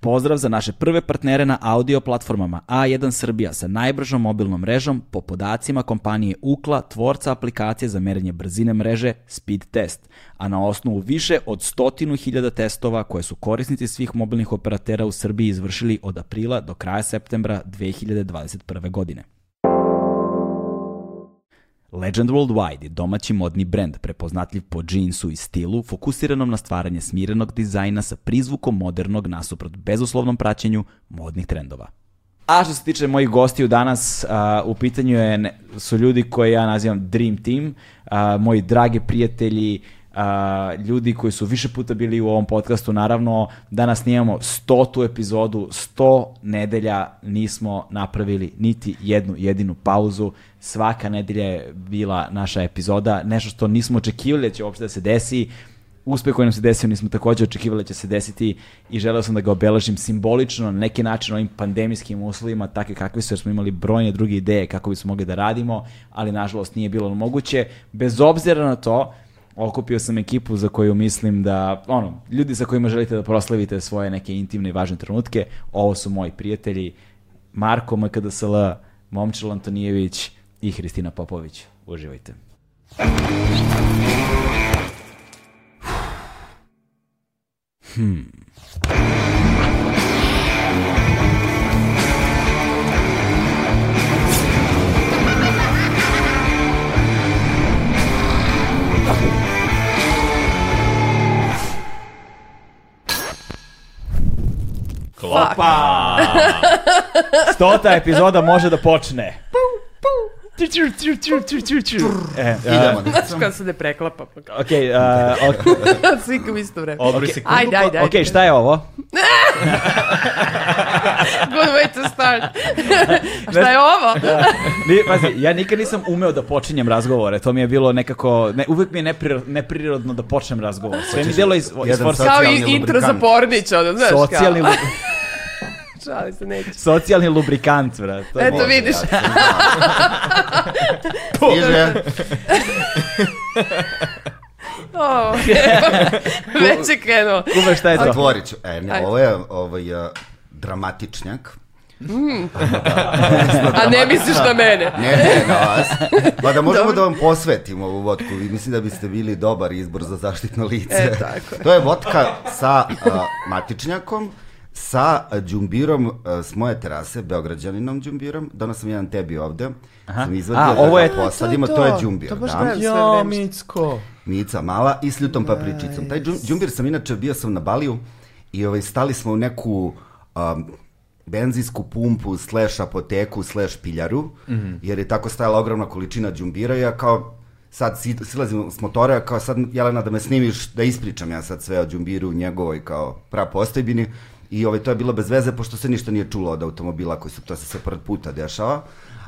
Pozdrav za naše prve partnere na audio platformama A1 Srbija sa najbržom mobilnom mrežom po podacima kompanije Ukla, tvorca aplikacije za merenje brzine mreže Speed Test, a na osnovu više od stotinu hiljada testova koje su korisnici svih mobilnih operatera u Srbiji izvršili od aprila do kraja septembra 2021. godine. Legend Worldwide je domaći modni brend prepoznatljiv po džinsu i stilu, fokusiranom na stvaranje smirenog dizajna sa prizvukom modernog nasuprot bezuslovnom praćenju modnih trendova. A što se tiče mojih gostiju danas, a, u pitanju je, ne- su ljudi koje ja nazivam Dream Team, a, moji dragi prijatelji, a, ljudi koji su više puta bili u ovom podcastu, naravno, danas snimamo stotu epizodu, sto nedelja nismo napravili niti jednu jedinu pauzu, svaka nedelja je bila naša epizoda, nešto što nismo očekivali da će uopšte da se desi, uspeh koji nam se desio nismo takođe očekivali da će se desiti i želeo sam da ga obeležim simbolično na neki način ovim pandemijskim uslovima takve kakve su jer smo imali brojne druge ideje kako bismo mogli da radimo, ali nažalost nije bilo moguće. Bez obzira na to, okupio sam ekipu za koju mislim da, ono, ljudi sa kojima želite da proslavite svoje neke intimne i važne trenutke, ovo su moji prijatelji Marko MKDSL, Momčil Antonijević i Hristina Popović. Uživajte. Klopa! Stota epizoda može da počne. E, Idemo. Znaš kao se ne preklapa, pa kao, ok, uh, ok, svi kao u isto vreme. Odbri sekundu. Ajde, ajde, ajde. ok, šta je ovo? Good way to start. A šta je ovo? Da, Ni, pazi, ja nikad nisam umeo da počinjem razgovore, to mi je bilo nekako, ne, uvek mi je neprir, neprirodno da počnem razgovor. Sve mi delo iz, iz jedan forsa- sad- Kao Socijalni i intro za lubrikant. pornića, ono, znaš kao. socijalni, lu, Šalim se, neću. socijalni lubrikant, vrat. To je- Eto vidiš, Stiže. o, već je krenuo. Kuba, šta je to? Zatvorit ću. E, ne, Ajde. ovo je ovaj, uh, dramatičnjak. Mm. A ne misliš na mene. Ne, ne, na vas. Pa da možemo da vam posvetimo ovu vodku. I mislim da biste bili dobar izbor za zaštitno lice. E, tako je. To je vodka sa uh, matičnjakom, sa džumbirom uh, s moje terase, beograđaninom džumbirom. Donos sam jedan tebi ovde. Aha. Sam izvadio A, da ovo ga je- posadimo. To, je džumbir. To baš da. gledam sve Jo, vreme. Micko. Mica mala i s ljutom papričicom. Taj džum- džumbir sam inače bio sam na Baliju i ovaj, stali smo u neku um, benzinsku pumpu slash apoteku slash piljaru, Mhm. jer je tako stajala ogromna količina džumbira i ja kao sad si- silazim s motora, ja kao sad Jelena da me snimiš, da ispričam ja sad sve o džumbiru njegovoj kao prapostojbini i ovaj, to je bilo bez veze pošto se ništa nije čulo od automobila koji su, to se sve prvi puta dešava.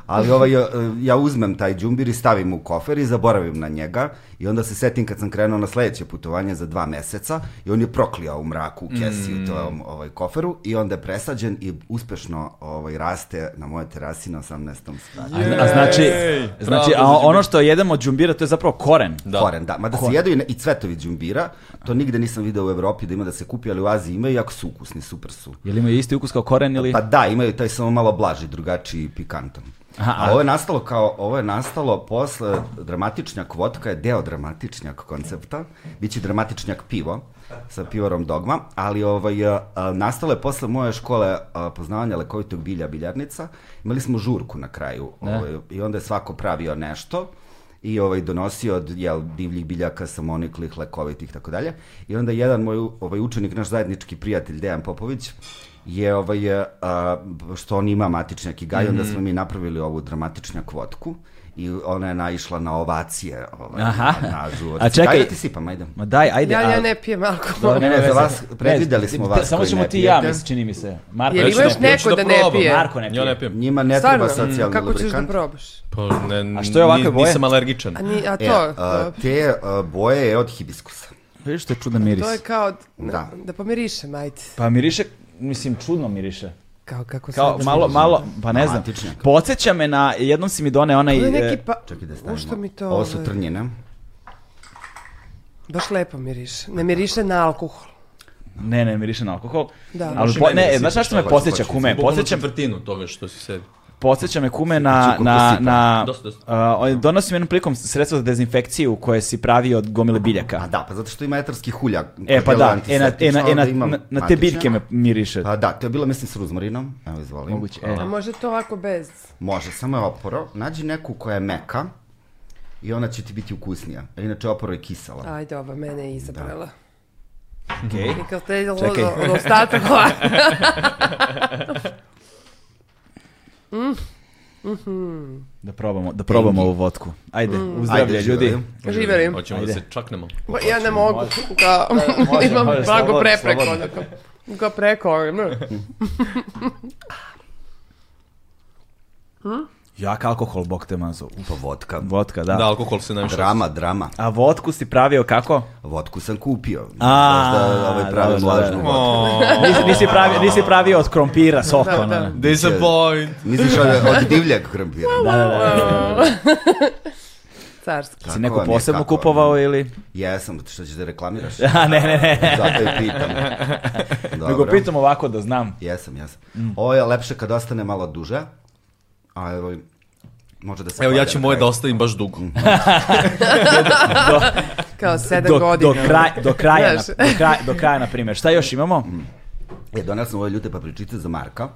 Ali ovaj, ja- ja uzmem taj džumbir i stavim u kofer i zaboravim na njega i onda se setim kad sam krenuo na sledeće putovanje za dva meseca i on je proklijao u mraku u kesi u tom ovaj, koferu i onda je presađen i uspešno ovaj, raste na moje terasi na 18. spratu. A znači, Ej, znači a bravo, ono što jedemo od džumbira, to je zapravo koren. Da. Koren, da. Mada se jedu i, ne- i cvetovi džumbira, to nigde nisam video u Evropi da ima da se kupi, ali u Aziji ima i jako su ukusni, super su. Jel imaju isti ukus kao koren ili? Pa da, imaju taj samo malo blaži, drugačiji pikantan. Aha, a ovo je nastalo kao, ovo je nastalo posle dramatičnjak vodka je deo dramatičnjak koncepta, bit će dramatičnjak pivo sa pivorom dogma, ali ovaj, a, a, nastalo je posle moje škole a, poznavanja lekovitog bilja biljarnica, imali smo žurku na kraju ovaj, i onda je svako pravio nešto i ovaj donosio od jel, divljih biljaka, samoniklih, lekovitih i tako dalje. I onda jedan moj ovaj, učenik, naš zajednički prijatelj Dejan Popović, je ovaj, e, a, što on ima matičnjak i gaj, onda Mhm. smo mi napravili ovu dramatičnjak vodku i ona je naišla na ovacije ovaj, Aha. na- na žurci. A čekaj- Daj da ti sipam, ajde. Ma daj, ajde. Ja, a- ja ne pijem alkohol. Ne, ne, za vas, predvideli smo vas da, Samo koji ćemo ne ti i ja, pijete. mislim, čini mi se. Marko, Jel neću imaš da pijem. neko da ne pije? Marko ne Ja pije. ne pijem. Njima ne Stvarno, treba socijalni kako ćeš da lubrikant. probaš? Pa, ne, A što je ovakve ni- boje? Nisam alergičan. A, ni, a E, to, a, to, te a, boje je od hibiskusa. Vidiš što je čudan miris. to je kao, da, Da. da pomirišem, ajde. Pa miriše, mislim, čudno miriše. Kao kako Kao sad- malo, malo, pa ne znam. Matičnjak. Podsjeća me na, jednom si mi done onaj... Ovo je e, neki pa... Čekaj da U stavimo. što mi to... Ovo su ovaj, trnjine. Baš lepo miriše. Ne miriše na alkohol. Ne, ne, miriše na alkohol. Da. Ali Možeš po, i meni ne, da znaš na sipaš, što me šta podsjeća, hoćeš, kume? Bukvalno Podsjeća, četvrtinu toga što si sebi. podsjeća me kume na, koliko na, sipa. na Dosta, dosta. uh, donosim jednom prilikom sredstvo za dezinfekciju koje si pravio od gomile biljaka. A da, pa zato što ima etarski hulja. E pa koji je da, e na, antiseptičan, e na, e onda na, imam na, na te matične. biljke me miriše. Pa da, to je bilo, mislim, s ruzmarinom. Evo, izvolim. Moguće, e. A može to ovako bez? Može, samo je oporo. Nađi neku koja je meka i ona će ti biti ukusnija. A inače, oporo je kisela. Ajde, ova mene je izabrala. Okej. I kao te od, Da. Čekaj. od ostatak ovaj, ovako. Da probamo, da probamo Engi. ovu vodku. Ajde, Ajde, uzdravlje ljudi. živeli. Živerim. Hoćemo Ajde. da se čaknemo. Ma, Ja ne mogu, kao, Da, može, imam može, blago slobodno, prepreko. slobodno. onako. Kao preko, ovaj, ono. Jak alkohol, bog te mazo. Pa vodka. Vodka, Da, da. alkohol se najviše... Drama, drama. A vodku si pravio kako? Vodku sam kupio. A, Možda ovaj pravi da, da, da. lažnu vodku. Oh, Nisi, nisi, pravio, nisi pravio od krompira sok, Da, ono, da. ne. disappoint. Misliš od, od divljeg krompira? Da. Carski. Da. Si Kako neko vam je, posebno kako vam je? kupovao ili? Jesam, zato što ćeš da reklamiraš. A ne, ne, ne. Zato je pitam. Dobro. Nego pitam ovako da znam. Jesam, jesam. Mm. Ovo je lepše kad ostane malo duže. A evo, može da se... Evo, ja hvali ću na moje da kraju. ostavim baš dugo. Mhm. Kao sedam Do, godina. do, kraj, do, kraja, na, Znaš. do, kraja, do kraja, na primjer. Šta još imamo? E, donao sam ove ljute papričice za Marka.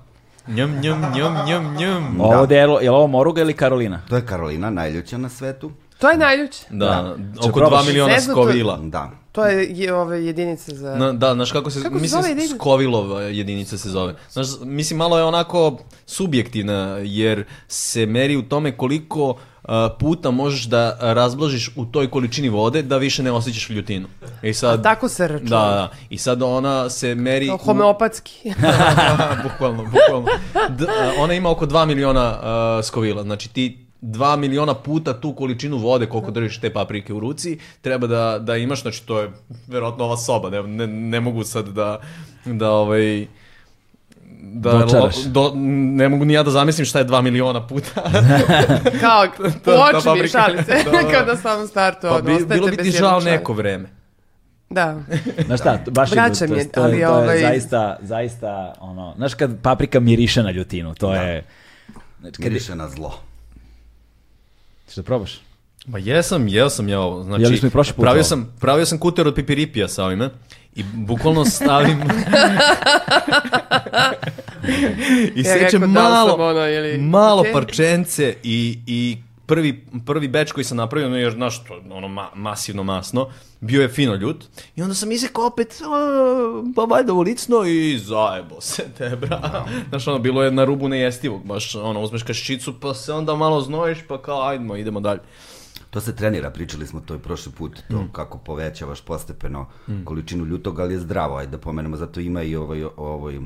Njam, njam, njam, njam, njam. Ovo delo, je li ovo Moruga ili Karolina? To je Karolina, najljuća na svetu. To je najljuče. Da, Će oko probaš. 2 miliona Zeznuto- skovila. Da. To je, je ove jedinice za... Na, da, znaš kako se, Kako se mislim, zove da jedinica? Skovilova jedinica se zove. Znaš, mislim, malo je onako subjektivna, jer se meri u tome koliko uh, puta možeš da razblažiš u toj količini vode da više ne osjećaš ljutinu. I sad, Tako se računa. Da, da. I sad ona se meri... Kao u- Homeopatski. bukvalno, bukvalno. D- a, ona ima oko 2 miliona uh, skovila. Znači ti 2 miliona puta tu količinu vode koliko držiš te paprike u ruci treba da, da imaš, znači to je verovatno ova soba, ne, ne, ne mogu sad da, da ovaj, da, Dočaraš. do, ne mogu ni ja da zamislim šta je 2 miliona puta. Kao, ta uoči mi paprika. šali se. Da, da. Kao na samom startu. pa ono, bi, ostajete bilo bi ti bez žao jednog člana. neko vreme. Da. Znaš šta, to- baš Vraća mi je, to, to, je, ali to je ovaj- zaista, zaista, ono, znaš kad paprika miriše na ljutinu, to je... Znači, kad, Miriše na zlo. ćeš da probaš? Ma jesam, jeo sam ja ovo. Znači, Jeli smo i prošli put ovo. pravio sam, pravio sam kuter od pipiripija sa ovime i bukvalno stavim... I Ja sećam rekao, da li sam malo, ono, ili- malo Ok. parčence i, i prvi, prvi beč koji sam napravio, no jer znaš to, ono ma, masivno masno, bio je fino ljut. I onda sam izrekao opet, "A, pa valjda ulicno i zajebo se te, bra. Da. Znaš, ono, bilo je na rubu nejestivog, baš, ono, uzmeš kašičicu, pa se onda malo znojiš, pa kao, ajdemo, idemo dalje. To se trenira, pričali smo to i prošli put, to Mm. kako povećavaš postepeno količinu ljutog, ali je zdravo, ajde da pomenemo, zato ima i ovoj, ovoj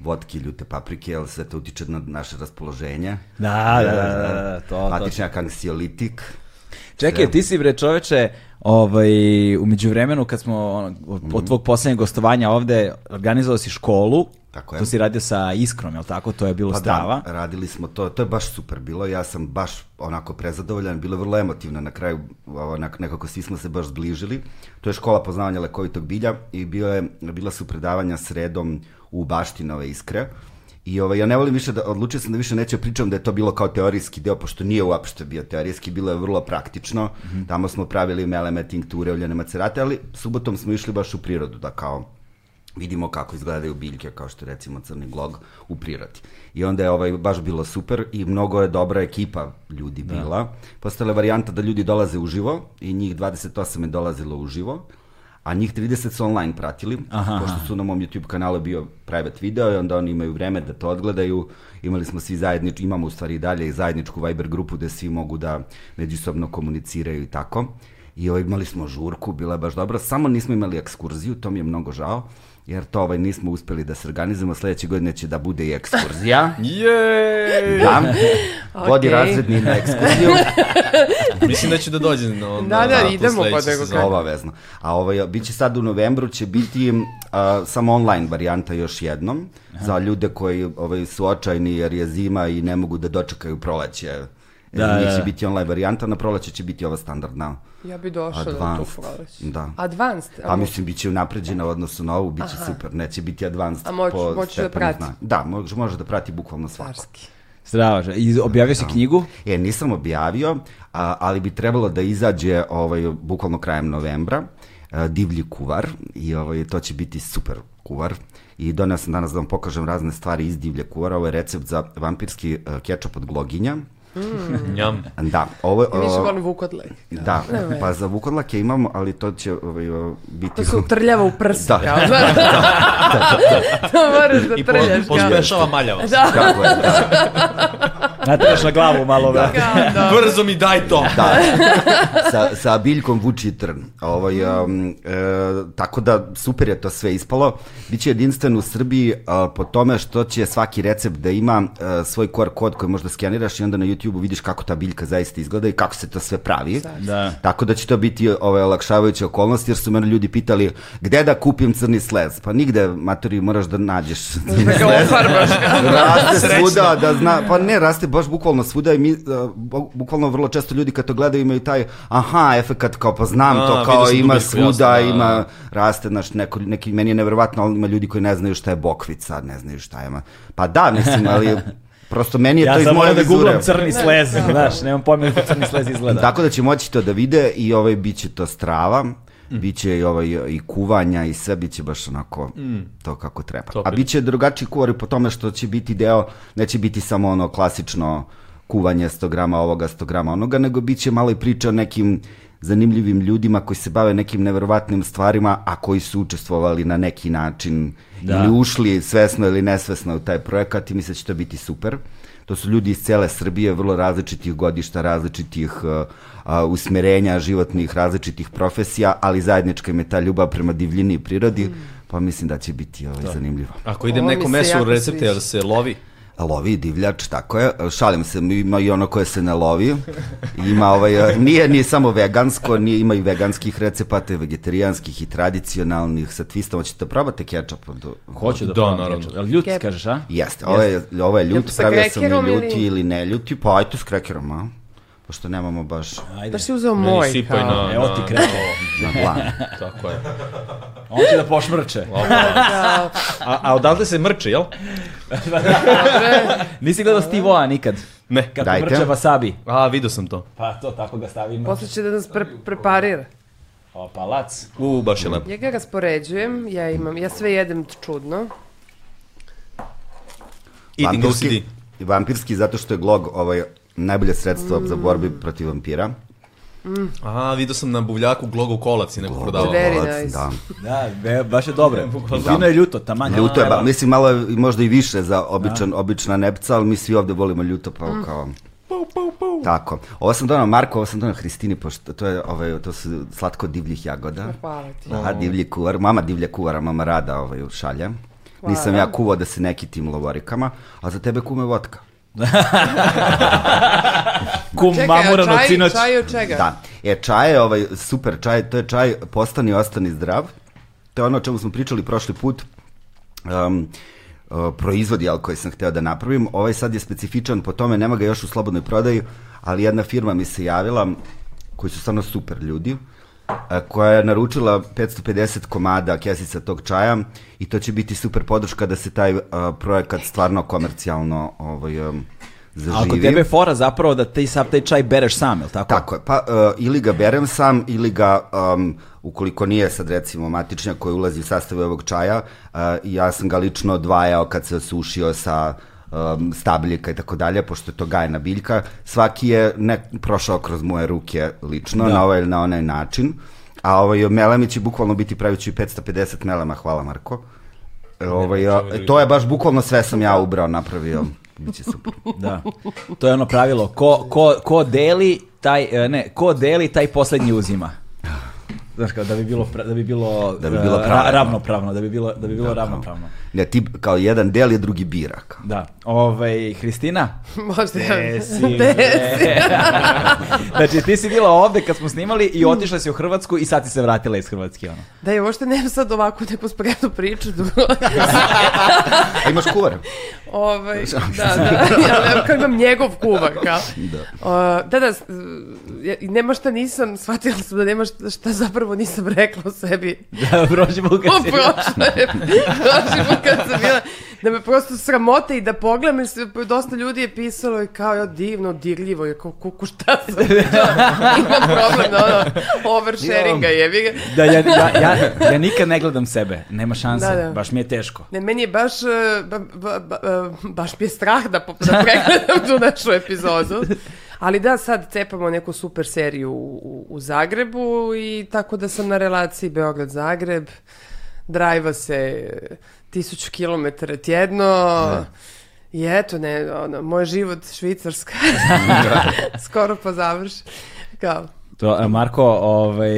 vodki ljute paprike, ali sve to utiče na naše raspoloženje. Da, da, da, da, da, to- to- Matičnjak anksiolitik. Čekaj, ti si bre čoveče, ovaj, umeđu vremenu kad smo ono, od, Mhm. od tvog poslednjeg gostovanja ovde, organizovao si školu, Tako je. to si radio sa Iskrom, jel tako? To je bilo Pa strava. da, radili smo to, to je baš super bilo, ja sam baš onako prezadovoljan, bilo je vrlo emotivno, na kraju onak, nekako svi smo se baš zbližili. To je škola poznavanja lekovitog bilja i bio je, bila su predavanja sredom u baštinove iskre. I ovaj, ja ne volim više da, odlučio sam da više neću da pričam da je to bilo kao teorijski deo, pošto nije uopšte bio teorijski, bilo je vrlo praktično. Mhm. Tamo smo pravili meleme, tinkture, uljene macerate, ali subotom smo išli baš u prirodu, da kao vidimo kako izgledaju biljke kao što je recimo crni glog u prirodi. I onda je ovaj baš bilo super i mnogo je dobra ekipa ljudi Da. bila. Postala je varijanta da ljudi dolaze uživo i njih 28 je dolazilo uživo, a njih 30 su online pratili, Aha. pošto su na mom YouTube kanalu bio private video i onda oni imaju vreme da to odgledaju. Imali smo svi zajednič, imamo u stvari i dalje i zajedničku Viber grupu gde svi mogu da međusobno komuniciraju i tako. I ovaj, imali smo žurku, bila je baš dobra, samo nismo imali ekskurziju, to mi je mnogo žao, jer to ovaj, nismo uspeli da se organizujemo, sledeće godine će da bude i ekskurzija. Jej! Da, vodi Okej. razredni na ekskurziju, Mislim da ću da dođem na, Da, da, na, na tu idemo sledeću pod nego- sezonu. Kako? obavezno. A ovaj, bit će sad u novembru, će biti a, samo online varijanta još jednom, za ljude koji ovaj, su očajni jer je zima i ne mogu da dočekaju proleće Da, Da, da. da. će biti online varijanta, na proleće će biti ova standardna. Ja bi došla da tu Advanced. proleće. Da. Advanced. Pa mislim, bit će unapređena u odnosu na ovu, bit će super, neće biti advanced. A moć- po moći da stepenu prati. znanja. Da, može, može da prati bukvalno svako. Carski. Strava. že- I objavio si knjigu? E, nisam objavio, a, ali bi trebalo da izađe ovaj, bukvalno krajem novembra, e, divlji kuvar i ovaj, to će biti super kuvar. I donio sam danas da vam pokažem razne stvari iz divlje kuvara. Ovo je recept za vampirski e, kečap od gloginja. Njam. Da, ovo je... Više o, volim vukodlek. Da, veze. pa za vukodlake imam, ali to će ovaj, o, biti... To su trljava u prsi. Da. kao, znaš. ja. To moraš ja. da I po, trljaš. kao. pospešava maljavost. Da, Tako je, da. Natraš Da, na glavu malo, brate. kao da. Brzo mi daj to. da. sa, sa biljkom vuči trn. Ovaj, um, e, tako da super je to sve ispalo. Biće jedinstven u Srbiji a, po tome što će svaki recept da ima e, svoj QR kod koji možda skeniraš i onda na YouTube-u vidiš kako ta biljka zaista izgleda i kako se to sve pravi. Da. Tako da će to biti ovaj, olakšavajuća okolnost jer su mene ljudi pitali gde da kupim crni slez? Pa nigde, materi, moraš da nađeš crni Da ga ofarbaš. raste svuda, da zna, pa ne, raste baš bukvalno svuda i mi, uh, bu- bukvalno vrlo često ljudi kad to gledaju imaju taj, aha, efekat, kao pa znam A, to, vidio kao sam tu ima biljku, svuda, jasno, da, ima, raste, znaš, neko, neki, meni je nevjerovatno, ali ima ljudi koji ne znaju šta je bokvica, ne znaju šta je, ma- pa da, mislim, ali prosto meni je Ja to iz sam moje morao da vizure. Da. googlam crni slez, znaš, nemam pojma kako crni slez izgleda. Tako da će moći to da vide i ovaj bit će to strava, bit će i, ovaj, i kuvanja i sve bit će baš onako Mm. to kako treba. Topim. A bit će drugačiji kuvar i po tome što će biti deo, neće biti samo ono klasično kuvanje 100 grama ovoga, 100 grama onoga, nego bit će malo i priče o nekim zanimljivim ljudima koji se bave nekim neverovatnim stvarima, a koji su učestvovali na neki način Da. ili ušli svesno ili nesvesno u taj projekat i mislim da će to biti super. To su ljudi iz cele Srbije, vrlo različitih godišta, različitih uh, uh, usmerenja životnih, različitih profesija, ali zajednička im je ta ljubav prema divljini i prirodi, pa mislim da će biti ovaj, zanimljivo. Ako idem Ovo mi neko se meso u jako recepte, sviđa. jel se lovi? Lovi divljač, tako je. Šalim se, ima i ono koje se ne lovi. Ima ovaj, nije, nije samo vegansko, nije, ima i veganskih recepata, i vegetarijanskih i tradicionalnih sa twistom. Hoćete da probati kečap? od- Hoću da, Da, probam naravno. ketchup. Jel ljut Kep. kažeš, a? Jeste, ovo je, ovo je ljut, Jel sa pravio sam i krekerom ili- ljuti ili ne ljuti, pa ajte s krekerom, a? Pošto nemamo baš Ajde. Da si uzeo Meni moj. sipaj Kao. na- Evo ti kreće. na plan. Tako je. On će da pošmrče. Da, A, a odavde se mrče, jel? Nisi gledao Steve-oa nikad? Ne. Kako Dajte. mrče wasabi. A, vidio sam to. Pa to, tako ga stavimo. Posle će da nas pre preparira. Opa, lac. U, baš je lepo. Ja ga raspoređujem, ja imam, ja sve jedem čudno. Eating OCD. vampirski, zato što je glog ovaj, najbolje sredstvo za borbi Mm. protiv vampira. A, vidio sam na buvljaku glogov kolac i neko prodavao. Very Ovalac, nice. Da. Da, be, baš je dobro. Fino je ljuto, taman. Ljuto je, ba, Evo. mislim malo je i možda i više za običan, obična nepca, ali mi svi ovde volimo ljuto, pa Mm. kao... Tako. Ovo sam donao Marko, ovo sam donao Hristini, pošto to, je, ovaj, to su slatko divljih jagoda. Hvala ti. Aha, divlji kuvar, mama divlja kuvara, mama rada ovaj, šalja. Nisam ja kuvao da se neki tim lovorikama, a za tebe kume votka. Kum Čekaj, a mamurano čaj, sinoć. čaj od čega? Da. E, čaj je ovaj, super čaj, to je čaj postani, ostani zdrav. To je ono o čemu smo pričali prošli put. Um, uh, proizvod jel, koji sam hteo da napravim. Ovaj sad je specifičan po tome, nema ga još u slobodnoj prodaji, ali jedna firma mi se javila, koji su stvarno super ljudi, a, koja je naručila 550 komada kesica tog čaja i to će biti super podrška da se taj a, projekat stvarno komercijalno ovaj, um, zaživi. A kod tebe je fora zapravo da ti sav taj čaj bereš sam, jel tako? Tako je, pa e, ili ga berem sam, ili ga, em, ukoliko nije sad recimo matičnjak koji ulazi u sastave ovog čaja, e, ja sam ga lično odvajao kad se osušio sa em, stabljika i tako dalje, pošto je to gajna biljka, svaki je ne, prošao kroz moje ruke lično, na ovaj ili na onaj način, a ovaj, melami će bukvalno biti pravići 550 melama, hvala Marko. E, ovaj, a, to je baš bukvalno sve sam ja ubrao, napravio, biće super. Da. To je ono pravilo, ko, ko, ko deli taj, e, ne, ko deli taj poslednji uzima. Znaš kao, da bi bilo, pra- da bi bilo, Da bi bilo e, ra- pravedno. ravnopravno, da bi bilo, da bi bilo ravnopravno. Ne, ti kao jedan deli, a drugi bira. Kao. Da. Ovaj, Hristina, Možda. E, si, e. znači, ti si bila ovde kad smo snimali i otišla si u Hrvatsku i sad si se vratila iz Hrvatske. Ono. Da je uopšte nemam sad ovakvu neku spremnu priču. A imaš kuvar? ovaj, da, da, ja nemam kao imam njegov kuvar, kao. Da. da, da, s- ja- i nema šta nisam, shvatila sam da nema šta, šta zapravo nisam rekla o sebi. Da, prođi Bugar U si- prošloj, prošli put kad sam bila, da me prosto sramote i da pogledam, jer se- dosta ljudi je pisalo i kao, ja, divno, dirljivo, je kao, kuku, šta sam, imam problem, da, ono, oversharinga jebi ga. Da, ja, ja, ja, ja nikad ne gledam sebe, nema šanse, Da, da. baš mi je teško. Ne, meni je baš, e, ba, ba, ba, e, baš mi je strah da, po- da pregledam tu našu epizodu. Ali da, sad cepamo neku super seriju u, u, u Zagrebu i tako da sam na relaciji Beograd-Zagreb. Drajva se tisuću kilometara tjedno. I eto, ne, ono, moj život Švicarska skoro pa završi. Kao, To, a, Marko, ovaj,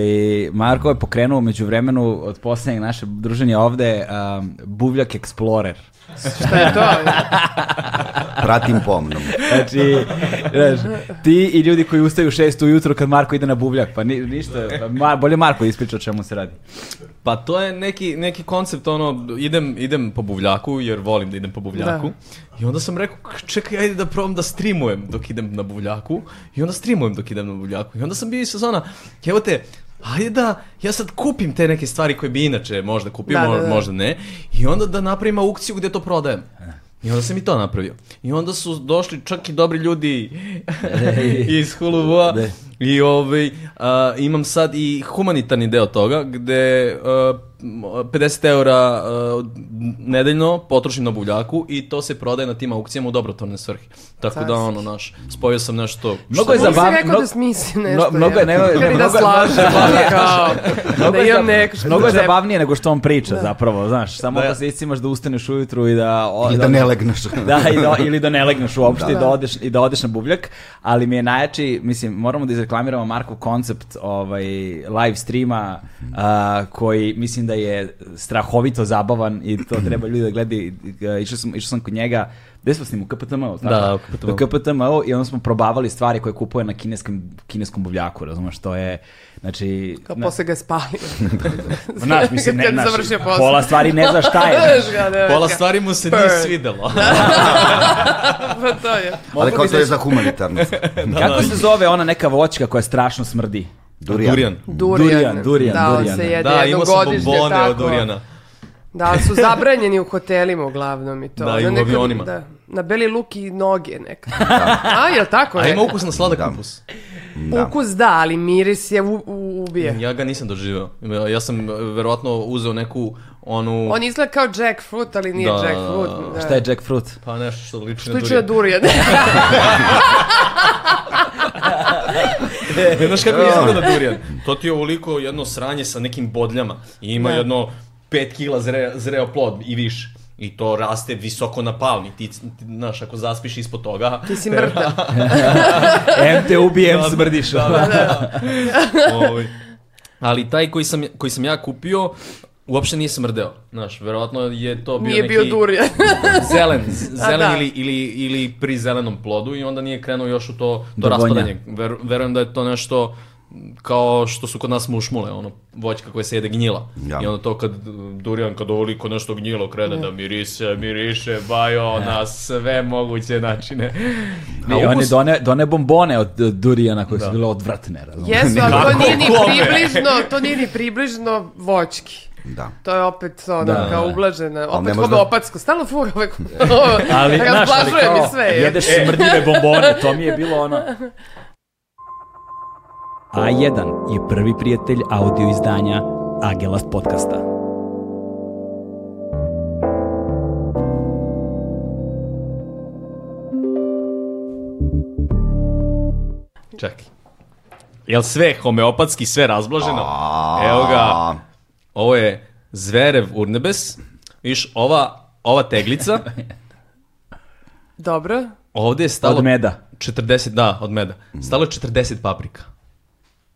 Marko je pokrenuo među vremenu od posljednjeg naše druženja ovde um, Buvljak Explorer. šta je to? Pratim pomnom. Znači, znaš, ti i ljudi koji ustaju u šest ujutro kad Marko ide na Buvljak, pa ni, ništa, pa Mar- bolje Marko ispriča o čemu se radi. Pa to je neki, neki koncept, ono, idem, idem po buvljaku, jer volim da idem po buvljaku. Da. I onda sam rekao, "K- čekaj, ajde da probam da streamujem dok idem na buvljaku. I onda streamujem dok idem na buvljaku. I onda sam bio iz sezona, evo te, ajde da ja sad kupim te neke stvari koje bi inače možda kupio, Da, da, mo- da. možda ne. I onda da napravim aukciju gdje to prodajem. I onda sam i to napravio. I onda su došli čak i dobri ljudi iz Huluvua. Da. I ovaj, a, imam sad i humanitarni deo toga, gde a, m, 50 eura a, nedeljno potrošim na buvljaku i to se prodaje na tim aukcijama u dobrotvorne svrhe. Tako da, ono, naš, spojio sam nešto... Mnogo što- je Mogu zabav- si rekao mno- da smislim nešto. mno- mnogo je- jebote. ne, ne, Ili da mnogo je- slažem, ono, kao, da je imam zab- neko što Da. mnogo je treba. zabavnije nego što on priča zapravo, znaš, samo da, se iscimaš da ustaneš ujutru i da... o- I da ne legneš. Da, i da, ili da ne legneš uopšte i, da Da. odeš, i da odeš na buvljak, ali mi je najjači, mislim, moramo da izreklamiramo Markov koncept ovaj, live streama a, koji mislim da je strahovito zabavan i to treba ljudi da gledaju. I- Išao sam, išao sam kod njega, gde smo s njim, u KPTM-u? tako? Da, u KPTM-u. U KPTM-u i onda smo probavali stvari koje kupuje na kineskom, kineskom buvljaku, razumeš, to je, znači... Kao na- posle ga je spalio. Znaš, mislim, ne, Kad je znaš, završio posao. pola stvari ne znaš šta je. znaš. Pola stvari mu se nije Burn. svidelo. Pa to je. Ali Mogao kao bi to je da- za humanitarno. Da, Kako se zove ona neka voćka koja strašno smrdi? Durijan. Durijan, Durijan. durijan, da, on durijan. se jede Da, imao sam jednogodišnje, bombone tako. od Durijana. Da, ali su zabranjeni u hotelima uglavnom i to. Da, i Na u nekom- avionima. Da. Da, na beli luk i noge neka. A, je li tako? A ne? ima ukus na sladak Da. kupus. Ukus da, ali miris je u, u, ubije. Ja ga nisam doživio. Ja sam e, verovatno uzeo neku onu... On izgleda kao jackfruit, ali nije Da. jackfruit. Da. Šta je jackfruit? Pa nešto što liči na Sliči na durijan. durijan. E, Znaš kako izgleda durijan? To ti je ovoliko jedno sranje sa nekim bodljama i ima Da. jedno 5 kila zre, zreo plod i više. I to raste visoko na palmi. Ti, ti znaš, ako zaspiš ispod toga... Ti da, si mrtav. M te ubije, M Da, smrdiš. da, da, da. Ovaj. Ali taj koji sam, koji sam ja kupio, uopšte nije smrdeo. Znaš, verovatno je to bio Nije neki... bio durijan. Zelen, z- zelen da. ili, ili, ili pri zelenom plodu i onda nije krenuo još u to, Do to vonja. raspadanje. Ver, verujem da je to nešto kao što su kod nas mušmule, ono, voćka koja se jede gnjila. Ja. I onda to kad uh, durijan, kad ovoliko nešto gnjilo krene da mirise, miriše, bajo, na sve moguće načine. Ne, A on je ukus- done, done bombone od od durijana koje su bile odvratne, razumiješ? Jesu, ali to Kako nije ni kome? približno, to nije ni približno voćki. Da. To je opet ono, Da. kao ublažena, ne opet možda- možda... opacko, stalno fura uvek, znaš, ali razblažuje mi kao, sve. je. jedeš smrdljive bombone, to mi je bilo ono... A1 je prvi prijatelj audio izdanja Agelast podcasta. Čekaj. Jel sve homeopatski, sve razblaženo? Evo ga. Ovo je zverev urnebes. Viš, ova, ova teglica, Dobro, ovdje je stalo... Od meda. 40, da, od meda. Stalo je 40 paprika.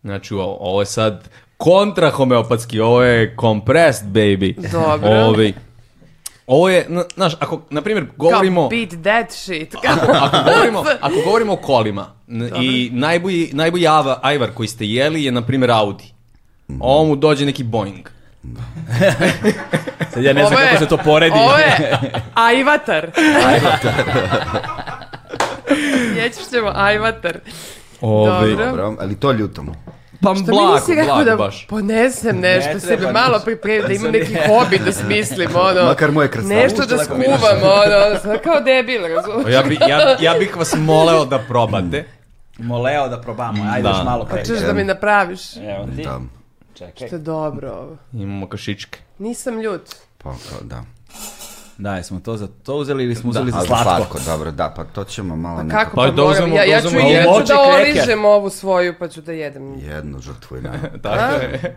Znači, o- ovo je sad kontra homeopatski, ovo je compressed, baby. Dobro. Ovi- ovo je, na- znaš, ako, na primjer, govorimo... Kao beat that shit. Kao, ako govorimo, ako govorimo o kolima n- i najbolji, najbolji ava, ajvar koji ste jeli je, na primjer, Audi. Ovo mu dođe neki Boeing. Sad ja ne znam Ovo je- kako se to poredi. Ovo je ajvatar. Jećeš ćemo ajvatar. Ovi, Dobro. Dobro, ali to ljutom. Što pa mi blago, nisi rekao blago da baš. ponesem nešto Ne sebi, treba malo ništa. pripremim, da imam neki hobi da smislim, ono. Makar moje krstavice. Nešto da skuvam, ono, ono, kao debil, razumiješ? Pa Ja, bi, ja, ja bih vas moleo da probate. Moleo da probamo, ajde Da. još malo pre. Hoćeš da mi napraviš? Evo ti, Da, čekaj. To je dobro ovo. Imamo kašičke. Nisam ljut. pa kao da. Da, jesmo to za to uzeli ili smo uzeli Da, za Ali slatko? dobro, da, pa to ćemo malo nekako. Kako Pa pa, da moram? uzmemo- ja, da ja ću, uzmemo ja ću voće, da kreker. oližem ovu svoju pa ću da jedem. Jednu žrtvu i najmanju. Tako je.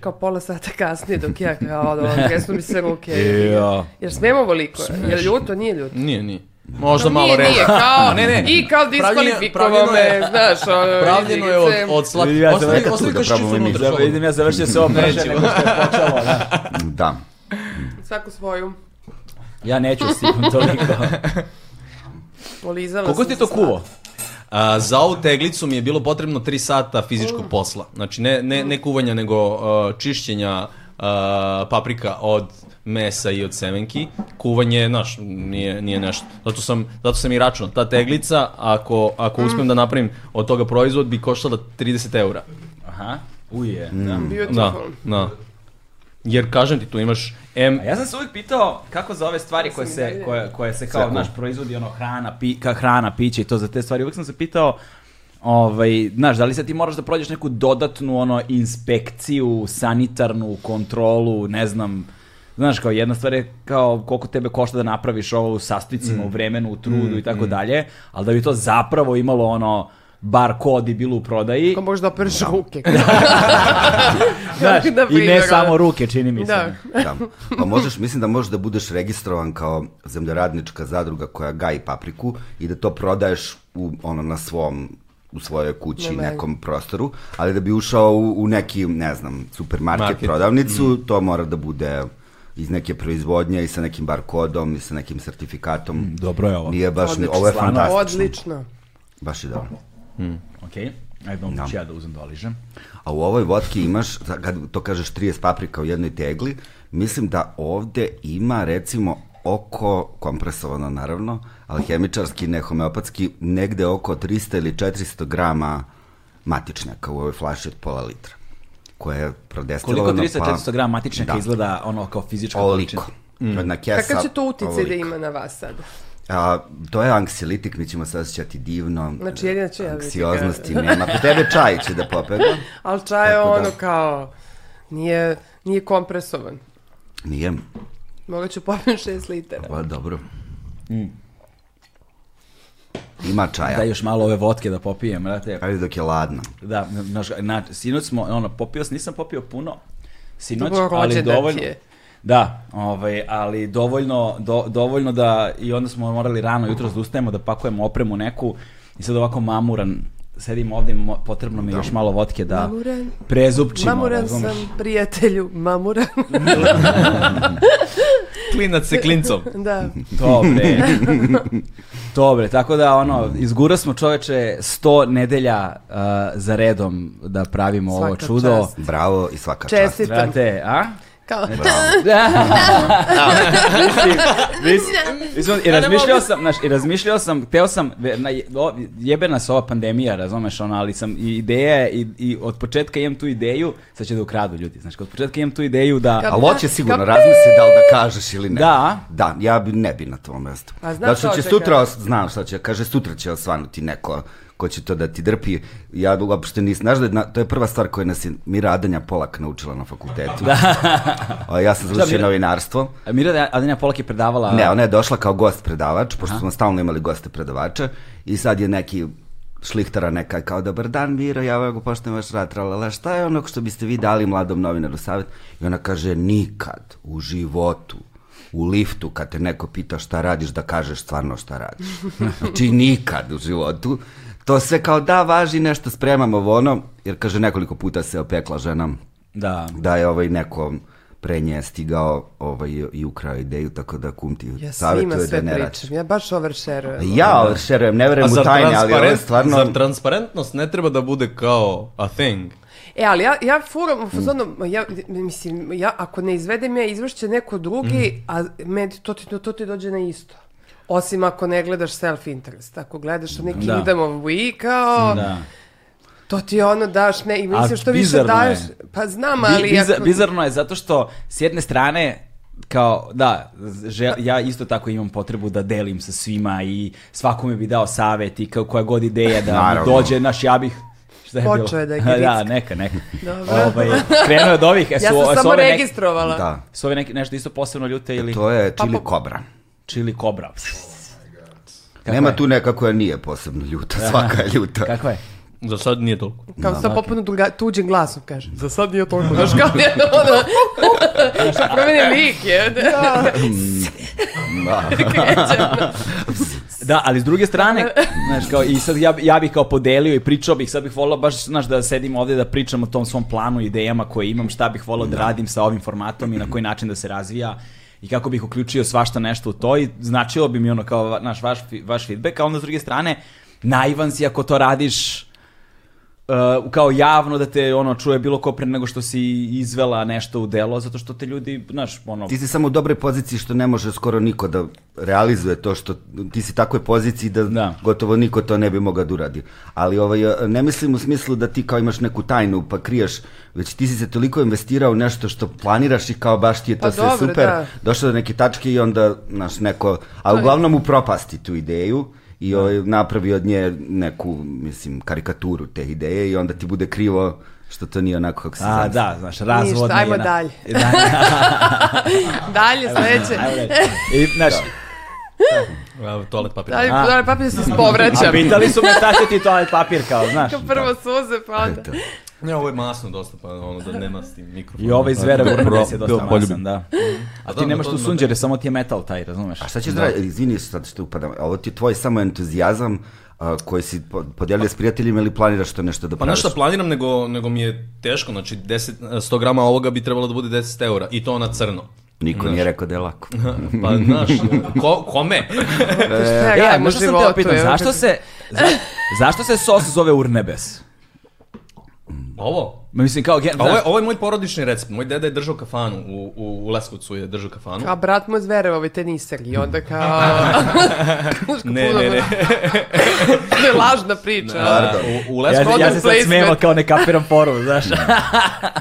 Kao pola sata kasnije dok ja kao ono, tresnu mi se ruke. Jo. Jer smem ovoliko? Jer ljuto, nije ljuto. Nije, nije. Možda Pa malo nije, nije, reći. kao, Ne, ne. i kao Pravljeno- diskvalifikovao pravljeno je- me, znaš, ono, Pravljeno je od, izigrice. od slatke. Vidi, ja sam Ostavi, rekao ostavi da kašičicu probamo i mi. unutra, Da, slobodno. vidim, ja završio se ovo brže nego što je počelo. Da. Da. Svaku svoju. Ja neću sigurno toliko. Olizala Koliko sam ti se to sad. kuvo? A, za ovu teglicu mi je bilo potrebno 3 sata fizičkog posla. Znači ne, ne, ne kuvanja nego uh, čišćenja uh, paprika od mesa i od semenki. Kuvanje, znaš, nije, nije nešto. Zato sam, zato sam i računao. Ta teglica, ako, ako uspijem da napravim od toga proizvod, bi koštala 30 eura. Aha. Uje, da. Da, Beautiful. da. Jer kažem ti, tu imaš M... A Pa ja sam se uvijek pitao kako za ove stvari koje se, koje, koje se kao, znaš, proizvodi ono hrana, pi, ka, hrana, piće i to za te stvari, uvijek sam se pitao Ovaj, znaš, da li sad ti moraš da prođeš neku dodatnu ono inspekciju, sanitarnu kontrolu, ne znam, znaš kao jedna stvar je kao koliko tebe košta da napraviš ovo u sastojcima, u vremenu, u trudu i tako dalje, ali da bi to zapravo imalo ono bar kod i bilo u prodaji, Ako možda opereš ruke. Da, znaš, na i ne primjer, samo ono. ruke, čini mi se. Da. Da. Pa možeš, mislim da možeš da budeš registrovan kao zemljoradnička zadruga koja gaji papriku i da to prodaješ u, ono, na svom u svojoj kući, Na nekom prostoru, ali da bi ušao u, u neki, ne znam, supermarket, Market. prodavnicu, to mora da bude iz neke proizvodnje i sa nekim bar kodom i sa nekim sertifikatom. Mm, Dobro je ovo. Nije baš, ni, Odlično, ovo je stvarno. fantastično. Odlično. Baš je dobro. Ok, ajde onda ću ja da uzem da oližem. A u ovoj vodki imaš, za- kad to kažeš 30 paprika u jednoj tegli, mislim da ovde ima recimo oko, kompresovano naravno, ali hemičarski, ne homeopatski, negde oko 300 ili 400 grama matičnjaka u ovoj flaši od pola litra, koja je prodestilovana. Koliko 300-400 grama matičnjaka Da. izgleda ono kao fizička Oliko. količina? Mm. Jedna kesa. Kakav će to uticaj da ovoliko. ima na vas sad? A, to je anksilitik, mi ćemo se osjećati divno. Znači, jedina ću ja biti da. Anksioznosti nema. Kod tebe čaj će da popega. Ali čaj je Tako da. ono kao, nije, nije kompresovan. Nije. Mogat ću popijem 6 litara. Pa dobro. Mm. Ima čaja. Da još malo ove vodke da popijem, brate. Ajde dok je ladno. Da, naš, na, sinoć smo, ono, popio, sam- nisam popio puno, sinoć, Dobro, ali rođendan dovoljno... ti je. Da, ovaj, ali dovoljno, do, dovoljno da i onda smo morali rano jutro da ustajemo da pakujemo opremu neku i sad ovako mamuran sedim ovdje, mo- potrebno mi je još malo vodke da Mamuran. prezupčimo. Mamuran razumeš? sam, prijatelju, mamuran. Klinac se klincom. da. To bre. To bre, tako da ono, izgura smo čoveče 100 nedelja uh, za redom da pravimo ovo Svaka čudo. čast. Bravo i svaka čast. Čestitam. Brate, a? Kao, Mislim, mis- mislim, I razmišljao sam, znaš, i razmišljao sam, teo sam, ve- na, je- o, jebe nas ova pandemija, razumeš, ono, ali sam i ideja, i, i od početka imam tu ideju, sad će da ukradu ljudi, znaš, od početka imam tu ideju da... Kad- Ali hoće sigurno, Kapi! razmisli da li da kažeš ili ne. Da. Da, ja bi, ne bi na tom mestu. A Pa, znaš da što šta će hoće sutra, os- znam šta će, kaže sutra će osvanuti neko ko će to da ti drpi. Ja uopšte nisam, znaš da je na- to je prva stvar koju nas je Mira Adanja Polak naučila na fakultetu. Da. A ja sam završio Mira? novinarstvo. A Mira Adenija Polak je predavala... Ne, ona je došla kao gost predavač, pošto smo stalno imali goste predavača i sad je neki šlihtara neka kao dobar dan Miro, ja vam poštujem vaš rad, tralala, šta je ono što biste vi dali mladom novinaru savjet? I ona kaže nikad u životu u liftu kad te neko pita šta radiš da kažeš stvarno šta radiš. Znači nikad u životu. To sve kao da važi nešto spremamo ovo ono, jer kaže nekoliko puta se opekla žena Da. da je ovaj neko pre nje stigao ovaj, i ukrao ideju, tako da kum ti Ja svima savjetuje da sve ne rači. pričam. Ja baš oversharujem. Ja Da, oversharujem, ne verujem u tajne, ali ovo je transparent- stvarno... zar transparentnost ne treba da bude kao a thing? E, ali ja, ja furam, Mm. u fazonu, ma ja, mislim, ja, ako ne izvedem ja izvršće neko drugi, Mm. a med, to, ti, to ti dođe na isto. Osim ako ne gledaš self-interest. Ako gledaš neki Da. Kingdom of We, kao, Da. to ti ono daš, ne, i mislim što više bizarno daješ, je. pa znam, Bi- ali... biza- ako- Bizarno je zato što s jedne strane kao, da, žel- ja isto tako imam potrebu da delim sa svima i svakome bi dao savjet i kao koja god ideja da mi Naravno. dođe, naš ja bih Šta je Počeo bilo? je da je Da, gricka. neka, neka. Dobro. Ovaj, krenuo je od ovih. e, Ja su- sam su samo ove neke- registrovala. Da, Su ove neke, nešto isto posebno ljute ili to je Pa čili po- kobra. čili kobra? Kako Nema je? tu neka koja nije posebno ljuta, svaka je ljuta. Kakva je? Za sad nije toliko. Kao da, sa popuno druga, tuđim glasom, kaže. Za sad nije toliko, znaš, kao jedno, ono, što promeni lik, je. Da, ali s druge strane, znaš, kao, i sad ja, bi- ja bih kao podelio i pričao bih, sad bih volao baš, znaš, da sedim ovdje da pričam o tom svom planu, idejama koje imam, šta bih volao da radim sa ovim formatom i na koji način da se razvija i kako bih uključio svašta nešto u to i značilo bi mi ono kao va- naš, vaš, fi- vaš feedback, a onda s druge strane, naivan si ako to radiš uh, kao javno da te ono čuje bilo ko pre nego što si izvela nešto u delo, zato što te ljudi, znaš, ono... Ti si samo u dobroj poziciji što ne može skoro niko da realizuje to što ti si u takvoj poziciji da, Da. gotovo niko to ne bi mogao da uradi. Ali ovaj, ne mislim u smislu da ti kao imaš neku tajnu pa kriješ, već ti si se toliko investirao u nešto što planiraš i kao baš ti je to Pa sve dobro, super. da. Došao do neke tačke i onda naš neko, a uglavnom upropasti tu ideju i Da. ovaj, napravi od nje neku, mislim, karikaturu te ideje i onda ti bude krivo što to nije onako kako si A, zamislio. da, znaš, razvodna ajmo je na- dalje. Da, Dalje, sledeće. ajmo dalje. I, znaš, Da. A, toalet papir. Dalje, A. dalje papir se spovraćam. A pitali su me šta će ti toalet papir kao, znaš. Kao prvo suze, pa onda. Eto. Ne, ovo je masno dosta, pa ono da nema s tim mikrofonom. I ovaj zvera Pro- vrnes je dosta pro- poljubim. masan, da. A Da, ti da, nemaš to tu znam. sunđere, samo ti je metal taj, razumeš? A šta ćeš da radiš? Izvini sad što upadam. A Ovo ti je tvoj samo entuzijazam a, koji si po- podijelio s prijateljima ili planiraš to nešto da Pa praviš? znaš šta planiram, nego, nego mi je teško, znači 10, 100 grama ovoga bi trebalo da bude 10 eura i to na crno. Niko nije rekao da je lako. Pa znaš, ko, kome? E, Šta Ja, gledam u možda sam teo životu? pitan, evo, zašto se, za- zašto se sos zove urnebes? Ovo? Ma mislim kao, gen, A Ovo je, znaš, ovo je moj porodični recept. Moj deda je držao kafanu, u, u, u Leskovcu je držao kafanu. A brat mu je zvereo ovaj teniser i onda kao... Ne, ne, Da. ne. To je lažna priča. A, u, u, ja, Leskovcu, se- ja se sad placement. smijemo kao ne kapiram foru, znaš. Da,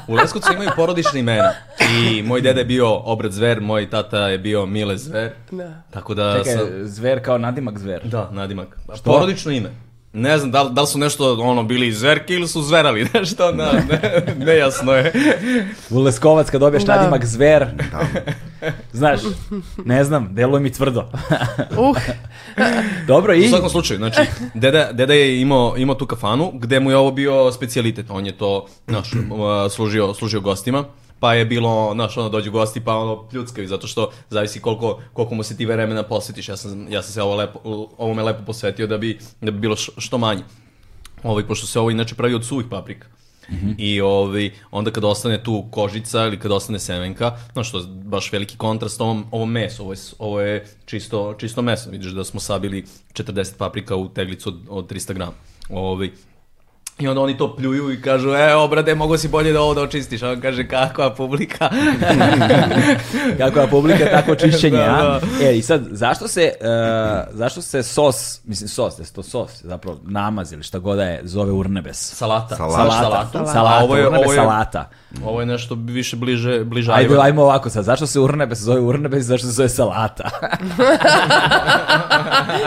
u Leskovcu imaju porodične imena. I moj deda je bio Obrad Zver, moj tata je bio Mile Zver. Da. Tako da Čekaj, sam- zver kao nadimak zver. Da, nadimak. Što? Porodično ime. Ne znam, da li, da li su nešto ono bili zverke ili su zverali nešto, na, ne, nejasno je. U Leskovac kad dobiješ Da. nadimak zver, Da. znaš, ne znam, deluje mi tvrdo. Uh, Dobro, U i... svakom slučaju, znači, deda, deda je imao, imao tu kafanu gde mu je ovo bio specijalitet. On je to, znaš, uh, služio, služio gostima. Pa je bilo, znaš, ono, dođu gosti pa ono pljuckaju, zato što zavisi koliko, koliko mu se ti vremena posvetiš. Ja sam, ja sam se ovo lepo, ovome lepo posvetio da bi, da bi bilo š- što manje. Ovaj, pošto se ovo inače pravi od suvih paprika. I ovaj, onda kad ostane tu kožica ili kad ostane semenka, znaš što je baš veliki kontrast ovom, ovom mesu, ovo je, s- ovo je čisto, čisto meso, vidiš da smo sabili 40 paprika u teglicu od, od 300 grama. Ovaj, I onda oni to pljuju i kažu, e, obrade, mogo si bolje da ovo da očistiš. A on kaže, kakva publika. Kako je publika, tako čišćenje, Da, a? E, i sad, zašto se, e, zašto se sos, mislim sos, jesi to sos, zapravo namaz ili šta god da je, zove urnebes? Salata. Salata. Znaš Salata, Salatu. salata, A ovo je, urnebes ovo je, salata. Ovo je nešto više bliže, bliže Ajde, ajvaru. ajmo ovako sad, zašto se urnebes zove urnebes, zašto se zove salata?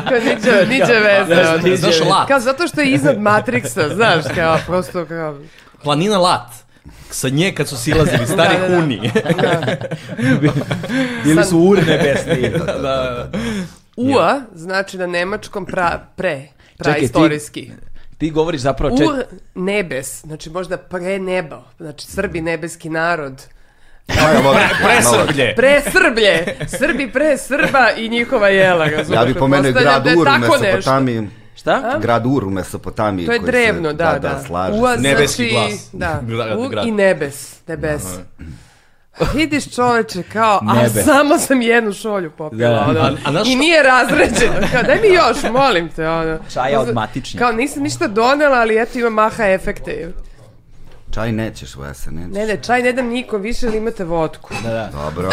kao niđe, niđe veze. Znaš, ono. Znaš, lat. Kao zato što je iznad Matrixa, znaš, kao prosto kao... Planina Lat. Sa nje kad su silazili stari Da, da, da. huni. Ili su urnebesni. da, da. Ua znači na nemačkom pra, pre, praistorijski. Ti govoriš zapravo... Čet... Ur nebes, znači možda pre nebo, znači Srbi nebeski narod. Presrblje. Pre Srblje, Srbi pre Srba i njihova jela. razumeš? Ja bi pomenuo Pretpostavljam grad da je Ur u tako nešto. Mesopotamiji. Šta? Grad Ur u Mesopotamiji. To je koji se- drevno, da, da. da, slaže se. Uaz, Nebeski znači, glas. Da, Grad- Ur grad. i nebes, nebes. Vidiš čoveče, kao, a Nebe. samo sam jednu šolju popila, Da. ono. A- a znaš i što- nije razređeno, kao, daj mi još, molim te, ono. Čaja od matičnjaka. Kao, nisam ništa donela, ali eto ima maha efekte. Čaj nećeš, Vesa, nećeš. Ne, da. ne, čaj ne dam nikom više, ali imate vodku. Da. Dobro.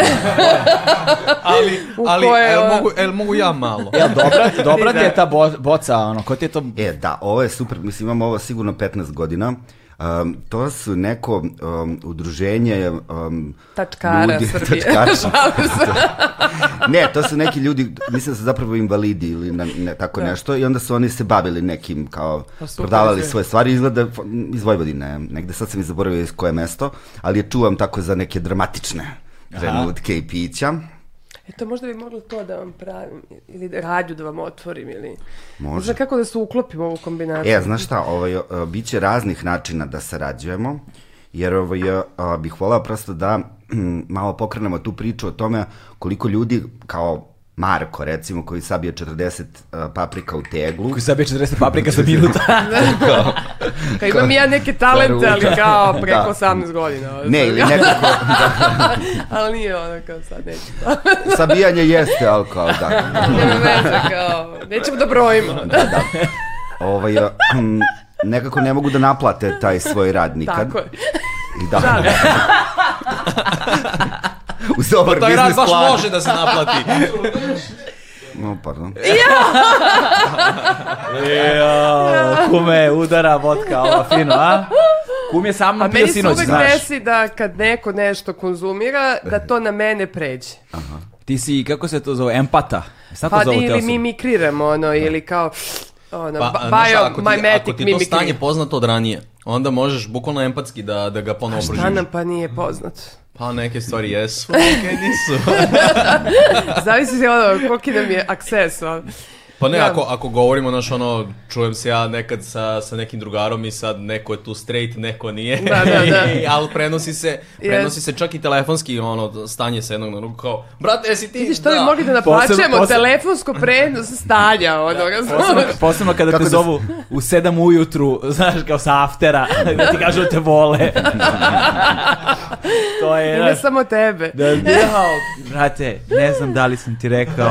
Ali, U ali, koje- uh, el mogu, el mogu ja malo? Jel dobra, dobra ti je ta bo, boca, ono, ko ti je to... E, da, ovo je super, mislim imamo ovo sigurno 15 godina. Um, to su neko um, udruženje um, Tačkara ljudi, Srbije. tačkara. Šalim se. ne, to su neki ljudi, mislim da su zapravo invalidi ili na, ne, tako nešto i onda su oni se bavili nekim kao Da. Pa super, prodavali sve. svoje stvari, izgleda f- iz Vojvodine, negde sad sam i zaboravio iz koje mesto, ali je čuvam tako za neke dramatične trenutke i pića. Eto, možda bi moglo E, to da vam pravim, ili radju da vam otvorim, ili... Može. Znam kako da se uklopim u ovu kombinaciju. E, znaš šta, ovaj, e, bit će raznih načina da sarađujemo, jer ovaj, e, a, bih volao prosto da hm, malo pokrenemo tu priču o tome koliko ljudi kao Marko, recimo, koji sabije 40 e, paprika u teglu. Koji sabije 40 paprika za minuta. Kao imam i ja neke talente, ali kao preko 18 godina. da. Ne, ili nekako, ali nije ono kao sad, neću to. sabijanje jeste alkohol, da. Nema veze, kao, nećemo da brojimo. Ovaj, e, hm, nekako ne mogu da naplate taj svoj rad nikad. Tako je. I da. Uz dobar Pa Taj rad biznis baš plan. može da se naplati. No, pardon. Jo, kume, udara vodka, ova fino, a? Kum je sa A mnom pio meni se sinoć, uvek znaš. desi da kad neko nešto konzumira, da to na mene pređe. Ti si, kako se to zove, empata. Sad to Pa zovu te ili osobe. mimikriramo, Da. ono, ili kao... Ono, Pa, ba- a, znaš šta, Da, bio, ako ti, ako mimetic ti to mimikri. stanje poznato od ranije, onda možeš bukvalno empatski da, da ga ponovo Šta proživiš. nam pa nije poznato? Pa neke stvari jesu, neke nisu. Zavisi se ono, koliki nam je akses. ono. Pa ne, Ja. ako, ako govorimo, znaš, ono, čujem se ja nekad sa, sa nekim drugarom i sad neko je tu straight, neko nije. Da, da, da. I- ali prenosi se, Yes. prenosi se čak i telefonski, ono, stanje sa jednog na drugog, kao, brate, jesi ti? Vidiš, što bi mogli da naplaćujemo posebno- Da, telefonsko prenos stanja, ono, Posebno, razumiješ? posebno kada te Kako da se- zovu u sedam ujutru, znaš, kao sa aftera, da ti kažu da te vole. to je, I ne znaš, samo tebe. da, da, brate, ne znam da li sam ti rekao,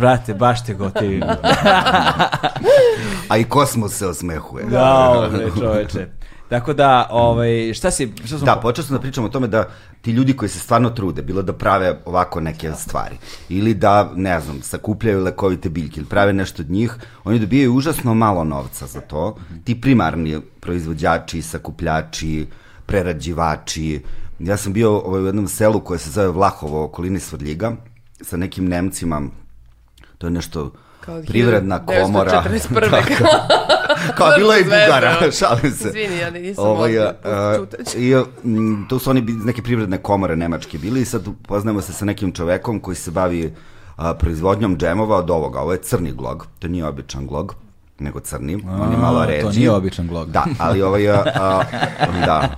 brate, baš te gotivim. A i kosmos se osmehuje. Jao, Da, bre, čoveče. Tako da, ovaj, šta si, šta smo... Da, počeo sam da pričam o tome da ti ljudi koji se stvarno trude, bilo da prave ovako neke stvari, ili da, ne znam, sakupljaju lekovite biljke ili prave nešto od njih, oni dobijaju užasno malo novca za to. Ti primarni proizvođači, sakupljači, prerađivači. Ja sam bio ovaj, u jednom selu koje se zove Vlahovo, u okolini Svrljiga, sa nekim Nemcima, to je nešto Kao od privredna komora. Da. 1941. Tako. Kao bilo je i Zvezda. Bugara, šalim se. Izvini, ja nisam Ovaj, mogla, da a, čutaću. i, mm, tu su oni bi- iz neke privredne komore nemačke bili i sad upoznajemo se sa nekim čovekom koji se bavi a, proizvodnjom džemova od ovoga. Ovo je crni glog, to nije običan glog, nego crni, on je malo to ređi. nije običan glog. Da, ali ovaj, a, a, da.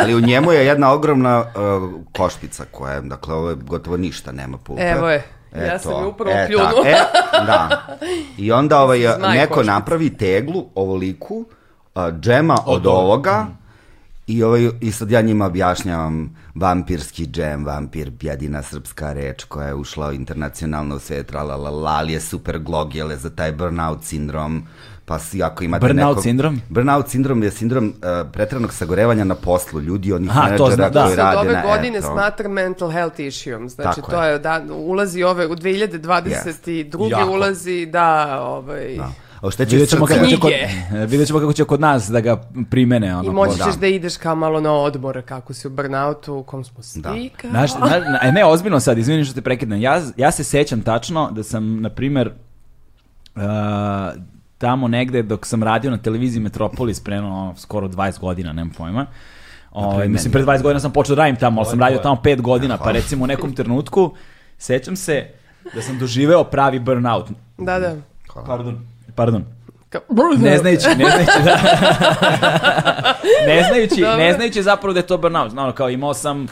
Ali u njemu je jedna ogromna a, košpica koja je, dakle, ovo je gotovo ništa, nema pulpe. Evo je. E, Ja to. sam ju upravo E, pljunula. da, e, da. I onda ovaj, Zmaj neko košnica. napravi teglu ovoliku a, džema od, ovoga Mm. i, ovaj, i sad ja njima objašnjavam vampirski džem, vampir, jedina srpska reč koja je ušla internacionalno u svet, la, la, la, la, ali je super glog, jel je za taj burnout sindrom, pa si, ako imate Burnout nekog- sindrom? Burnout sindrom je sindrom uh, pretrednog sagorevanja na poslu ljudi, onih Aha, to menadžera zna- da. Sad koji se od rade ove na godine eto. smatra mental health issue Znači, Tako to je. je, da, ulazi ove, u 2022. Jako. ulazi, da, ovaj... Da. A šta će Vidjet ćemo, srce- kako će kod, Knjige. vidjet ćemo kako će kod nas da ga primene. Ono, I moći da. ćeš da ideš kao malo na odmor, kako si u burnoutu, u kom smo svi, Da. kao... Znaš, znaš, na- e, ne, ozbiljno sad, izvini što te prekidam. Ja, ja se sećam tačno da sam, na primer, uh, tamo negde dok sam radio na televiziji Metropolis pre ono, skoro 20 godina, nemam pojma. Ovaj, mislim, pre 20 godina sam počeo da radim tamo, ali sam Ovaj, radio tamo 5 godina, pa recimo u nekom trenutku sećam se da sam doživeo pravi burnout. Da, da. Pardon. Pardon. Kao, Ne znajući, ne znajući, da. ne znajući, Dobro. ne znajući zapravo da je to burnout. Znao, kao imao sam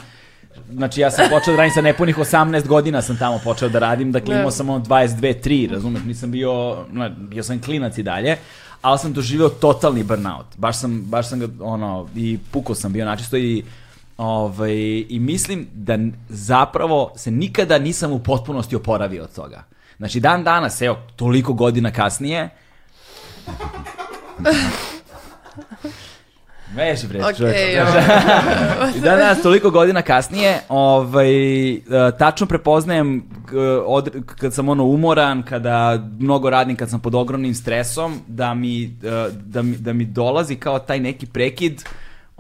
znači ja sam počeo da radim sa nepunih 18 godina sam tamo počeo da radim, dakle imao sam ono 22, 3, razumeš, nisam bio, no, bio sam klinac i dalje, ali sam doživeo totalni burnout, baš sam, baš sam ga, ono, i pukao sam bio načisto i Ovaj, I mislim da n- zapravo se nikada nisam u potpunosti oporavio od toga. Znači dan danas, evo, toliko godina kasnije, Veš bre, Okej, čoveče. ovo. I dan danas, toliko godina kasnije, ovaj, e, tačno prepoznajem k- od- kad sam ono umoran, kada mnogo radim, kad sam pod ogromnim stresom, da mi, e, da mi, da mi dolazi kao taj neki prekid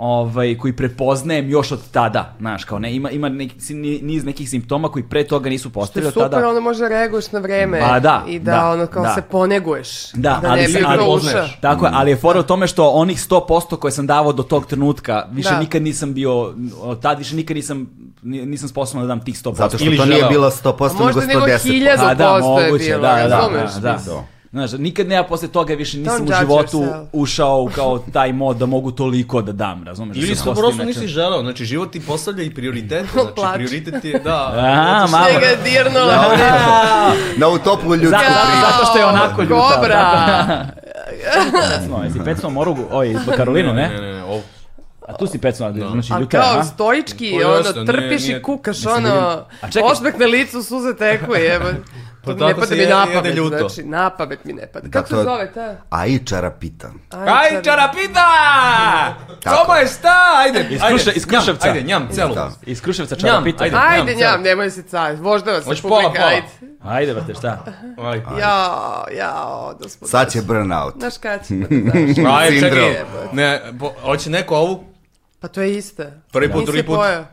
ovaj, koji prepoznajem još od tada, znaš, kao ne, ima, ima neki, ni- niz nekih simptoma koji pre toga nisu Što je postojali od super, tada. onda možda reaguješ na vreme Ba, da, i da, da, ono kao da. se poneguješ. Da, ne ali, bi se- ali proušao. poznaješ. Tako je, ali je fora u tome što onih 100% koje sam davao do tog trenutka, više Da. nikad nisam bio, od tad više nikad nisam, ni- nisam sposoban da dam tih 100%. Zato što Ili to nije želeo. bilo A 100%, nego možda nego 110%. 1000. Pa da, 1000% je moguće, bilo, da, da, razumeš? da, da. Isto. Znaš, nikad ne, ja posle toga više nisam u judge životu yourself. ušao u kao taj mod da mogu toliko da dam, razumeš? Da Ili sam to postao prosto inače. nisi želeo, znači život ti postavlja i prioritet, znači Plač. prioritet je, da. A, zato što- malo. Sve ga dirnula. Na utoplu ljudsku Zato- priču. zato što je onako ljuta. da. da. Kobra. Pecno, jesi pecno morugu, oj, Karolinu, Ne, ne? Da. ne, ne, ovo. A tu si pecno, znači A ljuta, kao aha. stoički, Pa jasno, ono, nije- trpiš nije- i kukaš, mislim, ono, A čekaj, osmeh na licu, suze teku, jebo. Pa To mi tako ne se pada mi jede- na jede pamet, ljuto. znači, na pamet mi ne pada. Da, Kako se to je- zove ta? A i čarapita. Aj, čarapita! Soba je šta? Ajde, Iz ajde. Kruše- iz njam, Kruševca. Ajde, njam, celu. Da. Iz Kruševca Njam, čarapita. ajde. Ajde, Nemam, njam, sad. nemoj se caj, možda vas Hoćeš se pola, publika, pola? ajde. Ajde, brate, šta? Aj. Jao, jao, da smo... Sad će burnout. Znaš kada će pa da daš? Aj, Sindrom. čekaj. Ne, bo- hoće neko ovu? Pa to je isto. Prvi put, Nisi drugi put. pojeo.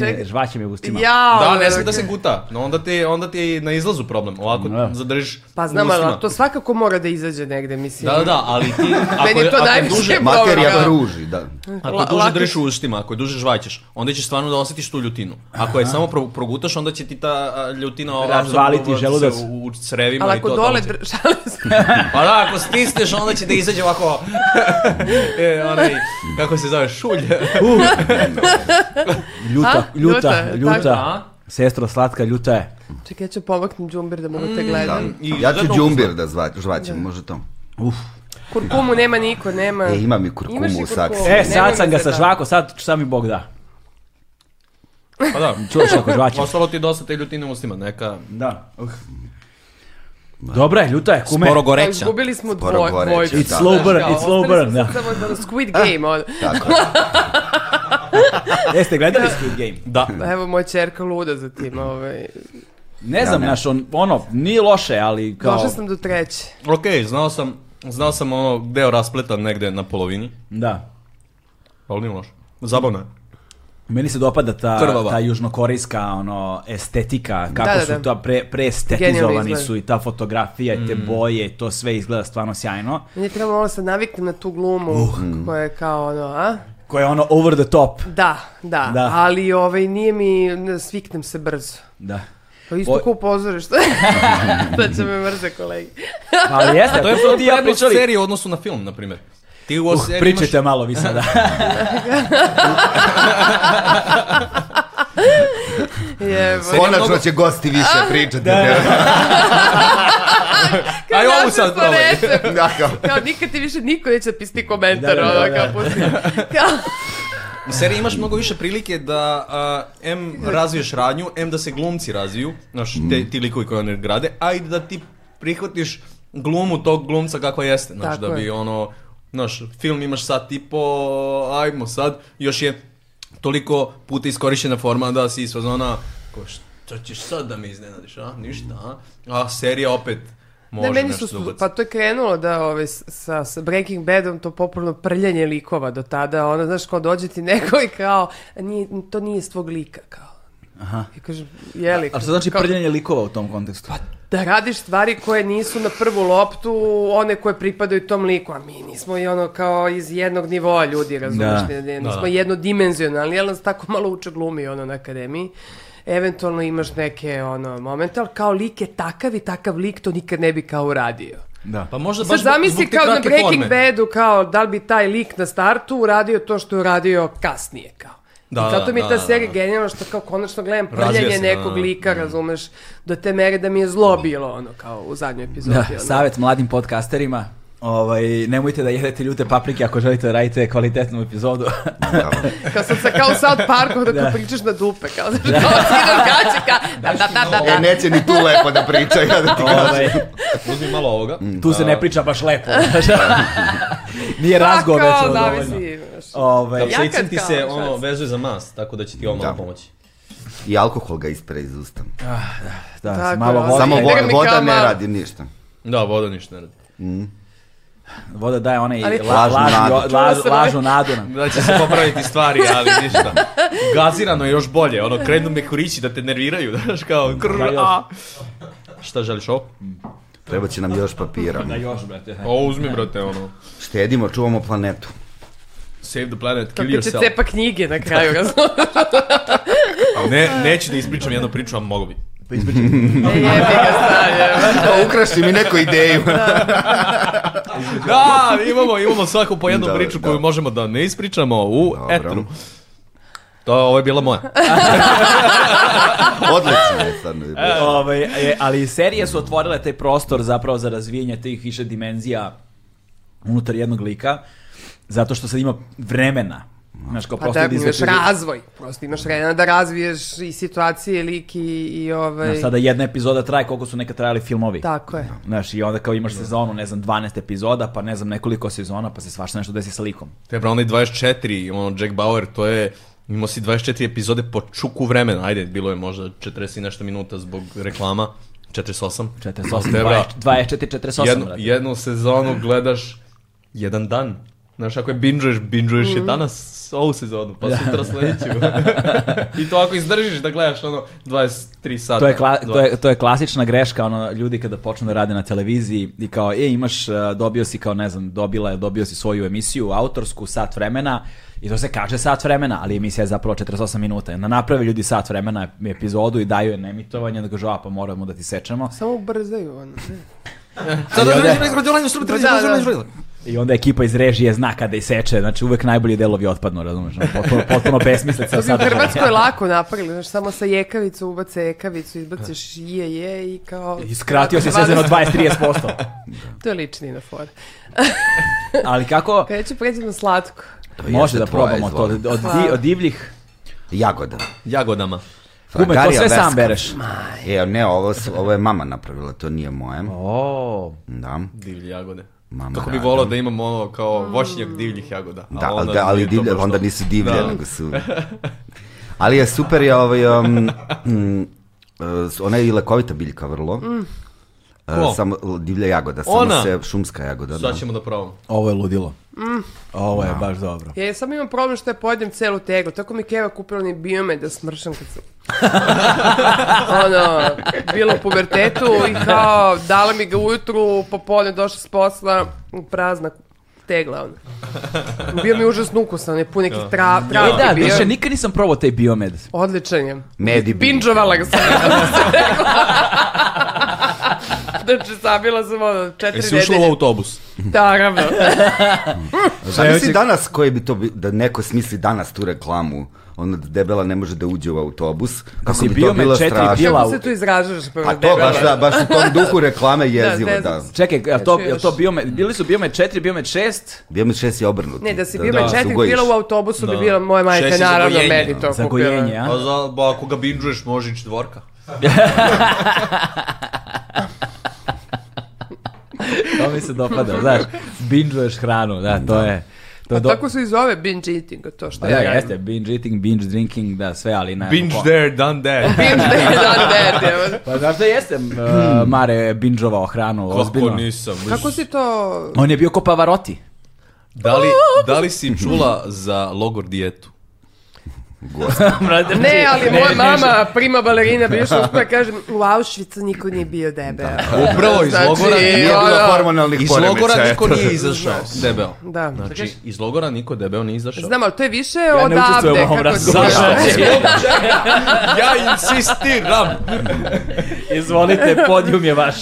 Ček- Žvaće mi u ustima. Jao, Da, ne smije da ok. se guta. No onda ti, onda ti je na izlazu problem. Ovako Da. zadržiš Pa znam, u ustima. ali to svakako mora da izađe negde, mislim. Da, da, da, ali ti... Ako, Meni je to ako najviše duže, Dobro, Materija da. pruži, da. ako La- duže lako- držiš u ustima, ako je duže žvaćeš, onda ćeš stvarno da osjetiš tu ljutinu. Ako je samo pro- progutaš, onda će ti ta a, ljutina Razvaliti apsorbovati se želudac. U, u crevima Ali i to. ako dole, tamo će- dr- šalim se. Pa da, ako stisneš, onda će da izađe ovako... e, onaj, kako se zove, šulj. Ljuta, A? ljuta, Ljuta, ljuta. tako. Sestro, slatka, ljuta je. Čekaj, ja ću pomaknuti džumbir da mogu te da. gledam. I Ja ću izuzetno džumbir da zva- žvaćem, može to. Kurkumu nema niko, nema. E, imam i kurkumu Imaš i u saksi. kurkumu. E, Nemoj sad me sam ga sa zajebavati. žvako, sad, sad mi Bog da. Pa da, Čuješ kako žvaće? ostalo ti je dosta te ljutine u ustima, neka... Da. Dobra je, ljuta je, kume. Sporo Pa goreća. izgubili smo Sporo dvoj, goreće, dvojku. It's Da, slow Znaš burn, kao, it's slow ostali burn, smo da. samo da Squid Game, ono. Tako. Jeste E, gledali Squid Game? Da. Evo, moja čerka luda za tim, ovaj. Ne znam, ne. naš, on, ono, nije loše, ali kao... Došla sam do treće. Ok, znao sam, znao sam ono deo raspleta negde na polovini, Da. ali nije loše. Zabavno je. Meni se dopada ta, Krvava. ta južnokorejska ono, estetika, kako Da, da, su da. ta pre, Genijalno preestetizovani izgleda. su i ta fotografija i te boje, i to sve izgleda stvarno sjajno. Meni je trebalo malo sad naviknem na tu glumu koja je kao ono, a? Koje je ono over the top. Da, da, Da. ali ovaj, nije mi, ne, sviknem se brzo. Da. Pa isto O- ko u pozorištu. Sad će me mrze kolege. Ali jeste, To je to ti i ja prednost pričali. Uh, serije u odnosu na film, na primjer. Ti u ovoj seriji Pričajte imaš... malo vi sada. Jebo. Konačno će gosti više pričati. Da, Aj ovu Našli sad smo probaj. recept. Dakle, Kao nikad ti više niko neće pisti komentar, Da, da, da, ono, da. kao pusti. Kao, U seriji imaš mnogo više prilike da a, em razviješ radnju, em da se glumci razviju, znaš, Mm. te, ti likovi koji oni grade, a i da ti prihvatiš glumu tog glumca kakva jeste, znaš, Tako da bi je. ono, znaš, film imaš sat i po, ajmo sad, još je toliko puta iskorišćena forma da si iz fazona, ko što ćeš sad da me iznenadiš, a? Ništa, a? A serija opet može ne, meni nešto su, da ubaci. pa to je krenulo da ove, s- sa, sa Breaking Badom to popularno prljanje likova do tada, ono, znaš, kao dođe ti neko i kao, nije, to nije s tvog lika, kao. Aha. I kažem, jeli. Ali što znači kao- prljanje likova u tom kontekstu? da radiš stvari koje nisu na prvu loptu one koje pripadaju tom liku, a mi nismo i ono kao iz jednog nivoa ljudi, razumiješ, Da. ne, ne, nismo Da, da. jednodimenzionalni, ali nas tako malo uče glumi ono na akademiji. Eventualno imaš neke ono momente, ali kao lik je takav i takav lik to nikad ne bi kao uradio. Da. Pa možda baš Sad zbog- zamisli zbog te kao na kratke Breaking forme. Badu, kao da li bi taj lik na startu uradio to što je uradio kasnije, kao. Da, I zato mi je da, ta da, serija da. genijalna što kao konačno gledam Razvija prljanje se, da, nekog da. lika, razumeš, do te mere da mi je zlo bilo, ono, kao u zadnjoj epizodi. Da, ono. savjet mladim podcasterima. Ovaj, nemojte da jedete ljute paprike ako želite da radite kvalitetnu epizodu. Da. Kao sam se kao u South Parku, da, Da. pričaš na dupe, kao znaš, kao skidam gaće, kao da, da, da, da, E, neće ni tu lepo da pričaju. Da ti kažem. ovaj, Uzmi malo ovoga. Mm. tu se Da. ne priča baš lepo. znaš. Nije razgovor Pa, već kao, ovo dovoljno. zavisi, znaš. Ovaj, Da, pseudonim Jakad ti kao, se šta ono si? vezuje za mast, tako da će ti ovo malo Da. pomoći. I alkohol ga ispere iz usta. da, Tako, malo da. vode, Samo Ide voda, mi voda kao ne malo. radi ništa. Da, voda ništa ne radi. voda daje onaj Ali- la, Lažnu lažni- nadu. la- Čula sam, lažnu nadu nam. Da će se popraviti stvari, ali ništa. Gazirano je još bolje, ono, krenu mekurići da te nerviraju, znaš, kao, krr, Da, još. a. Šta želiš ovo? Treba će nam Da, još papira. Još, brate. Ovo Pa uzmi, brate, ono, Štedimo, čuvamo planetu. save the planet, kill Kako će yourself. cepa knjige na kraju, razumiješ? pa- Ne, neću da ispričam jednu priču, a mogu bi. Jebi ga sad, jebi. Pa ukraši mi neku ideju. Da, imamo, imamo svaku po jednu Da, priču da. koju možemo da ne ispričamo u Dobro. etru. To, ovo je bila moja. Odlično je stvarno. Ovaj, e, ali serije su otvorile taj prostor zapravo za razvijenje tih više dimenzija unutar jednog lika, zato što sad ima vremena. Znaš, kao Pa prosto da, da imaš izvuče- razvoj, prosto imaš vremena da razviješ i situacije, lik i, i ovaj... Znaš, sada jedna epizoda traje koliko su nekad trajali filmovi. Tako je. Znaš, i onda kao imaš sezonu, ne znam, 12 epizoda, pa ne znam, nekoliko sezona, pa se svašta nešto desi sa likom. Te bra, onaj 24, ono, Jack Bauer, to je... Imao si 24 epizode po čuku vremena, ajde, bilo je možda 40 i nešto minuta zbog reklama, 48. 48, Te, bra, 20, 24, 48, jednu, brate. jednu sezonu gledaš jedan dan. Znaš, ako je binžuješ, binžuješ je danas ovu sezonu, pa sutra sledeću. I to ako izdržiš da gledaš ono 23 sata. To je, kla- to, 20. je, to je klasična greška, ono, ljudi kada počnu da rade na televiziji i kao, e, imaš, e, dobio si kao, ne znam, dobila je, dobio si svoju emisiju, autorsku, sat vremena, i to se kaže sat vremena, ali emisija je zapravo 48 minuta. I onda naprave ljudi sat vremena epizodu i daju je na emitovanje, onda kažu, a pa moramo da ti sečemo. Samo ubrzaju, ono. Da, Sad, I onda- I onda ekipa iz režije zna kada iseče, znači uvek najbolji delovi otpadnu, razumeš, ono, potpuno, potpuno besmislica To bi u sadržaja. Hrvatskoj lako napravili, znaš, samo sa jekavicu ubace jekavicu, izbaciš je, je i kao... I skratio si sezon od 20-30%. To je lični na for. Ali kako, Kada ću pređem na slatko. može da probamo to, od, od, di- od divljih, Jagoda. Jagodama. kume, to Fragaria sve sam Veska. bereš. E, ne, ovo, su- ovo je mama napravila, to nije moje. O, Da. Divlje jagode. Mama Kako bi rada. volao da imamo ono kao voćnjak divljih jagoda. Da, ali ali, onda da, ali nije to divlje, baš onda to. nisu divlje, Da. nego su... Ali je super, je ovaj, um, mm, uh, s- ona je i lekovita biljka vrlo. Uh, Ko? samo l- divlja jagoda, samo Ona? se šumska jagoda. Da. Sad ćemo da probamo. Ovo je ludilo. Ovo je baš dobro. Ja sam imam problem što ja pojedem celu teglu. Tako mi Keva kupila ni biome da smršam kad sam... ono, bilo u pubertetu i kao dala mi ga ujutru, popolne došla s posla, prazna tegla, ono. Bio mi je užasno ukusan, on je pun nekih tra, E travki da, bio. više nikad nisam probao taj biomed. Odličan je. Med i biljka. Binđovala ga sam. znači, sabila sam ono četiri Jesi ušla u nedelje. Da, autobus? Naravno. Šta misli danas koji bi to bi, da neko smisli danas tu reklamu, ono da debela ne može da uđe u autobus, kako si bi to bio me bilo četiri strašno. pila. Kako se tu izražaš? Pa to baš, da, baš u tom duhu reklame jezivo, da. zezam da. se. Čekaj, je li to, Znači je li to još- biomed, bili su biomed 4, biomed 6? Bio mi šest je obrnuto. Ne, da si bio da, se četiri ugojiš. bila u autobusu Da. bi bila moja majka, Šest je za naravno, gojenje. da. meni to da. Za kupila. gojenje, Pa, a? za, ba, ako ga binžuješ, može i četvorka. To mi se dopada, znaš, binžuješ hranu, da, to je... To je Pa do... tako se i zove binge eating, to što Pa da, jeste, binge eating, binge drinking, da, sve, ali ne... Binge po- there, done that. Binge da, day, done that, evo. Pa znaš da jeste, m, e, Mare binžovao hranu, ozbiljno. Kako nisam. Kako si to... On je bio ko Pavarotti. Da li, da li si čula za logor dijetu? Ne, ali moja mama, prima balerina, bi još uspela kažem, u Auschwitzu niko nije bio debel. E, Da. Upravo iz Znači, logora Nije Da, bilo da. hormonalnih Iz poremećaja. logora niko eto. nije izašao debel. Da. Znači, iz logora niko debel nije izašao. Znam, ali to je više ne odavde. učestvujem u ovom kako se razgovoru. zove. Ja insistiram. Izvolite, podijum je vaš.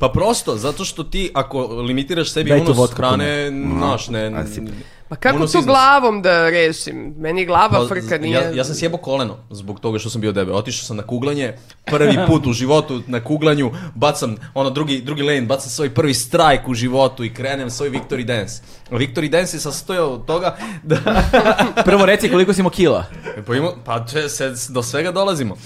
Pa prosto, zato što ti ako limitiraš sebi Daj tu unos vodku, hrane, naš, ne... a si- Pa kako Unos tu iznos. glavom da rešim? Meni glava Pa, frka nije... ja, ja sam sjebao koleno zbog toga što sam bio debel. Otišao sam na kuglanje, prvi put u životu na kuglanju, bacam ono drugi, drugi lane, bacam svoj prvi strajk u životu i krenem svoj Victory Dance. Victory Dance je sastojao od toga da... Prvo reci koliko si imao kila. Pa, ima, pa če, se, do svega dolazimo.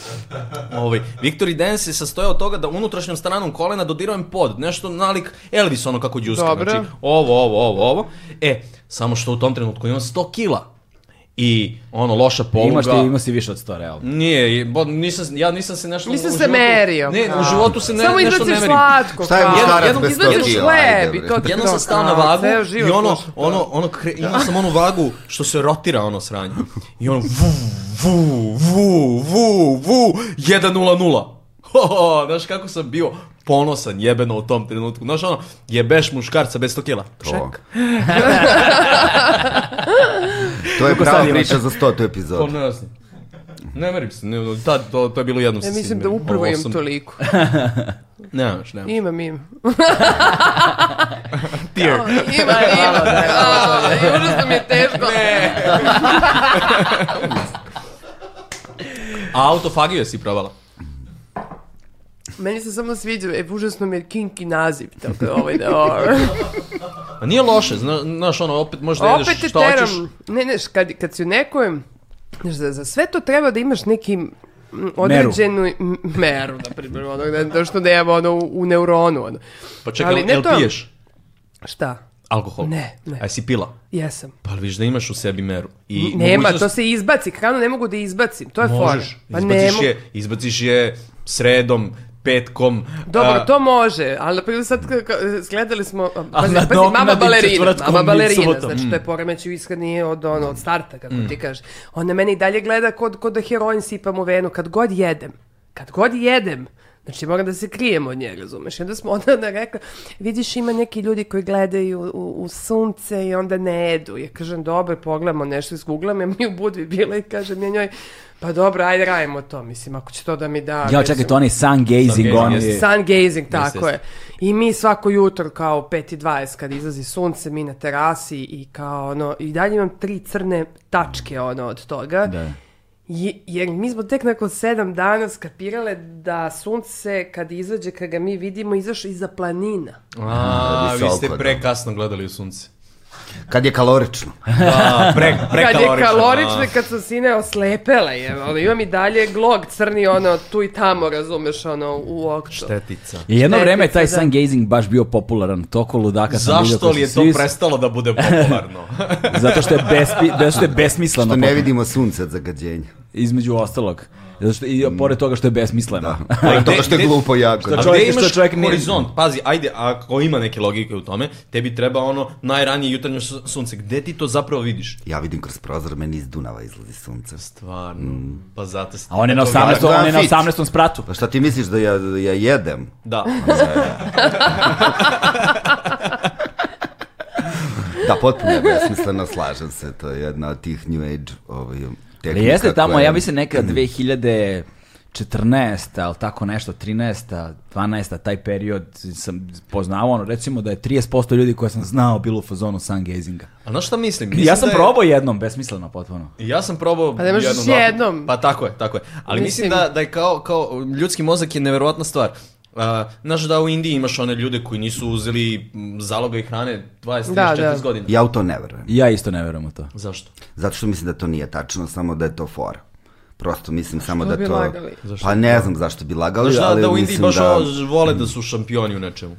Ovaj, Victory Dance je sastojao od toga da unutrašnjom stranom kolena dodirujem pod, nešto nalik Elvis, ono kako džuska. Dobro. Znači, ovo, ovo, ovo, ovo. E, samo što u tom trenutku imam 100 kila. I ono, loša poluga. Imaš ti, imao si više od 100 realno. Nije, bo, nisam, ja nisam se nešto... Nisam u se životu- merio, Ne, kao. u životu se ne, Samo nešto ne izbaciš merim. slatko. Šta je kao. muškarac Jednom bez izbaciš 100 kila, ajde, hleb i bre. to ti Jednom to, sam stao na kao, vagu ceo život i ono, slušam. ono, ono, kre, imao sam onu vagu što se rotira ono sranje. I ono, vu, vu, vu, vu, vu, 1-0-0. Ho, ho, znaš kako sam bio ponosan jebeno u tom trenutku. Znaš ono, jebeš muškarca bez 100 kila. To. to je Koliko prava sad imaš? priča za stotu epizodu. Pomno jasno. Ne merim se, ne, tad, to, to je bilo jednom Ja se mislim da izmerim. upravo Ovo imam sam- toliko. Nemaš, nemaš. Imam, imam. Tear. Ima, ima. A, i Užasno mi je teško. A autofagiju si probala? Meni se samo sviđa, e, užasno mi je kinky naziv, tako da ovaj da... A Pa nije loše, zna- znaš ono, opet možeš da Opet jedeš te šta hoćeš. teram. Ne, ne, š- kad, kad si u nekojem... Znaš, za, za sve to treba da imaš neki m, određenu m, meru, na primjer, ono, da, to što nemamo ono, u, u neuronu. Ono. Pa čekaj, Ali jel, ne jel to. piješ Šta? alkohol? Ne, ne. A si pila? Jesam. Pa ali viš da imaš u sebi meru. I Nema, mogućnost- to se izbaci, hranu ne mogu da izbacim, to je fora. Možeš, Pa ne izbaciš mogu. je, izbaciš je sredom, petkom. Dobro, a- to može, ali na primjer sad ka- ka- gledali smo, pazi, pazi, nadoknadi mama balerina, četvrtkom mama i balerina, subotom. znači to je poremeć u ishrani od, ono, od starta, kako Mm. ti kaže. Ona mene i dalje gleda kod, kod da heroin sipam u venu, kad god jedem, kad god jedem, Znači, moram da se krijem od nje, razumeš? I onda smo onda ona rekla, vidiš, ima neki ljudi koji gledaju u, u sunce i onda ne jedu. Ja kažem, dobro, pogledamo nešto, izguglam je, mi u Budvi bila i kažem ja njoj, pa dobro, ajde, radimo to, mislim, ako će to da mi da. Ja, mislim, čekaj, to onaj sun gazing, Sun on gazing, je... Sun gazing, tako jeste. je. I mi svako jutro kao u 5.20 kad izlazi sunce, mi na terasi i kao ono, i dalje imam tri crne tačke ono od toga. Da. Je- jer mi smo tek nakon sedam dana skapirale da sunce kad izađe, kad ga mi vidimo, izašlo iza planina. A, Da bi vi ste visoko, da. prekasno gledali u sunce. Kad je kalorično. A, pre, Kad je prekalorično, da. kalorično, a. i kad sam sine oslepela je, ono, imam i dalje glog crni, ono, tu i tamo, razumeš, ono, u oktu. Štetica. I jedno Štetica, vreme je taj da. sun gazing baš bio popularan, toko ludaka sam vidio Zašto koji li je su to svi- prestalo da bude popularno? Zato što je, bespi, zato što je besmisleno. Što ne pop- vidimo sunce od zagađenja. Između ostalog. Zato što, I Mm. pored toga što je besmisleno. Pored gde- toga što gde- je glupo jako. A Znači, čovjek- gde što imaš čovjek ne- horizont? Pazi, ajde, ako ima neke logike u tome, tebi treba ono najranije jutarnje su- sunce. Gde ti to zapravo vidiš? Ja vidim kroz prozor, meni iz Dunava izlazi sunce. Stvarno, Mm. pa zato... ste- A on je na to 18, Ja, on je na Grafić. 18. spratu. Pa šta ti misliš da ja, da ja jedem? Da. Da, potpuno je besmisleno, slažem se. To je jedna od tih new age ovaj, Ali tehnika. jeste tamo, koja- ja mislim neka 2014. ali tako nešto, 13. 12. taj period sam poznao, ono, recimo da je 30% ljudi koje sam znao bilo u fazonu sun gazinga. A znaš šta mislim? mislim ja sam da je- probao jednom, besmisleno potpuno. Ja sam probao Pa ne možeš jednom, s dva puta. jednom. Pa tako je, tako je. Ali mislim, Mislim. da, da je kao, kao ljudski mozak je neverovatna stvar. Uh, znaš da u Indiji imaš one ljude koji nisu uzeli m, zaloga i hrane 20-40 Da, da. godina. Ja u to ne verujem. Ja isto ne verujem u to. Zašto? Zato što mislim da to nije tačno, samo da je to fora. Prosto mislim samo da bi to... lagali? Zašto? Pa ne znam zašto bi lagali, Znaš da, ali da u Indiji mislim baš da... ono vole da su šampioni u nečemu.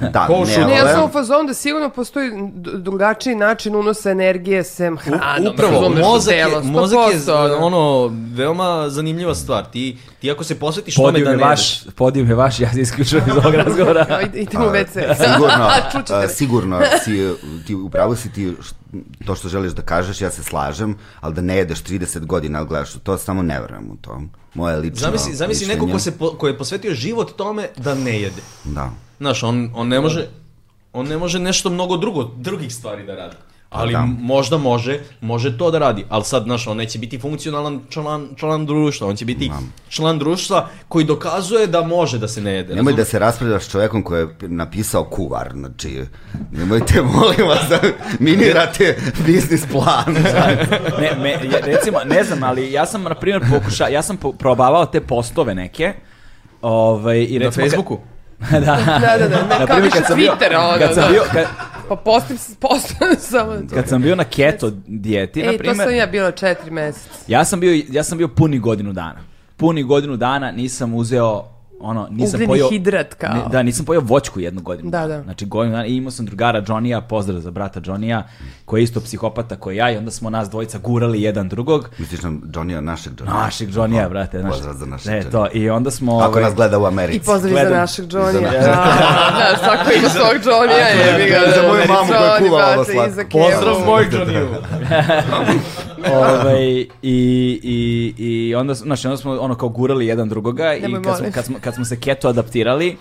Da, Ko u ne, šumu. Ne, vole. ja sam u fazonu da sigurno postoji d- drugačiji način unosa energije sem hranom. Upravo, razumeš, mozak je, telo, mozak je 100%, ono. ono, veoma zanimljiva stvar. Ti, ti ako se posvetiš tome Podijum da je ne jedeš- vaš, podijum je vaš, ja se isključujem iz ovog razgovora. Ja, id- Idem u da. WC. sigurno, Čućete a, me. sigurno si, e, ti upravo si ti š- to što želiš da kažeš, ja se slažem, ali da ne jedeš 30 godina, ali gledaš u to, samo ne verujem u to. Moje lično Zamisli, zamisli neko ko, mišljenje. se po- ko je posvetio život tome da ne jede. Da. Znaš, on, on ne može on ne može nešto mnogo drugo, drugih stvari da radi. Ali Da. možda može, može to da radi, ali sad, znaš, on neće biti funkcionalan član, član društva, on će biti član društva koji dokazuje da može da se ne jede. Nemoj da razumeš? se raspravljaš s čovjekom koji je napisao kuvar, znači, nemojte, molim vas, da minirate biznis plan. ne, me, ja- recimo, ne znam, ali ja sam, na primjer, pokuša, ja sam po- probavao te postove neke, ovaj, i Na recimo, kad- Facebooku? da, da, Da, da, da, ne, kao više Twittera, ono, kad sam da. bio, kad, Pa postim, postim samo... kad sam bio na keto dijeti, na Ej, E, to primjer, sam ja bila četiri meseca. ja sam bio, ja sam bio puni godinu dana. Puni godinu dana nisam uzeo ono, nisam Ugljeni pojeo... hidrat kao. Ne, da, nisam pojeo voćku jednu godinu. Da, dana. da. Znači godinu dana i imao sam drugara Johnnyja, pozdrav za brata Johnnyja, koji je isto psihopata koji ja i onda smo nas dvojica gurali jedan drugog. Misliš nam Johnny-a, našeg Johnny-a? Našeg Johnnyja, brate. Naš, Pozdrav za našeg E, Johnnyja. to, i onda smo... Ako ovaj, nas gleda u Americi. I pozdrav za Gledam. našeg Johnny-a. Za- Da, da, svako ima svog Johnny-a. jebi ga, da, Za moju Johnny, mamu koja Johnny, kuva ovo brate, slatko. Iza Kevu. Pozdrav Da. mojeg Johnny-u. ovaj, i, i, i onda, s- znači, onda smo ono kao gurali jedan drugoga Nemoj, i kad smo, molim. kad, smo, kad smo se keto adaptirali,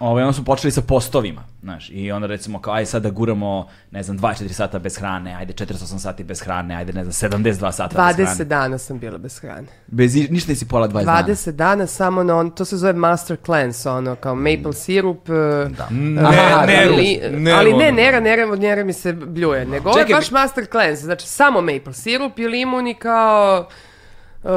ovaj, onda smo počeli sa postovima, znaš, i onda recimo kao, aj sad da guramo, ne znam, 24 sata bez hrane, ajde 48 sati bez hrane, ajde, ne znam, 72 sata bez 20 hrane. dana sam bila bez hrane. Bez, i- ništa nisi pola 20, dana. 20 dana samo na on, to se zove master cleanse, ono, kao maple sirup. Da. Ne, ne, ne, ali ne, ono. nera, nera, od nera mi se bljuje. Nego ovo je Čekaj, baš master cleanse, znači samo maple sirup i limun i kao... Uh,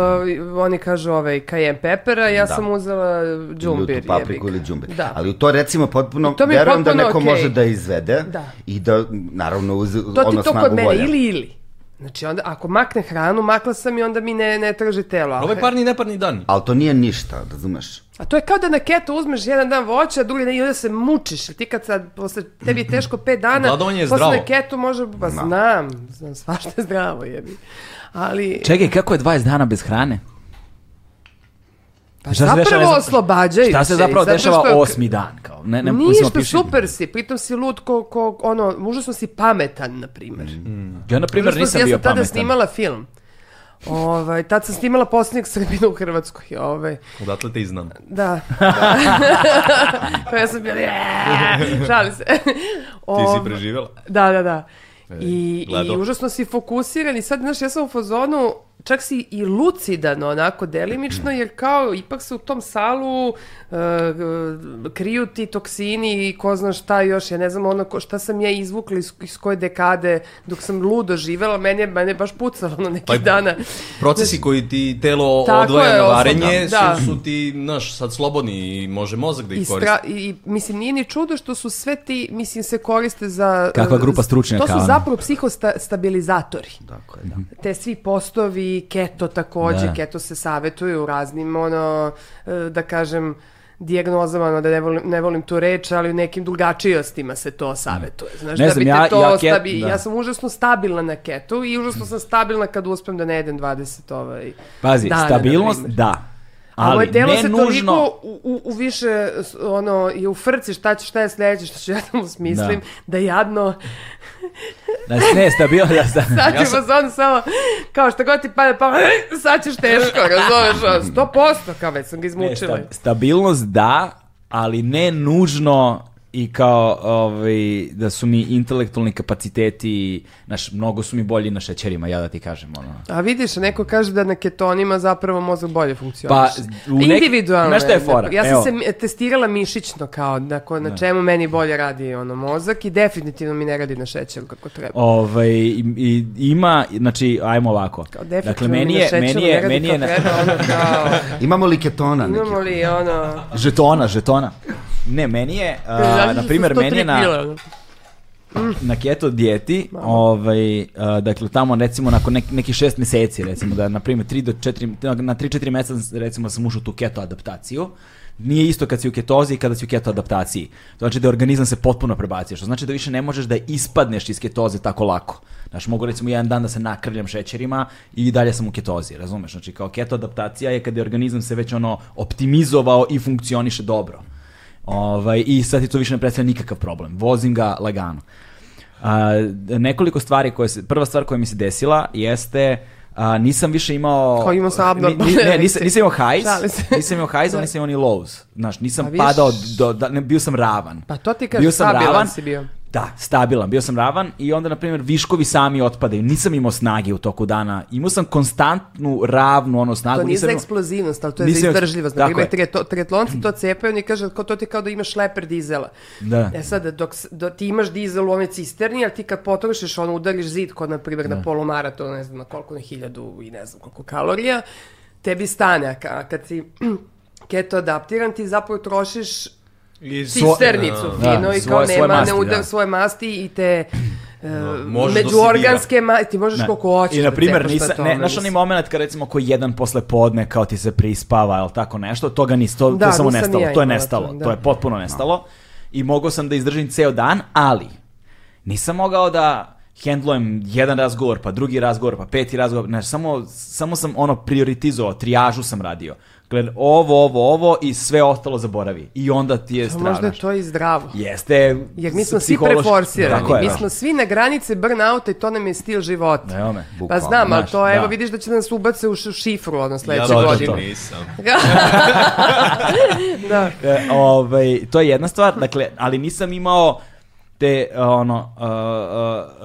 oni kažu ovaj cayenne pepper, a ja Da. sam uzela džumbir. ljutu papriku jebi ga. ili džumbir. Da. Ali u to recimo potpuno, To mi je verujem da potpuno neko okej. može da izvede Da. i da naravno uz to ti ono to kod snagu mene, volja. ili ili. Znači onda, ako makne hranu, makla sam i onda mi ne, ne traži telo. a Ovo je he- parni i neparni dan. Ali to nije ništa, razumeš? A to je kao da na keto uzmeš jedan dan voća, a drugi dan i onda se mučiš. Ti kad sad, posle, tebi je teško pet dana, Gladovanje je posle zdravo. na keto može, pa Da. znam, znam, svašta je zdravo jebi. Ali, Čekaj, kako je 20 dana bez hrane? pa šta se dešava, ne zapravo znam, oslobađaju Šta se i zapravo zato dešava što- osmi dan? Kao? Ne, ne, mislim, Ništa, opiši. super si, pritom si lud ko, ko ono, užasno si pametan, na primjer. Ja, na primjer, Užasno si- Mm. nisam ja sam bio tada pametan. snimala film. Ovaj, tad sam snimala posljednjeg Srbina u Hrvatskoj. Ovaj. Odatle te i znam. Da. Pa ja sam bila, "Eee", šalim se. Ti si Ov- preživjela. Da, da, da. I, gledao. I užasno si fokusiran i sad, znaš, ja sam u fazonu, čak si i lucidan onako delimično, jer kao ipak se u tom salu e, e, kriju ti toksini i ko zna šta još, ja ne znam ono ko, šta sam ja izvukla iz, iz koje dekade dok sam ludo živela, meni je, mene je baš pucalo ono nekih Pa- dana. Procesi koji ti telo Tako odvaja je, na osnovno, varenje da. su, su ti, znaš, sad slobodni i može mozak da I, ih koristi. stra- i, mislim, nije ni čudo što su sve ti, mislim, se koriste za... Kakva grupa stručnjaka, To su ono. zapravo psihostabilizatori. Tako je, da. te svi postovi, keto takođe, Da. keto se savetuju u raznim, ono, e, da kažem, dijagnozama, ono, da ne volim, ne volim tu reč, ali u nekim drugačijostima se to savetuje. Znaš, Ne da znam, bi te ja- to ja ket- stabi- da. ja sam užasno stabilna na ketu i užasno sam stabilna kad uspem da ne jedem 20 ovaj, Pazi, dana, na stabilnost, primer. da. A moje Ali telo ne se nužno... toliko u, u, u više s- ono, i u frci šta, će, šta je sledeće, što ću ja tamo smislim, da jadno Da, ne, stabilnost, da, sta- Sad ja samo, kao što god ti pada, pa sad ćeš teško, razumeš, ono, 100% kao već sam ga ne, izmučila. sta- stabilnost da, ali ne nužno i kao ovaj, da su mi intelektualni kapaciteti, naš, mnogo su mi bolji na šećerima, ja da ti kažem. Ono. A vidiš, neko kaže da na ketonima zapravo mozak bolje funkcioniše. Pa, Pa, u nek- Individualno. Znaš šta je ne- fora? Ja sam Evo. Da. se mi- testirala mišićno kao na, ko- na čemu meni bolje radi ono mozak i definitivno mi ne radi na šećeru kako treba. Ovaj, i, i- ima, znači, ajmo ovako. Kao Dakle, definitivno meni mi na je, šećeru meni ne je, radi meni je, kako na- treba, ono kao, Imamo li ketona neki? imamo li ono... žetona, žetona. Ne, meni je, a, na primjer, meni je na, na keto dijeti, ovaj, a, dakle tamo recimo nakon nek, nekih šest meseci, recimo da na primjer 3 do 4, na 3-4 mjeseca recimo sam ušao u tu keto adaptaciju, nije isto kad si u ketozi i kada si u keto adaptaciji. To znači da organizam se potpuno prebacio, što znači da više ne možeš da ispadneš iz ketoze tako lako. Znaš, mogu recimo jedan dan da se nakrljam šećerima i dalje sam u ketozi, razumeš? Znači kao keto adaptacija je kada je organizam se već ono optimizovao i funkcioniše dobro. Ovaj, I sad ti to više ne predstavlja nikakav problem. Vozim ga lagano. A, nekoliko stvari koje se, prva stvar koja mi se desila jeste a, nisam više imao... Kao imao sam Ni- ni- abnormalne Ne, nisam, erekcije. nisam imao highs, Šalim se. Da. nisam imao highs, ali nisam imao ni lows. Znaš, nisam A vidiš- padao, do, da, ne, bio sam ravan. Pa to ti kažem, bio sam stabilan ravan, si bio. Da, stabilan. Bio sam ravan i onda, na primjer, viškovi sami otpadaju. Nisam imao snage u toku dana. Imao sam konstantnu, ravnu ono snagu. To nije Nisam za imao- eksplozivnost, ali to je Nisam za imao- izdržljivost. Na Tako primjer, je. triato- triatlonci to cepaju, oni kaže, to ti je kao da imaš šleper dizela. Da. E sad, dok, s- do, ti imaš dizel u onoj cisterni, ali ti kad potrošiš, ono, udariš zid kod, na primjer, Da. na polumaratonu, ne znam na koliko, na hiljadu i ne znam koliko kalorija, tebi stane. A ka- a kad si keto adaptiran, ti zapravo trošiš I svo- cisternicu Da. Da, fino i kao svoje- svoje nema, masti, ne udar da. svoje masti i te e, možeš do međuorganske masti, ti možeš Ne. koliko hoćeš I na da primjer, cepaš na nisam, tome, ne, znaš onaj mislim. moment kad recimo koji jedan posle podne kao ti se prispava, jel tako nešto, toga nis, to, to Da, je samo nisam ni nestalo, ja to je imala nestalo, to, to, da. je potpuno nestalo i mogao sam da izdržim ceo dan, ali nisam mogao da hendlujem jedan razgovor, pa drugi razgovor, pa peti razgovor, znaš, samo, samo sam ono prioritizovao, trijažu sam radio. Gled, ovo, ovo, ovo i sve ostalo zaboravi. I onda ti je strano. Pa Možda je to i zdravo. Jeste Jer mi smo svi psihološki- preforsirani, Tako je, mi da. smo svi na granici burnouta i to nam je stil života. Da, ome. pa Bukvalno, znam, ali znaš, to evo da. vidiš da će nas ubace u š- šifru ono Ja sledeće to, to, baš to. godine. nisam. da. E, ovaj, to je jedna stvar, dakle, ali nisam imao te e, ono e,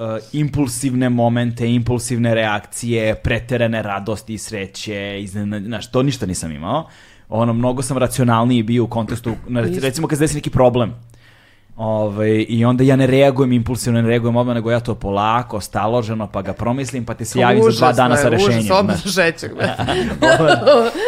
e, e, impulsivne momente, impulsivne reakcije, preterane radosti i sreće, iznenađenja, znaš, to ništa nisam imao. Ono, mnogo sam racionalniji bio u kontekstu, na, recimo kad se desi neki problem, Ove, I onda ja ne reagujem impulsivno, ne reagujem odmah, nego ja to polako, staloženo, pa ga promislim, pa ti se javim za dva Užasno dana je, sa rešenjem. Užasno, odmah znaš. šećer, da.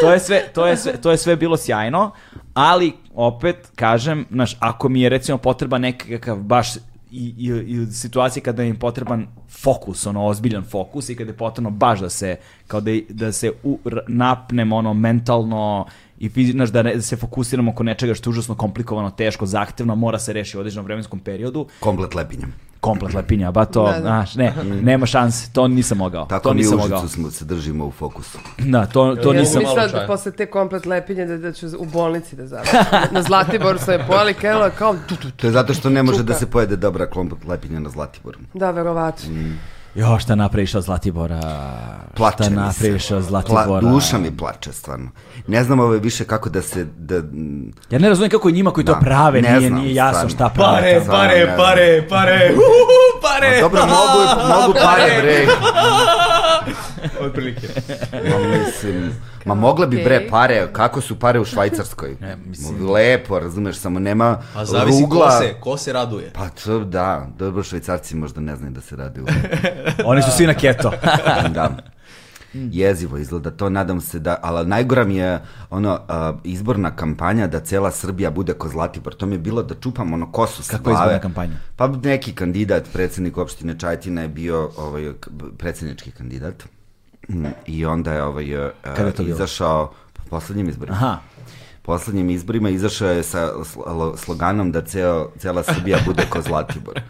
to, je sve, to, je sve, to je sve bilo sjajno, ali opet kažem, znaš, ako mi je recimo potreban nekakav baš i, i, i u situaciji kada mi je potreban fokus, ono ozbiljan fokus i kada je potrebno baš da se kao da, da se u, r- napnem ono mentalno i fizi- znaš, da, ne- da se fokusiramo oko nečega što je užasno komplikovano, teško, zahtevno, mora se reši u određenom vremenskom periodu, Komplet lepinjem. komplet lepinja, ba to, Da, da. znaš, ne, nema šanse, to nisam mogao, Tako to mi nisam u mogao. Užicu smo, se držimo u fokusu. Da, to, to Ja nisam, Ja sam Malo mislila da čaja. posle te komplet lepinje da, da ću u bolnici da završim. Na Zlatiboru sam je pojela i krenula kao... tu, tu, tu. To je zato što ne može da se pojede dobra komplet lepinja na Zlatiboru. Da, verovatno. Mm. Jo, šta napraviš od Zlatibora? Plače šta mi se. napraviš od Zlatibora? Pla, duša mi plače, stvarno. Ne znam ove više kako da se... Da, mm, Ja ne razumijem kako njima koji to Da, prave, ne nije, znam, nije jasno šta stvarno. prave. Pare, Znam, ne pare, znam. pare, pare, uhuhu, pare. a dobro, mogu, mogu pare, bre. Otprilike. Ma, mislim, ma mogle bi bre Okej. pare, kako su pare u Švajcarskoj? Lepo, razumeš, samo nema A zavisi rugla. ko se, ko se raduje. Pa to da, dobro švajcarci možda ne znaju da se radi u... Oni su svi na keto. da. Jezivo izgleda to, nadam se da, ali najgora mi je ono, a, izborna kampanja da cela Srbija bude ko Zlatibor, to mi je bilo da čupam ono kosu sa Kakva je glave. izborna kampanja? Pa neki kandidat, predsednik opštine Čajetina je bio ovaj, k- b- predsednički kandidat Mm, i onda je ovaj, e, Kada je to bilo? izašao po poslednjim izborima. Aha. Poslednjim izborima izašao je sa sl- lo- sloganom da ceo, cela Srbija bude ko Zlatibor.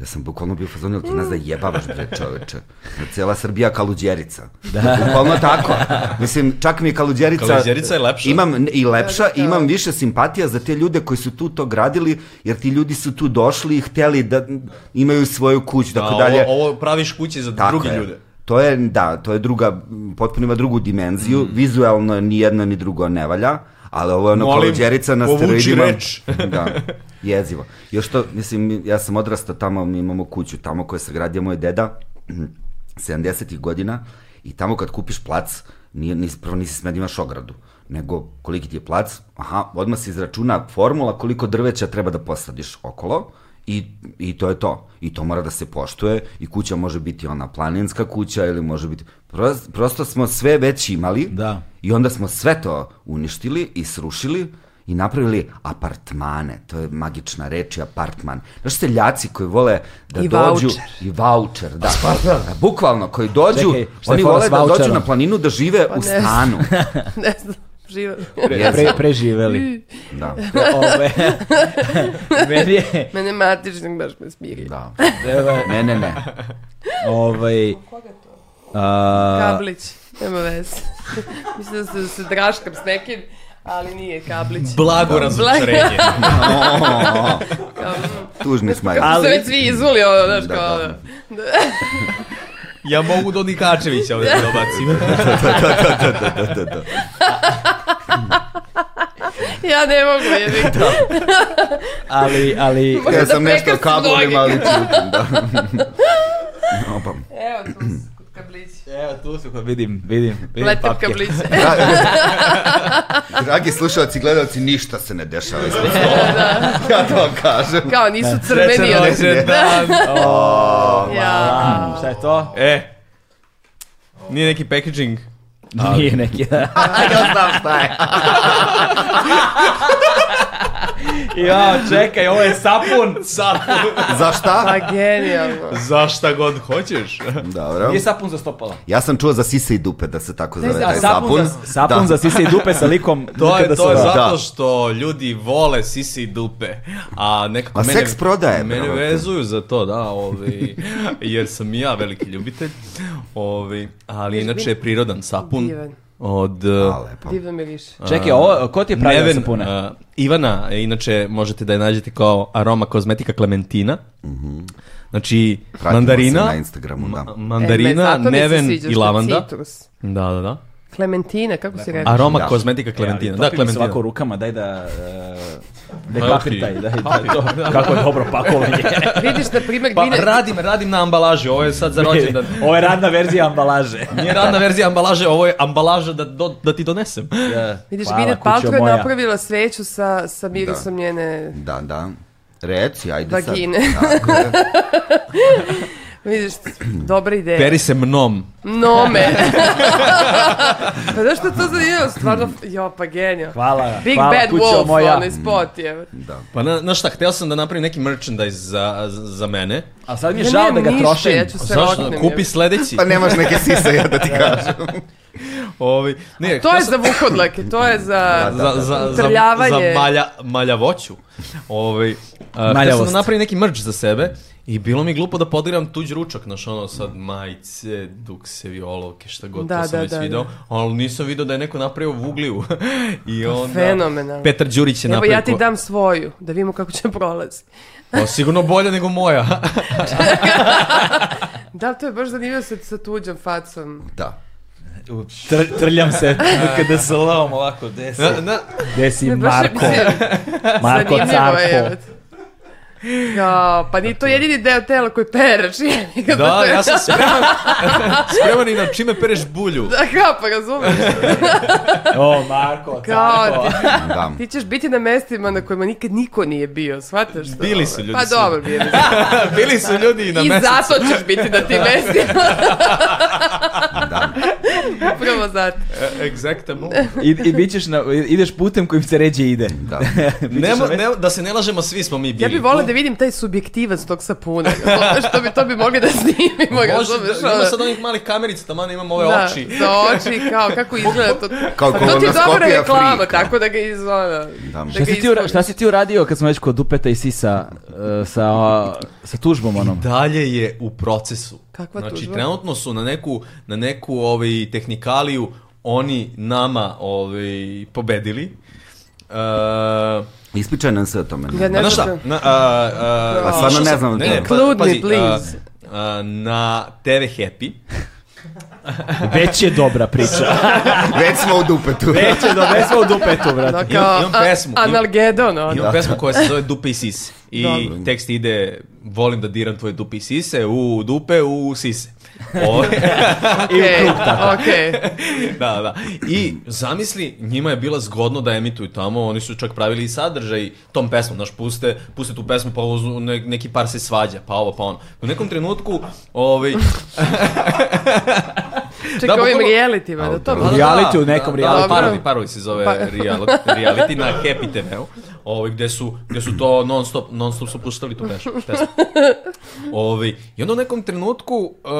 Ja sam bukvalno bio u fazonu, jel ti nas da jebavaš bre čoveče. Da cela Srbija kaluđerica. Da. Bukvalno tako. Mislim, čak mi je kaluđerica... Kaluđerica je lepša. Imam n- i lepša, i imam više simpatija za te ljude koji su tu to gradili, jer ti ljudi su tu došli i hteli da imaju svoju kuću, A tako Da, ovo, dalje. ovo praviš kuće za Tako druge je. ljude. To je, da, to je druga, m, potpuno ima drugu dimenziju, Mm. vizuelno ni jedno ni drugo ne valja, ali ovo je ono Molim, kolođerica na povuči steroidima. reč. da, jezivo. Još to, mislim, ja sam odrastao tamo, mi imamo kuću tamo koju je sagradio moj deda, 70-ih godina, i tamo kad kupiš plac, nije, nis, prvo nisi smed imaš ogradu, nego koliki ti je plac, aha, odmah se izračuna formula koliko drveća treba da posadiš okolo, I, I to je to. I to mora da se poštuje i kuća može biti ona planinska kuća ili može biti... Prost, prosto smo sve već imali Da. i onda smo sve to uništili i srušili i napravili apartmane. To je magična reč i apartman. Znaš seljaci koji vole da I dođu... vaučer. I vaučer. da. Da, Bukvalno, koji dođu, Čekaj, šta je oni fora vole s da dođu vaučerom? na planinu da žive u ne. stanu. Ne znam, živim. Pre, pre, preživeli. Da, Ove, meni je, Mene matičnik baš me smirio. da. evo, Ne, ne, ne. ovaj, a, Kablić, nema veze. Mislim da se, da se draškam s nekim, ali nije Kablić. Blago razočarenje. Tužni smajl. Kako Ali- se već svi izvoli, ono, znaš, Da, kao, da. ono. Ja mogu do Nikačevića ovdje da dobacim. Da, da, da, da, da, da. Ja ne mogu, jebi ga. Ali, ali, Možda Ja sam da nešto o prekrsti kablovima, ali logika. čutim, da. Opam. Evo tu su kod kablići. evo tu pa su, vidim, vidim, E, vidim Letem papke. kabliće. Dragi slušalci i gledalci, ništa se ne dešava ispod stola. Ja to vam kažem. Kao nisu crveni, Srećan ali rođendan. ja. A, šta je to? E, nije neki packaging. Nije neki, da. Ja znam šta je. Ja, čekaj, ovo je sapun. Sad, Za šta? Pa genijalno. za šta god hoćeš. Dobro. Nije sapun za stopala. Ja sam čuo za sise i dupe da se tako zove taj sapun sapun. za, sapun Da. za sise i dupe sa likom. To je, nikada to je sa- za- zato Da. što ljudi vole sise i dupe, a nekako A mene, seks prodaje, mene brate. vezuju za to, da, ovi, jer sam i ja veliki ljubitelj, ovi, ali inače je prirodan sapun Divan. od A, uh, Da, lepo. Divno miriše. Čekaj, ovo, ko ti je pravio Neven, sapune? uh, Ivana, inače možete da je nađete kao aroma kozmetika Klementina, znači Mhm. Pratimo se mandarina, na Instagramu, da. ma- E, me mandarina, zato mi se Neven sviđa što i je lavanda. Citrus. Da, da, da. Klementina, kako si rekao? Aroma Da. kozmetika E, Klementina. ali Da, topi mi se Klementina. ovako rukama, daj da... Uh, da je Evo papir ti. taj, daj, daj to. Kako je dobro pakovanje. Vidiš, na primjer, Pa Gvine... radim, radim na ambalaži, ovo je sad za rođendan. ovo je radna verzija ambalaže. Nije radna verzija ambalaže, ovo je ambalaža da, do- da ti donesem. Ja. Vidiš, Hvala, Gvine kućo Paltrow je moja. napravila sveću sa, sa mirisom njene... Da, da. Reci, ajde Vagine. sad. Da. Tako je. Vidiš, dobra ideja. Peri se mnom. Nome. pa da što to za je, stvarno, jo, pa genio. Hvala, Big hvala, Bad kućo Wolf, moja. onaj spot je. Da. Pa na, na šta, hteo sam da napravim neki merchandise za, za mene. A sad mi je Ja žao da nemam ga ništa, trošim. E, ja ću se Zašto? roknem, Kupi je. sledeći. Pa nemaš neke sise, ja da ti kažem. Ovi, ne, To hteo je sam- za vukodlake, to je za... za, za, za, Trljavanje. za malja, maljavoću. Ovaj, a, htio sam Maljavost. da napravim neki merch za sebe i bilo mi glupo da podiram tuđ ručak, znaš ono sad majice, duksevi, olovke, šta god, Da, to sam da, već da, video, da. ali nisam video da je neko napravio vugliju. I onda... Fenomenalno. Petar Đurić da. je Pa Evo napravio. ja ti dam svoju, da vidimo kako će prolazi. ko- Pa, sigurno bolje nego moja. Da, to je baš zanimljivo sa, sa tuđom facom. Da. Tr- trljam se kada se lom ovako, gde si, na, na, gde si Ne, baš je, Marko, mislim, Marko zanimljivo je, Carko. jebote. Ja, pa nije to jedini deo tela koji pereš. jebi ga, da, to je- ja sam spreman, spreman i na čime pereš bulju. Da, kao, pa razumeš. O, Marko Carko. Kao, ti, Da. ti ćeš biti na mestima na kojima nikad niko nije bio, shvataš to? Bili su ljudi Pa su. dobro, bili su. Bili su ljudi i na I mesecu. zato ćeš biti na tim mestima. Da. Upravo zato. E, Exactamo. I, i bit ćeš na, ideš putem kojim se ređe ide. Da. Nemo, ne, da se ne lažemo, svi smo mi bili. Ja bih volila da vidim taj subjektivac tog sapuna. To- Što bi to bi mogli da snimimo, Može, razumeš? da, ima ono? sad onih malih kamerica, tamo imam ove da, oči. za oči, kao kako izgleda to. Kao Pa to ti je dobra kolonoskopija reklama, frika. tako da ga iz... Ono, Da. Šta si, ti, ura- ispoljiš. šta si ti uradio kad smo već kod dupeta i sisa e, sa, sa tužbom onom? Dalje je u procesu. Kakva znači, tužba? trenutno su na neku, na neku ovaj, tehnikaliju oni nama ovaj, pobedili. E, Ispričaj nam sve o tome. Ja ne znaš šta? znam. Na, a, a, Pa stvarno slušao ne sam- znam o tome. Clue me, pazi, a, please. a, na TV Happy Da. Već je dobra priča. Već smo u dupetu. Već je dobra, već smo u dupetu, Da, brate. kao, imam pesmu, a- imam- Analgedon, ono. Imam Da. pesmu koja se zove Dupe i sise. I Dobro. tekst ide, volim da diram tvoje dupe i sise, u dupe, u sise. I u Ovo, Okej, krug tako. okej. da, da. I zamisli, njima je bila zgodno da emituju tamo, oni su čak pravili i sadržaj tom pesmom, znaš, puste, puste tu pesmu, pa uzu- ne- neki par se svađa, pa ovo, pa ono. U nekom trenutku, ovaj, Čekaj, Da, ovim bukvalno- realitima, da to... Da, da, Reality da, u nekom da, reality. Da, parodi, parodi se zove Pa- reali- reality na Happy TV-u, ovaj, gde, su, gde su to non stop, non stop su puštali tu pesmu. pesmu. Ovaj, I onda u nekom trenutku uh,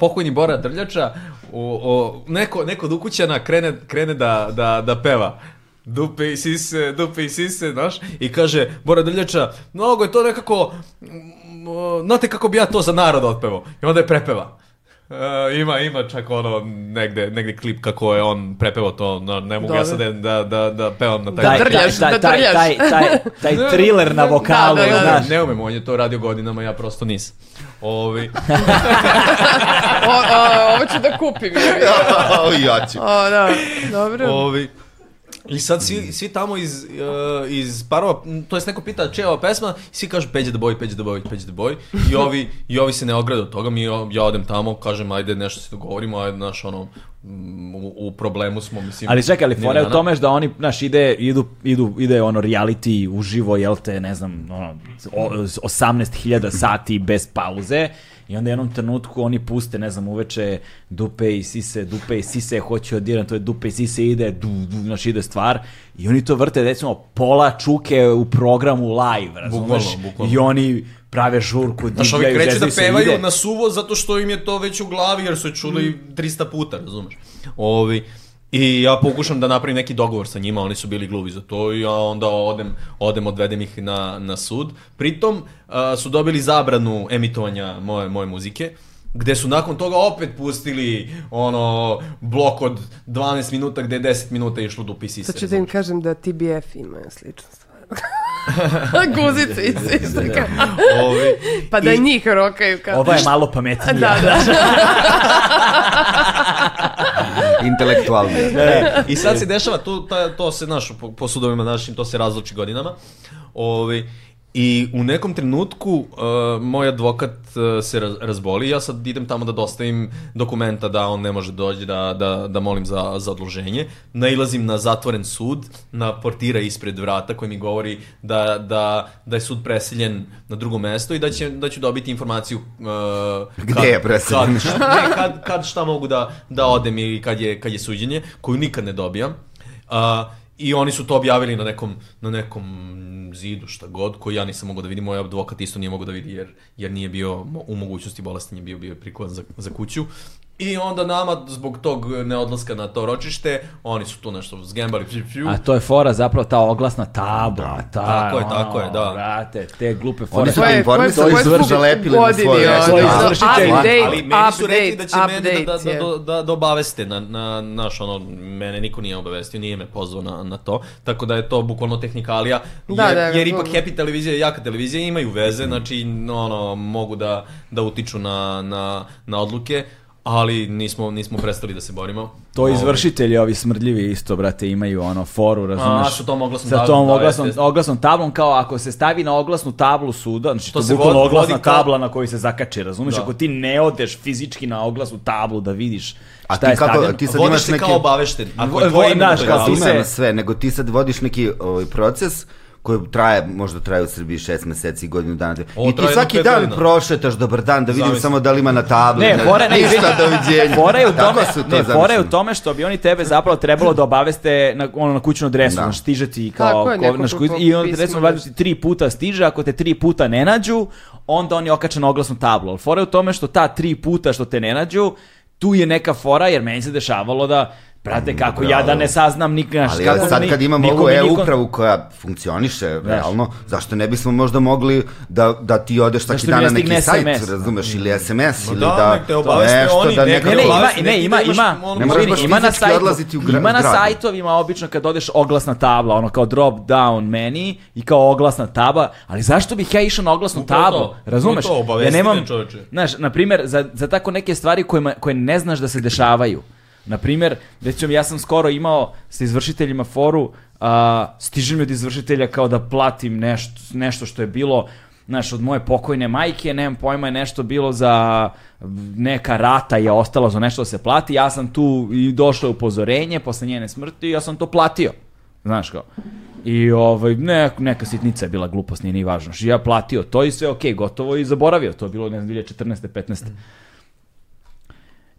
pokojni Bora Drljača, o, o, neko, neko od ukućana krene, krene da, da, da peva. Dupe i sise, dupe i sise, znaš, i kaže Bora Drljača, mnogo je to nekako, mm, o, znate kako bi ja to za narod otpevao. I onda je prepeva. E, ima, ima čak ono negde, negde klip kako je on prepevao to, no, ne mogu ja sad Dobro. da, da, da pevam na taj Da drljaš, taj, da taj, drljaš. taj, taj, taj thriller na vokalu, Da, da, da. znaš. Ne umem, on je to radio godinama, ja prosto nisam. Ovaj, Ovi, O, o, ovo ću da kupim. jebi ga. ja ću. O, da, dobro. ovi, I sad svi, svi tamo iz, e, iz parova, m, to jest neko pita čija je ova pesma, i svi kažu Peđa the boy, Peđa the boy, Peđa the boy. I ovi, i ovi se ne ograde od toga, mi, ja odem tamo, kažem ajde nešto se dogovorimo, ajde naš ono, m, u, u problemu smo, mislim. Ali čekaj, ali nema fora je u dana. tome da oni, znaš, ide, idu, idu, ide ono reality uživo, jel te, ne znam, ono, o- 18.000 sati bez pauze i onda u jednom trenutku oni puste, ne znam, uveče dupe i sise, dupe i sise, hoću odiran, to je dupe i sise, ide, du, du, znaš, ide stvar i oni to vrte, recimo, pola čuke u programu live, razumeš? Bukvalno, bukvalno. I oni prave žurku, Znaš, ovi divljaju, kreću da zezaju se, pevaju ide. na suvo zato što im je to već u glavi jer su je čuli 300 puta, razumeš? Ovi, I ja pokušam da napravim neki dogovor sa njima, oni su bili gluvi za to i ja onda odem, odem odvedem ih na, na sud. Pritom a, su dobili zabranu emitovanja moje, moje muzike, gde su nakon toga opet pustili ono blok od 12 minuta gde je 10 minuta išlo do PC. Sad ću da im kažem da TBF ima sličnu stvar. Guzice iz Da. Siska. Pa da i njih rokaju kao... Ova je malo pametnija. Da, da. Intelektualno. E, I sad se dešava, tu, ta, to se naš, po, po sudovima našim, to se različi godinama. Ovi, I u nekom trenutku e, moj advokat e, se raz- razboli, ja sad idem tamo da dostavim dokumenta da on ne može doći, da, da, da molim za, za odloženje. Nailazim na zatvoren sud, na portira ispred vrata koji mi govori da, da, da je sud preseljen na drugo mesto i da, će, da ću dobiti informaciju e, Gde je preseljen? Kad, ne, kad, kad šta mogu da, da odem i kad je, kad je suđenje, koju nikad ne dobijam. A, I oni su to objavili na nekom, na nekom zidu, šta god, koji ja nisam mogao da vidim, moj advokat isto nije mogao da vidi jer, jer nije bio mo- u mogućnosti bolestan je bio, bio je prikovan za, za kuću. I onda nama, zbog tog neodlaska na to ročište, oni su tu nešto zgembali. Fiu, fiu. A to je fora zapravo ta oglasna tabla. ta, Tako je, ono, tako je, da. Brate, te glupe Da. Oni fore. su To to je- koje- informisali, koje oni su su vrš zalepili na godine, svoje. ono, Svoje Da. izvršitelji. update. ali meni su rekli da update, će mene da, da, update, da, da, da obaveste na, na naš ono, mene niko nije obavestio, nije me pozvao na, na to, tako da je to bukvalno tehnikalija, jer, Da, da, jer ipak razumem. Happy televizija i jaka televizija imaju veze, Mhm. znači ono, mogu da, da utiču na, na, na odluke, ali nismo, nismo prestali da se borimo. To izvršitelji ovi smrdljivi isto, brate, imaju ono foru, razumeš? A, sa tom oglasnom Sa tablom, tom da, oglasnom, jeste, jeste. oglasnom tablom, kao ako se stavi na oglasnu tablu suda, znači to, To je se bukvalno vodi- oglasna vodi kao- tabla na koju se zakače, razumeš? Da. Ako ti ne odeš fizički na oglasnu tablu da vidiš A šta ti je kako- stavljeno. ti sad Vodiš imaš se neke- kao obavešten, ako Vo- je vo- tvoje ime, znaš, to je kao da. ti Ti se- na sve, nego ti sad vodiš neki ovaj, proces koji traje, možda traje u Srbiji šest meseci, godinu dana. dve. Ovo I ti traje svaki jedno dan pet godina. prošetaš, dobar dan, da vidim Zamisli. samo da li ima na tabli. Ne, da- fora ne, ništa, izvini. doviđenja. Fora je u Tako tome, su to ne, fora je u zamišljeni. tome što bi oni tebe zapravo trebalo da obaveste na ono na kućnu adresu, Da. da. stižeti kao Tako je, ko- neko znaš, ko- koji- ko- i onda pismo, te recimo da. valjda ti tri puta stiže, ako te tri puta ne nađu, onda oni okače na oglasnu tablu. Ali fora je u tome što ta tri puta što te ne nađu, tu je neka fora jer meni se dešavalo da Brate, kako ja da ne saznam nikad, Ali kako da sad ni- kad imamo niko ovu mi nikon- e-upravu koja funkcioniše realno, zašto ne bismo možda mogli da, da ti odeš svaki Zašto mi dan ne na stigne neki sajt, SMS? razumeš, ili SMS, Ma ili da, da, nek te obaveste nešto oni, da neka neka Ne, ne, Kao ima, vas, ne, Dakle, neki ima, da imaš ima, ono- ne Ne moraš izvini, baš ima na fizički sajtu, odlaziti u gra- ima na gradu. sajtovima obično kad odeš oglasna tabla, ono kao drop down meni i kao oglasna taba, ali zašto bih ja išao na oglasnu Upravo tablu, to, razumeš? upravo to, ja obavesti nemam, me, čoveče. znaš, na primjer, za, za tako neke stvari kojima, koje ne znaš da se dešavaju. Na primjer, recimo ja sam skoro imao sa izvršiteljima foru, a, stiže mi od izvršitelja kao da platim nešto, nešto što je bilo znaš, od moje pokojne majke, nemam pojma, je nešto bilo za neka rata je ostalo za nešto da se plati, ja sam tu i došlo je upozorenje posle njene smrti i ja sam to platio. Znaš kao. I ovaj, ne, neka sitnica je bila glupost, nije ni važno. Znači, Ja platio to i sve ok, gotovo i zaboravio. To je bilo, ne znam, 2014. 15.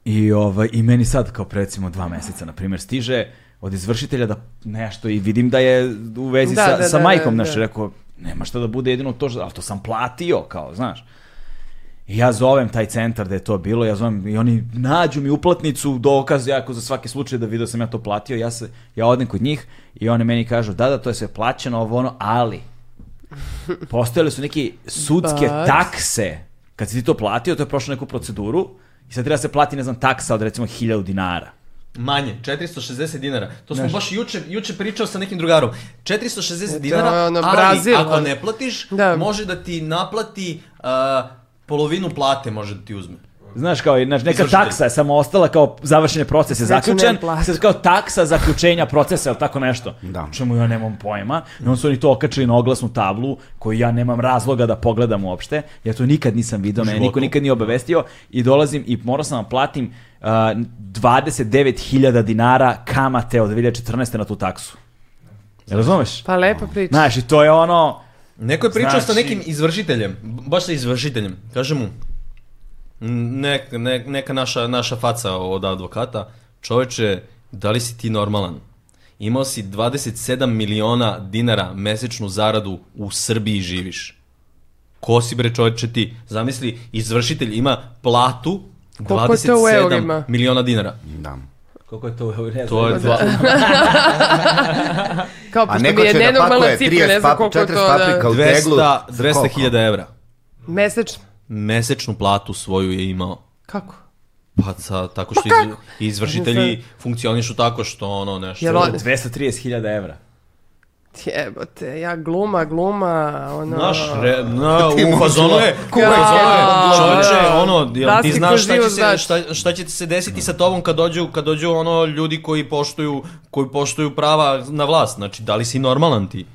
I, ovaj, I meni sad, kao pre, recimo dva meseca, na primjer, stiže od izvršitelja da nešto i vidim da je u vezi Da, sa, da, sa da, majkom, da, znaš, da. rekao, nema šta da bude jedino to, što, ali to sam platio, kao, znaš. I ja zovem taj centar da je to bilo, ja zovem i oni nađu mi uplatnicu, dokaz, ja ako za svaki slučaj da video sam ja to platio, ja, se, ja odem kod njih i oni meni kažu da, da, to je sve plaćeno, ovo ono, ali postojale su neke sudske But- takse. Kad si ti to platio, to je prošlo neku proceduru i sad treba da se plati, ne znam, taksa od recimo 1000 dinara. Manje, 460 dinara. To smo baš juče, juče pričao sa nekim drugarom. 460 E, to je dinara, ono ali Brazil, ako ali- ne platiš, Da. može da ti naplati uh, polovinu plate može da ti uzme. Znaš, kao, i, znaš, neka Izvršitelj. taksa je samo ostala kao završen proces je Znači, zaključen, ne plati. sad kao taksa zaključenja procesa ili tako nešto. Da. Čemu ja nemam pojma. I onda su oni to okačili na oglasnu tablu koju ja nemam razloga da pogledam uopšte. Ja to nikad nisam video, mene životu. niko nikad nije obavestio i dolazim i morao sam da platim uh, 29.000 dinara kamate od 2014. na tu taksu. Jel razumeš? Pa lepa priča. Znaš, i to je ono... Neko je pričao sa Znači- nekim izvršiteljem, baš sa izvršiteljem. Kaže mu, "Nek- ne- neka naša, naša faca od advokata, čoveče, da li si ti normalan? Imao si 27 miliona dinara mesečnu zaradu u Srbiji živiš. Ko si bre čoveče ti? Zamisli, izvršitelj ima platu Koliko je to u 27 eurima? Da. miliona dinara. Da. Koliko je to? To je dva, Kao A pošto neko mi je će da nenormalna pakuje 30 cifra, ne znam paprika, koliko je 40 to paprika da... u teglu. 200 za 200.000 evra. Mesečno. Mesečnu platu svoju je imao. Kako? Pa sa, tako što iz, izvršitelji funkcionišu tako što ono nešto... Jel on- 230.000 evra. Jebote, ja gluma, gluma, ono... Naš, re, na, u fazonu je, u Ja. fazonu je, čovječe, Da. ono, jel Da ti si znaš šta će, kožio, se, znaš. šta, šta će se desiti sa tobom kad dođu, kad dođu ono ljudi koji poštuju, koji poštuju prava na vlast, znači da li si normalan ti?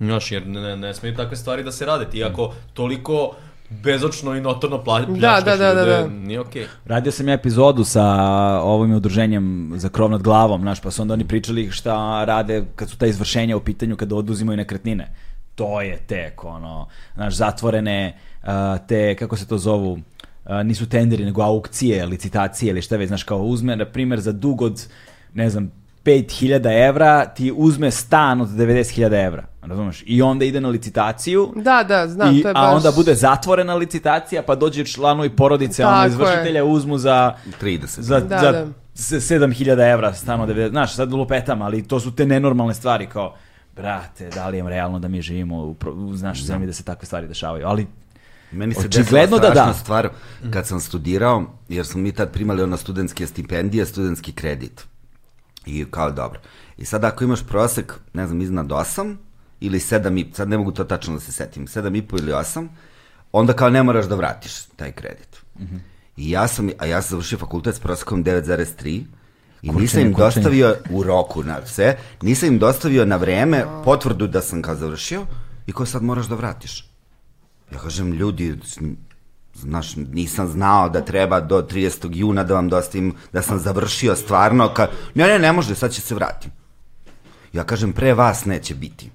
Znaš, jer ne, ne smeju takve stvari da se rade, ti ako toliko bezočno i notorno pla- pljačkaš da, da, da, ljude, da. nije okej. Radio sam ja epizodu sa ovim udruženjem za krov nad glavom, znaš, pa su onda oni pričali šta rade kad su ta izvršenja u pitanju kada oduzimaju nekretnine. To je tek, ono, znaš, zatvorene a, te, kako se to zovu, a, nisu tenderi, nego aukcije, licitacije ili šta već, znaš, kao uzme, na primjer, za dug od, ne znam, 5000 evra, ti uzme stan od 90.000 evra, razumeš? I onda ide na licitaciju, Da, da, znam, I, to je baš... a onda bude zatvorena licitacija, pa dođe članovi porodice, ono, Tako izvršitelja uzmu za, 30. za, Da, za da. se- 7000 evra stano 90, znaš, sad lupetam, ali to su te nenormalne stvari, kao, brate, da li je realno da mi živimo u, pro- u znaš, zemlji da se takve stvari dešavaju, ali Meni se Očigledno da desila strašna da. stvar kad sam studirao, jer smo mi tad primali ono studentske stipendije, studentski kredit. I kao dobro. I sad ako imaš prosek, ne znam, iznad 8 ili 7 i, sad ne mogu to tačno da se setim, 7 i po ili 8, onda kao ne moraš da vratiš taj kredit. I ja sam, a ja sam završio fakultet s prosekom 9,3 I nisam kurčenje. im dostavio u roku na sve, nisam im dostavio na vreme potvrdu da sam kao završio i kao sad moraš da vratiš. Ja kažem, ljudi, s- znaš, nisam znao da treba do 30. juna da vam dostavim, da sam završio stvarno, ka... ne, ne, ne može, sad će se vratim. Ja kažem, pre vas neće biti.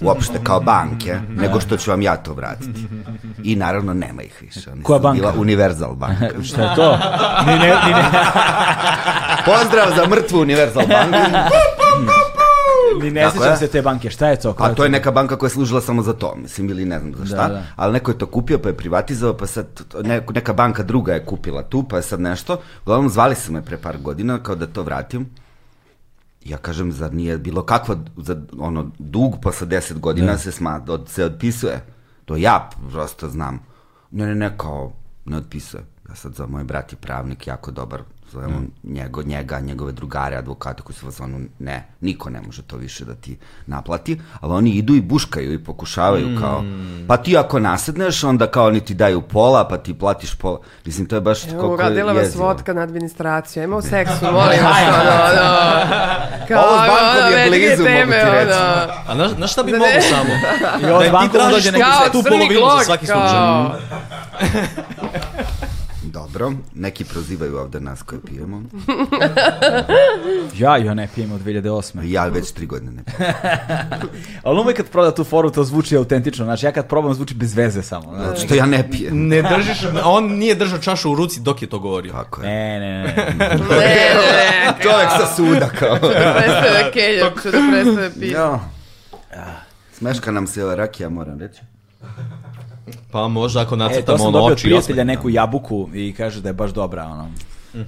Uopšte kao banke, nego što ću vam ja to vratiti. I naravno nema ih više. Oni Koja su banka? Bila Universal banka. šta je to? ni ne, ni ne, Pozdrav za mrtvu Universal banku. ni ne Kako sjećam je? se te banke, šta je to? Koja A to je neka banka koja je služila samo za to, mislim, ili ne znam za šta. da. Ali neko je to kupio, pa je privatizao, pa sad to- ne- neka banka druga je kupila tu, pa je sad nešto. Uglavnom, zvali su me pre par godina kao da to vratim. Ja kažem, zar nije bilo kakva, za, ono, dug pa sa 10 Da. godina se, sma, da od, se otpisuje? To ja prosto znam. Ne, ne, ne, kao, ne otpisuje. Ja sad za moj brat je pravnik, jako dobar, Da. zovemo njego, njega, njegove drugare, advokate koji su vas ono, ne, niko ne može to više da ti naplati, ali oni idu i buškaju i pokušavaju Mm. kao, pa ti ako nasedneš, onda kao oni ti daju pola, pa ti platiš pola. Mislim, to je baš Evo, kako uradila vas jezivo. vodka na administraciju. Ajmo o seksu, molim vas, ono, ono. Kao, Ovo s bankom ono, je velike blizu, mogu ti teme, reći. ono. A znaš, znaš šta bi Da ne- mogo samo? ovo da s ti bankom tražiš dođe neki kao Kao tu crni polovinu za glog, svaki slučaj. kao... Dobro, neki prozivaju ovde nas koje pijemo. Ja, ja ne pijem od 2008. Ja već tri godine ne pijem. Ali uvijek kad proda tu foru, to zvuči autentično, znaš, ja kad probam zvuči bez veze samo. znaš. Zato što ja ne pijem. Ne držiš, on nije držao čašu u ruci dok je to govorio. Tako je. Ne, ne, ne, ne. Ne, ne, ne, Čovjek sa suda kao. da prestane da kenjam, ću da prestane piti. ja. Ah. Smeška nam se ova rakija, moram reći. Pa možda ako E, to nacrtamo E, sam ono dobio od oči i prijatelja osmeh. neku jabuku i kaže da je baš dobra, ono.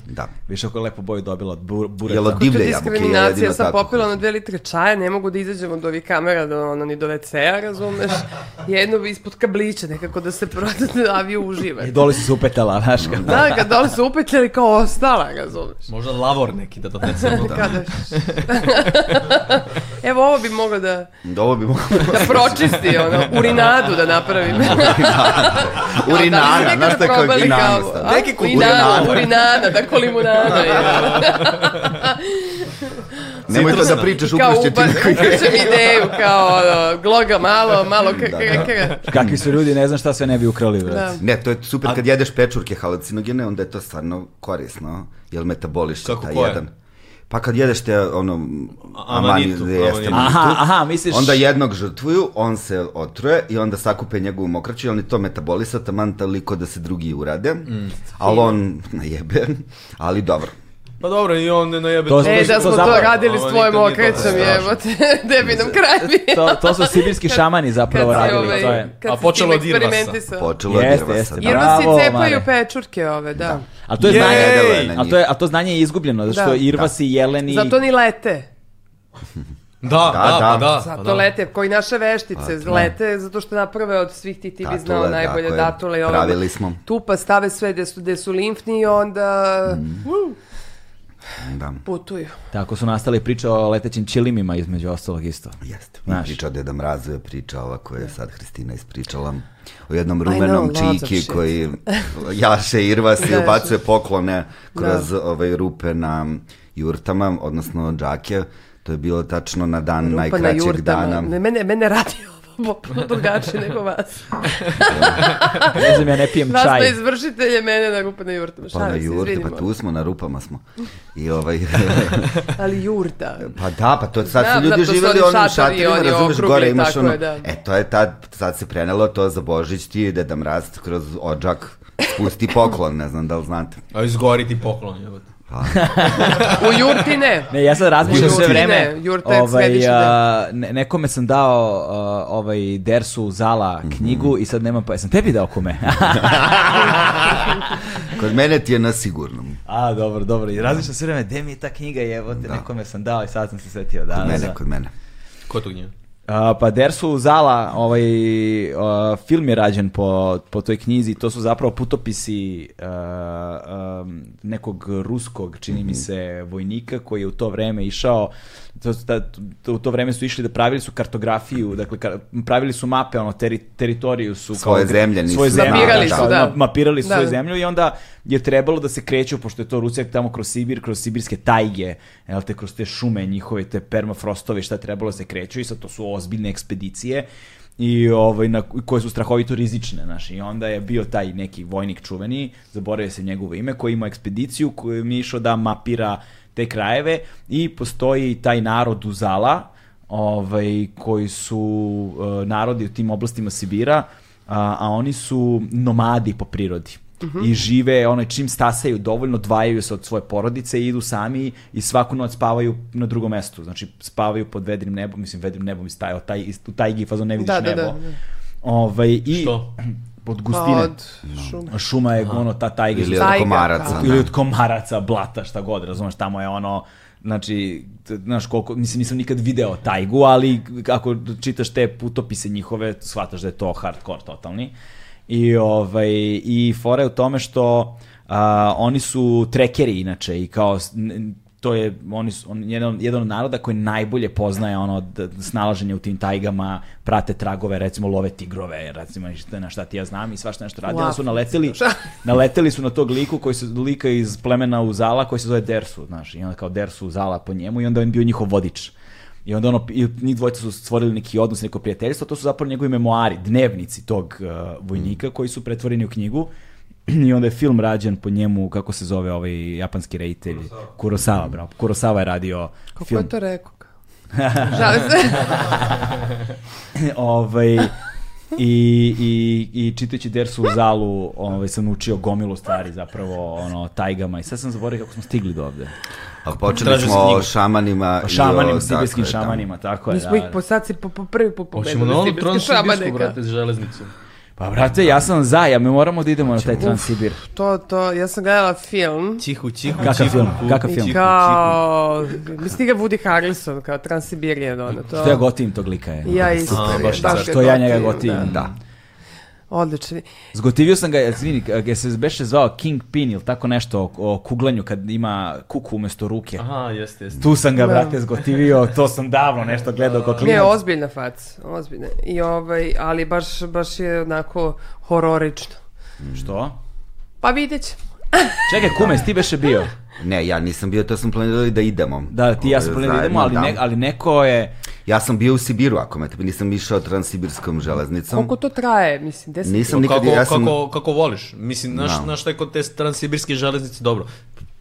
Da. Više ako je lepo boju dobila od bu, bureta. Jel od To divlje je jabuke? je diskriminacija, jedino ja sam tako. popila na dve litre čaja, ne mogu da izađem od ovih kamera, do, ono, ni do WC-a, razumeš? Jedno ispod kablića, nekako da se prodate, a vi uživate. I dole si se upetala, znaš kako. Da, kad dole se upetljali kao ostala, razumeš? Možda lavor neki da donesemo. da. Kada... Evo ovo bi mogla da, Da, ovo bi moglo... da pročisti, ono, urinadu da napravim. Da Urinana, znaš tako je urinana. stavljeno. Neki kukuruz. Urinana, Urinana. urinana, da kolimunada je. Nemoj to da pričaš, Kao ukrašće ti uba, neko ukrčem ideju, kao ono, gloga malo, Da, malo kr- kr- kr- Kakvi su ljudi, ne znam šta sve ne bi ukrali, Da. vrat. Ne, to je super kad jedeš pečurke halucinogene, onda je to stvarno korisno, jer metaboliš Kako, taj koje? jedan. Pa kad jedeš te, ono, A- amani, amanitu, jeste, amanitu. Aha, aha, misliš... onda jednog žrtvuju, on se otruje i onda sakupe njegovu mokraću i oni to metabolisa taman toliko da se drugi urade, Mm. ali on najebe, ali dobro. Pa dobro, i on ne najebe. To E, da smo to zapravo- radili s Ovo tvojim nikad nije dobro. okrećom, Strašno. jebote, gde bi nam kraj bio. To, to su sibirski šamani zapravo Kad si, radili, ovaj, to je. kad A si s počelo tim od Irvasa. eksperimentisao. Počelo je Jeste, drva jeste, sad. bravo. Irvasi cepaju Mare. pečurke ove, da. A to je Jej! znanje, Jelena a to je, a to znanje je izgubljeno, zato što Da. Irvasi, Jeleni, Zato ni lete. Da, da, da. pa da. Zato pa da. lete, koji naše veštice lete, zato što naprave od svih ti ti bi Datule, znao najbolje tako je. datule. i ovo. Pravili smo. Tu pa stave sve gde su, gde su limfni i onda Mm. uh, Da, putuju. tako su nastale priče o letećim čilimima između ostalog isto. jeste. I Znaš. Priča o Deda Mrazu je priča ova koju je sad Hristina ispričala o jednom Da. know, rumenom lots of čiki shit. koji jaše irvas i Da, ubacuje poklone kroz ovaj, rupe na jurtama, odnosno džake. To je bilo tačno na dan Rupa na najkraćeg jurtama. dana. Ne, mene, mene radi ovo potpuno drugačije nego vas. Ne znam, ja ne pijem Vas čaj. na izvršitelje, mene na rupa na jurtama. Pa na Šalim se, jurte, izvinimo. pa tu smo, na rupama smo. I ovaj, Ali jurta. pa da, pa to sad Znam, su ljudi zato su oni živjeli u onim šatori, šatorima, oni razumeš, okrugli, gore imaš tako ono, je, da. e, to je tad, sad se prenelo to za Božić ti je Deda Mraz kroz odžak pusti poklon, ne znam da li znate. A izgoriti poklon. jebote. Pa U jurti ne. Ne, ja sad razmišljam Jurte sve vreme. ne, jurte je ovaj, sljedeći a, ne- nekome sam dao a, ovaj Dersu Zala knjigu i sad nemam pa... Jesam tebi dao kome? Kod mene ti je na sigurnom. A, dobro, dobro. I razmišljam sve vreme, gde mi je ta knjiga jevote, nekome sam dao i sad sam se setio. Da, Kod da, mene, da. kod mene. Ko to gnjeva? A, pa Dersu Zala, ovaj, a, film je rađen po, po toj knjizi, to su zapravo putopisi a, am, nekog ruskog, čini Mhm. mi se, vojnika koji je u to vreme išao, to, su ta- to- u to vreme su išli da pravili su kartografiju, dakle ka- pravili su mape, ono, teri, teritoriju su... Svoje zemlje nisu svoje zemlje, Mapirali su, da. ma- Mapirali su Da, svoju da. zemlju i onda je trebalo da se kreću, pošto je to Rusija tamo kroz Sibir, kroz sibirske tajge, jel te, kroz te šume njihove, te permafrostove, šta je trebalo da se kreću i sad to su ozbiljne ekspedicije i ovaj, na, koje su strahovito rizične, znaš, i onda je bio taj neki vojnik čuveni, zaboravio se njegovo ime, koji ima ekspediciju koju mi je išao da mapira te krajeve i postoji taj narod Uzala, ovaj, koji su e, narodi u tim oblastima Sibira, a, a oni su nomadi po prirodi. Mhm. I žive, ono, čim stasaju dovoljno, dvajaju se od svoje porodice i idu sami i svaku noć spavaju na drugom mestu. Znači, spavaju pod vedrim nebom, mislim, vedrim nebom i staje, taj, ist- u taj gifazon ne vidiš Da, da, nebo. da, da. Ovaj, i, Što? Pod Pa gustine. od šuma. Šuma je, ono, ta tajga. Ili su- od Tajga, komaraca. ili da. od komaraca, blata, šta god, razumeš, tamo je ono, znači, t- znaš koliko, mislim, nisam nikad video tajgu, ali ako čitaš te putopise njihove, shvataš da je to hardcore totalni. I, ovaj, i fora je u tome što a, oni su trekeri inače i kao s- n- to je oni su, on, jedan, jedan od naroda koji najbolje poznaje ono d- snalaženje u tim tajgama, prate tragove, recimo love tigrove, recimo šta- na šta ti ja znam i svašta nešto radi. U Onda su naleteli, naleteli su na tog liku koji se lika iz plemena Uzala koji se zove Dersu, znaš, i onda kao Dersu Uzala po njemu i onda on bio njihov vodič. I onda ono, i njih dvojica su stvorili neki odnos, neko prijateljstvo, to su zapravo njegovi memoari, dnevnici tog uh, vojnika Mm. koji su pretvoreni u knjigu i onda je film rađen po njemu, kako se zove ovaj japanski reditelj? Kurosawa. Kurosawa, bravo. Kurosawa je radio Kako film. je to rekao? Žalim se. ovaj, i, i, i čitajući Dersu u zalu ovaj, sam naučio gomilu stvari zapravo ono, o tajgama i sad sam zaboravio kako smo stigli do ovde. A počeli Tražio smo sam o knjigu. šamanima. i O o- šamanima, tako sibirskim je, tamo. šamanima, tako je. Mi smo Da, ih po sad si po, po prvi put Hoćemo pobedili. na onu sibirske šabane, transsibirsku, kao. brate, železnicu. Pa brate, ja sam za, ja mi moramo da idemo na Znači, taj Transsibir. To, to, ja sam gledala film Cihu, cihu, Kakav cihu, film? pu, Kakav Pa cihu, film? i cihu. kao, misli ga Woody Harrelson, kao Transsibirian, ono, to. Što ja gotivim tog lika je. Ja isto. A, baš baš tako. ga Što ja njega gotivim, gotivim. da. Da. Odlični. Zgotivio sam ga, izvini, ga se beše zvao Kingpin ili tako nešto o- o kuglanju kad ima kuku umesto ruke. Aha, jeste, jeste. Tu sam ga, brate, zgotivio, to sam davno nešto gledao kao Da. Ne, klinac. ozbiljna fac, ozbiljna. I ovaj, ali baš, baš je onako hororično. Što? Pa vidjet ćemo. Čekaj, kumes, ti beše bio. Ne, ja nisam bio, to sam planirali da idemo. Da, ti i ja sam Ovaj, planirali da idemo, ali, zajedno, ne, da. ali neko je... Ja sam bio u Sibiru, ako me tebi nisam išao transsibirskom železnicom. Koliko to traje, mislim, deset Nisam nikad, Pa kako, ja sam... kako, kako voliš. Mislim, naš, Da. naš taj kod te transsibirske železnice, dobro.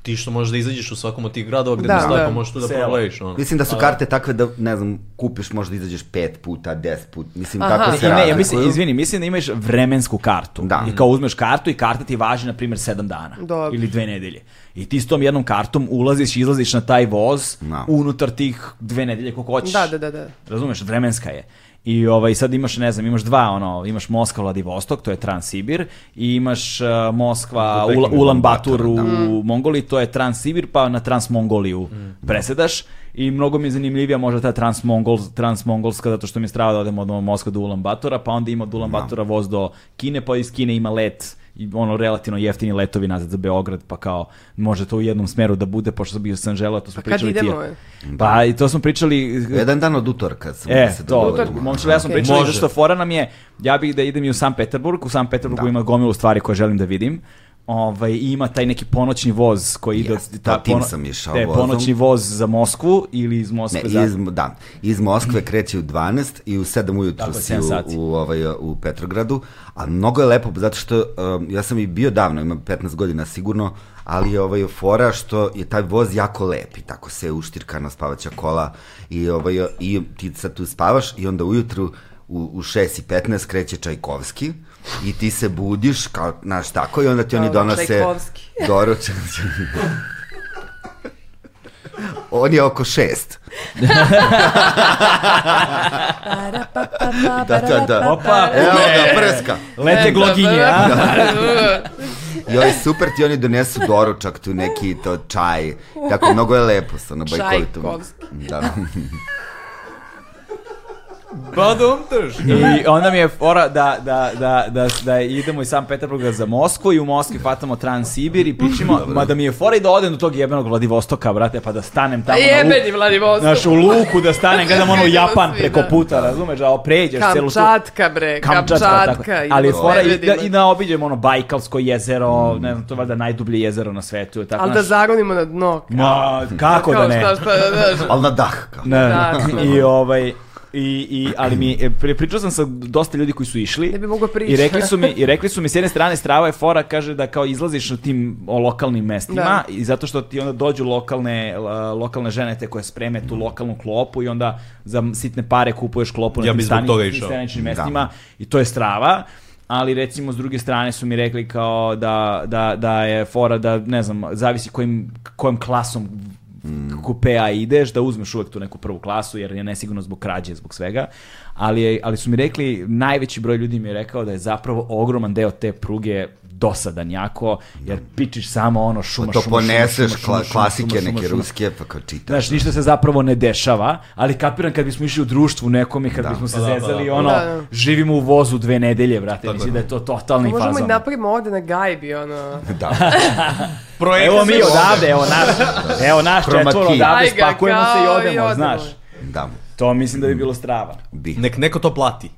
Ti što možeš da izađeš u svakom od tih gradova gde Da, da, ne stoji, da. pa možeš tu da Sela. proleviš. Ono. Mislim da su karte takve da, ne znam, kupiš, možda izađeš pet puta, deset puta, mislim, Aha. tako se Ne, ne, ja razlikuju. mislim, izvini, mislim da imaš vremensku kartu. Da. I kao uzmeš kartu i karta ti važi, na primjer, sedam dana. Dobro. Ili dve nedelje. I ti s tom jednom kartom ulaziš i izlaziš na taj voz Da. unutar tih dve nedelje koliko hoćeš. Da, da, da, da. Razumeš, vremenska je. I ovaj, sad imaš, ne znam, imaš dva, ono, imaš Moskva, Vladivostok, to je Transsibir, i imaš uh, Moskva, Peking, Ula, Ulan Bator u Ulaanbaatar, da. Mm. Mongoliji, to je Transsibir, pa na Transmongoliju presedaš. I mnogo mi je zanimljivija možda ta Transmongol, Transmongolska, zato što mi je strava da odemo od Moskva do Ulan Batora, pa onda ima od Ulan Batora voz do Kine, pa iz Kine ima let i ono relativno jeftini letovi nazad za Beograd, pa kao može to u jednom smeru da bude, pošto sam bio sam želeo, to smo kad pričali ti. idemo, ja. e? Pa i to smo pričali Jedan dan od utorka sam E, da se to, dogovorimo. momčila, ja sam Ok. pričao Može. zato što fora nam je, ja bih da idem i u San Peterburg, u San Da. Peterburgu ima gomilu stvari koje želim da vidim. Ovaj, i ima taj neki ponoćni voz koji ide... od- Jeste, to tim sam išao te, vozom. ponoćni voz za Moskvu ili iz Moskve Ne, za... iz, da, iz Moskve kreće u 12 i u 7 ujutru Tako je, si sedam u, sati. u, ovaj, u Petrogradu, a mnogo je lepo, zato što um, ja sam i bio davno, imam 15 godina sigurno, ali je ovaj, fora što je taj voz jako lep i tako se uštirka na spavaća kola i, ovaj, i ti sad tu spavaš i onda ujutru u, u 6 i 15 kreće Čajkovski i ti se budiš, kao, znaš, tako, i onda ti oni Dobro, donose Čajkovski. doručak. On je oko šest. Da, da, da. Opa, E, Evo ga, prska. da, lete gloginje, a? Joj, super ti oni donesu doručak tu neki to čaj. Tako, mnogo je lepo sa na bajkovitom. Čajkovski. Da. Pa da umteš. I onda mi je fora da, da, da, da, da idemo iz San Peterburga za Moskvu i u Moskvi fatamo Transsibir i pričamo, ma da mi je fora i da odem do tog jebenog Vladivostoka, brate, pa da stanem tamo na luku. E, Jebeni Vladivostok. Znaš, u luku da stanem, gledam ono Vidimo Japan svi, preko da. puta, razumeš, da pređeš celu tu... Kamčatka, bre, Kamčatka. tako. Kamčatka Ali je fora i da, i da obiđem ono Bajkalsko jezero, ne znam, to je valjda najdublje jezero na svetu. je Tako, Ali Mm. da znaš. zaronimo na dno. Ma, kako da Kao ne? šta, šta, da, da. Ali na dah, kao. Ne, Da, I ovaj... I, i, ali mi je- pri- pričao sam sa dosta ljudi koji su išli Ne bi mogao prići. i rekli su mi i rekli su mi s jedne strane strava je fora kaže da kao izlaziš na tim o, lokalnim mestima Da. i zato što ti onda dođu lokalne l- lokalne žene te koje spreme tu lokalnu klopu i onda za sitne pare kupuješ klopu na Ja tim bi zbog stani- toga tim išao. staničnim Da. mestima i to je strava ali recimo s druge strane su mi rekli kao da, da, da je fora da ne znam zavisi kojim, kojom klasom Mm. kupea ideš da uzmeš uvek tu neku prvu klasu jer je nesigurno zbog krađe zbog svega ali, je- ali su mi rekli najveći broj ljudi mi je rekao da je zapravo ogroman deo te pruge dosadan jako jer pičiš samo ono šuma Da. Pa To šuma, šuma, poneseš šuma, šuma, kla, šuma, klasike šuma, šuma, neke šuma. ruske, pa kao čitaš. Znaš, ništa se zapravo ne dešava, ali kapiram kad bismo išli u društvu nekom i kad bismo se Pa da, pa zezali, da. ono, Da, da. živimo u vozu dve nedelje, brate, mislim da je to totalni Možemo i fazon. napravimo ovde na gajbi, ono. Da. Projekt Evo mi odavde, evo naš, evo naš Chroma četvor key. odavde, Aj ga, spakujemo se i kao i odemo, odemo. znaš. Da. To mislim da bi bilo strava. Bi. Nek neko to plati.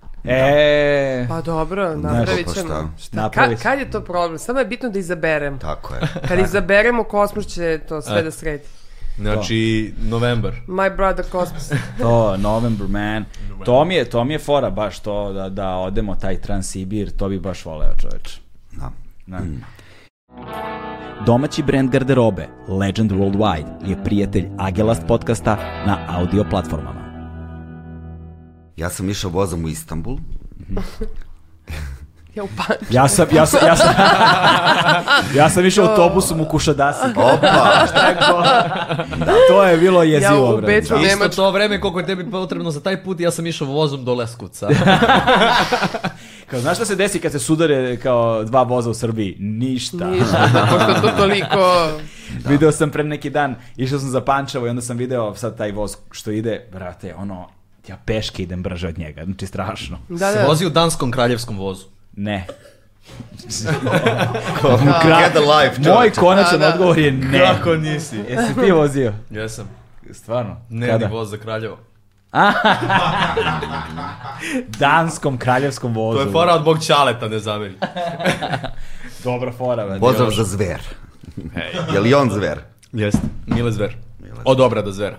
Da. E, Pa dobro, napravit pa ćemo. šta? Šta? Napravit Ka- ćemo. kad je to problem? Samo je bitno da izaberem. Tako je. Kad izaberemo kosmos će to sve E. da sredi. Znači, novembar. My brother kosmos. to, November man. To mi je, to mi je fora baš to da, da odemo taj Transsibir, to bi baš voleo čoveč. Da. Da. Domaći brand garderobe Legend Worldwide je prijatelj Agelast podcasta na audio platformama. Ja sam išao vozom u Istanbul. Ja u panču. Ja sam, ja sam, ja sam, ja sam išao autobusom u Kušadasi. Da. Opa, Tako, to je bilo jezivo. Ja u bre. Da. Beču Isto Nemačku. to vreme koliko je tebi potrebno za taj put, ja sam išao vozom do Leskovca. Kao, znaš šta se desi kad se sudare kao dva voza u Srbiji? Ništa. Ništa, pošto to toliko... Video sam pre neki dan, išao sam za Pančevo i onda sam video sad taj voz što ide, brate, ono, ja peške idem brže od njega, znači strašno. Da, Se da. vozi u danskom kraljevskom vozu. Ne. get a life, čoveče. Moj konačan Da, da. odgovor je ne. Kako nisi? Jesi ti vozio? Jesam. Stvarno? Ne, Kada? ni voz za kraljevo. Danskom kraljevskom vozu. To je fora od Bog Čaleta, ne zameri. Dobra fora. brate. pozdrav za zver. Je li on zver? Jeste. Mile Zver. Od obrada Zvera.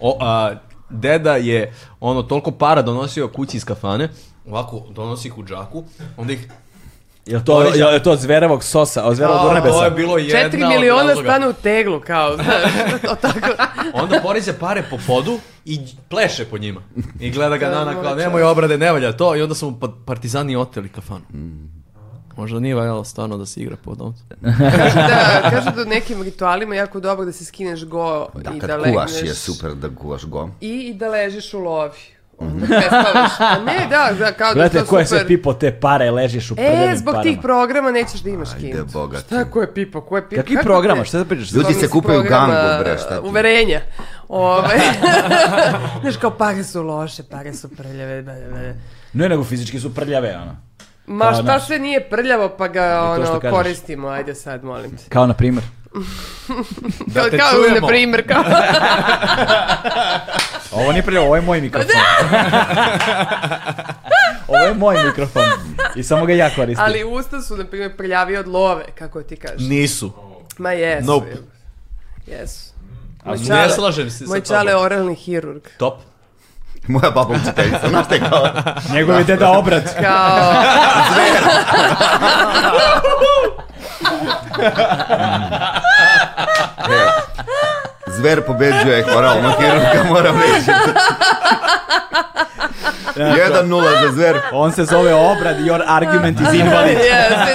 O, a, deda je ono toliko para donosio kući iz kafane, ovako donosi ih u džaku, onda ih... Jel to, jel, je to od zverevog sosa, od zverovog A, to ornebesa? je bilo jedna Četiri od miliona razloga. stane u teglu, kao, znaš, to tako. Onda porize pare po podu i pleše po njima. I gleda ga Nana kao, nemoj obrade, ne valja to. I onda su mu pa- partizani oteli kafanu. Možda nije valjalo stvarno da se igra po domcu. Kažu da, kažu da u nekim ritualima je jako dobro da se skineš go Da, i da kad legneš. kuvaš je super Mhm. da kuvaš gom. I, I da ležiš u lovi. Onda prespavaš. A ne, da, da, kao da je Gledajte, to ko je super. sve pipo te pare, ležiš u prljanim E, zbog Pa da parama. tih programa nećeš da imaš Ajde, kinu. bogati. Šta, ko je pipo, ko je pipo? Kakvi Kako programa, ne? šta da pričaš? Ljudi se Iz kupaju programa gangu, bre, šta ti? Uverenja. Ove, znaš, kao pare su loše, pare su prljave. Da, da, da. Ne, nego fizički su prljave, ono. Ma Pa, šta znaš. sve nije prljavo pa ga to što ono, kažeš. koristimo, ajde sad, molim te. Kao na primjer. Da te kao, čujemo. na primjer, kao... Ovo nije prljavo, ovo je moj mikrofon. ovo je moj mikrofon. I samo ga ja koristim. Ali usta su, na primjer, prljavi od love, kako ti kažeš. Nisu. Ma jesu. Nope. je. Jesu. A Moj ne čale- slažem se sa Moj tobom. čale je oralni hirurg. Top. Moja baba učiteljica, znaš te kao, Njegov je deda obrad. Kao... zver pobeđuje oralno hirurga, moram reći. 1-0 za zver. On se zove obrad, your argument is invalid. Jeste,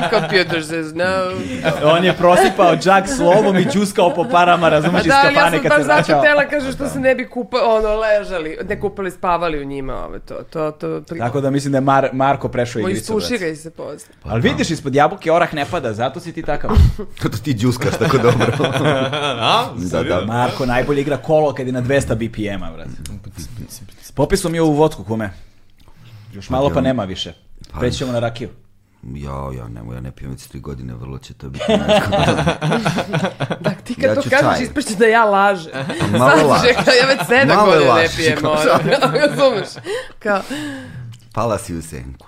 da. Computer says no. On je prosipao džak s lovom i džuskao po parama, razumiješ, iz Da, ali ja kafane sam kad se baš zato vraćao. tela kaže što se ne bi kupali, ono, ležali, ne kupali, spavali u njima, ove, to, to, to, pri... Tako da mislim da je Mar- Marko prešao Moj igricu. brate. istuširaj se pozna. Ali vidiš, ispod jabuke orah ne pada, zato si ti takav. Kako da ti đuskaš tako dobro. da, da. Marko najbolje igra kolo kad je na 200 BPM-a, brate. Popisom je u votku, kume. Još malo pa nema više. Preći ćemo na rakiju. Ja, ja, nemoj, ja ne pijem već tri godine, vrlo će to biti nezgodno. Da, ti kad Ja to ću kažeš čaj. ispašće da ja lažem. Malo Sad, lažeš. čekaj, Ja već sedam Malo godina ne lažeš, pijem, kao ono, razumeš? Kao, Pala si u senku.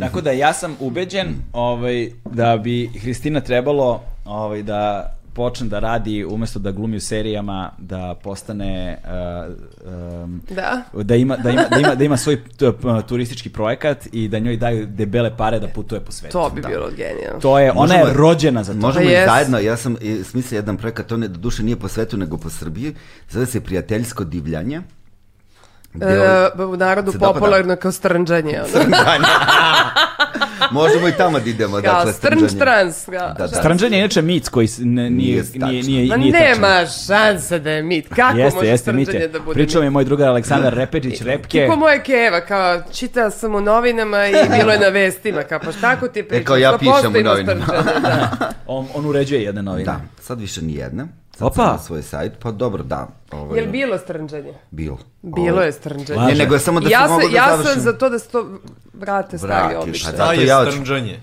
Tako da ja sam ubeđen ovaj, da bi Hristina trebalo ovaj, da počne da radi umesto da glumi u serijama da postane uh, um, da. da ima, da, ima, da, ima, da ima svoj t- p- turistički projekat i da njoj daju debele pare da putuje po svetu. To bi Da. bilo genijalno. To je, E, ona Možemo- je rođena za to. Možemo Pa i jes. zajedno, ja sam e, smislio jedan projekat, on je do duše nije po svetu nego po Srbiji, zove se prijateljsko divljanje. gde E, ovi- u narodu se dopada. popularno kao strnđanje. Ono. Možemo i tamo da idemo, Kao dakle, strnč strnđanje. trans, kao. Da, da. Stranđan je inače mit koji s- ne- nije, Nije nije, nije, nije, Ma nije tačan. Pa nema šanse da je mit. Kako Jeste, može jeste, strnđanje mite. da bude Da. Pričao mi je moj drugar Aleksandar Repečić, Repke. Ko moje keva, kao čitala sam u novinama i bilo je na vestima, kao pa šta ako ti pričaš? E, kao ja Pa pišem u postoji na novinama. Strnđane, da. On, on uređuje jedne novine. Da, sad više ni jedna. Sad Opa. sam na svoj sajt, pa dobro, da. Ovo Jel bilo strnđanje? Bilo. Bilo Ovo- je strnđanje. Ne, nego je samo da ja se mogu da ja sam završim. za to da se to vrate stari Vratiš, pa običaj. a Da Zato je ja hoću- strnđanje.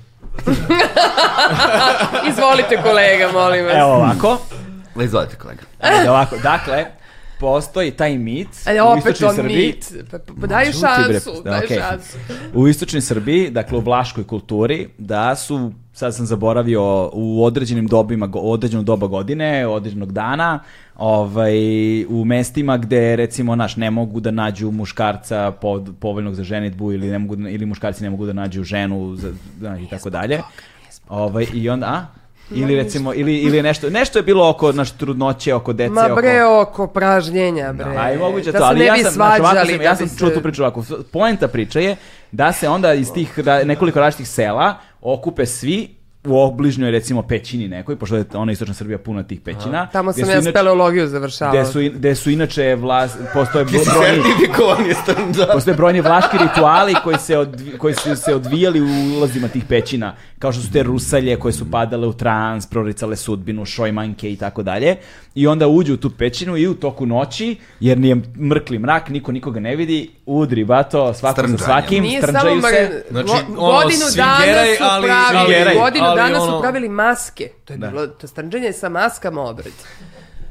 Izvolite kolega, molim vas. Evo ovako. Ma, Izvolite, kolega. Ajde, ovako. Dakle, postoji taj mit Ajde, u E, opet istočnoj on Srbiji. mit. Pa, pa, pa daju Žuti, bre, šansu, da, daju okej. šansu. U istočnoj Srbiji, dakle u vlaškoj kulturi, da su, sad sam zaboravio, u određenim dobima, go- određeno doba godine, određenog dana, ovaj, u mestima gde recimo naš ne mogu da nađu muškarca pod, povoljnog za ženitbu ili, ne mogu, da- ili muškarci ne mogu da nađu ženu za, da, i tako dalje. Ovaj, I onda, a? Ili recimo, ili, ili je nešto, nešto je bilo oko naš trudnoće, oko dece, Ma oko... bre, oko pražnjenja, bre. Da, je moguće da to, se ali ne ja bi sam, znači, svađali. ovako sam, ja da sam bi čuo se- tu priču ovako. Poenta priče je da se onda iz tih ra- nekoliko različitih sela okupe svi u obližnjoj recimo pećini nekoj, pošto je ona istočna Srbija puna tih pećina. Tamo gde sam su ja inače- speleologiju završavala. Gde su, in- gde su inače vlast, postoje brojni, Sertifikovan je da. stand-up. postoje brojni vlaški rituali koji, se odvi- koji su se odvijali u ulazima tih pećina, kao što su te rusalje koje su padale u trans, proricale sudbinu, šojmanke i tako dalje. I onda uđu u tu pećinu i u toku noći, jer nije mrkli mrak, niko nikoga ne vidi, udri bato, svako sa Strnđanje. svakim, Nije samo strnđaju se. mrn- Znači, go- ono, godinu dana svingeraj, su ali- pravili, svingeraj, godinu ali dana ono- su pravili maske. To je bilo to stranđenje sa maskama obred.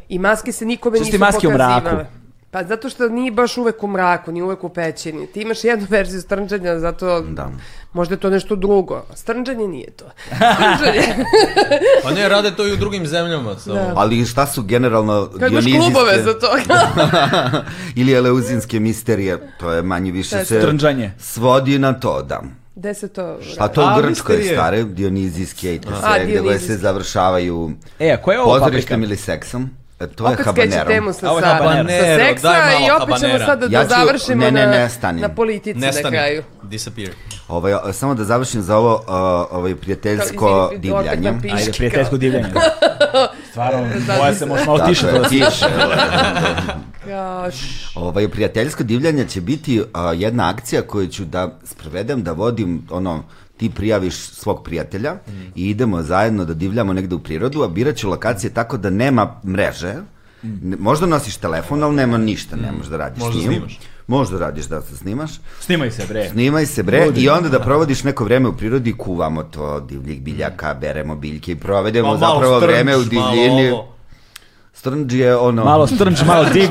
I maske se nikome Što su nisu ti maske u pokazivale. mraku? Pa zato što nije baš uvek u mraku, nije uvek u pećini. Ti imaš jednu verziju strnđanja, zato Da. možda je to nešto drugo. Strnđanje nije to. Strnđanje. Pa ne, rade to i u drugim zemljama. Samo. Da. Ali šta su generalno Kad imaš dionizijske- klubove za to. ili eleuzinske misterije, to je manje više se Trnđanje. svodi na to, da. Gde se to... A to A, u Grčkoj je misterije. stare, dionizijske i te sve, gde koje dionizijske. se završavaju E, a koja je ovo paprika? pozorištem ili seksom. E, To je Opet skreće habanero. temu sa, Ovo je sa, habanero. sa seksa Daj malo i opet ćemo habanera. sad da, Ja ću- završimo ne, ne, na- ne, stani. na politici na kraju. Disappear. Ovaj, o, samo da završim za ovo, uh, ovaj prijateljsko Kao, izvini, divljanje. opet napiši. Ajde, prijateljsko divljanje. da. Stvarno, moja se možda malo tiše. Tako je, da- tiše. Ja, š- Ovaj, prijateljsko divljanje će biti a, jedna akcija koju ću da sprovedem, da vodim, ono, ti prijaviš svog prijatelja i idemo zajedno da divljamo negde u prirodu, a birat ću lokacije tako da nema mreže, Ne- možda nosiš telefon, ali nema ništa, ne možeš da radiš Možda s njim. snimaš. Možda radiš da se snimaš. Snimaj se, bre. Snimaj se bre i onda da provodiš neko vreme u prirodi, kuvamo to divljih biljaka, beremo biljke i provedemo Pa malo zapravo strnč, vreme u malo divljini. ovo. Strnđ je ono... Malo strnč, malo div.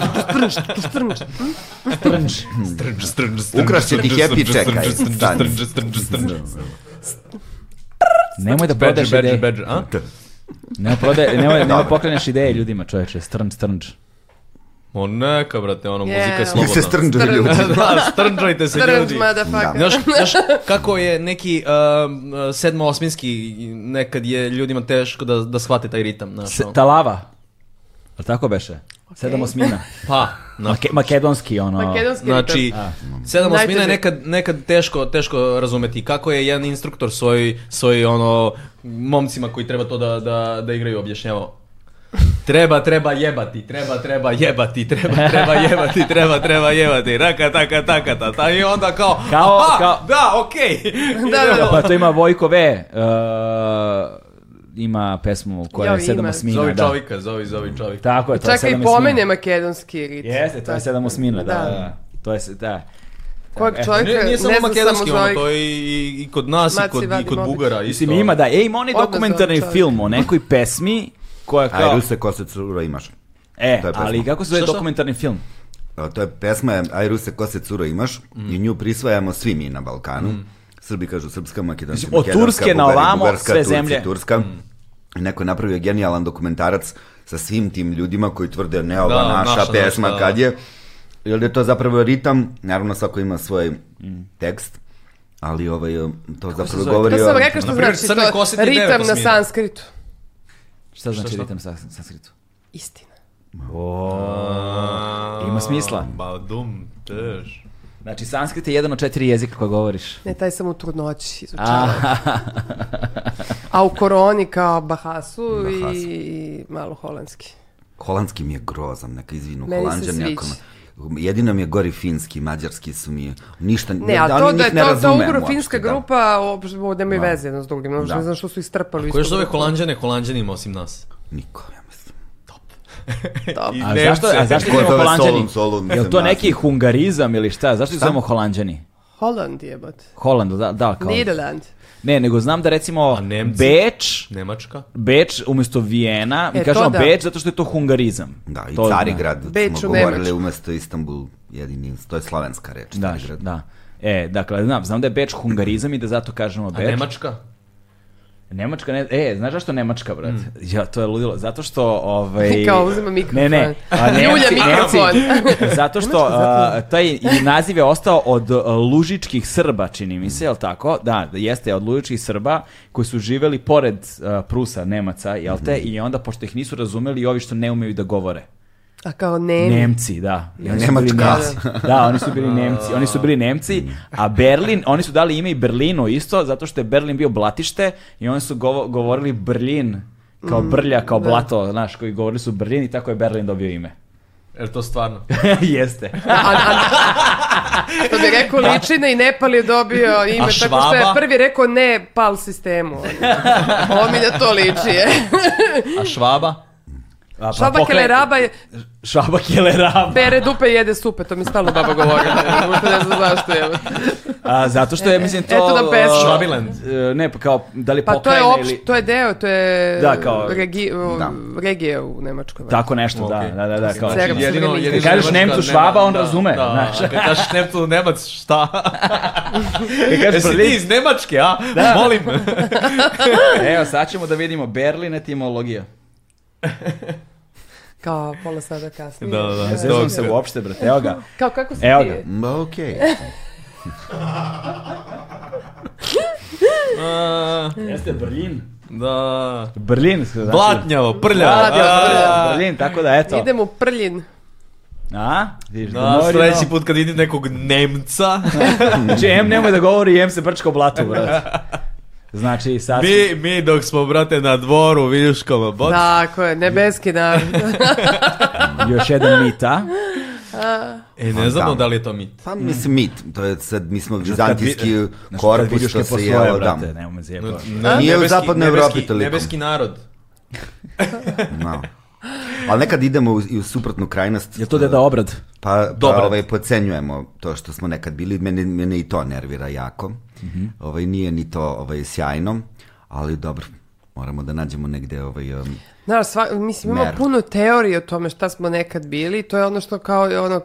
Strnđ, strnđ, strnđ, Ukrašće Hmm. ti strnđ, happy, strnđ, čekaj, strnđ, strnđ, stani. Da. strnđ, strnđ, strnđ. Nemoj da Badger, prodaš badger, ideje. badger, a? Da. Nemoj, prode, nemoj, nemoj ovaj, pokreneš ideje ljudima, čoveče. Strnč, strnč. O neka, brate, ono, muzika je Yeah. Nek se slobodna. strnđaju ljudi. da, strnđajte se Strnč, ljudi. Da. motherfucker. Znaš, znaš kako je neki um, sedmo-osminski, nekad je ljudima teško da, da shvate taj ritam. Znaš, S- ono. Talava. Jel tako beše? Sedam osmina. pa, na, Make, makedonski, ono. Makedonski Znači, ritam. sedam osmina Najteže. je nekad, nekad teško, teško razumeti kako je jedan instruktor svoj, svoj ono, momcima koji treba to da, da, da igraju objašnjavao. Treba, treba jebati, treba, treba jebati, treba, treba jebati, treba, treba jebati, raka, taka, taka, ta, ta, i onda kao, Kao- aha, kao- da, okej. da, da. Pa to ima Vojko V. Uh, ima pesmu koja je Joj, sedam ima. osmina. Zovi da. čovika, zovi, zovi čovika. Tako je, to je Čekaj, sedam Pa i osmina. pomene makedonski rit. Jeste, to je sedam osmina, da. Da. da. To je, se- da. Kojeg Eto, čovjeka, Nije, ne nije samo znam samo makedonski za ono, ovih... to je i, i kod nas, i Maci kod, i kod Vadimović. Bugara, isto. Mislim, ima da. E, ima onaj Odnos za dokumentarni čovjek. film o nekoj pesmi koja kao... Aj, Ruse, ko se curo imaš? E, To je pesma. ali kako se zove Šta, šta? dokumentarni film? A, To je pesma je Aj Ruse, ko se curo imaš i nju prisvajamo svi mi na Balkanu. Srbi kažu srpska, makedonska, Mm. Mislim, od Turske na ovamo, sve Turci, zemlje. Mm. Turska. I neko je napravio genijalan dokumentarac sa svim tim ljudima koji tvrde ne ova Da, naša, naša, pesma naša, da. kad je. Jer je to zapravo ritam, naravno svako ima svoj tekst, ali ovaj, to zapravo zove? govori To o... sam rekla što Naprimjer, znači, crne to kositi devet ritam na osmina. sanskritu. Šta znači ritam sa sanskritu? Istina. Ima smisla. Ba, dum, teš. Znači, sanskrit je jedan od četiri jezika koje govoriš. Ne, taj sam u trudnoći izučavala. A u koroni kao Bahasu Bahasu. i malo holandski. Holandski mi je grozan, neka izvinu, Meni se holandžan sviđa. jako... Jedino mi je gori finski, mađarski su mi ništa, Ne, a to oni da je njih ne to, to razumem ugro-finska uopšte, da. grupa, uopšte nemaju veze jedno s drugim. uopšte Da. Ne znam što su istrpali. u Ko još istu zove grupu. Holanđane Holanđanima osim nas? Niko, ja mislim. Top. A zašto, a zašto Ko je zove holanđani? Solun, Solun, Jel mislim, to ja neki hungarizam ili šta? Zašto ih zovemo holanđani? Holland je, but. Holand, da, da, kao. Nederland. Ne, nego znam da recimo A Nemci? Beč, Nemačka? Beč umjesto Vijena, mi E, to kažemo da. Beč zato što je to hungarizam. Da, i To zna. Carigrad Beč smo u govorili Nemačkoj. umesto Istanbul, jedini, to je slavenska reč, Da, Carigrad. da. E, dakle, znam, znam da je Beč hungarizam i da zato kažemo A Beč. Nemačka? Nemačka, ne, e, znaš zašto Nemačka, brat? Ja, to je ludilo. Zato što, ovaj... Kao uzima mikrofon. Ne, ne. A, Nemci- Ljulja Nemci- mikrofon. zato što a, taj i naziv je ostao od a, lužičkih Srba, čini mi se, jel tako? Da, jeste, od lužičkih Srba koji su živeli pored a, Prusa, Nemaca, jel te? I onda, pošto ih nisu razumeli, i ovi što ne umeju da govore. A kao ne. Nemci, da. I oni su bili Nemačka. Nemci. Da, oni su bili Nemci. Oni su bili Nemci, a Berlin, oni su dali ime i Berlinu isto, zato što je Berlin bio blatište i oni su govo- govorili Brlin, kao Mm, brlja, da. kao blato, znaš, koji govorili su Brlin i tako je Berlin dobio ime. Jer to stvarno. Jeste. To bi rekao Da. Ličina i Nepal je dobio ime, tako što je Švaba? prvi rekao ne pal sistemu. Ovo mi na to liči. je. Pa A švaba? A, pa Švaba pokle- keleraba je, Šaba keleraba. pere dupe jede supe, to mi stalno Pa baba govori. Možda ne znam zašto je. A, zato što je, mislim, to... E, Eto nam pesma. a, Švabiland. e, Ne, pa kao, da li Pa to je, pokrajina opš, ili... to je deo, to je Da, kao- regi, o, Da. regije u Nemačkoj. Tako nešto, da, Ok. da, da, da, kao... Znači, Serbski jedino, velik. jedino Kad kažeš Nemačka Nemcu nema- švaba, on da, razume, Da, znaš. kad kažeš Nemcu Nemac, šta? Kad kažeš Jesi Berlin- ti iz Nemačke, a? Da. Molim. Evo, sad ćemo da vidimo Berlin etimologija. Kao pola sada kasnije. Da, da, da. Ne zezam se uopšte, brate, evo ga. Kao kako si Evo ti? ga. Ma, okej. E. A, Jeste Berlin. da. Berlin, znači. Blatnjavo, prljavo. Blatnjavo, a, Berlin, Berlin, tako da, eto. Idem u Prljin. A? Vidiš, Da, domovino. sljedeći put kad vidim nekog Nemca, Znači, em nemoj da govori, em se brčka u blatu, brate. Znači, sad... smo- mi, mi dok smo, brate, na dvoru u Viljuškama, bot, Da. Tako je, nebeski dan. Još jedan mita. E, ne znamo tamo. da li je to mit. Pa mislim mit, to je sad, mi smo Kad vi- vizantijski Znači, kad korpus vidiš što kad se postoje, jelo, da. brate, nemoj me zjebati. Da. Ne- Nije u nebeski- zapadnoj nebeski- Evropi toliko. Nebeski narod. No. Ali nekad idemo u, i u suprotnu krajnost. Je to deda obrad? Pa, pa Dobro. ovaj, pocenjujemo to što smo nekad bili, mene, mene i to nervira jako. Ovaj, nije ni to ovaj, sjajno, ali dobro, moramo da nađemo negde ovaj, um, Znaš, sva, mislim, imamo Meru. puno teorije o tome šta smo nekad bili. To je ono što kao, je ono,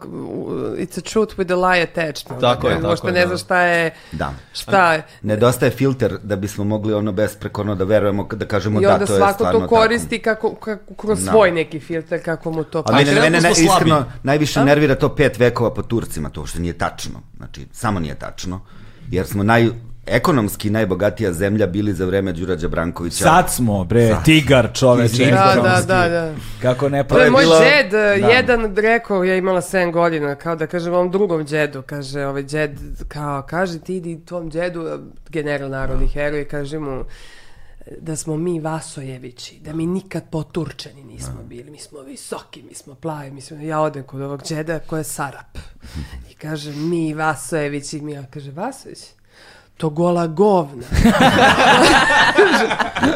it's a truth with a lie attached. Tako je, Možda tako je, ne da. znaš šta je, da. šta je. Nedostaje filter da bismo mogli ono besprekorno da verujemo, da kažemo I da, onda to je stvarno svako tako. to koristi kako, kako, kroz Da. svoj neki filter, kako mu to A paše. mene, mene, ne, trenutno smo iskreno, slabi. najviše nervira to pet vekova po Turcima, to što nije tačno. Znači, samo nije tačno. Jer smo naj, ekonomski najbogatija zemlja bili za vreme Đurađa Brankovića. Sad smo, bre, tigar čoveče. Tigar. Da, da, ekonomski. da, da. Kako ne To je pravi. moj bila- džed, eh, da. jedan rekao, ja imala 7 godina, kao da kažem ovom drugom džedu, kaže ovaj džed, kao, kaže ti idi tvom džedu, eh, general narodni heroj, kaže mu da smo mi Vasojevići, da mi nikad poturčeni nismo bili, mi smo visoki, mi smo plavi, mi smo, ja odem kod ovog džeda koji je Sarap i kaže mi Vasojevići, mi, ja kaže Vasojević, to gola govna.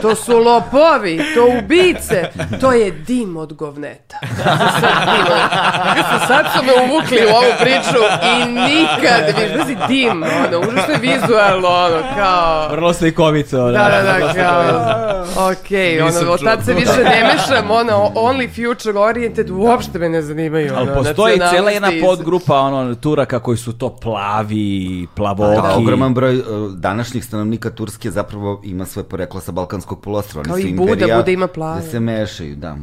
To su lopovi, to ubice, to je dim od govneta. Sad, sad su me uvukli u ovu priču i nikad, viš, znaš i dim, ono, užasno je vizualno, ono, kao... Vrlo slikovito, da. Da, da, da, kao, okej, Nisam ono, od tad se čuo. više ne mešam, ono, only future oriented, uopšte me ne zanimaju, Ali ono, postoji cela jedna nacionalnosti. podgrupa ono, Turaka koji su to plavi, plavoki. Da, ogroman broj e, današnjih stanovnika Turske zapravo ima svoje poreklo sa Balkanskog polostrova. Kao Oni su i Buda, imperija Buda ima plave. Da se mešaju, da.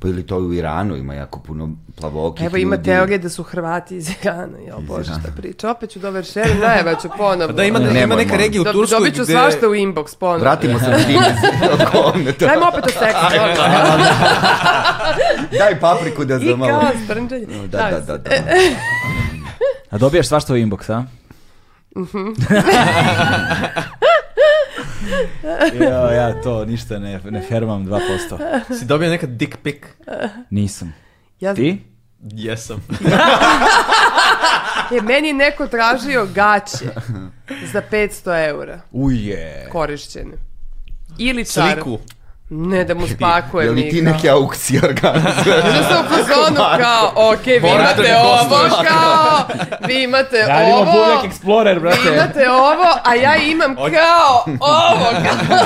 Pa ili to u Iranu ima jako puno plavokih Evo ima ljudi. teorije da su Hrvati iz Irana, jel bože šta priča, opet ću dover šeru, najeva ću Pa ponovno. Da, ima, ima Nemoj, neka molim. regija u Dob- Turskoj Dobit ću gde- svašta u inbox ponovno. Vratimo se na od govneta. Dajmo opet o seksu. Daj papriku da I za malo. kao strnđanje. Da, da, da, da. A dobijaš svašta u inbox, a? Mhm. jo, ja to ništa ne, ne fermam 2%. Si dobio nekad dick pic? Nisam. Ja, Ti? Jesam. je, meni je neko tražio gaće za 500 eura Uje. korišćene. Ili čar. Sliku. Ne da mu spakuje Je li ti neki aukcije Ja organizuješ? sam u fazonu kao, ok, vi Morate imate da ovo, gostuješ. kao, vi imate Da, Radimo ovo, Buvljak Explorer, vi brate. imate ovo, a ja imam kao ovo, kao,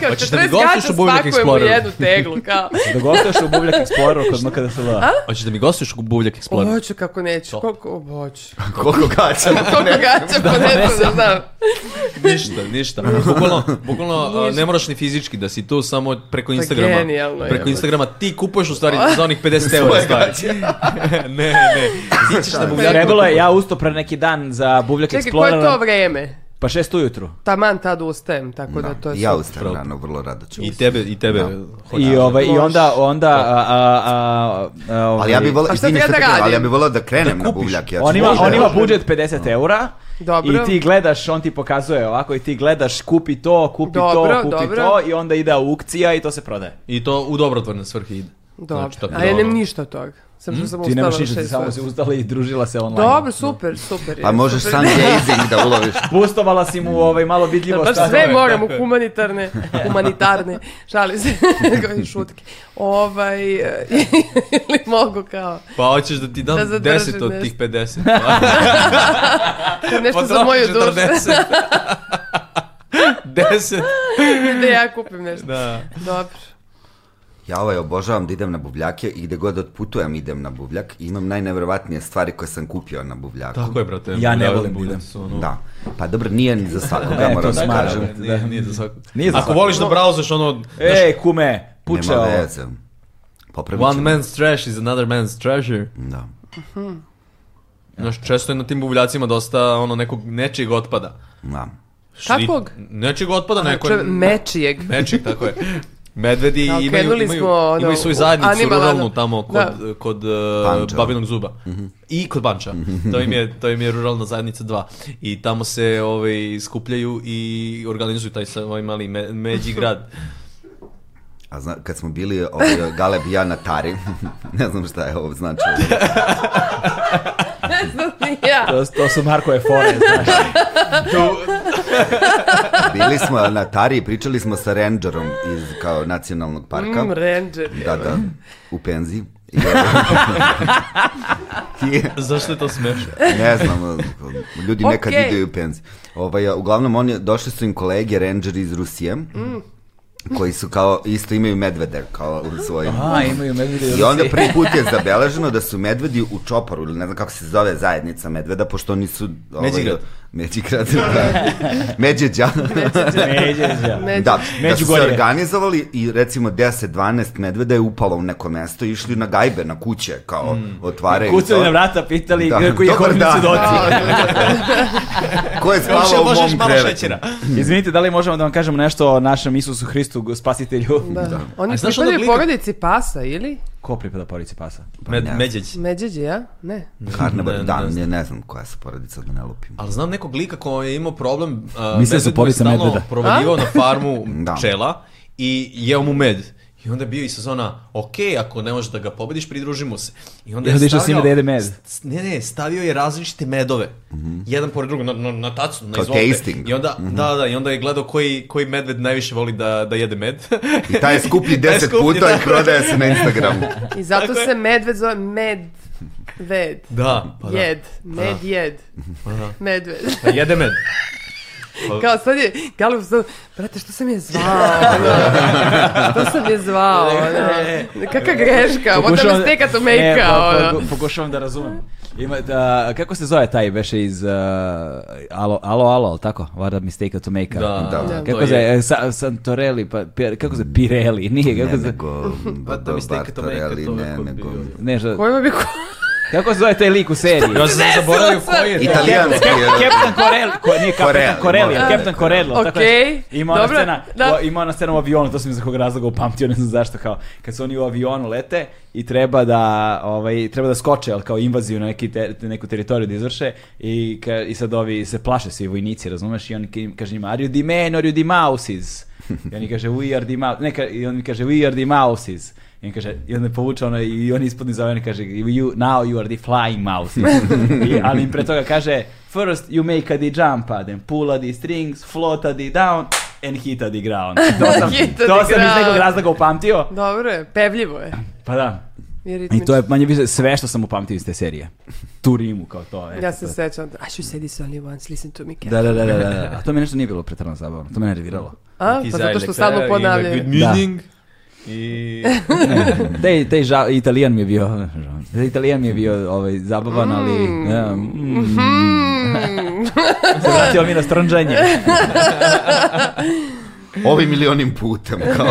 kao Hoćeš da mi 40 gostuješ gaća u Buvljak spakujem u Exploreru? jednu teglu, kao. Da gostuješ u Buvljak Exploreru kod MKD SLA. Hoćeš da mi gostuješ u Buvljak Explorer? Hoću kako neću, koliko, hoću. Koliko gaća? Koliko gaća, pa ne znam, da znam. ništa, ništa. Bukvalno, bukvalno a, ne moraš ni fizički da si tu samo preko Instagrama. Pa genijalno je, preko jebote. Instagrama ti kupuješ u stvari za onih 50 eura Svoje stvari. gaće. ne, ne. Ti ćeš na Buvljaku. Trebalo je, ja ustao pre neki dan za Buvljak Čekaj, koje je Explorer. to vreme? Pa šest ujutru. Taman tad ustajem, tako da to je Ja super. ustajem rano, vrlo rado ću. I tebe, i tebe. Da. I, ovaj, I onda, onda, a, a, a, a, ovaj, Ali ja bih volao, A šta izvini treba što te da prekidam, ali radim? ja bih volao da krenem na buvljak. Ja ću on ima, možda- on ima budžet 50 eura Dobro. i ti gledaš, on ti pokazuje ovako i ti gledaš kupi to, kupi Dobro, to, kupi dobro. to i onda ide aukcija i to se prodaje. I to u dobrotvorne svrhe ide. Dobro, Znači, tako a ja da- nemam ništa od toga. Sam što sam Ti nemaš ustala u ništa, ti šest samo sati. si ustala i družila se online. Dobro, super, super. Pa je, možeš super. sam gazing da uloviš. Pustovala si mu ovaj, malo vidljivo Da, Baš sad. sve moram u humanitarne, humanitarne, šalim se, koji šutke. Ovaj, e, ili mogu kao, Pa hoćeš da ti dam Da zadržim 10 od tih pa? nešto. 50. nešto za moju dušu, 10. da ja kupim nešto. Da. Dobro. Ja ovaj obožavam da idem na buvljake i gde god otputujem idem na buvljak i imam najneverovatnije stvari koje sam kupio na buvljaku. Tako je, brate. Ja ne Buvljak- volim da Buvljak idem. su, ono, Da. Pa dobro, nije ni za svakoga, E, moram to da smara, kažem. bre. Nije, nije za svako. Nije za Ako svako. voliš da brauzaš ono, Ej, kume, puče Nema ovo. veze. Popravit one ćemo. man's trash is another man's treasure. Da. Znaš, često je na tim buvljacima dosta ono nekog nečijeg otpada. Da. Šli- Kakvog? Nečijeg otpada, neko Če- Znači, Mečijeg. Nečijeg, tako je. Medvedi Da, imaju, okrenuli imaju, smo, ono, imaju svoju zajednicu animalanu. ruralnu tamo kod, Da. kod e, Pančeva. babinog zuba. Mhm. I kod Banča. to, im je, to im je ruralna zajednica 2. I tamo se ovaj, skupljaju i organizuju taj sa- ovaj mali me, međi grad. A zna, kad smo bili ovaj, Galeb i ja na Tari, ne znam šta je ovo značilo. Ne znam ni ja. To, to su Markove fore, znaš. Bili smo na Tari i pričali smo sa rangerom iz kao nacionalnog parka. Mm, Ranger. Da, da, u penziji. I, ovaj, i- Zašto je to smešno? ne znam, ljudi nekad Okej. idu i u penziju. Ovaj, a, uglavnom, on je, došli su im kolege, rangeri iz Rusije, koji su kao, isto imaju medvede, kao u svojim... A, imaju medvjede I onda prvi put je zabeleženo da su medvedi u čoporu, ili ne znam kako se zove zajednica medveda, pošto oni su... Ovaj, Međigrad. Međigrad, da. Međeđa. Međeđa. Međe- Da, da su se Međugorje. organizovali i recimo 10-12 medveda je upalo u neko mesto i išli na gajbe, na kuće, kao otvaraju. Mm. Kucali to. na vrata, pitali Da. koji je Dobar kovnicu dan. Da. doci. Ko je spavao u možeš mom malo krevetu? šećera. Izvinite, da li možemo da vam kažemo nešto o našem Isusu Hristu, go- spasitelju? Da. Oni A znaš onog pripadaju lika- porodici pasa, ili? Ko pripada porodici pasa? Med, ne. međeć. Međeđe, ja? Ne. Karneval, Ne, ne da, znam. ne, ne znam koja se porodica, da ne lupim. Ali znam nekog lika koji je imao problem, uh, Mislio su porodica medveda. stalno provaljivao na farmu Da. pčela i jeo mu med. I onda je bio i sezona, ok, ako ne možeš da ga pobediš, pridružimo se. I onda I onda je išao s njima da jede med. s- Ne, ne, stavio je različite medove. Mhm. Jedan pored drugog, na, na, na tacu, na Kao izvolte. tasting. I onda, da, da, i onda je gledao koji, koji medved najviše voli da, da jede med. I taj je skuplji Taj je 10 skuplji, puta da. i prodaje se na Instagramu. I zato Tako je. se medved zove medved. da, pa da. Jed, medjed, medved. Pa jede med. Kao sad je, Galup sad, brate, što sam je zvao? ono? što sam je zvao? ono? Kakva Pa greška, what a mistake E, at Ne, po- make E, pa, po- ono. pokušavam da razumem. Ima, da, kako se zove taj beše iz uh, Alo, Alo, Alo, ali tako? What a mistake to make Da, Da. to Kako se, je. e, sa, Santorelli, pa, Pir- kako se, Pirelli, nije, Ne, kako se, nego, Pa da mi stekao to meka, Bartorelli, to je ne, kod nego... bio. ne, šta- Pojma bi ko... kako se zove taj lik u seriji? Ja sam zaboravio Desilo se. koji je. Italijanski je... Captain Corelli, ko, nije Captain Corelli, Corelli, može. Captain Corelli, tako je. Okej, Ima ona dobro, scena, da. o, ima ona scena u avionu, to sam iz nekog razloga upamtio, ne znam zašto, kao, kad su oni u avionu lete i treba da, ovaj, treba da skoče, ali kao invaziju na neki te, neku teritoriju da izvrše i, ka, i sad ovi se plaše svi vojnici, razumeš, i on ka- kaže njima, are you the men or you the mouses? I oni kaže, we are the mouses, ne, ka, i on kaže, we are the mouses. I on kaže, i onda povuče ono i on ispodni zove, on kaže, you, now you are the flying mouse. I, ali im pre toga kaže, first you make a the jump, a then pull a the strings, float a the down, Enhita odigrao. ono. To sam, Enhita to sam iz odigrao. nekog razloga upamtio. Dobro je, pevljivo je. Pa da. I, znači- I to je manje više sve što sam upamtio iz te serije. Tu rimu kao to. eto, Ja to se je. sećam. I should say this only once, listen to me carefully. Da, da, da, da, da. da. A to mi nešto nije bilo pretrano zabavno. To me nerviralo. A? Pa zato što stalno ponavljaju. Good meaning. Da. I... Te, te ža, italijan mi je bio, italijan mi je bio ovaj, zabavan, ali... da, mm, Mm-hmm. se vratio mi na strnđanje. Ovim ili onim putem, kao.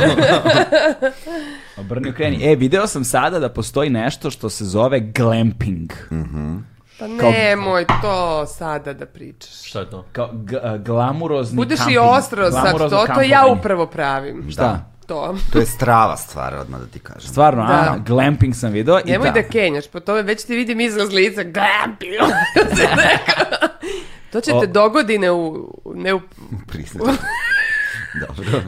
Obrni okreni. E, video sam sada da postoji nešto što se zove glamping. Mm. Pa nemoj to sada da pričaš. Šta je to? Kao g- a, glamurozni Budeš i kamping. ostro sad to, Glamurozno to ja kampovanje. upravo pravim. Da. Šta? To. To je strava stvar, odmah da ti kažem. Stvarno, a? Da. Glamping sam video i Nemoj da. da kenjaš, po tome već ti vidim izraz lica. Glampi! Da. to će O. te dogodine u... Ne u Priznajem. Dobro.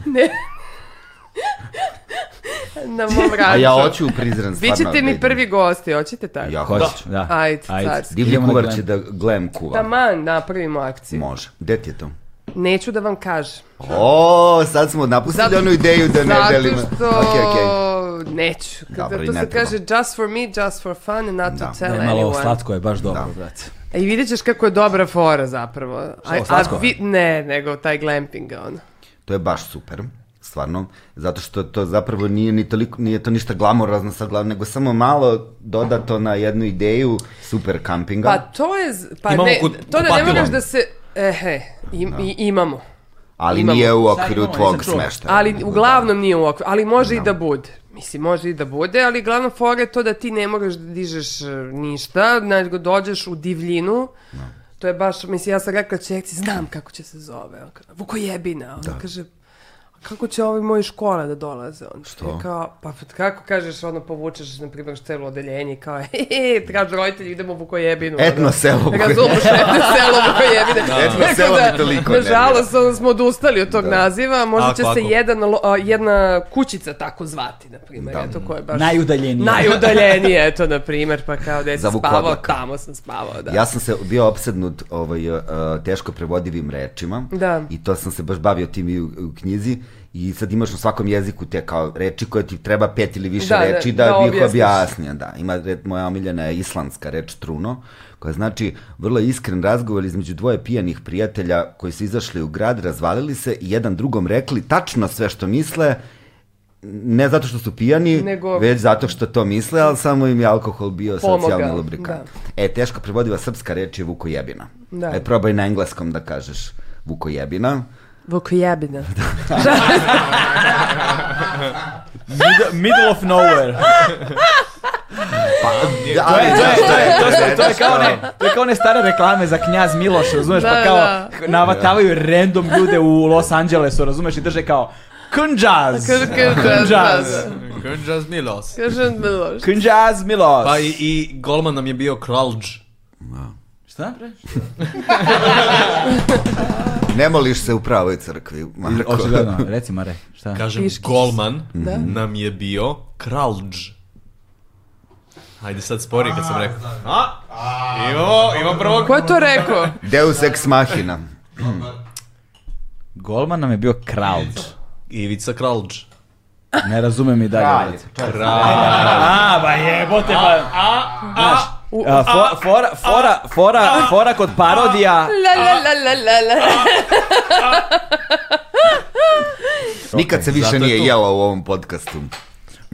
na mom A radu. ja hoću u Prizren stvarno. Bićete da mi idem. prvi gosti, hoćete tako? Ja Da. hoću. da. Ajde, carski. Divlji Idemo na kuvar glam. će da glem kuva. Taman, napravimo akciju. Može. Gde ti je to? Neću da vam kažem. O, sad smo napustili Zato- onu ideju da ne delimo. Zato što Okej, okej. neću. Kada Dobro, i to ne se treba. kaže just for me, just for fun, not Da. to Da tell je malo anyone. slatko je baš dobro, brate. E, I vidjet ćeš kako je dobra fora zapravo. A, ovo, slatko? vi, ne, nego taj glamping, ono. To je baš super, stvarno, zato što to zapravo nije ni toliko, nije to ništa glamorozno sad glavno, nego samo malo dodato na jednu ideju super kampinga. Pa to je, z- pa Imamo ne, kut- to da ne kupatilo. moraš da se, ehe, im, i- imamo. ali imamo. nije u Sad okviru imamo, tvog nisam čuo. smeštaja. da- Ali nego uglavnom nije u okviru, ali može i da bude. Mislim, može i da bude, ali glavna fora je to da ti ne moraš da dižeš e, ništa, nego dođeš u divljinu. Da. To je baš, mislim, ja sam rekla čerci, znam kako će se zove. On kaže, Vukojebina. Ona Da. kaže, "A kako će ovi moji škola da dolaze? On Što? Kao, pa kako kažeš, ono, povučeš, na primjer, celo odeljenje i kao, he, he, traži roditelji, idemo u Vukojebinu. Da. Etno Ono. selo. koje- Razumeš, etno selo Vukojebine. Etno Tako selo da, mi toliko nervira. Nažalost, ono, smo odustali od tog Da. naziva, a možda Ako, će se ako. jedan, lo- a, jedna kućica tako zvati, na primjer, Da. eto, koja je baš... Najudaljenije. Najudaljenije, eto, na primjer, pa kao da Za sam spavao, Vukodlaka. tamo sam spavao, da. Ja sam se bio opsednut ovaj, uh, teško prevodivim rečima Da. i to sam se baš bavio tim i u, u knjizi i sad imaš na svakom jeziku te kao reči koje ti treba pet ili više Da, da, reči da, da da bih objasniš. objasnio. Da. Ima red, moja omiljena je islandska reč truno koja znači vrlo iskren razgovor između dvoje pijanih prijatelja koji su izašli u grad, razvalili se i jedan drugom rekli tačno sve što misle ne zato što su pijani, Nego- već zato što to misle, ali samo im je alkohol bio Pomogao, socijalni lubrikant. da. E, teško prevodiva srpska reč je vukojebina. Da. E, probaj na engleskom da kažeš vukojebina. Vukojebina. Da. Mid- middle of nowhere. Pa, da, To je, to je, to je, to je, E, to je znaš kao ne, to je kao one stare reklame za knjaz Miloš, razumeš, Da, pa kao da. navatavaju random ljude u Los Angelesu, razumeš, i drže kao Kunjaz! Kaže, Kunjaz! Kunđas Milos. Kaže, Miloš. Kunjaz Miloš! Pa i, i golman nam je bio Kralđ. Šta? bre? Ne moliš se u pravoj crkvi, Marko. Očigledno, reci Mare, šta? Kažem, Piškić. golman Da. nam je bio Kralđ. Ajde sad spori kad sam rekao. A, imamo, imamo prvog. Ko je to rekao? Deus ex machina. Golman nam je bio Kralj. Ivica Kralđ. Ne razumem i dalje. brate. A, ba jebote, ba... Znaš, U- a, fo- fora, fora, fora, fora kod parodija La, la, la, la, la, la. Nikad se više zato je nije tu. jelo u ovom podcastu. Boga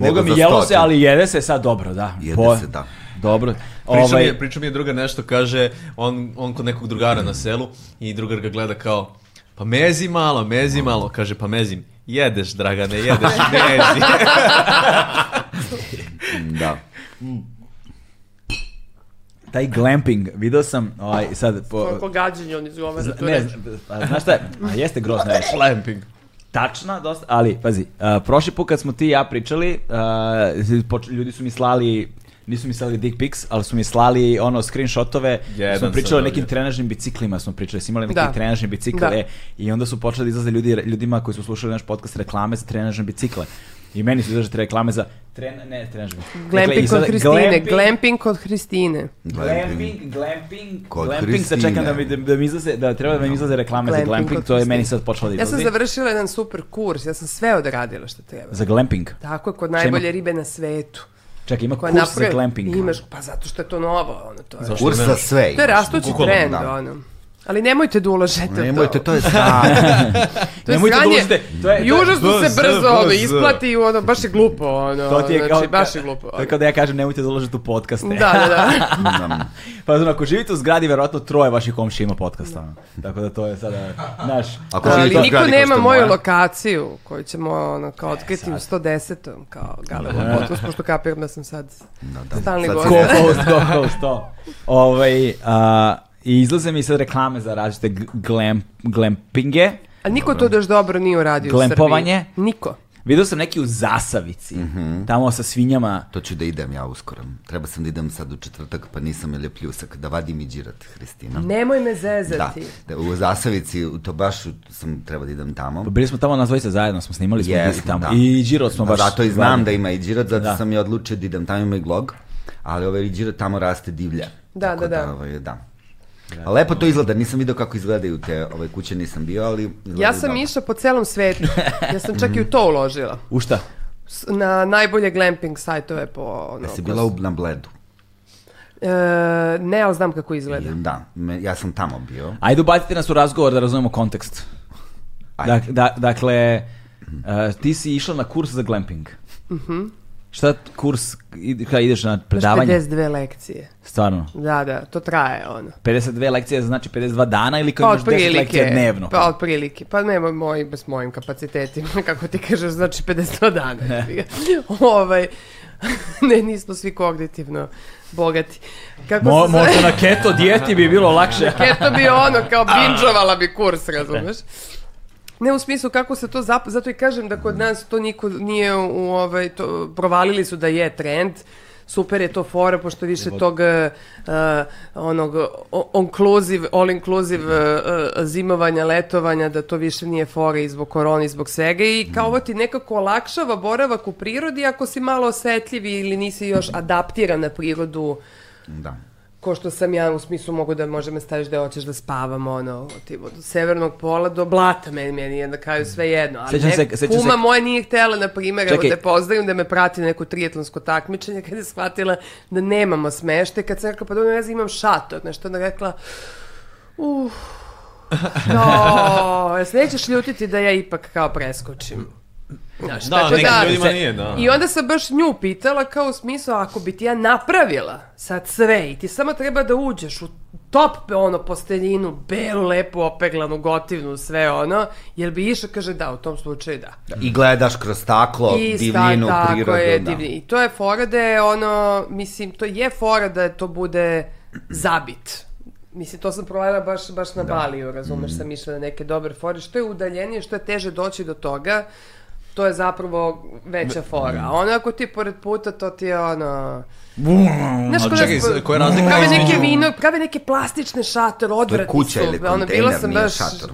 Nego mi za jelo se, stotinu. ali jede se sad dobro, da. Jede se, da. Dobro. Priča, mi Ovaj, je, priča mi je druga nešto, kaže, on, on kod nekog drugara na selu i drugar ga gleda kao, pa mezi malo, mezi malo, kaže, pa mezim. Jedeš, Dragane, jedeš, mezi. Da. taj glamping, video sam, ovaj, sad, po, Koliko gađenje on izgovara zna- tu ne, reč. zna- a znaš šta je, a jeste grozna reč. Slamping. Tačna, dosta, ali, pazi, a, prošli put kad smo ti i ja pričali, a, poč- ljudi su mi slali, nisu mi slali dick pics, ali su mi slali ono screenshotove, Jedan smo sam pričali o dobio. nekim trenažnim biciklima, smo pričali, smo imali neki Da. trenažni bicikl, Da. e, i onda su počeli da izlaze ljudi, ljudima koji su slušali naš podcast reklame za trenažne bicikle. I meni su izašle te reklame za tren, ne, Dakle, trenažbe. Glamping kod Hristine, glamping kod Hristine. Da, Glamping, glamping, Kod glamping, sad Kristine. čekam da mi, da mi izlaze, da treba da mi izlaze reklame Glamping za glamping, kod to je meni Kristine. sad počelo da Ja sam izlazi. završila jedan super kurs, ja sam sve odradila što treba. Za glamping. Tako je, kod najbolje ribe na svetu. Čekaj, ima Koja kurs za napravi- glamping. Imaš, pa zato što je to novo, ono, to je. Kurs za sve. To je imaš. rastući Bukvalno, trend, da. ono. Ali nemojte da ulažete u to. Nemojte, to je sranje. To je Nemojte da sranje. ulazite, to je- I užasno to- se brzo to- ono, to- isplati i ono, baš je glupo. Ono, To ti je kao, znači, baš je glupo. to je kao da ja kažem nemojte da uložite u podcaste. Da, da, da. Pa znam, ako živite u zgradi, verovatno troje vaših komšija ima podcast. ono. Tako da to je sada naš... Ako Ali živite u niko zgradi ko nema što moju moja. lokaciju koju ćemo ono, E, kao otkriti u 110. kao Galeva podcast, pošto kapiram da sam sad stalni sad gost. si- Ko host, ko host, to. Ovaj, a, I izlaze mi sad reklame za različite g- glam, glampinge. A niko to da još dobro nije uradio u Srbiji. Glempovanje? Niko. Vidio sam neki u Zasavici, tamo sa svinjama. To ću da idem ja uskoro. Treba sam da idem sad u četvrtak, pa nisam ili pljusak. Da vadim i džirat, Hristina. Nemoj me Da, zezati. da, u Zasavici, u to baš u- sam treba da idem tamo. Pa Bili smo tamo na zvojice zajedno, smo snimali smo Jesmo, bili tamo. da. I Điro smo Pa baš... Zato i znam da ima i džirat, zato Da. sam i odlučio da idem tamo ima i glog, ali ovaj džirat tamo raste divlje. Da, Tako da, da. ovaj, da. A lepo to izgleda, nisam vidio kako izgledaju te ove kuće, nisam bio, ali... Ja izgledaju sam dobro. išla po celom svetu. Ja sam čak i u to uložila. U šta? S- Na najbolje glamping sajtove po... Ono, Jesi ko Da bila su- u, na Bledu? E, ne, ali znam kako izgleda. Da, me- ja sam tamo bio. Ajde ubacite nas u razgovor da razumemo kontekst. Ajde. Dak, da, dakle, e, ti si išla na kurs za glamping. Mhm. Šta t- kurs, id- kada ideš na Imaš predavanje? 52 lekcije. Stvarno. Da, da, to traje ono. 52 lekcije znači 52 dana ili kao Pa imaš 10 lekcija dnevno? Pa otprilike. Pa nemoj moj, s mojim kapacitetima, kako ti kažeš, znači 52 dana. ovaj, ne, nismo svi kognitivno bogati. Kako Mo, se zove? možda na keto dijeti bi bilo lakše. Keto bi ono, kao binđovala bi kurs, razumeš? Ne u smislu kako se to zap... zato i kažem da kod nas to niko nije u ovaj to provalili su da je trend. Super je to fora pošto više tog eh, onog o- onkluziv, all inclusive eh, eh, zimovanja, letovanja da to više nije fora i zbog korone i zbog svega i kao ovo ti nekako olakšava boravak u prirodi ako si malo osetljiv ili nisi još adaptiran na prirodu Da. ko što sam ja u smislu mogu da možda me staviš da hoćeš da spavam ono od, od severnog pola do blata meni, meni je na kraju sve jedno ali Sećam ne, se- sećam kuma se- moja nije htela na primjer evo Čekaj. da je pozdravim da me prati na neko trijetlonsko takmičenje kad je shvatila da nemamo smešte kad sam rekla pa dobro veze imam šator nešto onda je rekla uff no, jesi nećeš ljutiti da ja ipak kao preskočim Znaš, Da, tako nekim ljudima nije, da. i onda sam baš nju pitala kao u smislu ako bi ti ja napravila sad sve i ti samo treba da uđeš u top ono posteljinu, belu, lepu, opeglanu, gotivnu, sve ono, jel bi išla, kaže da, u tom slučaju da. I gledaš kroz staklo, sta- divljinu, tako prirodu. je, da. divlji. I to je fora da je ono, mislim, to je fora da to bude zabit. Mislim, to sam provalila baš, baš na Da. Baliju, razumeš, sam išla na neke dobre fore. Što je udaljenije, što je teže doći do toga, to je zapravo veća fora. A ono ako ti pored puta, to ti je ono... Znaš, ali kod čekaj, nas- koja je razlika Prave neke između- vino, prave neke plastične šatore, To je odvratni kuća su. ili Ono, bila kontejner, sam nije baš- šator.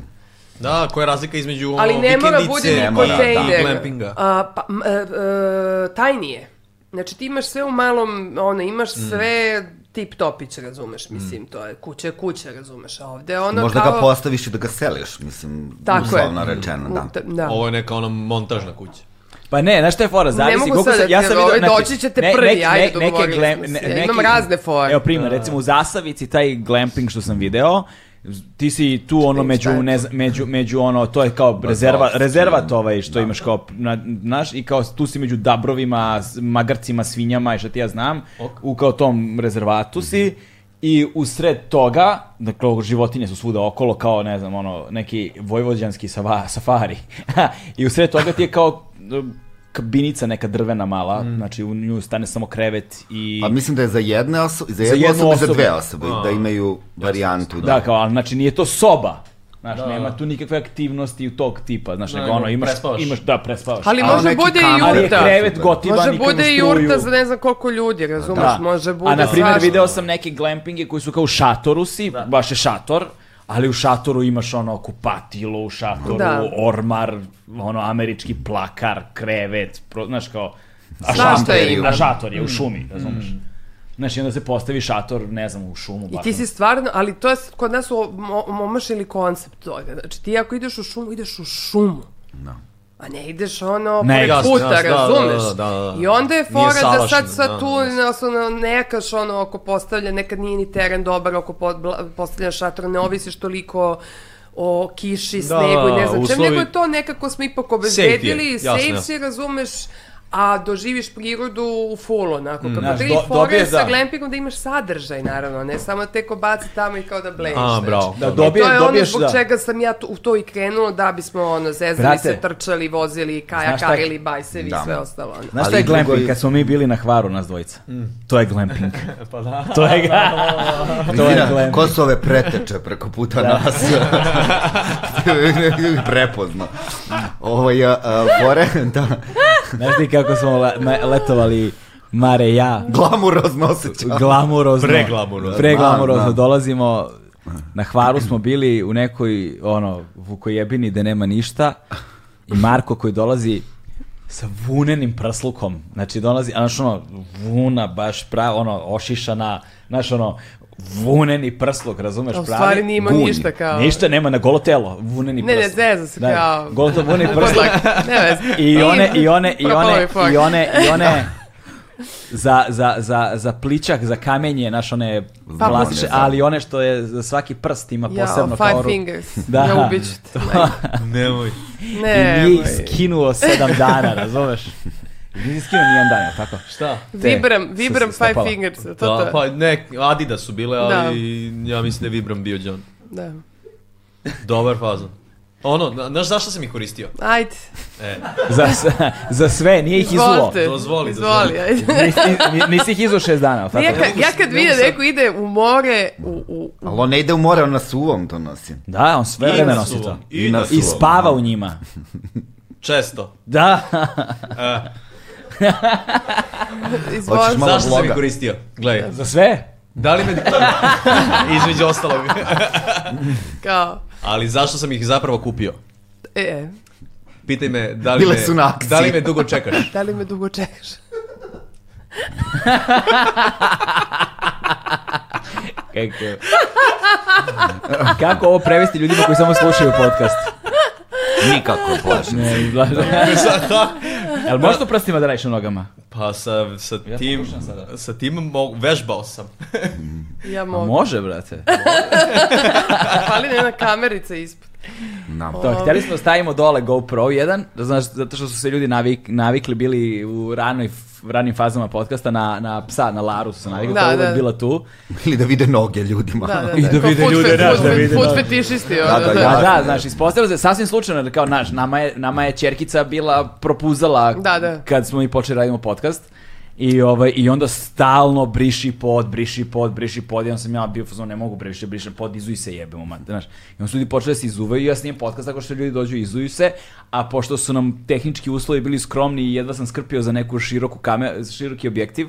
Da, koja je razlika između ono, ali ne mora bude vikendice ni i- mora, da. i kontejner. glampinga. A, pa, m, e, e, tajnije. Znači ti imaš sve u malom, ono, imaš sve tip topić, razumeš, mislim, to je kuća je kuća, razumeš, a ovde ono Možda kao... ga postaviš i da ga seliš, mislim, Tako je. uslovno rečeno, da. U- t- da. Ovo je neka ona montažna kuća. Pa ne, znaš šta je fora, zavisi mogu koliko sad sam, da ja ti- sam ovaj, vidio, znači, doći ćete prvi, ajde, dogovorili glem- smo se. Ja imam razne fore. Da, Evo primjer, recimo u Zasavici taj glamping što sam video, ti si tu ono među, šta je to? ne znam, među, među ono, to je kao rezerva, dosta, rezervat ovaj što imaš kao, na, naš, i kao tu si među dabrovima, s- magarcima, svinjama i šta ti ja znam, u kao tom rezervatu si, i u sred toga, dakle, ovo životinje su svuda okolo, kao, ne znam, ono, neki vojvođanski sava, safari. I u sred toga ti je kao um, kabinica neka drvena mala, znači u nju stane samo krevet i... Pa mislim da je za jedne osobe, za, Za jednu jednu osobu, i za osobu. dve osobe, da imaju varijantu. Da, kao, ali znači nije to soba. Znaš, nema tu nikakve aktivnosti u tog tipa, znaš, nego ono, nego imaš, prespavaš. imaš, da, prespavaš. Ali A možda neki bude kamar i Ali je jurta. krevet gotivan Možda i kao bude i struju. jurta za ne znam koliko ljudi, razumeš, Da. može bude A na primjer svašta. Da. video sam neke glampinge koji su kao u šatoru si, baš je šator, ali u šatoru imaš ono kupatilo, u šatoru Da. ormar, ono američki plakar, krevet, pro, znaš kao, a Svašta šator, je ima. a šator je u šumi, Mm. razumeš? Znaš, i onda se postavi šator, ne znam, u šumu. I baš ti ono. si stvarno, ali to je s- kod nas o- mo- omašili koncept toga. Znači ti ako ideš u šumu, ideš u šumu. A ne ideš ono Ne, ne, pored jasno, puta, Da. jasno, da, razumeš? da, da, da, da. I onda je Nije fora da sad, savršeno, sad da, tu nas ono, nekaš ono oko postavlja, nekad nije ni teren dobar oko po- bla- postavlja šator, ne ovisiš toliko o kiši, snegu i ne znam čem, Da, uslovi- nego je to nekako smo ipak Safe je, obezbedili, jasno, safe jasno. si, razumeš, a doživiš prirodu u full onako. Mm. Kako Znaš, ti do- fore dobiješ, sa da. glampingom da imaš sadržaj naravno, a ne samo teko baci tamo i kao da blejiš. A, znači. bravo. Da, I dobije, to je ono dobiješ, zbog da. čega sam ja tu- u to i krenula, da bismo ono, zezali Brate, se, trčali, vozili, znaš šta je- kajakarili, bajsevi Da. i sve ostalo. Ono. Znaš Ali šta je drugo je- glamping? Kad smo mi bili na Hvaru, nas dvojica. Mm. To je glamping. pa da. To je, to je Vizira, glamping. ko su ove preteče preko puta nas? Prepozno. Ovo je, a, fore, da, Znaš ti kako smo le- na- letovali Mare i ja, glamurozno osjećaj. glamurozno. Preglamurozno. Preglamurozno. Da, da. Dolazimo, na Hvaru smo bili u nekoj, ono, vukojebini gde nema ništa i Marko koji dolazi sa vunenim prslukom. Znači dolazi, a znaš ono, vuna baš prava, ono, ošišana, znaš ono, vuneni prsluk, razumeš A pravi? U stvari nije imao gunj. ništa kao... Ništa nema na golo telo, vuneni Ne, ne, prst. zezam se kao- Golo telo, vuneni prst. Podlak, ne vez. I one, i one, i Propao one, je fakt. i one, i one, za, za, za, za pličak, za kamenje, znaš one Pa, plastične, da. ali one što je za svaki prst ima Ja, posebno five kao ru- fingers. Da. Ja ubiću te. Da, Nemoj. I Ne, nije moj. ih skinuo sedam dana, razumeš? Nije ih skinuo nijedan dan, jel tako? Šta? Vibram, Su se vibram five stopala. fingers. To, Da, to. pa ne, Adidas su bile, ali ja mislim da je Vibram bio John. Da. Dobar fazon. Ono, na- znaš zašto sam ih koristio? Ajde, Za, s- za sve, nije ih izuo. izvolite. Dozvoli, Izvoli, ajde. Nisi, nisi ih izuo šest dana, jel tako? Ja, kad, ja kad vidim neko ide u more, u, u, u- Ali on ne ide u more, on na suvom to nosi. Da, on sve I vreme na nosi to. suvom, I na I suvom. spava u njima. Često. Da. izvoli. Malo Zašto sam ih vloga. koristio? Gledaj. Za sve? Da li me... Između ostalog. Kao, Ali zašto sam ih zapravo kupio? e, Pitaj me da li Bile me, su na akciji. da li me dugo čekaš? da li me dugo čekaš? Kako? Kako ovo prevesti ljudima koji samo slušaju podcast? Nikako, plašim. Ne, izlaže. Jel možeš to prstima da radiš na nogama? Pa sa, sa Ja tim, pokušam sada. E, sa tim mogu, vežbao sam. Ja Pa mogu. može, brate. Fali ne na kamerica ispod. Da. To, htjeli smo da stavimo dole GoPro jedan, da znaš, zato što su se ljudi navik, navikli bili u ranoj, f- ranim fazama podcasta na, na psa, na Laru su se navikli, Da, koja je uvek da. bila tu. Ili da vide noge ljudima. Da, da, I da Kao vide food ljude, fe- znaš, food da fe- vide, Food da. fetišisti, ono, Da, da, da. Da, jasno da, je. znaš, ispostavilo se sasvim slučajno, da kao, naš, nama je, nama je čerkica bila propuzala Da, da. kad smo mi počeli radimo podcast. I, ovaj, I onda stalno briši pod, briši pod, briši pod. I onda sam ja bio fazon, ne mogu previše, brišem pod, izuj se jebemo, man, znaš. I onda su ljudi počeli da se izuvaju i ja snijem podcast tako što ljudi dođu i izuju se. A pošto su nam tehnički uslovi bili skromni i jedva sam skrpio za neku široku kame, široki objektiv,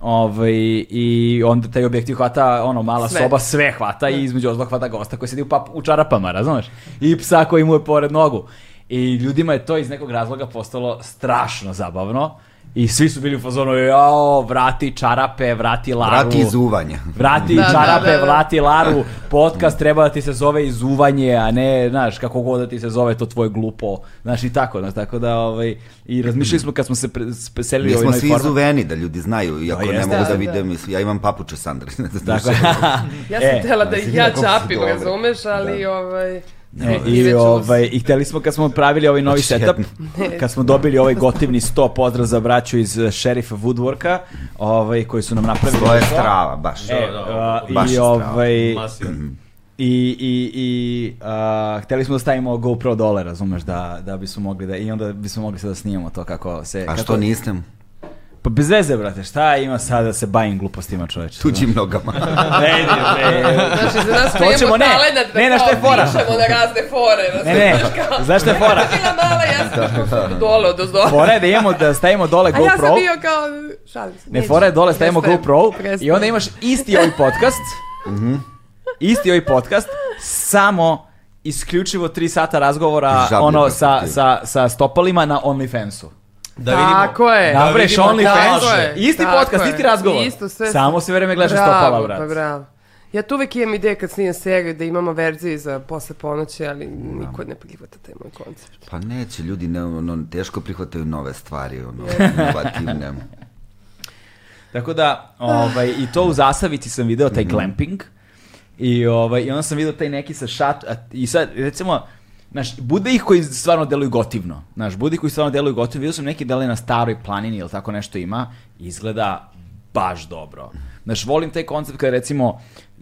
Ovaj, i onda taj objektiv hvata, ono, mala Sve. soba sve hvata i između ozbog hvata gosta koji sedi u, pap, u čarapama, razumeš? I psa koji mu je pored nogu. I ljudima je to iz nekog razloga postalo strašno zabavno. I svi su bili u fazonu, jao, vrati čarape, vrati laru. Vrati izuvanje. Vrati Da, da, čarape, da, da. vrati laru. Podcast treba da ti se zove izuvanje, a ne, znaš, kako god da ti se zove to tvoje glupo. Znaš, i tako, znaš, tako da, ovaj, i razmišljali smo kad smo se pre, s- preselili Mi ovaj smo novi svi format. izuveni, da ljudi znaju, iako ne jeste, mogu da da. vide, mislim, ja imam papuče Da, Sandra. ne znam Tako je. što. Ja sam E, htjela da ih ja kako su čapim, dobre. razumeš, ali ovaj... E, ide Da. I, ćemo s- ovaj, I hteli smo kad smo pravili ovaj novi Znači, setup, kad smo dobili ovaj gotivni sto pozdrav za braću iz eh, Sheriff Woodworka, ovaj, koji su nam napravili. To je strava, baš. E, Da, a, baš I je ovaj, i, Masivan. i, i a, hteli smo da stavimo GoPro dole, razumeš, da, da bismo mogli da, i onda bismo mogli sad da snimamo to kako se... A kako- što nisam? Pa bez veze, brate, šta ima sad da se bavim glupostima čoveče? Tuđim nogama. Ne, ne, ne. Znači, za nas To koji ćemo, imamo ne. talenat da Ne, znaš šta je kao fora? pišemo na razne fore, Ne, razumeš? ne, znaš šta je fora? Da. Bila mala, ja sam tu dole od ozdola. Fora je da imamo, da stavimo dole A GoPro. ja sam bio kao... Šalim se. Ne, neću. fora je dole, stavimo Prestajem, GoPro i prestajem. Mhm. onda imaš isti ovaj podcast. Isti ovaj podcast sa samo isključivo tri sata razgovora Žablje ono prsti. sa, sa, sa stopalima na OnlyFansu. Da vidimo. Tako je. Da, bre, vidimo Only kako Fans. je. Isti Tako podcast, je. isti razgovor. Isto, sve- Samo se vreme gledaš stopala, bravo, brat. Pa bravo. Ja tu uvek imam ideje kad snimam seriju da imamo verziju za posle ponoći, ali niko ne prihvata taj moj koncept. Pa neće, ljudi ne, ono, teško prihvataju nove stvari, ono, inovativne. Tako da, ovaj, i to u Zasavici sam video taj glamping i, ovaj, i onda sam video taj neki sa šat, a, i sad, recimo, znaš, bude ih koji stvarno deluju gotivno, znaš, bude ih koji stvarno deluju gotivno, vidio sam neki da li je na staroj planini ili tako nešto ima, izgleda baš dobro. Znaš, volim taj koncept kada recimo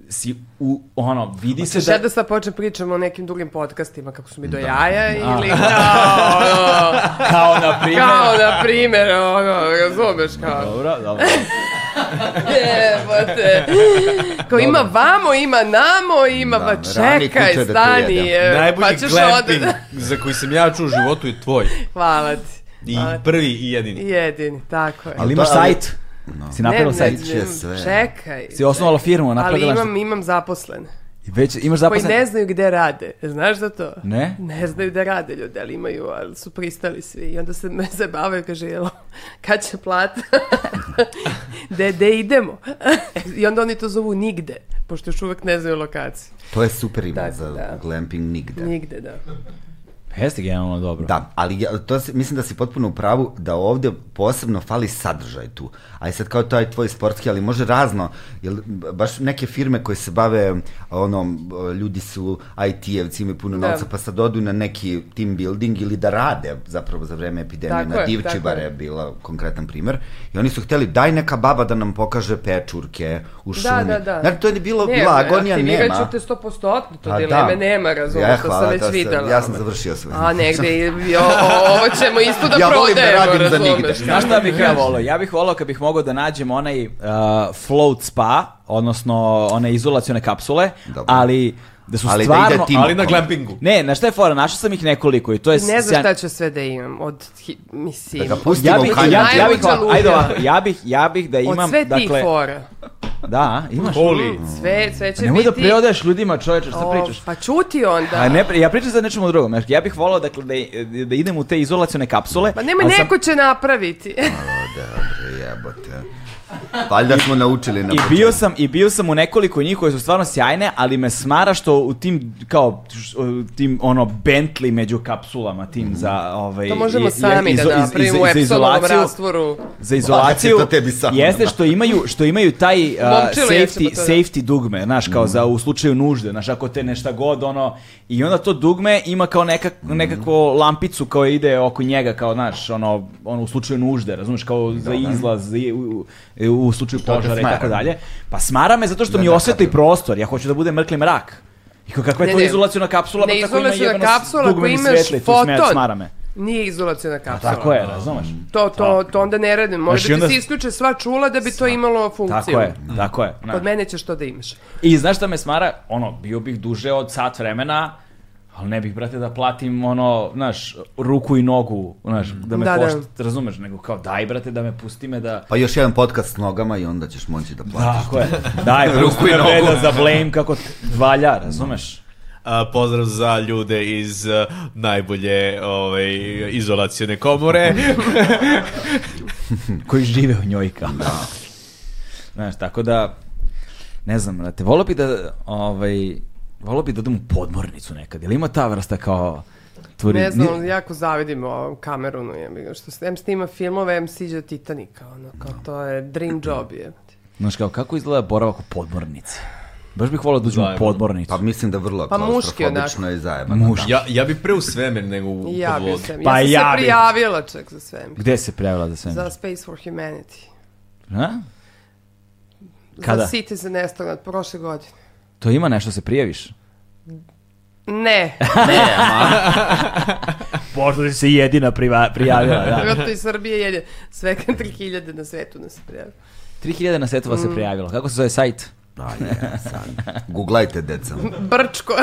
si u, ono, vidi se Sada da... da sad počnem pričam o nekim drugim podcastima kako su mi do jaja ili A. kao, ono, Kao na primjer... kao na primjer, ono, razumeš kao, Dobro, dobro. jebote, kao ima vamo, ima namo, ima, Da, pa rani kuće čekaj, da te stani, jede. e, Najbolji pa ćeš glamping onda, za koji sam ja čuo u životu je tvoj. hvala ti, I hvala ti. prvi i jedini. jedini, tako je. Ali imaš ali- sajt. Si napravila sajt. ne. će sve. čekaj. Si osnovala firmu, ali napravila imam, imam zaposlene, Već imaš koji zaposlen... ne znaju gde rade. Znaš za to? Ne? Ne znaju da rade ljudi, ali imaju, ali su pristali svi. I onda se me zabavaju, kaže, jel, kad će plata? de, de idemo? I onda oni to zovu nigde, pošto još uvek ne znaju lokaciju. To je super ime Da, za da. glamping nigde. Nigde, da. Jeste generalno dobro. Da, ali ja, to si, mislim da si potpuno u pravu da ovde posebno fali sadržaj tu. A i sad kao taj tvoj sportski, ali može razno, jer baš neke firme koje se bave, ono, ljudi su IT-evci, imaju puno Da. novca, pa sad odu na neki team building ili da rade zapravo za vreme epidemije. Tako na je, Divči tako bare je. je bila konkretan primer. I oni su hteli, daj neka baba da nam pokaže pečurke u Da, šumi. da, da. Znači, to je bilo, Ne, bila agonija, aktivirat nema. ću te stopostotno, to A, dileme da. nema, razumiješ, Ja, to sam hvala, već to sam- videla. ja sam završio sve. A negde, i- o, o, ovo ćemo isto da Ja volim da prodajemo, radim za nigde. razumeš, Znaš šta bih ja volao? Ja bih volao kad bih mogao da nađem onaj uh, float spa, odnosno one izolacione kapsule, Dobro. ali da su Ali da stvarno... ide tim. Ali na glampingu. Ne, na šta je fora? Našao sam ih nekoliko i to je... Ne znam sjajan- šta ću sve da imam od, hi- mislim, Da ga pustimo Ja u bih, ja, kanjadu. ja, ja bih, Najluđa ovako, ajde luda. ovako, ja bih, ja bih da imam, od sve tih dakle, fora. da, imaš. Holy. Sve, sve će Nemoj biti... da preodeš ljudima čoveče, šta O, pričaš? Pa čuti onda. A ne, pri- ja pričam za nečemu drugom. Znači, Ja bih volao dakle, da, da idem u te izolacione kapsule. Pa nemoj, ali sam- neko će napraviti. Dobre, jebote. Valjda smo naučili na I početku. bio sam i bio sam u nekoliko njih koje su stvarno sjajne, ali me smara što u tim kao š- u tim ono Bentley među kapsulama tim za ovaj to možemo je- sami je- izo- da iz- napravimo iz- u za Epsonovom izolaciju- rastvoru. za izolaciju to tebi samo. da. jeste što imaju što imaju taj uh, Momčilo, ja ću safety po to da- safety dugme, znaš, kao Mhm. za u slučaju nužde, znaš, ako te nešta god ono i onda to dugme ima kao nekak, Mhm. nekako lampicu koja ide oko njega kao znaš, ono, ono u slučaju nužde, razumeš, kao za izlaz za i- u, u, u slučaju te požara i smara. tako dalje. Pa smara me zato što mi da, osvetli kapiram. prostor, ja hoću da bude mrkli mrak. I kao, kakva je Ne, to ne. izolaciona kapsula, Ne, pa tako ima izolaciona jebeno s- kapsula, ako dugmeni imaš svetlicu, smara- foton. smara me. Nije izolacijona kapsula. Tako je, razumeš? Mm. To, to, to onda ne radim. Može Znaš, i da ti onda- se isključe sva čula da bi to imalo funkciju. Tako je, tako je. Kod mene ćeš to da imaš. I znaš šta me smara? Ono, bio bih duže od sat vremena, ali ne bih, brate, da platim, ono, znaš, ruku i nogu, znaš, da me Da, da. košta, razumeš, nego kao, daj, brate, da me pusti me da... Pa još jedan podcast s nogama i onda ćeš moći da platiš. Tako je, daj, pusti me bre, da zablejim kako t- valja, razumeš? A, pozdrav za ljude iz e, najbolje ovaj, izolacione komore. Koji žive u njoj kao. Znaš, tako da, ne znam, brate, volao bi da, ovaj, volao bi da odem u podmornicu nekad, jel ima ta vrsta kao... Tvori... Ne znam, jako zavidim ovom Kamerunu, ja bih ga, što s- em snima filmove, em siđe do Titanika, ono, kao to je dream job, je. Znaš kao, kako izgleda boravak u podmornici? Baš bih volao da uđem u Zajebano. podmornicu. Pa mislim da vrlo Pa muški klaustrofobično je da. zajebano. Muš. ja, ja bi pre u svemir nego u, u I ja bi podvodu. se, Pa ja sam ja se bi. prijavila čak za svemir. Gde se prijavila za sve? Za Space for Humanity. Ha? Za Kada? Citizen Astronaut, prošle godine. To ima nešto, da se prijaviš? Ne, Možda se jedina prijavila, da. Zato i Srbije jedje svega 3000 na svetu da nas prijavi. 3000 na setova Mm. se prijavilo. Kako se zove sajt? Da, je, sad. Googlajte, deca. Brčko.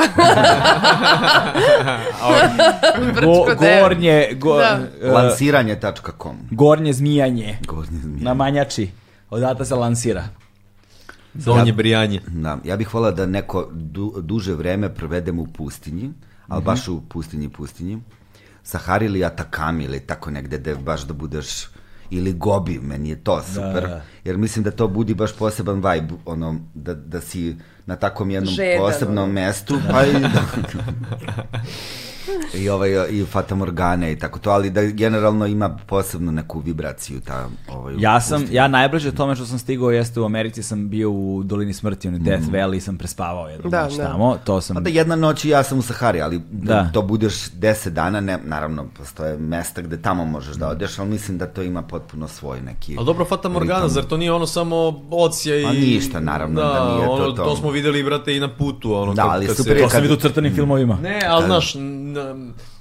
Go, Brčko devet. gornje, go, Da. e, Lansiranje.com gornje zmijanje. Gornje zmije. Na manjači. Odatle se lansira. Donje brijanje. Da, ja bih volao da neko du, duže vreme provedem u pustinji, ali Mhm. baš u pustinji, pustinji. Sahari ili Atakami ili tako negde gde baš da budeš ili Gobi, meni je to super. da. Jer mislim da to budi baš poseban vibe, ono, da, da si na takom jednom Žedan, posebnom ono. mestu, pa i da, i, ovaj, i Fata Morgana i tako to, ali da generalno ima posebnu neku vibraciju ta ovaj, Ja sam, pustinja. ja najbliže tome što sam stigao jeste u Americi sam bio u Dolini smrti, ono Death Valley, sam prespavao jednu Da, noć da. tamo, to sam... Pa da jedna noć i ja sam u Sahari, ali da. Da. to budeš 10 dana, ne, naravno postoje mesta gde tamo možeš da odeš, ali mislim da to ima potpuno svoj neki... Ali dobro, Fata Morgana, ritam. zar to nije ono samo ocija i... Pa ništa, naravno, da, da nije to ono, to. smo videli, brate, i na putu. Ono, Da, kad- ali kad super je Se... To sam vidio u crtanim filmovima. Ne, ali znaš, n-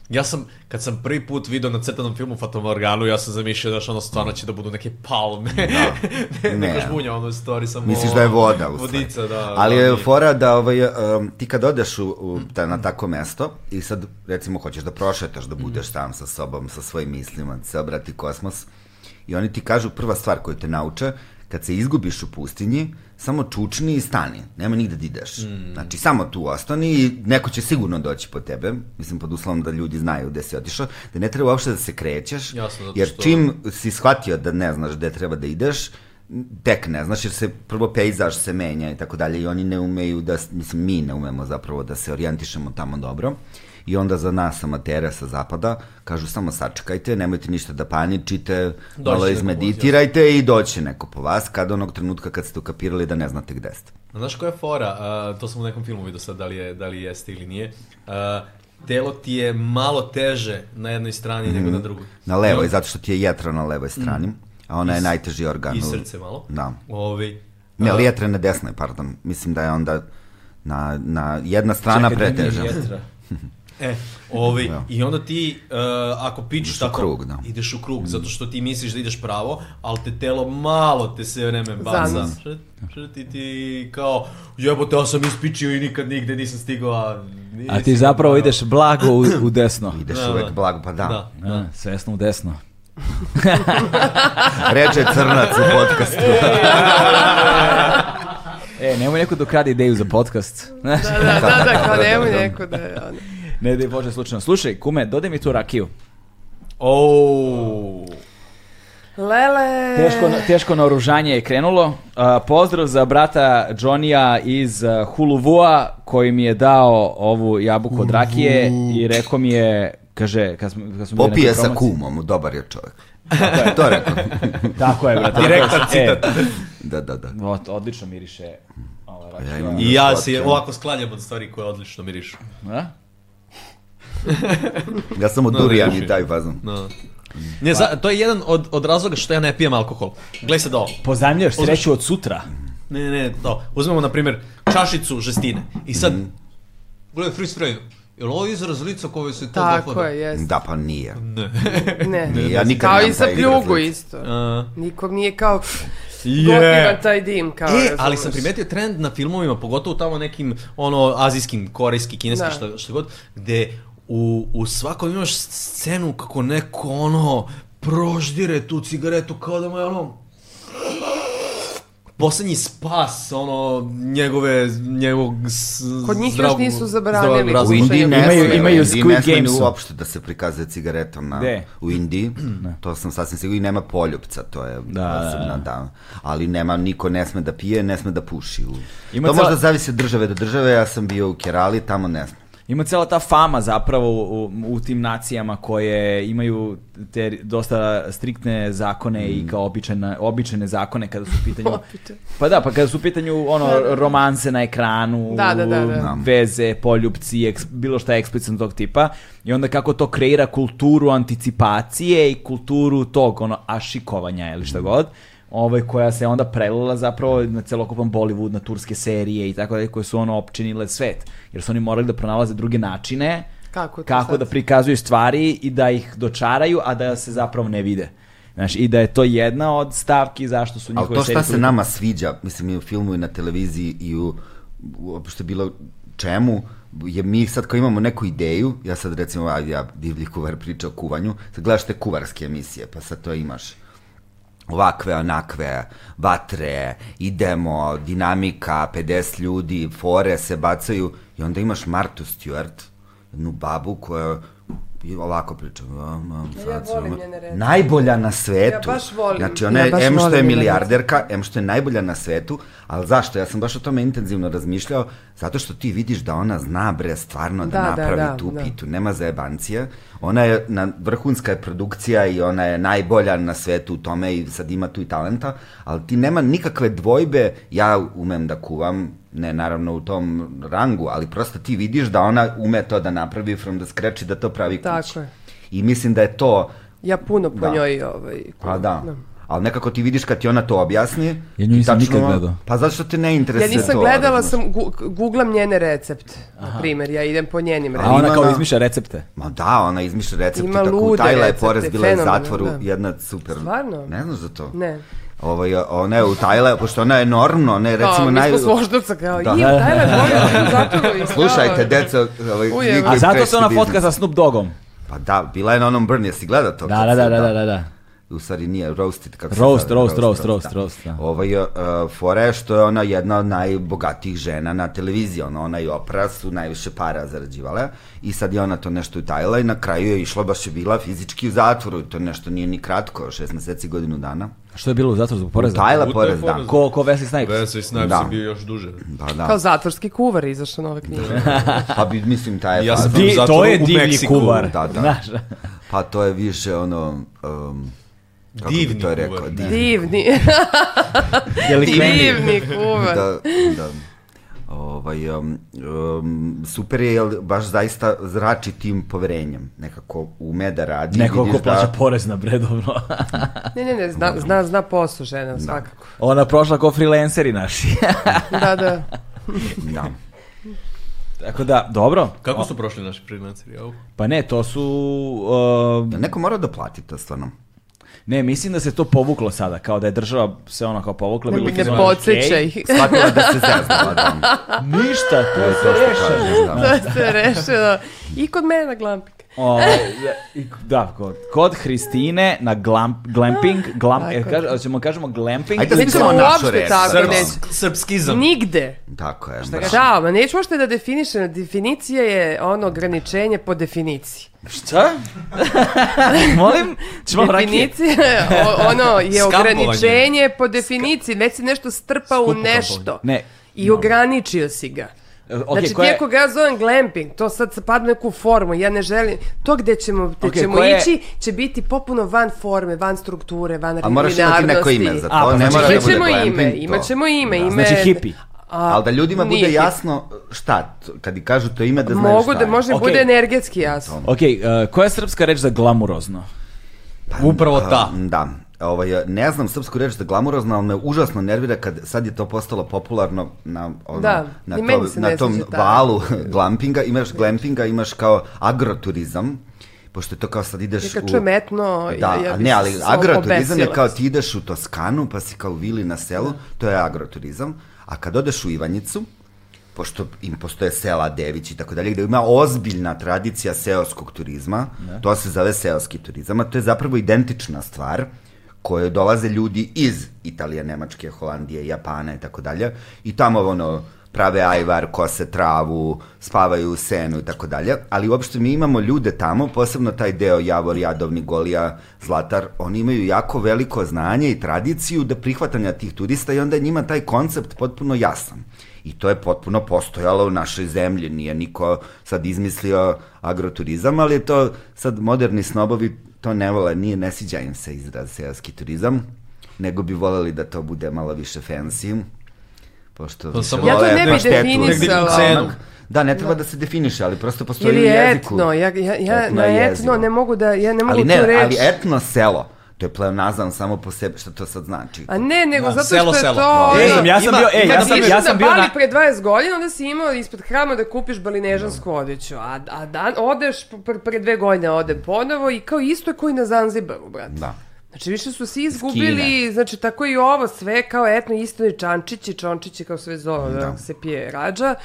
ja sam, kad sam prvi put video na crtanom filmu Fata Morganu, ja sam zamišljao, znaš, ono, stvarno će da budu neke palme. Da. Ne. ne, ne. žbunja, ono, story, samo... Misliš da je voda u stvari. Vodica, da. Ali da, je nije. fora da ovaj, um, ti kad odeš u, u, ta, na tako mesto i sad recimo hoćeš da prošetaš, da budeš Mhm. sam sa sobom, sa svojim mislima, da se obrati kosmos i oni ti kažu prva stvar koju te nauče, kad se izgubiš u pustinji, samo čučni i stani, nema nigde da ideš. Mhm. Znači samo tu ostani i neko će sigurno doći po tebe, mislim pod uslovom da ljudi znaju gde si otišao, da ne treba uopšte da se krećeš, Jasno, zato jer što- čim si shvatio da ne znaš gde treba da ideš, tek ne znaš jer se prvo pejzaž se menja i tako dalje i oni ne umeju da, mislim mi ne umemo zapravo da se orijentišemo tamo dobro i onda za nas amatera sa zapada kažu samo sačekajte, nemojte ništa da paničite, malo neko po vas, izmeditirajte i doće neko po vas kad onog trenutka kad ste ukapirali da ne znate gde ste. Znaš koja je fora, A, to sam u nekom filmu vidio sad da li, je, da li jeste ili nije, A, telo ti je malo teže na jednoj strani nego na drugoj. Mhm. Na levoj, zato što ti je jetra na levoj strani, a ona je Mm. I s- najteži organ. I u- srce malo. Da. Ovi, Ne, a, ali jetra je na desnoj, pardon. Mislim da je onda na, na jedna strana preteža. E, ovi, Da. i onda ti, e, ako pičeš u tako, krug, da. ideš u krug, zato što ti misliš da ideš pravo, ali te telo malo te sve vreme baca. Zanus. Šrt, šrt, i ti kao, jebote, ja sam ispičio i nikad nigde nisam stigao, a... A ti nisam- zapravo ideš blago u, u desno. Ideš Da, uvek da. blago, pa da. Da. Da, svesno u desno. Da. Reče crnac u podcastu. E, nemoj neko dok radi ideju za podcast. Znaš, Da, da, da, da, kao Da, da, nemoj da. neko da je ono. ne da je Bože slučajno. Slušaj, kume, dodaj mi tu rakiju. Ouuu. Lele. Teško, E. teško naoružanje je krenulo. A, pozdrav za brata Johnija iz a, Huluvua koji mi je dao ovu jabuku od rakije i rekao mi je, kaže, kad smo, kad smo bili na Popije toj sa promociji- kumom, dobar je čovjek. Tako je, to rekao. Tako je, brate. Direktan tako je. E, Da, da, da. ot- odlično miriše ova rakija. Ja imam I ja se slatke. ovako sklanjam od stvari koje odlično mirišu. A? Ja sam od ne Durijan kušim. i taj fazon. No. Da. Ne, za, to je jedan od, od razloga što ja ne pijem alkohol. Gle sad ovo. Pozajmljaš sreću od sutra. Ne, ne, ne, to. Uzmemo, na primjer, čašicu žestine. I sad, Mhm. gledaj, freeze frame. Je li ovo izraz lica koje se to Tako dopada? je, jes. Da, pa nije. Ne. ja nikad kao nemam i sa taj pljugu izraz. isto. A. Nikom nije kao Je. gotivan taj dim. Kao, E, ali razumeš. sam primetio trend na filmovima, pogotovo tamo nekim, ono, azijskim, korejski, kineski, Da. šta, šta god, gde u, u svakom imaš scenu kako neko, ono, proždire tu cigaretu kao da mu je, ono, poslednji spas, ono, njegove, njegovog s- Kod njih zdravog- još nisu zdravog zabranili. razuma. U Indiji ne Imaju- sme, imaju u Indiji Squid ne sme ni Games-u. uopšte da se prikazuje cigaretom na, Gde? u Indiji. To sam sasvim sigurno i nema poljupca, to je da, posebna, da. Ali nema, niko ne sme da pije, ne sme da puši. U... Ima to cela- možda zavisi od države do države, ja sam bio u Kerali, tamo ne sme. Ima cela ta fama zapravo u, u tim nacijama koje imaju te dosta striktne zakone i kao običajne, običajne zakone kada su u pitanju... Opiče. Pa da, pa kada su u pitanju ono, romanse na ekranu, Da, da, da, da. veze, poljupci, eks, bilo šta eksplicitno tog tipa i onda kako to kreira kulturu anticipacije i kulturu tog ono ašikovanja ili šta Mm. god ovaj, koja se onda prelila zapravo na celokupan Bollywood, na turske serije i tako dalje koje su ono opčinile svet jer su oni morali da pronalaze druge načine Kako to kako sad? da prikazuju stvari i da ih dočaraju, a da se zapravo ne vide. Znaš, i da je to jedna od stavki zašto su njihove Ali to šta serije se toliko- nama sviđa, mislim i u filmu i na televiziji i u uopšte bilo čemu, je mi sad kao imamo neku ideju, ja sad recimo, ajde, ja divlji kuvar priča o kuvanju, sad gledaš te kuvarske emisije, pa sad to imaš ovakve, onakve, vatre, idemo, dinamika, 50 ljudi, fore se bacaju i onda imaš Martu Stewart, jednu babu koja i ovako priča. vam, vam, sad se volim vam- njene reči. Najbolja na svetu. Ja baš volim. Znači ona Ja je, baš em što je volim njene milijarderka, em što je najbolja na svetu, ali zašto? Ja sam baš o tome intenzivno razmišljao, zato što ti vidiš da ona zna bre stvarno da, Da, da, napravi da, tu da. pitu, nema zajebancija. Ona je, na, vrhunska je produkcija i ona je najbolja na svetu u tome i sad ima tu i talenta, ali ti nema nikakve dvojbe, ja umem da kuvam, ne naravno u tom rangu, ali prosto ti vidiš da ona ume to da napravi from the scratch i da to pravi kući. Tako je. I mislim da je to, Ja puno po Da. njoj ovaj, pa da, ali nekako ti vidiš kad ti ona to objasni. Ja nju ti nisam tačno- nikad gledao. Pa zato što te ne Ja interesuje to. nisam gledala, razumeš? sam gu- googlam njene recepte, na primjer, ja idem po njenim A receptima. ona kao na- izmišlja recepte. Ma da, ona izmišlja recepte Ima tako lude utajila je recepte, porez, bila je u fenomenalno, zatvoru, da. jedna super. Stvarno? Ne znaš za to? Ne. Ovaj, ona je utajila, pošto ona je enormno, ona je Kao, recimo Da, mi naj... smo s voždovca, kao, Da. i, daj me, bolje, u zatvoru. i kao- Slušajte, deco, ovaj, Da. Ujeva. vi koji A zato se prešli ona biznis. fotka sa Snoop Dogom. Pa da, bila je na onom Burn, jesi gleda to? Da, Kad da, da, se- da, da, da. U stvari nije, Roasted. Kako se Roast, zove, roast, roast, roast, roast, da. Ovaj, uh, fora je što je ona jedna od najbogatijih žena na televiziji, ona, ona i Oprah su najviše para zarađivala i sad je ona to nešto utajila i na kraju je išla, baš je bila fizički u zatvoru, to nešto nije ni kratko, šest meseci, godinu dana. Što je bilo u zatvoru zbog poreza? Utajila je porez, da. porez. Ko, ko Wesley Snipes? Wesley Snipes Da. je bio još duže. Da, Kao da. zatvorski kuvar izašao nove knjige. Pa bi, mislim, taj je Ja sam faza. bio Di, u zatvoru to je u divlji Meksiku. kuvar. Da, da. Znaš, Pa to je više ono... Um, kako Divni bi to rekao? kuvar. Divni. Divni, delikventi. divni kuvar. Da, da. Ovaj, um, um, super je, jel, baš zaista zrači tim poverenjem. Nekako ume da radi. Neko vidiš ko plaća da, porez na bredovno. Ne, ne, ne, zna, zna, zna posao Da. žena, svakako. Ona prošla ko freelanceri naši. Da, da. da. Tako da, dobro. Kako su prošli naši freelanceri? Au. Pa ne, to su... um, Jel Neko mora da plati to stvarno. ne, mislim da se to povuklo sada, kao da je država se ono kao povukla. Ne, bilo ne fazon, podsjeća "Ej, ih. Shvatila da se zeznala, da. Ništa, to To je je to to. što kažem, da. To se rešilo. I kod mene na glampik. O, i- da, kod, kod Hristine na glam, glamping, glam, Tako. e, kaž, hoćemo kažemo glamping. Ajde da Nećemo smislimo našu uopšte reč. tako, stvarno. neću. Srpskizam. Nigde. Tako je. da. bravo. Žao, ma neću uopšte da definišem. Definicija je ono ograničenje po definiciji. Šta? Molim? Čemo rakije? Definicija je, o- ono je Skampovanje. ograničenje po definiciji. Već si nešto strpa u nešto. Ne. I ograničio si ga. E, ok, znači, koja je- tijeko ja zovem glamping, to sad se padne u neku formu, ja ne želim, to gde ćemo, gde Ok, ćemo koja je- ići će biti popuno van forme, van strukture, van A regularnosti. moraš imati neko ime za A, to. pa Ne znači mora da Imat bude ćemo ime, glamping. imat to. ćemo ime, ime. Znači hipi. A, Ali da ljudima nije bude hipi. jasno šta, t- kad i kažu to ime da znaju Mogu šta da je. može Ok. bude energetski jasno. Ok, eh, e, koja je srpska reč za glamurozno? Upravo A, ta. Da. Ovaj, ne znam srpsku reč za glamurozno, ali me užasno nervira kad sad je to postalo popularno na, ono, Da, na, i meni se ne na tom sviđa ta- valu glampinga. Imaš glampinga, imaš kao agroturizam, pošto je to kao sad ideš Ja kad u... čujem etno, Da, ja, ja a bi ne, ali se agroturizam je obesila. Da. kao ti ideš u Toskanu, pa si kao u vili na selu, to je agroturizam, a kad odeš u Ivanjicu, pošto im postoje sela Dević i tako dalje, gde ima ozbiljna tradicija seoskog turizma, to se zove seoski turizam, a to je zapravo identična stvar koje dolaze ljudi iz Italije, Nemačke, Holandije, Japana i tako dalje i tamo ono prave ajvar, kose travu, spavaju u senu i tako dalje, ali uopšte mi imamo ljude tamo, posebno taj deo Javor, Jadovni, Golija, Zlatar, oni imaju jako veliko znanje i tradiciju da prihvatanja tih turista i onda je njima taj koncept potpuno jasan. I to je potpuno postojalo u našoj zemlji, nije niko sad izmislio agroturizam, ali je to sad moderni snobovi to ne vole, nije ne sviđa im se izraz seoski turizam, nego bi voleli da to bude malo više fancy. Pošto više samo- Ja to vole ne bi paštetu, definisala. onog- Cenu. Da, ne treba da se definiše, ali prosto postoji Ili u je jeziku. etno, ja, ja, ja Etno na je etno jezivo. ne mogu da, ja ne mogu ali ne, tu reći. ali etno selo, to je pleonazam samo po sebi, što to sad znači? A ne, nego zato što selo, je selo. to... Ej, ono, sam, ja sam ima- bio, e, ej, ima ja Kad sam, si išao ja sam bio na da Bali na... pre 20 godina, onda si imao ispred hrama da kupiš balinežansku odjeću, a, a dan, odeš, pre, pre dve godine odem ponovo i kao isto je koji na Zanzibaru, brate. Da. Znači više su svi izgubili, znači tako i ovo sve kao etno isto i čančići, čončići kao sve zove, da. se pije rađa.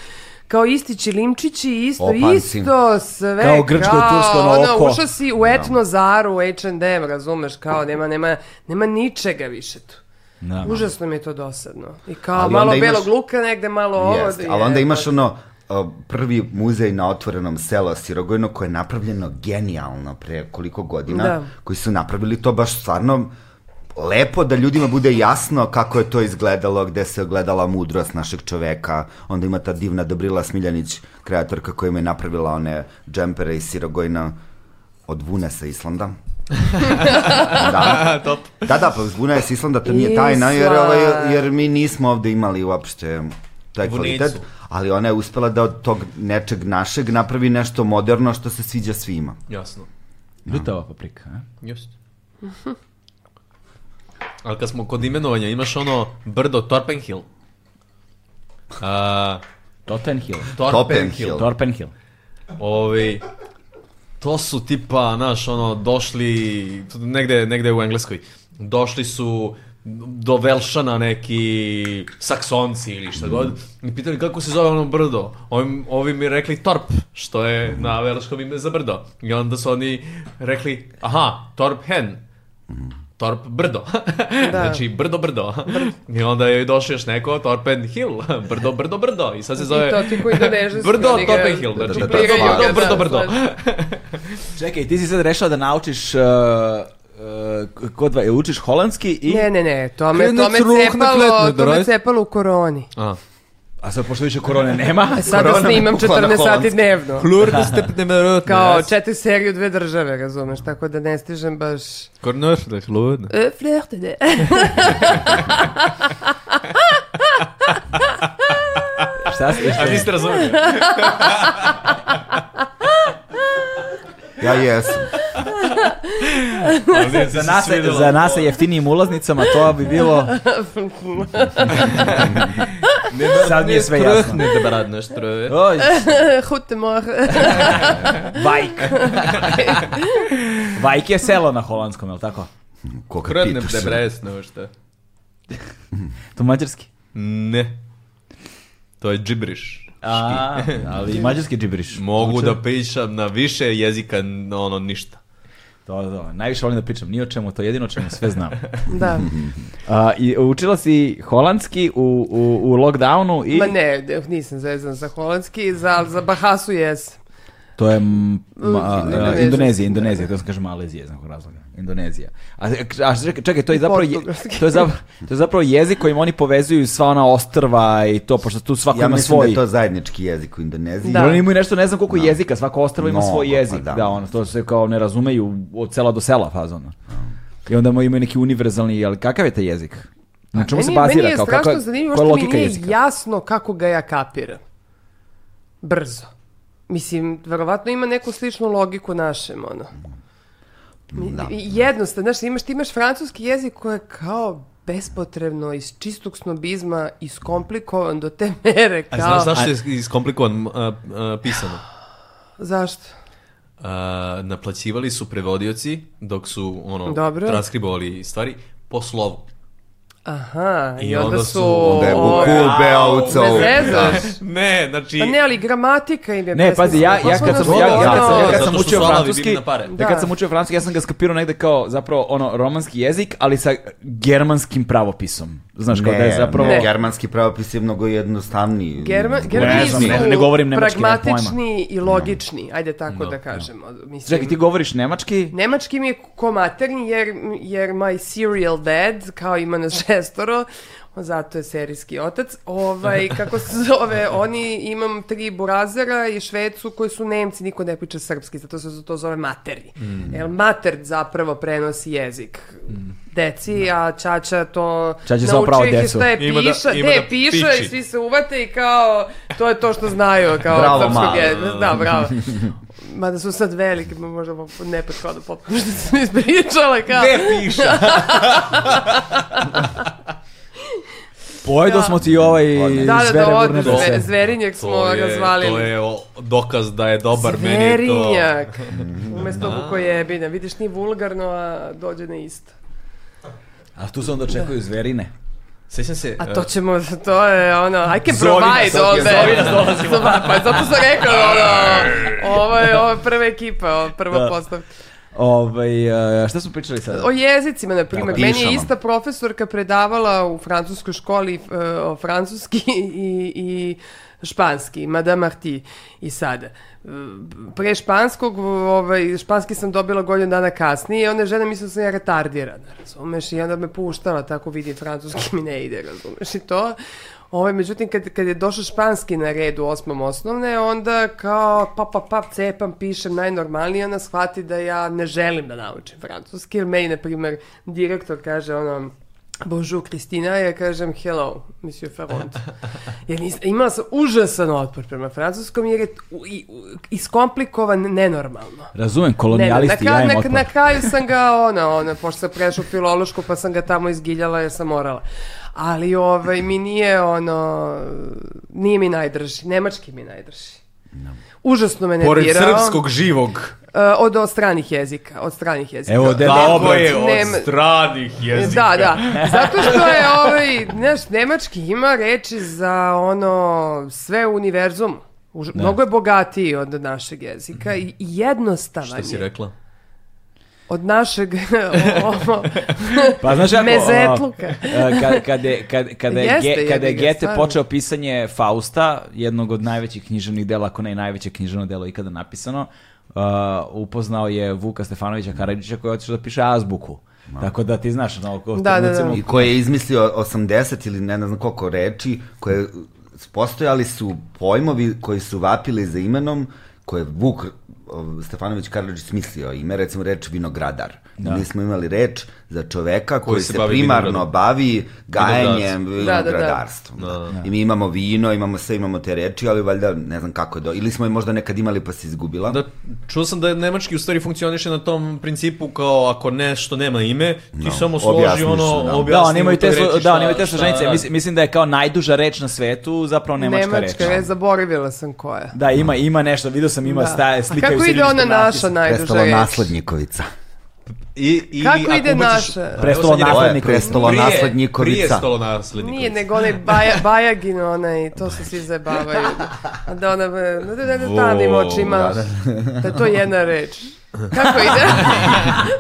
kao isti čilimčići, isto, Opanci. isto, sve Kao grčko-tursko na ono, oko. ušao si u etnozaru, u H&M, razumeš, kao nema, nema, nema ničega više tu. Da. Užasno mi je to dosadno. I kao Ali malo onda imaš- belog luka negde, malo ovo. Jeste, ali onda imaš ono uh, prvi muzej na otvorenom sela Sirogojno koje je napravljeno genijalno pre koliko godina, Da. koji su napravili to baš stvarno lepo da ljudima bude jasno kako je to izgledalo, gde se ogledala mudrost našeg čoveka. Onda ima ta divna Dobrila Smiljanić, kreatorka koja im je napravila one džempere iz Sirogojna od Vune sa Islanda. da. Top. da, da, pa Vuna je s Islanda, to nije tajna, jer, Island. ovaj, jer mi nismo ovde imali uopšte taj Vunicu. kvalitet, ali ona je uspela da od tog nečeg našeg napravi nešto moderno što se sviđa svima. Jasno. Ljutava paprika, a? Just. Ali kad smo kod imenovanja, imaš ono brdo Torpenhill. A, Tottenhill. Topenhill. Torpenhill. Torpenhill. Ovi, to su tipa, znaš, ono, došli, tu negde, negde u Engleskoj, došli su do Velšana neki saksonci ili šta god, i pitali kako se zove ono brdo. Ovi, ovi mi rekli Torp, što je na velškom ime za brdo. I onda su oni rekli, aha, Torphen. Torp brdo. znači, brdo brdo. I onda je došao još neko, Torpen Hill. Brdo, brdo, brdo. I sad se zove... I to ti koji indonežanski, Brdo, oni ga Torpenhill. Znači, Da, da, brdo, da, da, da, dupliraju ga, brdo, brdo, da, brdo. slažem. Čekaj, ti si sad rešao da naučiš uh, uh, kod dva, učiš holandski i... Ne, ne, ne, to me, Krenec to me ruh na cepalo, da kletnu, to me daj. cepalo u koroni. A sad pošto više korone nema... Sada Korona snimam pukla na 14 sati holandski. dnevno. Plur da ste nevjerojatno. Kao četiri serije u dve države, razumeš, tako da ne stižem baš... Kornoš da je ludno. E, flerte, ne. Šta si? A vi ste razumeli? Ja jesam. Za nas, za nas sa jeftinijim ulaznicama to bi bilo... Sad mi je sve jasno. Ne da brad nešto. Oj, Hute mor. Vajk. Vajk je selo na holandskom, je li tako? Koga Krvne pitaš? debresno što. To mađarski. Ne. To je džibriš. A, ali i mađarski džibriš. Mogu da pričam na više jezika, no, ono ništa. To, to, najviše volim da pričam, ni o čemu, to je jedino o čemu sve znam. Da. A, i učila si holandski u, u, u lockdownu i... Ma ne, ne, nisam zvezan za holandski, za, za Bahasu jesam. To je m, ma, Indonezija. a, Indonezija, Indonezija, to sam kažem Malezija iz nekog razloga. Indonezija. A, a čekaj, čekaj, to je zapravo je- portugalski. to je zapravo, to je zapravo jezik kojim oni povezuju sva ona ostrva i to pošto tu svako Ja ima mislim svoj. da je to zajednički jezik u Indoneziji. Da. Da. Oni imaju nešto, ne znam koliko jezika, svako ostrvo ima Mnogo, svoj pa jezik. da. da. ono, to se kao ne razumeju od sela do sela fazona. I onda imaju neki univerzalni, ali kakav je taj jezik? Na čemu se Meni- bazira? Meni je kao, strašno kako, zanimljivo koja je što mi logika nije jezika? jasno kako ga ja kapiram. Brzo. Mislim, verovatno ima neku sličnu logiku našem, ono. Mi- Da. i- Jednostavno, znaš, imaš, ti imaš francuski jezik koji je kao bespotrebno iz čistog snobizma iskomplikovan do te mere A kao... znaš zašto je iskomplikovan a, a, pisano? Zašto? A, naplaćivali su prevodioci dok su ono Dobro. transkribovali stvari po slovu. Aha, i, I onda, onda su... su- Da onda je Da. o, bukul beovca. bez veze. Ne, znači Pa ne, ali gramatika im je... Ne, pazi, ja, ja kad sam, ja, ja kad sam, ja kad Zato sam što su učio slavovi francuski, bili na pare. ja kad Da. sam učio francuski, ja sam ga skapirao negde kao zapravo ono romanski jezik, ali sa germanskim pravopisom. Znaš, kao da je zapravo... ne, germanski pravopis je mnogo jednostavniji. Germa, Ne germani znam, su ne- ne govorim nemački, nemam pojma. pragmatični i logični, ajde tako da kažemo. Mislim, Čekaj, ti govoriš nemački? Nemački mi je ko maternji jer, jer my serial dad, kao ima nas šestoro, zato je serijski otac, ovaj, kako se zove, oni imam tri burazera i švecu koji su nemci, niko ne priča srpski, zato se to zove materni. Mm. Jer mater zapravo prenosi jezik deci, a Čača to Da. Čača samo pravo nauči ih i decu. šta je Ima da- piša, ima gde da piša i piči. svi se uvate i kao, to je to što znaju, kao Bravo, od srpskog mala. jezika. Da, bravo. Mada su sad veliki, ma možda ne potpada potpuno što sam ispričala, kao... ne piše. Pojedo smo ti ovaj Da, da, da, zvere od gurne zve- dose. zverinjak smo To je, ga zvali. to je o- dokaz da je dobar meni je to. Da. Zverinjak. Umesto bukojebine. Vidiš, nije vulgarno, a dođe na isto. A tu se onda očekuju zverine. Sjećam se... e, A to ćemo, to je ono, I can Zovi nas, provide ok, ovde. zovi nas, dolazimo. Zovi- Pa zato sam rekao, ono, ovo je, ovo je prva ekipa, ovo je prva Da. postavka. Ovaj, e, šta smo pričali sada? O jezicima, na primjer. Da, Meni je pišama. ista profesorka predavala u francuskoj školi e, o francuski i, i španski, Madame Marti i sada. E, Pre španskog, ovaj, španski sam dobila godinu dana kasnije i onda je žena mislila da sam ja retardirana, razumeš? I onda me puštala, tako vidi, francuski mi ne ide, razumeš? I to... Ovaj, međutim, kad, kad je došao španski na red u osmom osnovne, onda kao pa pa pa cepam, pišem najnormalnije, ona shvati da ja ne želim da naučim francuski, jer meni, na primjer, direktor kaže ono, Bonjour Kristina, ja kažem hello, monsieur Ferrand. Jer nis, imala sam užasan otpor prema francuskom jer je u- i- u- iskomplikovan nenormalno. Razumem, Ne, ne, na, kolonijalisti, ja kraju, im na, otpor. na kraju sam ga, ona, ona, pošto sam prešla u filološku, pa sam ga tamo izgiljala jer sam morala. Ali ovaj, mi nije, ono, nije mi najdrži. Nemački mi najdrži. Užasno me nervirao. Pored srpskog živog. E, od, od stranih jezika, od stranih jezika. Evo, deda Tako obrat. je, od Nema- stranih jezika. Da, da. Zato što je ovaj, znaš, nemački ima reči za ono sve u univerzumu. Už, Mnogo je bogatiji od našeg jezika i i jednostavan Šta si je. rekla? Od našeg ovo, Pa znaš kako, mezetluka. ono, kad, e, kad je, kad, kada je, Jeste, Ge- kada je jebi ga, Goethe stvarno. počeo pisanje Fausta, jednog od najvećih književnih dela, ako ne i najveće književno delo ikada napisano, uh, upoznao je Vuka Stefanovića Karadžića koji je otišao da piše azbuku. Tako da ti znaš, ono, ko- Da, da, da. recimo, I koje je izmislio 80 ili ne znam koliko reči, koje postojali su pojmovi koji su vapili za imenom, koje je Vuk o, Stefanović Karadžić smislio ime, recimo reč vinogradar. Da. Mi smo imali reč za čoveka koji, se se, bavi primarno vinogradom. bavi gajanjem Da, da, da. vinogradarstvom. Da, I mi imamo vino, imamo sve, imamo te reči, ali valjda ne znam kako je do... Ili smo je možda nekad imali pa se izgubila. Da, čuo sam da je nemački u stvari funkcioniše na tom principu kao ako nešto nema ime, ti samo složi objasniš, ono, da. objasni Da, mu oni imaju te, pet reči slo- da, šta- oni imaju te šta složenice. radi. Mislim, mislim da je kao najduža reč na svetu, zapravo nemačka, reč. reč, zaboravila sam koja. je. Da, ima, ima nešto, vidio sam, ima Da. staje, A slikaju kako se ide ljudi ona ispod natpisa. naša najduža Prestalo reč? naslednikovica. I, i, Kako ako ide ubaciš- naša? Prestalo Evo sad je- Ovo je Naslednikovica. prestalo Prije- Prije naslednikovica. stalo naslednikovica. Nije, nego onaj baja, Bajagin, onaj, to se svi zabavaju. Da ona, da, da, da, da, tanim Wow, očima. Da, je to jedna reč. Kako ide?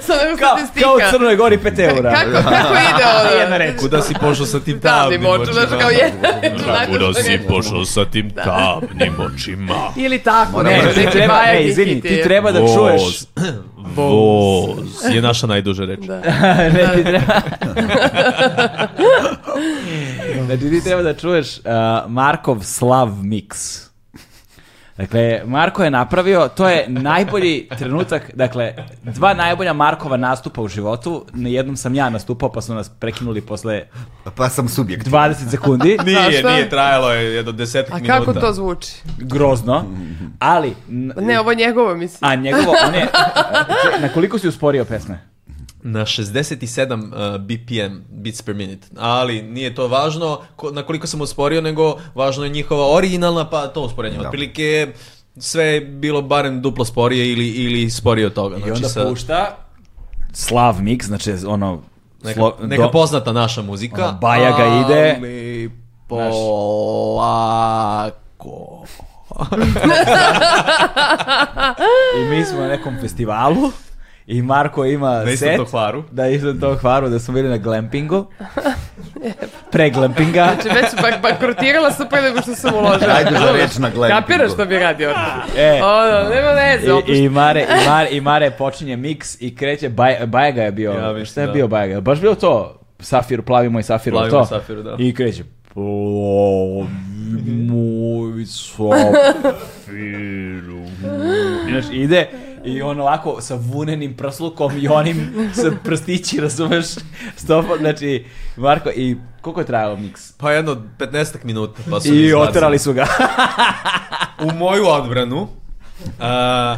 Samo nego Kao, statistika. kao u Crnoj Gori 5 eura. Kako, kako ide ono? Jedna reč. Kuda si pošao sa Tanim tim tamnim očima, očima? znaš kao jedna reč. Kuda najduža da si reč. pošao sa tim Da. tamnim očima? Ili tako, Ne, ne, ti neki treba, ne, Bajagin izvini, hiti ti je. treba da čuješ. Voz. Voz je naša najduža reč. Da. ne, ti treba... znači, ti treba da čuješ uh, Markov Slav Mix. Dakle, Marko je napravio, to je najbolji trenutak, dakle, dva najbolja Markova nastupa u životu, na jednom sam ja nastupao, pa su nas prekinuli posle Pa sam subjekt. 20 sekundi. Nije, šta? nije, trajalo je jedno desetak A minuta. kako to zvuči? Grozno. Ali, n- Ne, ovo je njegovo, mislim. a njegovo, on je, na koliko si usporio pesme? Na 67 uh, BPM, beats per minute. Ali nije to važno ko, na koliko sam usporio, nego važno je njihova originalna, pa to usporenje. Otprilike sve je bilo barem duplo sporije ili, ili sporije od toga. Znači I onda sa- pušta Slav Mix, znači ono... neka, slo- neka do- poznata naša muzika. Ono, Bajaga ide. Ali polako. I mi smo na nekom festivalu i Marko ima Na istom set. tom Hvaru. Da, istom tom hvaru, da smo bili na glampingu. Pre glampinga. Znači, već bak, bankrotirala sam pre nego što sam uložila. Najduža reč na glampingu. Kapiraš što bi radio? E, Ono, nema veze, I, opušta. i, Mare, i, Mare, I Mare počinje miks i kreće, Baj, Bajega je bio, Ja mislim, šta je da. bio Bajega? Baš bio to, Safir, plavi moj Safir, Plavi to? moj Safir, da. I kreće, plavi moj Safir. Znaš, ide i on ovako sa vunenim prslukom i onim sa prstići, razumeš? Stopa, znači, Marko, i koliko je trajalo miks? Pa jedno 15 minuta. Pa su I izbacili. oterali su ga. U moju odbranu. a,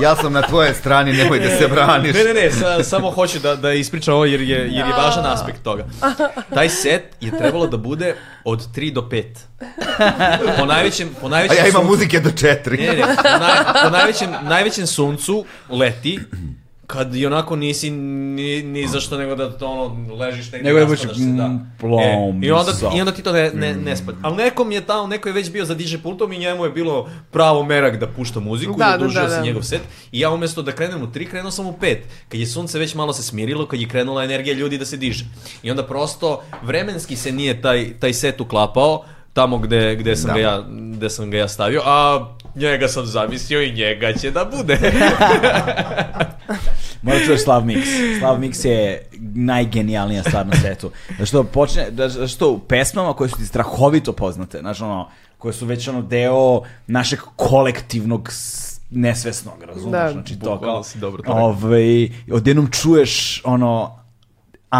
Ja sam na tvojoj strani, nemoj da se braniš. Ne, ne, ne, sa- samo hoću da, da ispričam ovo jer je, jer je važan aspekt toga. Taj set je trebalo da bude od 3 do 5. Po najvećem, po A najvećem ja imam suncu- muzike do četiri. Ne, ne, po, naj, po najvećem, najvećem suncu leti, kad i onako nisi ni, ni za što nego da to ono ležiš negdje Nego da naspadaš budeš, mm, plom, E, i, onda, za. I onda ti to ne, ne, ne spada. Ali nekom je tamo, neko je već bio za DJ pultom i njemu je bilo pravo merak da pušta muziku Da, da, da, i odužio da, se da. njegov set. I ja umjesto da krenem u tri, krenuo sam u pet. Kad je sunce već malo se smirilo, kad je krenula energija ljudi da se diže. I onda prosto vremenski se nije taj, taj set uklapao tamo gde, gde, sam Da. ga ja, gde sam ga ja stavio, a njega sam zamislio i njega će da bude. Moram da čuješ Slav Mix. Slav Mix je najgenijalnija stvar na svetu. Zato što počne, zato što u pesmama koje su ti strahovito poznate, znaš ono, koje su već ono deo našeg kolektivnog s- nesvesnog, razumiješ? Da. znači to Bukvalno kao, si dobro to rekao. ovaj, odjednom čuješ ono,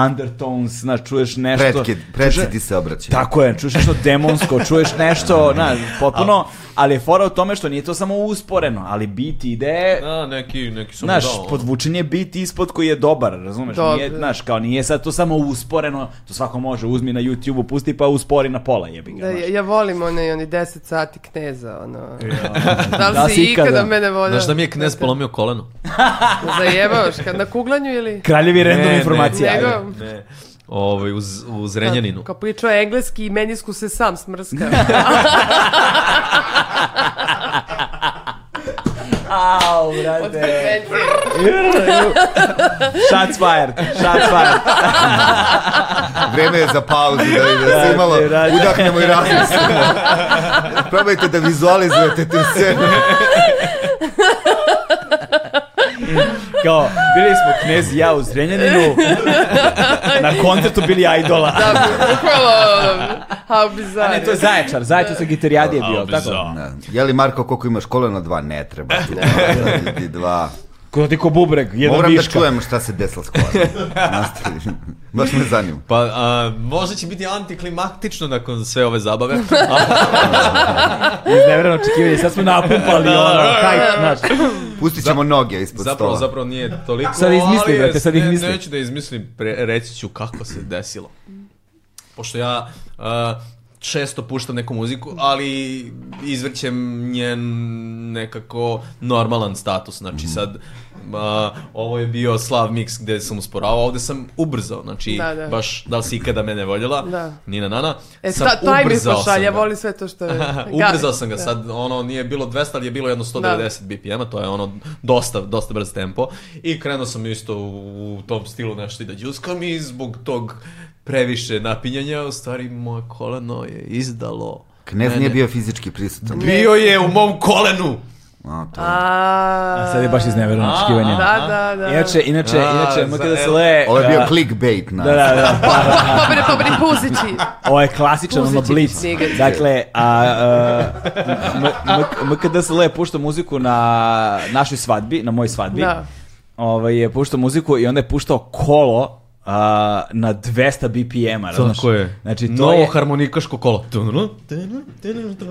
undertones, znaš, čuješ nešto... Pretke, preci ti se obraćaju. Tako je, čuješ nešto demonsko, čuješ nešto, znaš, potpuno, ali je fora u tome što nije to samo usporeno, ali bit ide A, Da, neki, neki su mu Znaš, dao, ono. podvučen je bit ispod koji je dobar, razumeš? Dobro. Nije, znaš, kao nije sad to samo usporeno, to svako može, uzmi na YouTube-u, pusti pa uspori na pola jebi ga, Da, ja, znaš. ja volim one, oni 10 sati kneza, ono. Da li Da si, si ikada, ikada? mene vodio? Znaš da mi je knez polomio koleno? Zajebavaš, kad na kuglanju ili? Kraljevi random ne, informacija. nego- ajde. Ne. Ovaj, uz, u Zrenjaninu. Kad pričao engleski i menisku se sam smrska. Au, Od brate. frekvencije. Shots fired, shots fired. Vreme je za pauzu, da, da se malo Brate, udahnemo i razmislimo. Probajte da vizualizujete tu scenu. Kao, bili smo knez i ja u Zrenjaninu, na koncertu bili idola. Da, bukvalo, how A bizarre. ne, to je Zaječar, Zaječar sa gitarijadi je bio, tako? Da. Je li Marko koliko imaš kolena? Dva, ne treba. Tu, da ti dva. Kod ti ko bubreg, jedan Moram da viška. čujem šta se desilo s kolenom. Nastavi. Baš me zanima. Pa, a, možda će biti antiklimaktično nakon sve ove zabave. A, Iznevereno očekivanje, sad smo Da, napumpali ono, hajt, znaš. Pustit ćemo noge ispod zapravo, stola. zapravo nije toliko. Sad izmisli, ali je- brate, sad ih ne- misli. Neću da izmislim, pre, reći ću kako se desilo. Pošto ja a, često puštam neku muziku, ali izvrćem njen nekako normalan status. Znači sad, a, ovo je bio slav mix gde sam usporavao, ovde sam ubrzao. Znači, Da, da. baš, da li si ikada mene voljela, Da. Nina Nana, E, sam ta, taj mi ubrzao sam pošalje, ga. voli sve to što je. Ubrzao sam ga Da. sad, ono nije bilo 200, ali je bilo jedno 190 BPM-a, to je ono dosta, dosta brz tempo. I krenuo sam isto u, u tom stilu nešto i da džuskam i zbog tog previše napinjanja, u stvari moje koleno je izdalo. Knez nije mene. bio fizički prisutan. Bio je u mom kolenu! A, to. A, Sad je baš iznevereno očekivanje. Da, da, da. Inače, inače, A, inače, za- moj kada se le... E, Ovo je bio da, clickbait. Na. Da, da, da. Pobri, pobri, puzići. Ovo je klasičan ono Puzići ti blic. snigati. Dakle, a, uh, MKDSL je puštao muziku na našoj svadbi, na mojoj svadbi. Da. Ovaj, je puštao muziku i onda je puštao kolo a, na 200 BPM-a, razumeš? Tako je. Znači, to Novo je... harmonikaško kolo.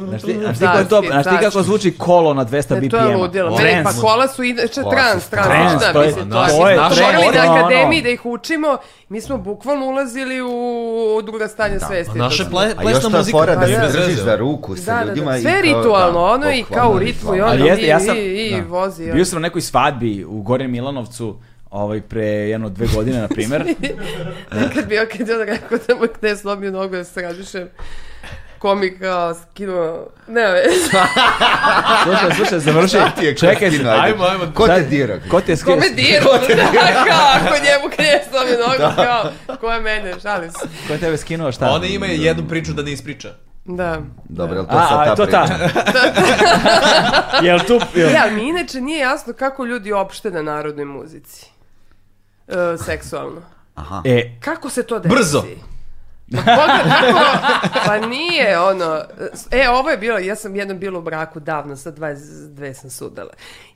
Znaš ti, znaš ti kako je to, Carski, znaš ti kako carski. zvuči kolo na 200 Ne, BPM-a? E, to je ludilo. Meni pa Trans. kola su inače trans, trans, trans, to da, je- mislim, to to, je je, to trans, morali ono, na ono. akademiji da ih učimo. Mi smo bukvalno ulazili u druga stanja Da. svesti. Naše To- ple, A još plesna ta muzika. Pa fora da bez se veze. držiš za ruku sa Da, da, ljudima. da, i sve kao- ritmualno, da, ono i bukvalno kao u ritmu i ritualno. ono. Ali jeste, i- ja sam... i- i da. vozi, ono. Bio sam na nekoj svadbi u Gornjem Milanovcu, ovaj, pre jedno dve godine, na primjer. Kad bi kad je on rekao da mu gde slomio nogu da se radišem komika skinuo, ne, ne, slušaj, slušaj, završi. Šta ti je Čekaj, Kristina, ajde. ajmo, ajmo. Ko te Sad- dira? Ko Da. ti je skri- kome diru, da, kao, ako njemu kad je slomio nogu, kao, ko je mene, šalim se. Ko je tebe skinuo, šta? Ona ima jednu priču da ne ispriča. Da. Dobro, jel to A, sad a, ta to ta. priča? jel tu... Jel... Ja, mi inače nije jasno kako ljudi opšte na narodnoj muzici. E, seksualno. E, Kako se to desi? Brzo. Pa koga- kako- pa nije ono, e ovo je bilo, ja sam jednom bila u braku davno, sa 22 sam sudala.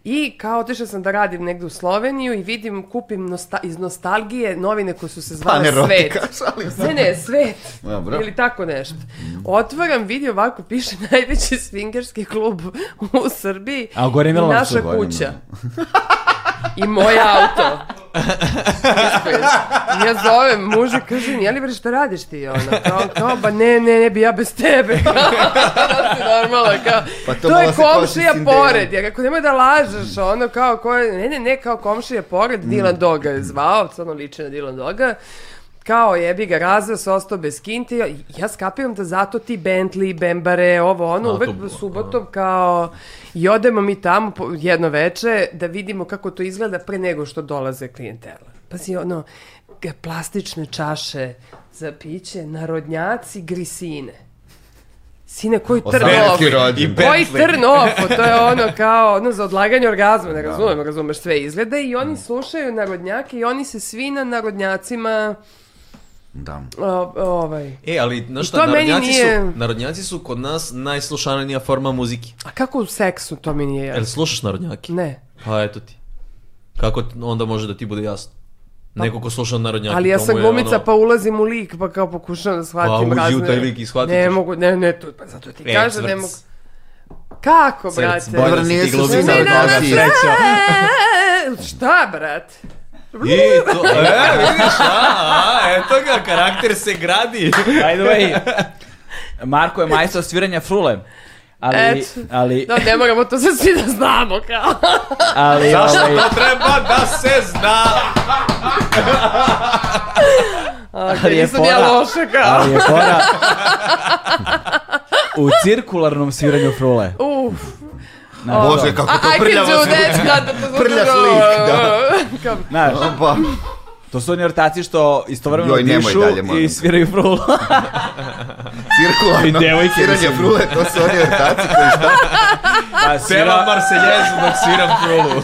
I kao otišla sam da radim negdje u Sloveniju i vidim, kupim nosta- iz nostalgije novine koje su Pa, se zvale Panerotika, Svet. Ne, ne, svet. Dobro. Ili tako nešto. Otvaram, vidi ovako, piše najveći swingerski klub u Srbiji. A u Gornjem i Milanovcu? Naša Gornjem kuća. I moje auto. I ja zovem muža, kažem, jeli bre šta radiš ti? Ona, kao, kao, ba ne, ne, ne bi ja bez tebe. Ona se normalno, kao, Pa to to, je malo se kosi s komšija Cinderelom. pored. Ja rekao, nemoj da lažeš, ono, kao, ko je, ne, ne, ne, kao komšija pored, Dylan Doga je zvao, stvarno liči na Dylan Doga kao jebi ga, razveo se, ostao bez kinte. Ja- Ja skapiram da zato ti Bentley, Bembare, ovo ono, uvek subotom kao i odemo mi tamo po- jedno veče da vidimo kako to izgleda pre nego što dolaze klijentela. Pazi, ono, g- plastične čaše za piće, narodnjaci, grisine. Sine, koji trnov? Osamnaesti rođendan. Koji trn ofo, to je ono kao ono za odlaganje orgazma, Da. ne razumem, razumeš sve izglede i Mm. oni slušaju narodnjake i oni se svi na narodnjacima Da. o, ovaj. E, ali, znaš šta, to meni narodnjaci, nije- su, narodnjaci su kod nas najslušanija forma muzike. A kako u seksu to mi nije Jel jasno? slušaš narodnjaki? Ne. Pa eto ti. Kako t- onda može da ti bude jasno? Neko ko sluša narodnjaki, Ali ja Znači, to sam mu je glumica ono- Pa, pa ulazim u lik pa kao pokušavam da shvatim uđi u razne- taj lik i shvatit Ne ćeš. mogu, ne, ne, to, pa zato ti E, kažem, ne crc. mogu. Kako, Crc, brate? bolje Dobro, da si nije ti se glumica svi od narodnjaci. nas. Sreća. E, Šta, brat? I to, e, vidiš, a, a, eto ga, karakter se gradi. By the way, Marko je majstor sviranja frule. Ali, Eto. ali, Da, ne moramo to sad svi da znamo, kao. ali, ovaj, Treba da se zna. Ali je nisam ja fora- loša, kao. ali je fora u cirkularnom sviranju frule. Uf. Bože, kako A, to I can prljavo do zvuči. that, da, da, da, da, Prljaš lik, da. Kao, Znaš, Pa, to su oni ortaci što istovremeno Joj, nemoj dišu dalje, molim i te. sviraju frulu. cirkularno, I devojke, siranje mislim. frule, to su oni ortaci koji šta? Pa Pevam svira, Marseljezu dok sviram frulu.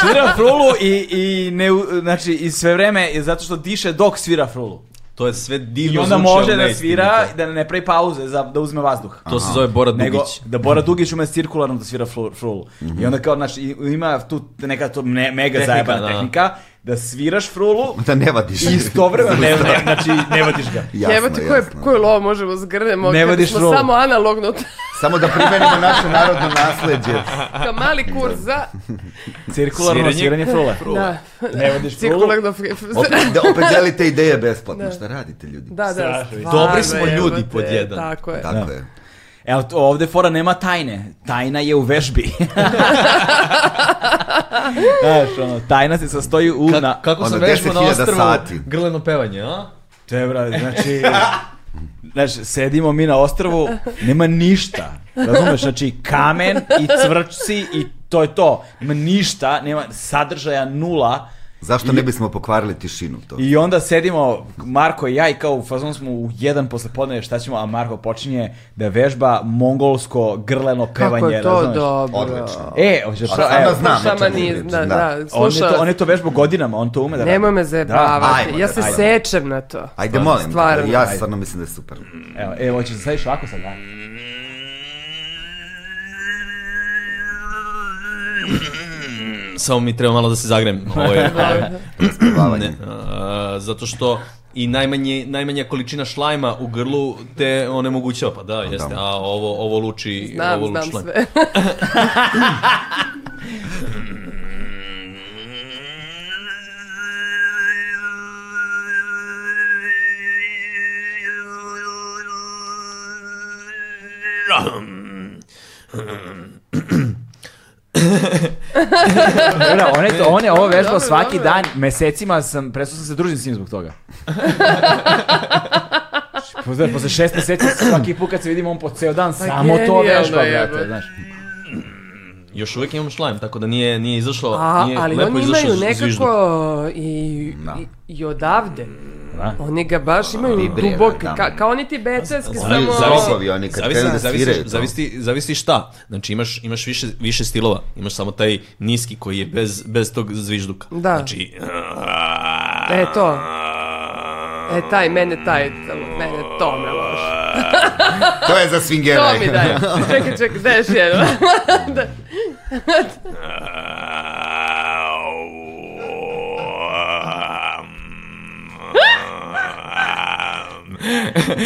svira frulu i, i, ne, u- znači, i sve vreme, zato što diše dok svira frulu. To je sve divno I onda zvuči, ali može da neistinito. svira, i da ne pravi pauze, za, da uzme vazduh. To se zove Bora Dugić. Nego, da Bora Dugić ume cirkularno da svira flu- frulu. I onda kao, znaš, i- ima tu neka to ne- mega Tehnika, zajebana da. tehnika, da sviraš frulu Da ne vadiš. i istovremeno, ne, ne, znači, ne vadiš ga. Jasno, Evo ti koje, jasno. koje lovo možemo zgrnemo, Ne kad vadiš smo rolu. samo analogno, Samo da primenimo naše narodno nasledđe. kao mali kurs za... Cirkularno sviranje, Sviranje? frule. Da, Ne vadiš frulu. cirkularno fri- Opet, da, opet delite ideje besplatno. Šta radite, ljudi? Da, da. Dobri smo ljudi pod jedan. Tako je. Tako je. Evo, E, to- ovde fora nema tajne. Tajna je u vežbi. Znaš, ono, tajna se sastoji u... Ka- na- kako Ono, sam vežbao na 10.000 ostrvu, sati. grleno pevanje, a? To je, brate, znači... Znaš, sedimo mi na ostrvu, nema ništa. Razumeš, znači kamen i cvrčci i to je to. Nema ništa, nema sadržaja nula. Zašto ne bismo pokvarili tišinu to? I onda sedimo, Marko i ja, i kao u fazonu smo u jedan posle podne, šta ćemo, a Marko počinje da vežba mongolsko grleno pevanje, Kako je to razumeš? dobro. Da. Odlično. E, hoćeš A pro- stvarno evo, znam o čemu Šamanizam, da, pričam, da, On je, to, on slušala. je to vežbao godinama, on to ume da radi. Nemoj me zajebavati, Ajmo, ja se ajmo. sečem na to. Ajde, molim, Stvarno. ja stvarno mislim da je super. Evo, e, hoćeš da sadiš ovako sad, da? Samo mi treba malo da se zagrem. Ovo je, ovaj, da. Spavanje. Ne, a, zato što i najmanje, najmanja količina šlajma u grlu te onemogućava, pa da, jeste, a ovo, ovo luči, Znam, ovo luči znam šlajm. sve. Dobra, on je, Da, to- on je ovo vežbao Dobro, svaki dobro. dan, mesecima sam, prestao sam se družim s njim zbog toga. Pozdrav, posle šest meseci svaki put kad se vidimo on po ceo dan samo to Pa genijalno vežba, je, brate, brate. znaš. Još uvijek imam šlajm, tako da nije, nije izašlo, A, Pa, nije ali lepo oni izašao imaju z- zvižduk. nekako i, Da. i, i odavde. Da. Oni ga baš imaju vibrira, dubok, da. ka, kao oni ti becenski Oni samo... robovi, oni kad Zavisi, krenu da zavisi, sviraju to. zavisi, zavisi šta. Znači imaš, imaš više, više stilova. Imaš samo taj niski koji je bez, bez tog zvižduka. Da. Znači... E, to. E, taj, mene taj, mene to me loš. To je za To swingeraj. mi daj. Čekaj, čekaj, daj još jedno. Da.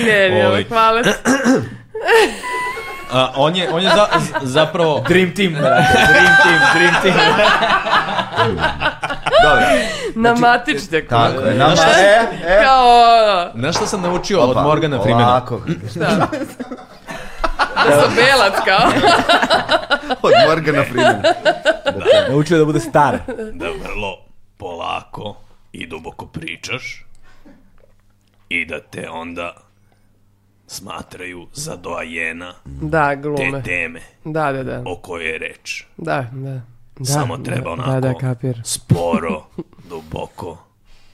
Genijalno, Ovaj. hvala ti. A, on je, on je za, z- zapravo... Dream team, brate, dream team, dream team. Dobro. Na matičnjaku. Tako je, nama, e, e, Kao, ono, Znaš šta sam naučio od Opa, Morgana Freemana? Ovako, da sam belac, kao. od Morgana Freemana. Naučio da bude star. da vrlo polako i duboko pričaš i da te onda smatraju za doajena Da, te glume. teme Da, da, da. o kojoj je reč. Da, da. Da, Samo da, treba onako Da, da, kapir. sporo, duboko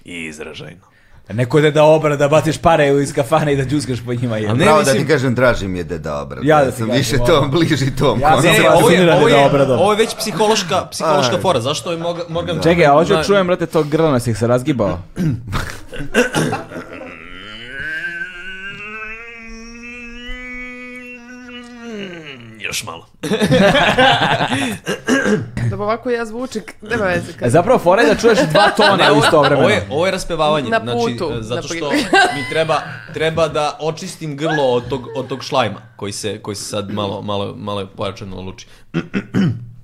i izražajno. Neko je da obra, da baciš pare iz kafane i da džuskaš po njima. Jel? Ne, Pravo da mislim- ti kažem, draži mi je da je dobro. Ja Ja da da ti sam kažem, više ono. tom, bliži tom. Ja sam- konceptu. Ne, E, ovo je, Fascinira me ovo, da je je, obradovan. ovo je već psihološka, psihološka Aj. fora. Zašto je Morgan, Morgan Čekaj, a hoću da Zna- čujem, brate, to grlo nas ih se razgibao. Još malo. Da bi ovako ja zvučim, nema veze. E, Kad... zapravo, fora je da čuješ dva tona u isto Pa Ovo vremena. je, ovo je raspevavanje, Na znači, putu, e, zato na što pri- mi treba, treba da očistim grlo od tog, od tog šlajma, koji se, koji se sad malo, malo, malo je pojačano luči.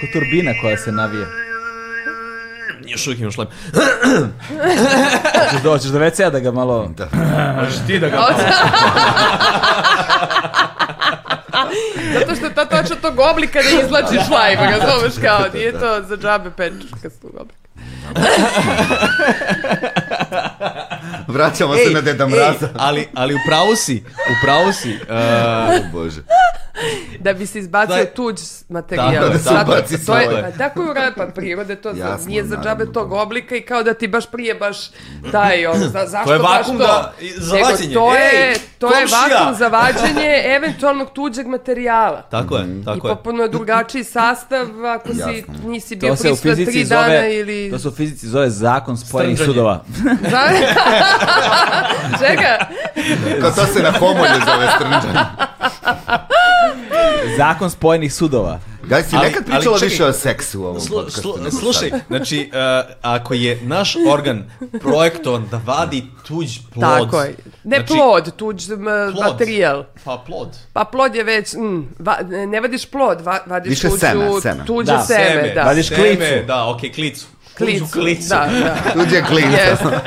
Ko turbina koja se navije. Još uvijek imam šlajm. Hoćeš da, hoćeš do WC-a da ga malo... Zato što ta tačno tog oblika da ne izlači šlajm, razumeš kao, nije to za džabe pečuškastog oblika. Vraćamo se na Deda Mraza. ali, ali u pravu si, u pravu si. e, O Bože. Da bi se izbacio Da je- tuđ materijal. Tako je, Da, da se ubaci to je, svoj. pa tako je uredba prirode, to za- Jasno, nije za džabe naravno. tog oblika i kao da ti baš prije baš taj, ono, za, zašto je baš vakuum to? da- i- za Nego vađenje. To je, Ej, to je komšija! vakum za vađenje eventualnog tuđeg materijala. tako Mhm. je, tako I je. potpuno je drugačiji sastav ako si, Jasno. nisi bio To se u prisutan tri fizici dana zove, ili... to se u fizici zove zakon spojenih Strnđanje. sudova. Za- Čega? Kao to se na homolju zove strnđan. Zakon spojenih sudova. Gaj si Ali- nekad ali pričala čekaj. više o seksu u ovom Slu, podcastu. slu- nego slušaj, sad. znači, e, ako je naš organ projektovan da vadi tuđ plod... Tako je. Ne znači- plod, tuđ m, materijal. Pa plod. Pa plod je već, mm, va- ne vadiš plod, va- vadiš Više tuđu, seme, seme. tuđe Da. seme, da. Vadiš klicu. Znači, Da, okej, klicu. klicu, Tuđu klicu. Da, da. Tuđe klinca. Yes.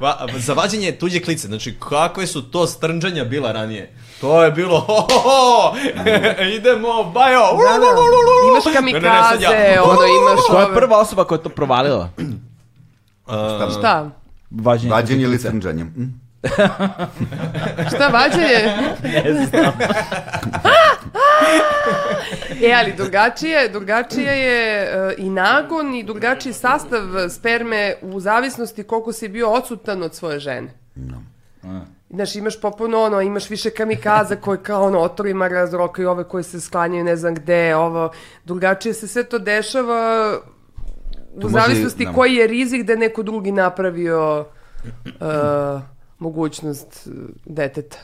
Va, za vađenje tuđe klice, znači kakve su to strnđanja bila ranije? To je bilo, ho, ho, ho, idemo, bajo, Da, Imaš kamikaze, ono imaš... Koja je ove- prva osoba koja je to provalila? Šta? Vađenje. Vađenje ili strnđanjem? Hm? Šta vađenje? Ne znam. E, ali drugačije, drugačije je e, i nagon i drugačiji sastav e, sperme u zavisnosti koliko si bio odsutan od svoje žene. Znaš, imaš popuno ono, imaš više kamikaza koje kao ono otorima razrokaju, ove koje se sklanjaju ne znam gde, ovo, drugačije se sve to dešava u To može i- zavisnosti da. koji je rizik da je neko drugi napravio e, mogućnost e, deteta.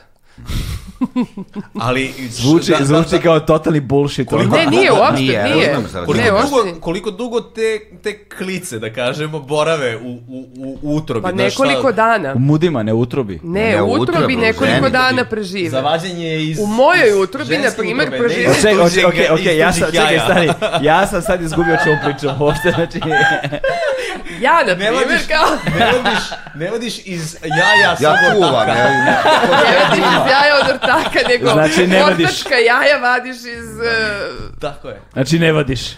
Ali, Zvuči, da- da- zvuči da- kao totalni bullshit. Koliko- Ne, nije uopšte, Nije, nije. razumem šta Koliko, Ne, dugo, uopšte. koliko dugo te, te klice, da kažemo, borave u, u, u utrobi? Pa znaš šta? nekoliko dana. U mudima, ne utrobi. Ne, Ne, u utrobi, utrobi u nekoliko ženi. dana prežive. Za vađenje je iz... U mojoj utrobi, ženske na primjer, utrobe, ne iz prežive- Čekaj, tuđeg- okej, okej, iz okej, ja tuđih sam, čekaj, jaja. stani, ja sam sad izgubio o čemu pričam uopšte, znači, Ja, na Ne primjer, vadiš- kao... Ne vodiš, ne vodiš iz jaja Ja samo kuvam. tako. ja- Ne vadiš iz jaja od ortaka, nego Znači, ne vadiš. ortačka jaja vadiš iz... eh, Tako je. znači ne vadiš.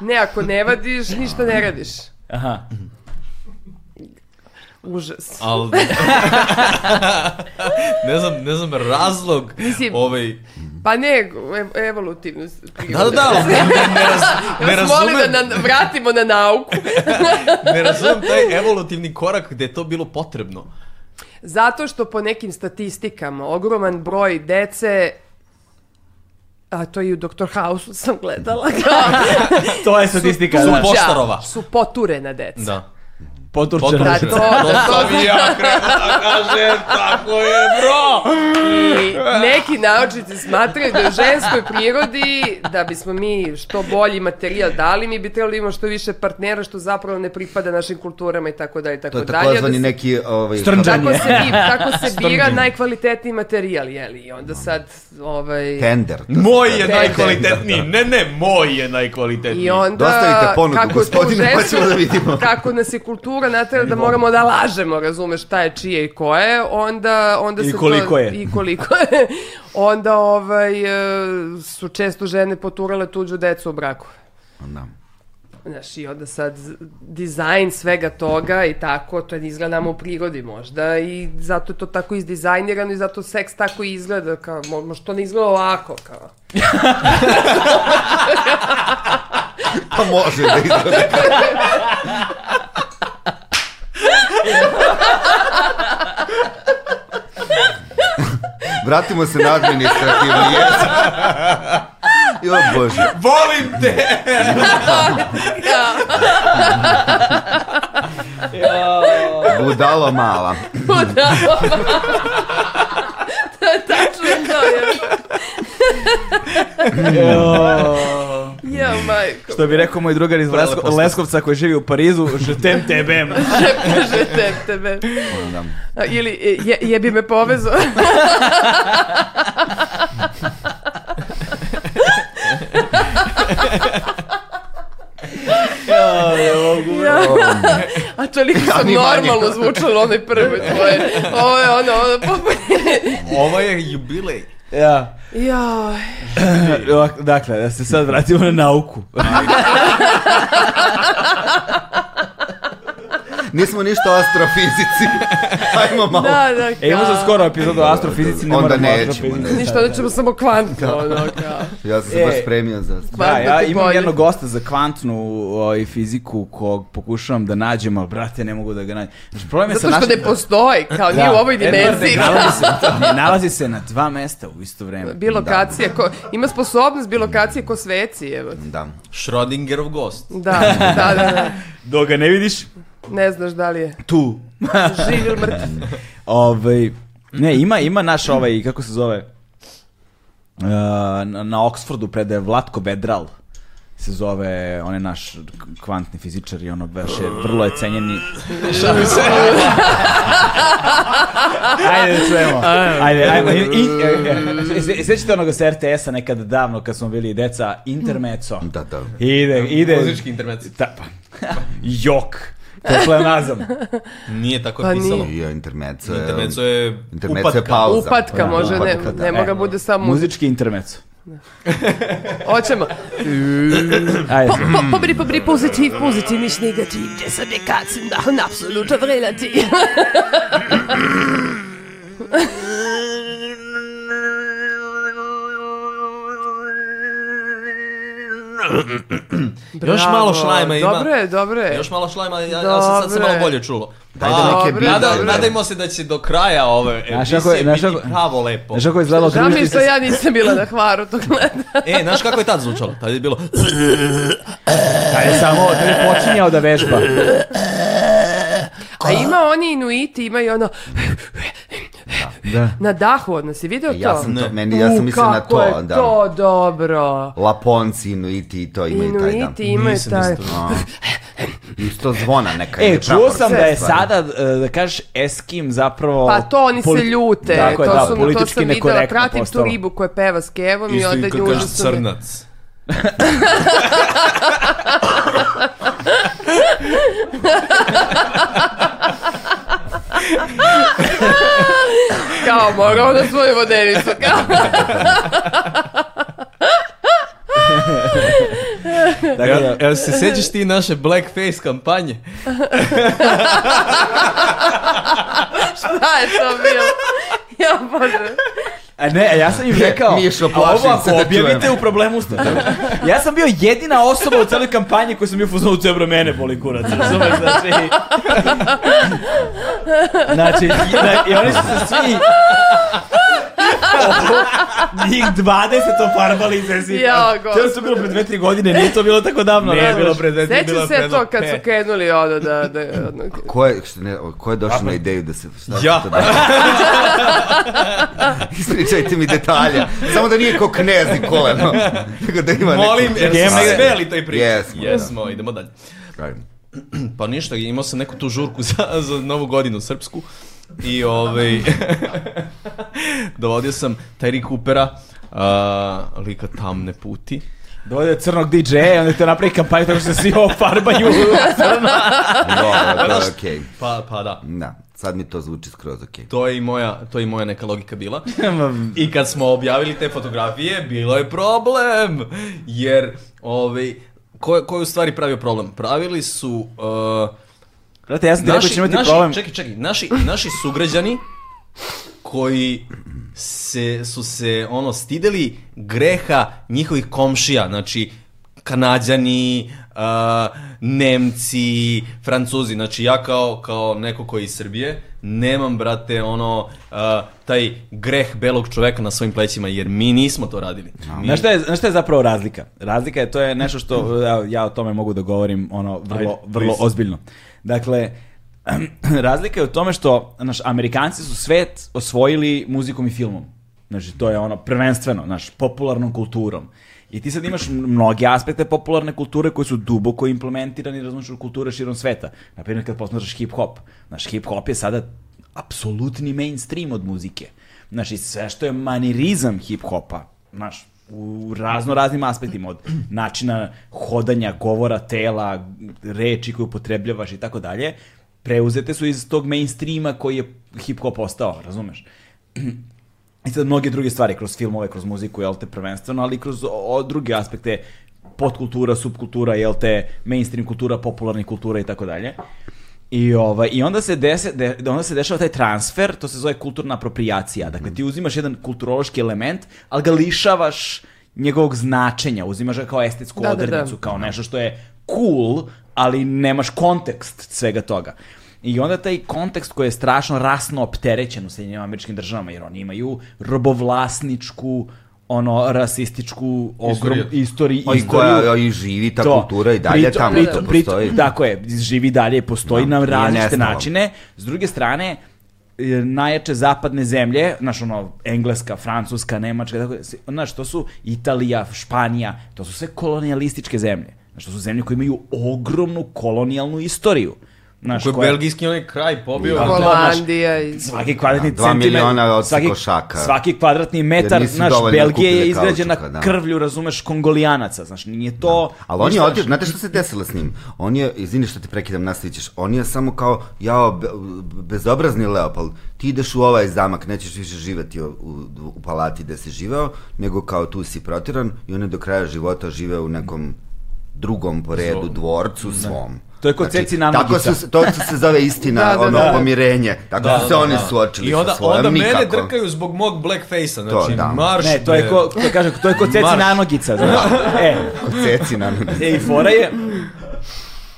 Ne, ako ne vadiš, ništa ne radiš. Aha. Užas. Ali... da. ne znam, ne znam razlog Mislim- ovaj... Pa ne, ev- evolutivno. s- Da, da, da, ali ne, ne, raz, Ja ne vas molim razumem, da na- vratimo na nauku. ne razumem taj evolutivni korak gde je to bilo potrebno. Zato što po nekim statistikama ogroman broj dece a to i u Dr. House sam gledala, kao, To je statistika, Su da. poštarova. su poturena deca. Da. Potorčena. Da, to, da, to, Sam i ja krenuo da kažem, tako je, bro! I neki naučnici smatraju da je u ženskoj prirodi, da bismo mi što bolji materijal dali, mi bi trebali da imamo što više partnera, što zapravo ne pripada našim kulturama i tako dalje i To tako je dalje. Onda takozvani se- neki... Ovaj, Strnđan Tako je. se, bi- tako se bira najkvalitetniji materijal, jeli? I onda sad, ovaj... Tender. to se Moj zove. je najkvalitetniji, ne, ne, moj je najkvalitetniji. I onda, Dostavite ponudu, kako tu gospodine, pa žensku- ćemo da vidimo. Kako nas je kultura natrela da moramo da lažemo, razumeš, šta je čije i ko je, onda, onda I se koliko to, je. I koliko je. onda ovaj, e, su često žene poturale tuđu decu u braku. Da. Znaš, i onda sad z- dizajn svega toga i tako, to ne izgleda nama u prirodi možda i zato je to tako izdizajnirano i zato seks tako i izgleda, kao, mo- možda to ne izgleda ovako, kao. Pa može da izgleda. Vratimo se na administrativni jezik. Jo bože. Volim te! Budalo mala. Da. to je tačno to je. Ja, majko, Što bi rekao moj drugar iz Lesko, Leskovca koji živi u Parizu, žetem tebem. kaže te, tebe. Da. A, Ili e, je, jebi me povezo. ja, a toliko sam Animanje. normalno zvučalo onaj prvi tvoje. Ovo je ono, ono, popolje. Ovo je jubilej. Ja. Joj. Ovak- Dakle, da se sad vratimo na nauku. Nismo ništa o astrofizici. Ajmo malo. Da, da, E, imamo kao. za skoro epizodu o astrofizici, ne Onda moramo o nećemo, astrofizici. ne. Ništa, onda ćemo samo kvanta, ono, kao. Ja sam se baš E. spremio za astro- Da, ja Kvantno ti imam polje. jednog gosta za kvantnu ovaj, fiziku kog pokušavam da nađem, ali brate, ne mogu da ga nađem. Znači, problem je Zato sa što našim... Da. ne postoji, kao nije u ovoj dimenziji. nalazi se, ne nalazi se na dva mesta u isto vreme. Bilokacija, ko, ima sposobnost bilokacije ko sveci, evo. Da. Schrodingerov gost. Da, da, da, da. Dok ga ne vidiš, Ne znaš da li je tu. živ ili mrtav. Ovaj, ne, ima, ima naš ovaj, kako se zove, uh, na, na Oxfordu predaje Vlatko Vedral se zove, on je naš k- kvantni fizičar i ono baš je, vrlo je cenjeni. Ajde da čujemo. Ajde, ajmo. I, i, e, se- sećate onoga sa RTS-a nekad davno kad smo bili deca, intermeco. Da, da. Ide, ide. Muzički internet. Ta, pa. Jok. Pleonazam. Nije tako Pa pisalo. nije. I intermeco je... Internet je... Intermeco je upatka. pauza. Upatka može, ne, Upatka, da. ne moga bude samo muzička. Muzički intermeco. Hoćemo. Ajde. Po, po, pobri, pobri, pozitiv, pozitiv, niš negativ, gdje sam je kad sam da, on apsolutno relativ. Još malo šlajma ima. Dobro je, dobro je. Još malo šlajma, ja, ja sam sad se E. Dobre. malo bolje čulo. Pa, Ajde neke Dobre, biljke. nada, dobre. nadajmo se da će do kraja ove Znaš kako je- emisije znaš biti kako- pravo lepo. Znaš kako je izgledalo Žao mi je druženje što sa... ja nisam bila na hvaru tog gleda. E, znaš kako je tad zvučalo? Tad je bilo... Kad Pa je samo kad je počinjao da vežba. A ima oni inuiti, ima i ono... Da. Na dahu odnos, si video to? Ja sam to, meni, ja sam U, mislio na to. Kako je da. to dobro. Laponci, Inuiti i to imaju taj da. dan. Inuiti imaju taj... A. Isto zvona neka. E, ide čuo sam da je Sve stvari. sada, e, da kažeš, Eskim zapravo... Pa to oni se poli- ljute, Tako je, to, da, sam, to politički sam videla, nekorektno pratim postalo. tu ribu koja peva s kevom i Isto onda i nju kad kaže užasno... me- crnac. Kao, moramo da svoju vodenicu, kao. Tako da- Jel, jel se sjećaš ti naše blackface kampanje? Šta da, je to bilo? Ja, Bože. A ne, a ja sam im rekao, Mišo, a ovo plašim ako se da objavite čujem. u problemu ste. ja sam bio jedina osoba u celoj kampanji koja sam bio u fuzonu cebro mene boli kurac, razumeš, znači... Znači, i- da- i oni su se svi... Njih 20 ofarbali se svi. Jao, To su bilo pre dve, tri godine, nije to bilo tako davno. Ne, znaš. je bilo pre dve, tri, bilo Sećam je se pre to kad su pet. krenuli ono da... da ono, Ko je, šta ne, ko je došao na ideju da se... Šta Ja. se to da- Ispričajte mi detalje. Samo da nije ko knez i koleno. Nego da Pa ima Molim, neku... jer smo Ajde. smeli taj priča. Jesmo, da. Jesmo, idemo dalje. Ajde. Pa ništa, imao sam neku tu žurku za, za novu godinu srpsku i ovaj, dovodio sam Terry Coopera, uh, lika tamne puti. Dovede crnog DJ-a, onda te napravi kampanju tako što se svi ofarbaju. Dobro, to je okej. Pa, pa da. Da, sad mi to zvuči skroz okej. To je, i moja, to je i moja neka logika bila. I kad smo objavili te fotografije, bilo je problem. Jer, ovaj, ko, ko je u stvari pravio problem? Pravili su... Uh, Brate, ja sam ti rekao da će imati naši, problem. Čekaj, čekaj, naši, naši sugrađani koji se, su se ono stideli greha njihovih komšija, znači kanadjani, a, nemci, francuzi, znači ja kao, kao neko koji je iz Srbije, nemam, brate, ono, a, taj greh belog čoveka na svojim plećima, jer mi nismo to radili. Mi- Znaš šta, je, znaš šta je zapravo razlika? Razlika je, to je nešto što ja, ja o tome mogu da govorim ono, vrlo, Mhm. Ajde, vrlo please. ozbiljno. Dakle, razlika je u tome što znaš, Amerikanci su svet osvojili muzikom i filmom. Znači, to je ono prvenstveno, znaš, popularnom kulturom. I ti sad imaš mnoge aspekte popularne kulture koji su duboko implementirani, razumiješ, u kulture širom sveta. Naprimjer, kad posmatraš hip-hop. Znaš, hip-hop je sada apsolutni mainstream od muzike. Znaš, i sve što je manirizam hip-hopa, znaš, u razno raznim aspektima, od načina hodanja, govora, tela, reči koje upotrebljavaš i tako dalje, preuzete su iz tog mainstreama koji je hip-hop postao, razumeš? I sad mnoge druge stvari, kroz filmove, kroz muziku, jel te, prvenstveno, ali i kroz o, o, druge aspekte, podkultura, subkultura, jel te, mainstream kultura, popularna kultura i tako dalje. I, ovaj, I onda se, dese, de, onda se dešava taj transfer, to se zove kulturna aproprijacija. Dakle, Mm. ti uzimaš jedan kulturološki element, ali ga lišavaš njegovog značenja, uzimaš ga kao estetsku Da, da, da. odrednicu, kao nešto što je cool, ali nemaš kontekst svega toga. I onda taj kontekst koji je strašno rasno opterećen u Sjedinjenim američkim državama, jer oni imaju robovlasničku, ono, rasističku ogrom, istoriju, Pa i koja i živi ta Da, kultura i dalje Pritom- tamo pritom- to pritom- postoji. da, Tako je, živi dalje, postoji Da, na nije različite nestalo. načine. S druge strane, e, najjače zapadne zemlje, znaš ono, Engleska, Francuska, Nemačka, tako, da, se- znaš, to su Italija, Španija, to su sve kolonijalističke zemlje. Znaš, to su zemlje koje imaju ogromnu kolonijalnu istoriju. Znaš, Koji je koja- belgijski onaj kraj pobio. to, Holandija i... Svaki kvadratni Da, dva centimetar, miliona od svaki, košaka. svaki kvadratni metar, Jer nisu znaš, dovoljno Belgije je kupili izgrađena kaučuka, da. krvlju, razumeš, kongolijanaca, znaš, nije to... Ali on je ništa, odio, znate što se desilo s njim? On je, izvini što ti prekidam, nastavit ćeš, on je samo kao, jao, be- bezobrazni Leopold, ti ideš u ovaj zamak, nećeš više živeti u, u, u palati gde si živeo, nego kao tu si protiran i on je do kraja života živeo u nekom drugom po redu dvorcu svom. Znači, To je kod Ceci Tako Nanogića. su, se- to se zove istina, Da, da, ono, da. pomirenje. Tako Da, su se da, oni da. suočili I onda, sa svojom, onda mene nikako. drkaju zbog mog blackface-a, znači da. marš Ne, to je bre. ko, to kažem, to je ko ceci Marš. nanogica, znaš. E, Kod Ceci Nanogića. e, i fora je,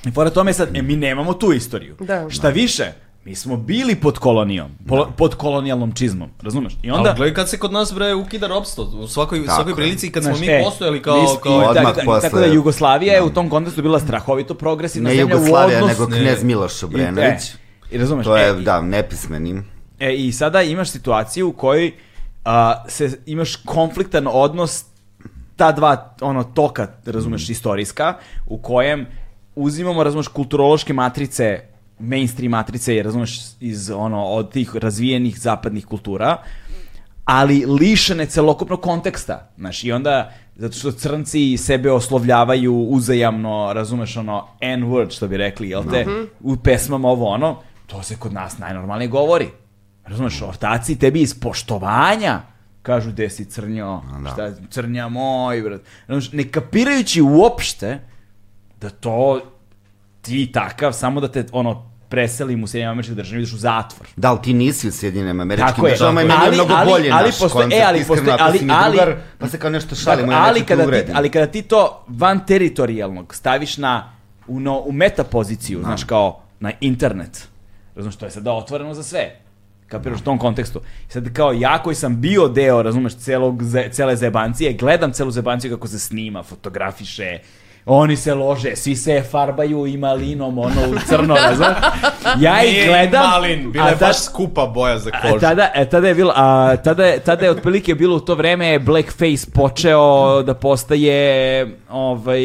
i fora tome je sad, e, mi nemamo tu istoriju. Da. Šta više, mi smo bili pod kolonijom, Da. polo- pod kolonijalnom čizmom, razumeš? I onda... Onda... gledaj kad se kod nas bre ukida robstvo, u svakoj, Tako svakoj je. prilici kad smo znaš, mi e, postojali kao... mi smo- kao i Odmah tako da- posle. Tako da Jugoslavija je u tom kontekstu bila strahovito progresivna Ne zemlja u Jugoslavija, odnosu... nego knez Miloš I- e, Obrenović. I razumeš? To e, je, i- da, nepismenim. E, I sada imaš situaciju u kojoj a, se, imaš konfliktan odnos ta dva ono toka, razumeš, Mm. istorijska, u kojem uzimamo, razumeš, kulturološke matrice, mainstream matrice, je, razumeš, iz ono, od tih razvijenih zapadnih kultura, ali lišene celokupnog konteksta, znaš, i onda, zato što crnci sebe oslovljavaju uzajamno, razumeš, ono, n-word, što bi rekli, jel te, u pesmama ovo ono, to se kod nas najnormalnije govori. Razumeš, ortaci tebi iz poštovanja kažu gde si crnjo, da. šta, crnja moj, brat. Razumeš, ne kapirajući uopšte da to ti takav, samo da te ono preselim u Sjedinjama američke države, ideš u zatvor. Da, ali ti nisi u Sjedinim američkim Tako je. državama i meni je Ali- mnogo ali- bolje ali naš postoje- koncept, e, ali iskreno, postoje- ako ali- si mi ali- drugar, pa se kao nešto šalimo, Tako, ja Dakle, ali, neću te kada ti, uvredim. ali kada ti to van teritorijalnog staviš na, u, no, u metapoziciju, znaš kao na internet, razumeš, to je sada otvoreno za sve. Kapiraš u tom kontekstu. I sad kao ja koji sam bio deo, razumeš, celog, ze- cele zebancije, gledam celu zebanciju kako se snima, fotografiše, oni se lože, svi se farbaju i malinom, ono, u crno, razumeš? Ja ih Nije gledam, malin, bila a da je tad- baš skupa boja za A kožu. tada, e, tada je bilo, a, tada, je, tada je otprilike bilo u to vreme blackface počeo da postaje ovaj,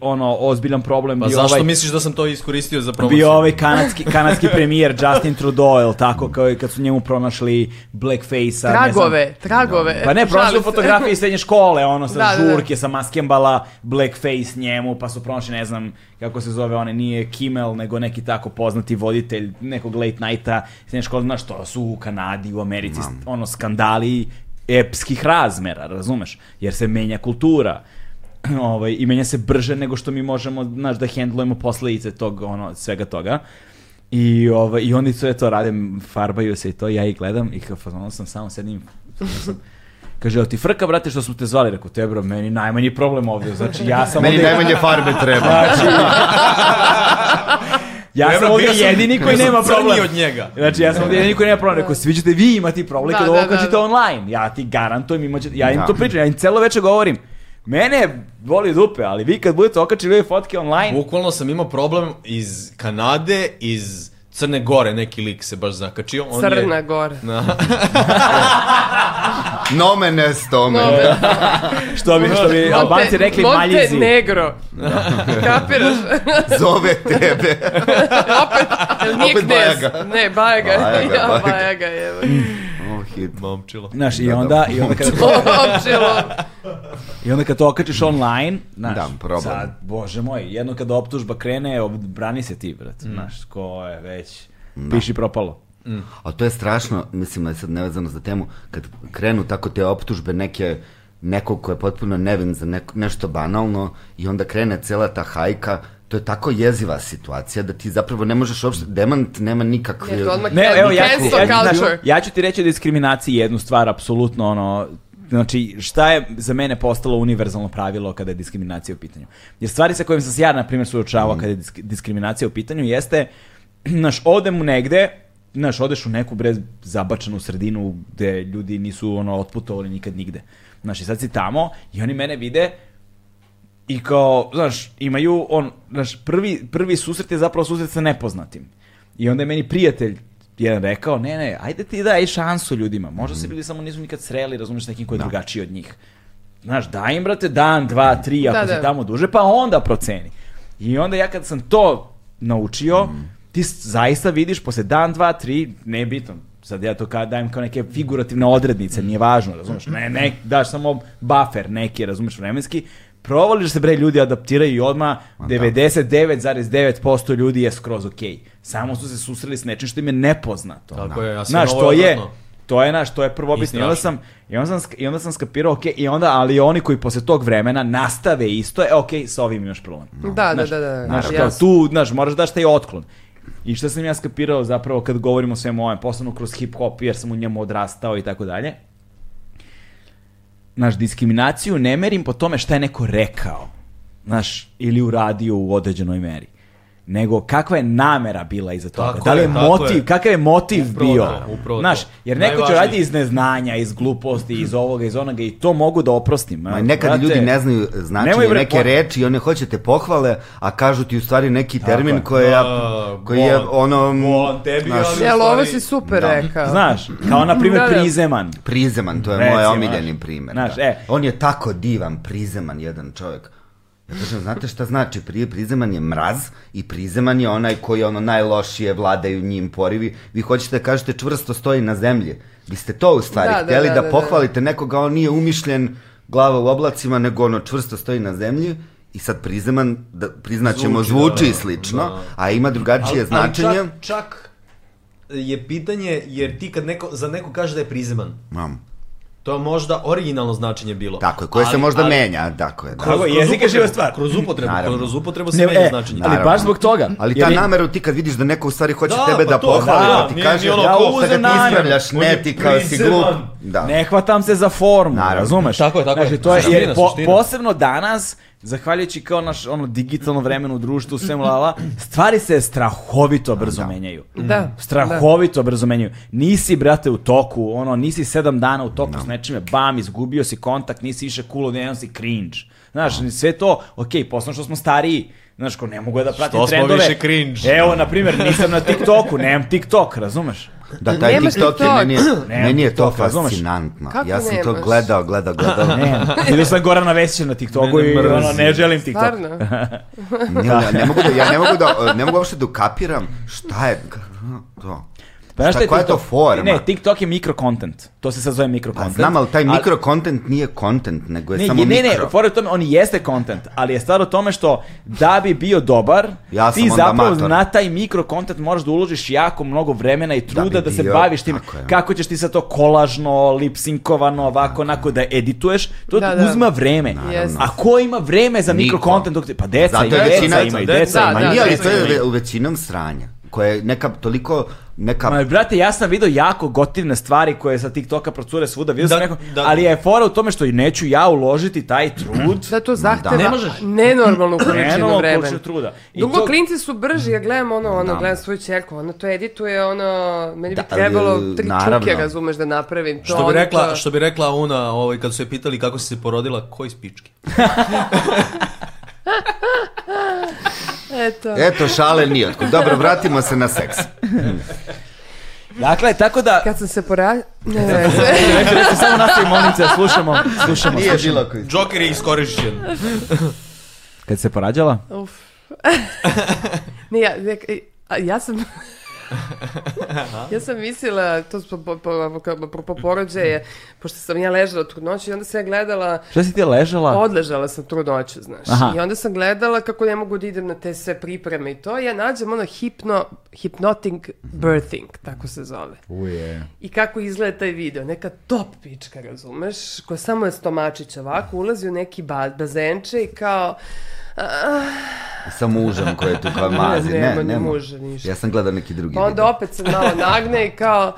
ono, ozbiljan problem. Pa bio zašto ovaj, misliš da sam to iskoristio za promociju? bio ovaj kanadski, kanadski premijer Justin Trudeau, jel tako, kao i kad su njemu pronašli blackface-a. ne znam- Da, Tragove, tragove. Pa ne, pronašli Šalim su se. fotografije iz srednje škole, ono, sa Da, da, da. žurke, sa maskembala, blackface njemu, pa su pronašli, ne znam kako se zove, one nije Kimmel, nego neki tako poznati voditelj nekog late nighta iz srednje škole, znaš, to su u Kanadi, u Americi, ono, skandali epskih razmera, razumeš, jer se menja kultura. ovaj, i menja se brže nego što mi možemo, znaš, da hendlujemo posledice tog, ono, svega toga. I, ovaj, I oni sve to rade, farbaju se i to, ja ih gledam i kao, ono sam samo sedim, ono sam, Kaže, jel ti frka, brate, što smo te zvali? Rekao, te bro, meni najmanji problem ovdje. Znači, ja sam Meni ovdje, Znači- najmanje farbe treba. ja sam Evo, ovdje bio sam- jedini koji bio sam nema crnji problem. od njega. Znači, ja sam ovdje jedini koji nema problem. Rekao, svi ćete vi imati problem Da, kad da, ovo da, okačite da. online. Ja ti garantujem, imat ćete, ja im Da. to pričam, ja im celo večer govorim. Mene boli dupe, ali vi kad budete okačili ove fotke online, Bukvalno sam imao problem iz Kanade, iz Crne Gore, neki lik se baš zakačio. On je- Crna Gora. Nomenes tome. što bi, što bi Albanci rekli, maljizi. negro. Kapiraš? Zove tebe. Opet, jel nije Opet knez. Bajaga. Ne, Bajaga. Bajaga, Ja, Bajaga. Bajaga je. Oh, hit. Momčilo. Znaš, i Da, da. onda, i onda kada to, Opčilo. I onda kad to okačiš online, znaš, Da, problem. sad, bože moj, jedno kada optužba krene, ob- brani se ti, brat, znaš, ko je već, piši Da. propalo. A to je strašno, mislim da je sad nevezano za temu, kad krenu tako te optužbe neke nekog ko je potpuno nevin za neko, nešto banalno i onda krene cela ta hajka, to je tako jeziva situacija da ti zapravo ne možeš uopšte, demant nema nikakve... Jer to odmah Ne, evo, ja, ću- cancel ja, ću- culture. ja ću ti reći o diskriminaciji jednu stvar, apsolutno, ono, znači, šta je za mene postalo univerzalno pravilo kada je diskriminacija u pitanju? Jer stvari sa kojim sam se ja, na primjer, Mm. suočavao kada je disk- diskriminacija u pitanju jeste, znaš, odem u negde, znaš, odeš u neku brez zabačenu sredinu gde ljudi nisu, ono, otputovali nikad nigde. Znaš, i sad si tamo i oni mene vide I kao, znaš, imaju on, znaš, prvi, prvi susret je zapravo susret sa nepoznatim. I onda je meni prijatelj jedan rekao, ne, ne, ajde ti daj šansu ljudima. Možda se ljudi samo nisu nikad sreli, razumiješ, s nekim koji je drugačiji od njih. Znaš, daj im, brate, dan, dva, tri, ako Da, si da. tamo duže, pa onda proceni. I onda ja kad sam to naučio, ti s- zaista vidiš posle dan, dva, tri, ne bitno, sad ja to ka, dajem kao neke figurativne odrednice, nije važno, razumeš, ne, ne, daš samo buffer neki, razumeš, vremenski, provališ da se bre ljudi adaptiraju i odma 99,9% ljudi je skroz okej. Samo su se susreli s nečim što im je nepoznato. Da, Tako je, ja sam Znaš, ovo to je, odvratno. to je naš, to je prvobitno. I onda sam, i onda sam, sk- i onda sam skapirao, ok, i onda, ali oni koji posle tog vremena nastave isto, e, ok, sa ovim imaš problem. Da, da, Znaš, da, da. Znaš, kao jasno. tu, znaš, moraš daš taj otklon. I šta sam ja skapirao zapravo kad govorimo o svemu ovome, posebno kroz hip-hop, jer sam u njemu odrastao i tako dalje. Znaš, diskriminaciju ne merim po tome šta je neko rekao, znaš, ili uradio u određenoj meri nego kakva je namera bila iza toga. Tako da li je, je, tako motiv, je. kakav je motiv Upravo bio? to, upravo to. Znaš, jer neko će Najvažnije. raditi iz neznanja, iz gluposti, iz ovoga, iz onoga i to mogu da oprostim. Ma, nekad Brate, ljudi ne znaju nemoj značenje bre, neke po- reči i one hoće te pohvale, a kažu ti u stvari neki termin je. koji je, Da, koji je bon. ono... Bon tebi, znaš, ali- Jel, ovo si stvari- super Da. rekao. Znaš, kao na primjer Da, da. prizeman. Prizeman, to je Recimo, moj znaš. omiljeni primjer. Znaš, da. e. On je tako divan, prizeman jedan čovjek. Ja kažem, znate šta znači? Prije prizeman je mraz i prizeman je onaj koji ono najlošije vladaju njim porivi. Vi hoćete da kažete čvrsto stoji na zemlji. Vi ste to u stvari Da, da, htjeli da, da, da, da. pohvalite nekoga, on nije umišljen glava u oblacima, nego ono čvrsto stoji na zemlji i sad prizeman, da, priznaćemo, Zvuči, zvuči, da, slično, da. a ima drugačije značenje. čak, čak je pitanje, jer ti kad neko, za neko kaže da je prizeman, Mam. to je možda originalno značenje bilo. Tako je, koje se Ali- možda ali- menja, tako je. Da. Tako je, jezik je upotrebu, živa stvar. Kroz upotrebu, Naravno. kroz upotrebu se Ne, menja e, značenje. ali Naravno. baš zbog toga. Ali jer ta je- namera, ti kad vidiš da neko u stvari hoće Da, tebe pa da to, pohvali, da, da, ti nije mi kaže, ono ja ko ovo uzem sad namjeru, ispravljaš, on je ne ti kao si prizeman. glup. Da. Ne hvatam se za formu, Naravno. razumeš? Tako je, tako je. znači, to je. Suština, jer po- suština. posebno danas, zahvaljujući kao naš ono digitalno vremenu, društvu, svemu lala, stvari se strahovito brzo menjaju. Da. Strahovito brzo menjaju. Nisi, brate, u toku, ono, nisi sedam dana u Da. Da. toku s nečime, bam, izgubio si kontakt, nisi više cool, odjednom si cringe. Znaš, sve to, okej, posebno što smo stariji, Znaš, ko ne mogu ja da pratim Što smo trendove. E, više cringe. Evo, na primjer, nisam na TikToku, nemam TikTok, razumeš? Da, taj Nemaš TikTok je, TikTok. meni je, Nemam meni je to TikToka, razumeš? fascinantno. Kako ja sam to nemaš? gledao, gledao, gledao. Ne, vidio sam Gorana Vesića na TikToku i ono, ne želim TikTok. Stvarno? Ne, ne, ne mogu da, ja ne mogu da, ne mogu uopšte da ukapiram šta je to. Pa znaš Šta, šta je koja je to TikTok? forma? Ne, TikTok je mikrokontent. To se sad zove Pa mikrokontent. znam, ali taj mikrokontent nije kontent, nego je Ne, samo je- ne, ne, mikro. fora je u tome, on jeste kontent, ali je stvar u tome što da bi bio dobar, Ja sam ti onda zapravo amator. na taj mikro kontent moraš da uložiš jako mnogo vremena i truda da, bi se bio, baviš tim. tako je. Kako ćeš ti sad to kolažno, lipsinkovano, ovako, onako da edituješ, to Pa Da, ti da. uzima vreme. Jeste. A ko ima vreme za Niko. mikro kontent? Dok ti, pa deca, Zato i je deca, većina- ima i da, deca, ima da, i Ma nije, ali da, to da. je u većinom sranja, koja je neka toliko, neka Ma, brate, ja sam video jako gotivne stvari koje sa TikToka procure svuda, vidio sam Da, neko, da. ali je fora u tome što i neću ja uložiti taj trud. Da to zahteva Ne možeš. nenormalnu količinu Krenulo vremena. količinu truda. I Dugo to- klinci su brži, ja gledam ono, ono, Da. gledam svoju čerku, ona to edituje, ono, meni bi Da, ali, trebalo e, tri naravno. čuke, razumeš, da napravim to. Što bi ono, rekla, to- što bi rekla Una, ovaj, kad su je pitali kako si se porodila, koji spički? Eto. Eto, šale nijotko. Dobro, vratimo se na seks. Dakle, tako da... Kad sam se pora... Ne, ne, Reći, reći, samo nastavimo momnice, slušamo, slušamo. Nije bilo koji... Joker je iskorišćen. Kad se porađala? Uf. ne, ja, ne, a, ja sam... ja sam mislila, to smo po, po, po, po, po porođaje, pošto sam ja ležala od trudnoće i onda sam ja gledala, Šta si ti ležala? odležala sam trudnoću, znaš. Aha. I onda sam gledala kako ne mogu da idem na te sve pripreme i to. Ja nađem ono hipno, hypnotic birthing, tako se zove. Uje. I kako izgleda taj video, neka top pička, razumeš, koja samo je stomačić ovako, ulazi u neki ba- bazenče i kao, Sa mužem koji je tu kao mazi. Ne, nema nema. ni muža, ništa. Ja sam gledao neki drugi Pa onda video. opet se malo nagne i kao,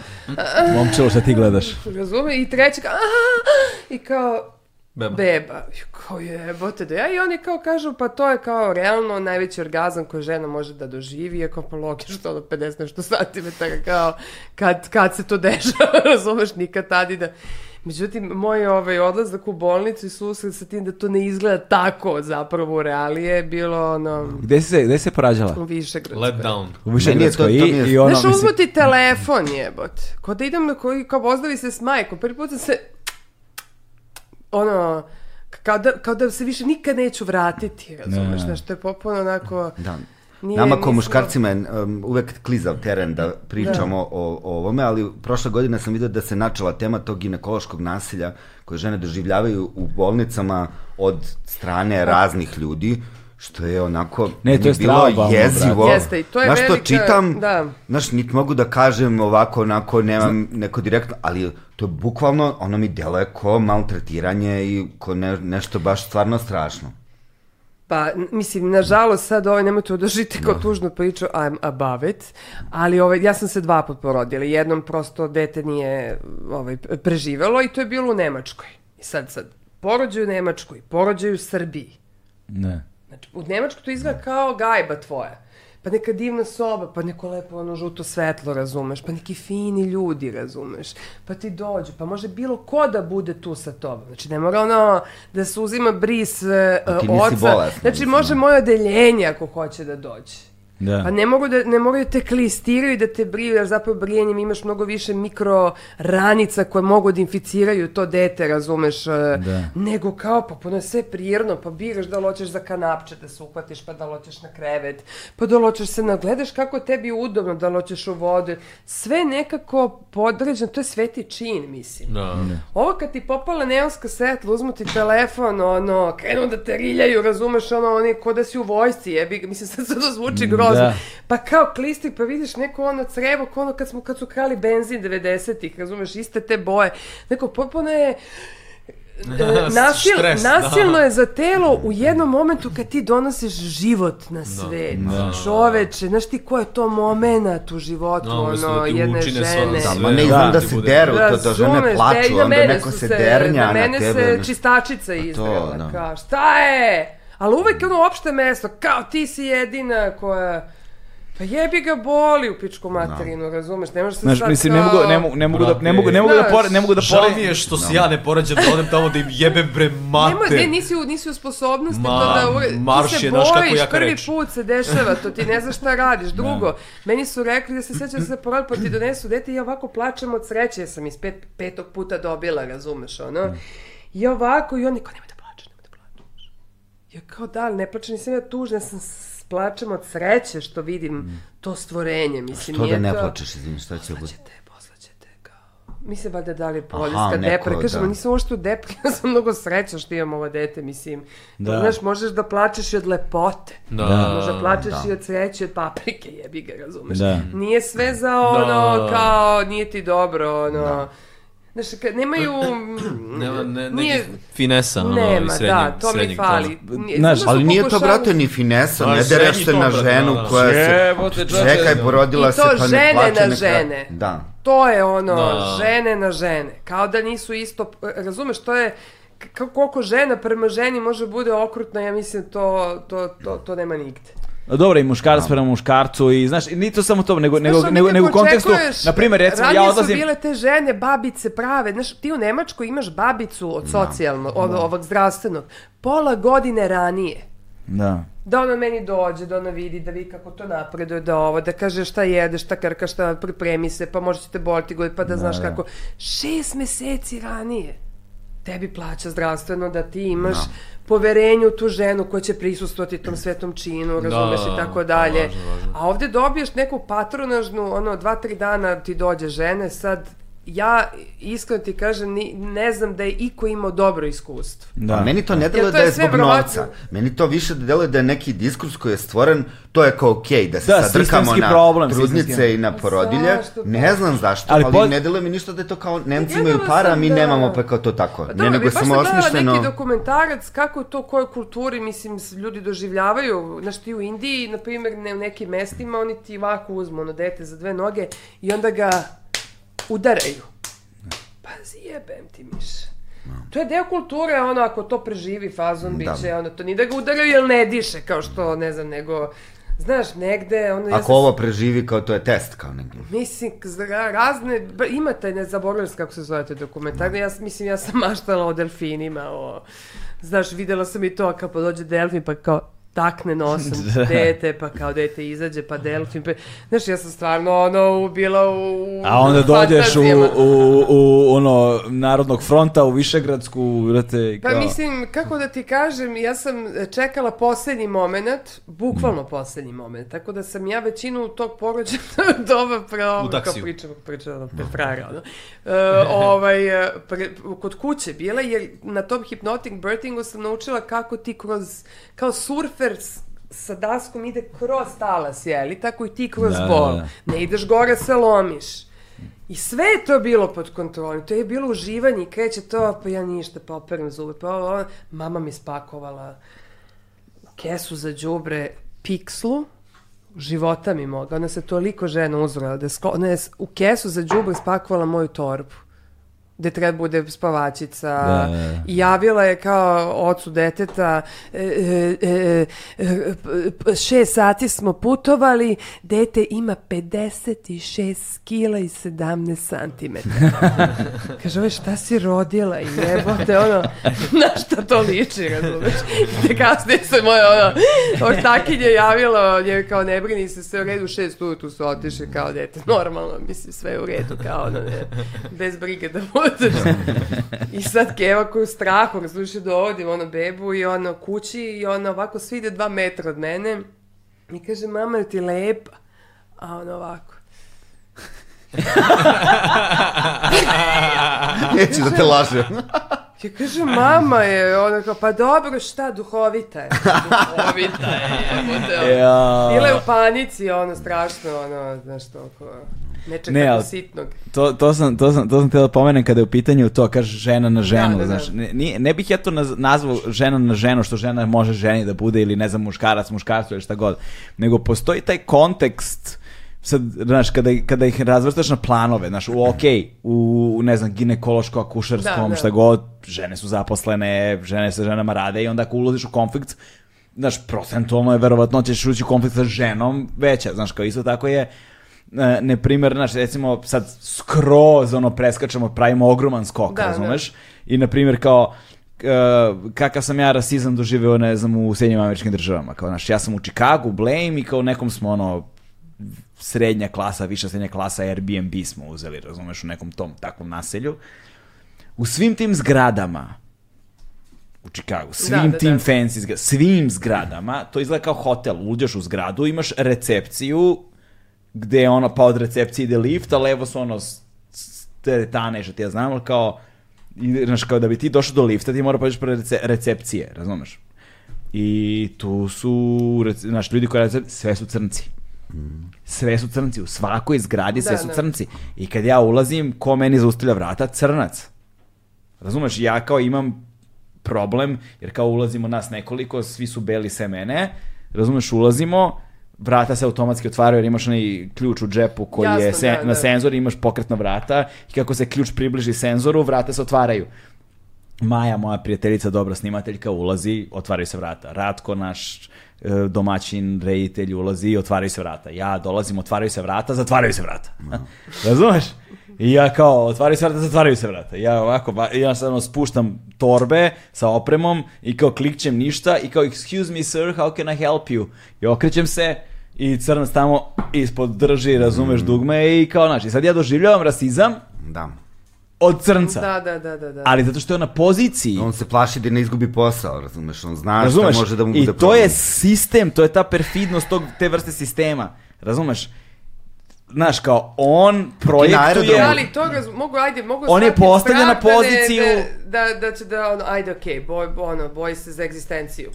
Momčilo, šta ti gledaš? razume, i treći kao, "Aha!" i kao, Beba. beba. I Kao jebote da ja. I oni kao kažu, pa to je kao realno najveći orgazam koji žena može da doživi, iako pa logično ono 50 nešto santimetara, kao kad, kad se to dešava, razumeš, nikad tad i da... Međutim, moj ovaj odlazak u bolnicu i susret sa tim da to ne izgleda tako zapravo u realije je bilo ono Gde si se, gde si se porađala? u Višegradskoj. Let down. U to- Višegradskoj i, to mi je- i ono, Znaš, mislim- uzmu ti telefon, jebot. Ko da idem na koji, kao pozdravi se s majkom. Prvi put sam se, ono, kao da, kao da se više nikad neću vratiti, razumeš? Ne. Znaš, to je popuno onako... Da. Nije, Nama kao nismo- muškarcima je um, uvek klizav teren da pričamo o, o ovome, ali prošle godine sam vidio da se načela tema tog ginekološkog nasilja koje žene doživljavaju u bolnicama od strane Pa. raznih ljudi, što je onako Ne, to je mi bilo strašno, brate. jezivo. Jeste, i to je Znaš, velika- čitam, da. znaš, niti mogu da kažem ovako, onako, nemam neko direktno, ali to je bukvalno, ono mi delo je ko maltretiranje i ko ne, nešto baš stvarno strašno. Pa, n- mislim, nažalost, sad ovaj, nemojte odožiti Da. kao tužnu priču, I'm above it, ali ovaj, ja sam se dva put porodila. Jednom prosto dete nije ovaj, preživelo i to je bilo u Nemačkoj. I sad, sad, porođaju u Nemačkoj, porođaju u Srbiji. Ne. Znači, u Nemačku to izgleda kao gajba tvoja. Pa neka divna soba, pa neko lepo ono žuto svetlo, razumeš, pa neki fini ljudi, razumeš, pa ti dođu, pa može bilo ko da bude tu sa tobom. Znači, ne mora ono da se uzima bris e, Pa ti e, nisi oca. znači, bolesna, mislim, može ono. moje odeljenje ako hoće da dođe. Da. Pa ne mogu da ne moraju da te klistiraju i da te briju, jer zapravo brijanjem imaš mnogo više mikro ranica koje mogu da inficiraju to dete, razumeš, e, nego kao, pa puno je sve prijerno, pa biraš da loćeš za kanapče, da se uhvatiš, pa da loćeš na krevet, pa da loćeš se na, gledaš kako je tebi udobno da loćeš u vodu, sve nekako podređeno, to je sveti čin, mislim. Da. Ovo kad ti popala neonska svetla, uzmu ti telefon, ono, krenu da te riljaju, razumeš, ono, oni ko da si u vojsci, jebi, ga, mislim, sad sad to zvuči grozno. da. Pa kao klisti, pa vidiš neko ono crevo, ko ono kad, smo, kad su krali benzin 90-ih, razumeš, iste te boje. Neko, popuno je e, nasil, Da, stres, da. nasilno je za telo u jednom momentu kad ti donosiš život Da, na svet. Čoveče, znaš ti ko je to moment u životu, Da, umjesto ono, da ti jedne učine sa- žene. sa- Da, ma ne, Da. znam da se deru, to da žene Razumeš, e, i plaču, na onda mene neko su se dernja na na mene tebe. se znaš. čistačica izrela, da. kao šta je? Ali uvek je ono opšte mesto, kao ti si jedina koja... Pa jebi ga boli u Da. pičku materinu, razumeš? Ne možeš se Znaš, sad mislim, ne kao... mogu, ne mogu, ne mogu, da, ne mogu, ne mogu da Znaš, pore, ne mogu da Žao mi pore. je što se ja ne porađam da odem tamo da im jebem bre Nemoj, ne, mater. nisi u, nisi u sposobnosti Ma, to da... ure- marš ti se je, znaš kako bojiš, jaka prvi reč. put se dešava, to ti ne znaš šta radiš. Drugo, meni su rekli da se sjećam da se porod, pa ti donesu dete i ja ovako plačem od sreće, jer sam iz pet, petog puta dobila, razumeš, ono. Mm. I ovako, i oni kao, nemoj da plačeš, nemoj da plačeš. Ja kao, da, ali ne plačem, nisam ja tužna, ja sam s- plačem od sreće što Mm. vidim to stvorenje, mislim. To da nije to- ne Znači, plačeš, izvini, šta će bude? Poslaćete, poslaćete kao. Mi se valjda dali poljska neko, depre. Kažemo, da. nisam uopšte u depre, ja sam mnogo sreća što imam ovo dete, mislim. Da. Da. Znaš, možeš da plačeš i od lepote. Da. Možda plačeš i od sreće, od paprike, jebi ga, razumeš. Da. Nije sve za Da, ono, kao, nije ti dobro, ono. Da. Znaš, kad nemaju... Nema ne, nije- nekih finesa, ono, nema, i srednjeg, da, to mi srednjeg fali. Nije- Znaš, zato Ali što nije to, pokušavaju- brate, ni finesa, Ali ne dereš srednji se na to, brate, ženu da, da. koja se... Jebote, čoče. Čekaj, porodila I se, to pa žene ne plače. na neka- žene. Da. To je ono, Da. žene na žene. Kao da nisu isto, razumeš, to je k- k- koliko žena prema ženi može bude okrutna, ja mislim to, to, to, to nema nigde. Dobro, i muškarac prema muškarcu i znaš, nije to samo to, nego, nego, Znaš, nego, ono, nego u kako kontekstu, očekuješ, na primjer, recimo, ja ranije odlazim... su bile te žene, babice prave, znaš, ti u Nemačkoj imaš babicu Da. od socijalnog, od ovog zdravstvenog, pola godine ranije. Da. Da ona meni dođe, da ona vidi, da vidi kako to napreduje, da ovo, da kaže šta jedeš, šta krka, šta pripremi se, pa možda će te boliti god, pa da, znaš kako. Šest meseci ranije tebi plaća zdravstveno da ti imaš poverenje u tu ženu koja će prisustvovati tom svetom činu, razumeš i tako dalje. A ovde dobiješ neku patronažnu, ono, dva, tri dana ti dođe žene, sad ja iskreno ti kažem, ni- ne znam da je iko imao dobro iskustvo. Da. Da. Meni to ne deluje to da je je sve zbog verovatno- novca. Meni to više deluje da je neki diskurs koji je stvoren, to je kao okej, da se Da, sadrkamo sistemski na problem, trudnice sistemski. i na porodilje. Pa zašto? Ne znam zašto, Ali ali, po- ne deluje mi ništa da je to kao Nemci Ja imaju gledala para, sam mi da- nemamo, pa je kao to tako. Pa ne, dobro, nego bi baš sam samo gledala osmišljeno. neki dokumentarac kako to, koje kulturi, mislim, s- ljudi doživljavaju. Znaš, ti u Indiji, na primjer, ne, u nekim mestima, oni ti ovako uzmu ono dete za dve noge i onda ga udaraju. Da. Pa zjebem ti, Miša. To je deo kulture, ono, ako to preživi fazon, Da. bit će, ono, to ni da ga udaraju jer ne diše, kao što, ne znam, nego, znaš, negde, ono, Pa ja Ako sam- ovo preživi, kao to je test, kao neki. Mislim, za razne, ba- ima taj, ne zaboravljam se kako se zove taj dokumentar, ja, s- mislim, ja sam maštala o delfinima, o, znaš, videla sam i to kako dođe delfin pa kao takne nosom Da. dete, pa kao dete izađe, pa delfin, pa, znaš, ja sam stvarno, ono, u- bila u A onda dođeš u, fantazijama. u, u ono, Narodnog fronta, u Višegradsku, vrate, Pa kao... mislim, kako da ti kažem, ja sam e, čekala posljednji moment, bukvalno posljednji moment, tako da sam ja većinu tog porođaja doba pre U ovo, kao taksiju. pričam, pričam, ono, pre frajera, da. ono, e, ovaj, e, pre, kod kuće bila, jer na tom hypnotic birthingu sam naučila kako ti kroz, kao surfer s- sa daskom ide kroz talas, jeli, tako i ti kroz Da, da, bol. da. Ne ideš gore, se lomiš. I sve je to bilo pod kontrolom, to je bilo uživanje i kreće to, pa ja ništa, pa operem zube, pa ovo, ono. mama mi spakovala kesu za đubre pikslu, života mi moga, ona se toliko žena uzrala, da je sklo- ona je s- u kesu za đubre spakovala moju torbu gde treba bude spavačica. Da, da, da. I javila je kao ocu deteta, e, e, e, e, p- p- šest sati smo putovali, dete ima 56 kila i 17 santimetara. Kaže, ove, šta si rodila i jebote, ono, na šta to liči, razumeš? I te kasnije se moja, ono, ortakinje javila, je kao, ne brini se, sve u redu, šest ujutru su otišli kao dete, normalno, mislim, sve je u redu, kao, ono, ne, bez brige da budeš. I sad Keva koju strahu, razumiješ, dovodim ono bebu i ono kući i ona ovako svi ide dva metra od mene i kaže, mama, je ti lepa? A ona ovako. Neću da te lažem. Ja kaže, mama je, ona kao, pa dobro, šta, duhovita je. Duhovita je, jebote. ono. Ja. Bila je u panici, ono, strašno, ono, znaš, toliko. Nečeg Ne, ne, ali- sitnog. To, to sam, to sam, to sam htio da pomenem kada je u pitanju to, kaže žena na ženu, da, da. znaš, ne, nije- ne bih ja to naz- nazvao žena na ženu, što žena može ženi da bude ili ne znam muškarac, muškarcu ili šta god, nego postoji taj kontekst, sad, znaš, kada, ih- kada ih razvrstaš na planove, znaš, u ok, u, u, ne znam, ginekološko-akušerskom, Da, da. šta god, žene su zaposlene, žene sa ženama rade i onda ako ulaziš u konflikt, znaš, procentualno je verovatno ćeš ući u konflikt sa ženom veća, znaš, kao isto tako je, e, ne primer, znaš, recimo sad skroz ono preskačemo, pravimo ogroman skok, Da, razumeš? I na primjer kao e, kakav sam ja rasizam doživeo, ne znam, u Sjedinjim američkim državama. Kao, znaš, ja sam u Chicagu, blame i kao nekom smo ono srednja klasa, viša srednja klasa, Airbnb smo uzeli, razumeš, u nekom tom takvom naselju. U svim tim zgradama u Chicagu, svim da, da. tim fancy zgradama, svim zgradama, to izgleda kao hotel, uđeš u zgradu, imaš recepciju, gde je ono, pa od recepcije ide lift, a levo su ono s- s- teretane, što ti ja znam, ali kao, i, znaš, kao da bi ti došao do lifta, ti mora pođeš pre rece- recepcije, razumeš? I tu su, rec- znaš, ljudi koji rade, sve su crnci. Sve su crnci, u svakoj zgradi sve Da, su da. crnci. I kad ja ulazim, ko meni zaustavlja vrata? Crnac. Razumeš, ja kao imam problem, jer kao ulazimo nas nekoliko, svi su beli se mene, razumeš, ulazimo, vrata se automatski otvaraju jer imaš onaj ključ u džepu koji je Jasno, sen, da, na da. senzor i imaš pokretna vrata i kako se ključ približi senzoru, vrata se otvaraju. Maja, moja prijateljica, dobra snimateljka, ulazi, otvaraju se vrata. Ratko, naš e, domaćin, reditelj, ulazi, otvaraju se vrata. Ja dolazim, otvaraju se vrata, zatvaraju se vrata. Razumeš? I ja kao, otvaraju se vrata, zatvaraju se vrata. Ja ovako, ba- ja samo spuštam torbe sa opremom i kao klikćem ništa i kao, excuse me sir, how can I help you? I okrećem se i crnac tamo ispod drži, razumeš, dugme i kao, znaš, i sad ja doživljavam rasizam Da. od crnca. Da, da, da, da. da. Ali zato što je on na poziciji On se plaši da ne izgubi posao, razumeš? On zna razumeš? šta može da mu bude I to problem. je sistem, to je ta perfidnost tog, te vrste sistema. Razumeš? Znaš, kao on projektuje... aerodromu. Da, ali toga z- mogu, ajde, mogu On je shvatiti postavljen na pravdane poziciju- Da, da, da će da, ono, ajde, okej, boj, ono, boji se za egzistenciju.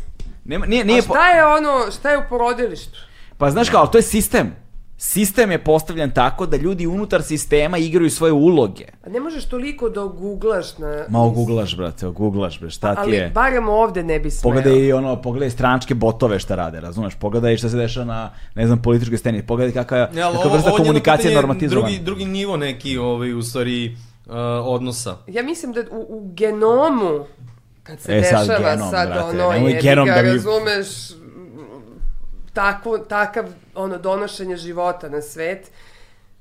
Nema, nije, nije, A šta je ono, šta je u porodilištu? Pa znaš kao, ali to je sistem. Sistem je postavljen tako da ljudi unutar sistema igraju svoje uloge. A ne možeš toliko da oguglaš na... Ma oguglaš, brate, oguglaš, bre, šta ti Ali je? barem ovde ne bi smeo. Pogledaj i ono, pogledaj stranačke botove šta rade, razumeš? Pogledaj šta se dešava na, ne znam, političkoj sceni. Pogledaj kakva, Ne, ali kakva ovo- vrsta ovo je jedno komunikacije pitanje, je normatizovana. Drugi, drugi nivo neki, ovaj, u stvari, uh, odnosa. Ja mislim da u, u genomu, kad se E, sad dešava sad, genom, brate, ono, nemoj je, genom ga da mi- razumeš, m, takvo, takav, ono, donošenje života na svet,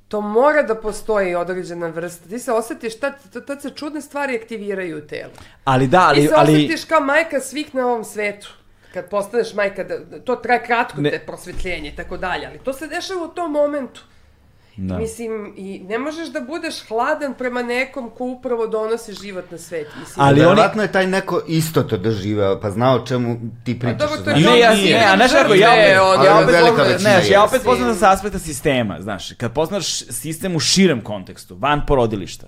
to mora da postoji određena vrsta. Ti se osjetiš, tad, tad se čudne stvari aktiviraju u telu. Ali da, ali... Ti se ali... osjetiš kao majka svih na ovom svetu. Kad postaneš majka, da- da, to traje kratko Ne. te prosvetljenje i tako dalje, ali to se dešava u tom momentu. Da. Mislim, i ne možeš da budeš hladan prema nekom ko upravo donosi život na svet. Mislim, Ali Ali oni- Verovatno je taj neko isto to doživeo, pa zna o čemu ti Pa pričaš. dobro, to je znaš. Ne, ja, ne, a znaš kako, ja opet, Ne, ono, ja ali opet, velika poznaš- većina ne, ja jeste. opet poznam sa aspekta sistema, znaš, kad poznaš sistem u širem kontekstu, van porodilišta,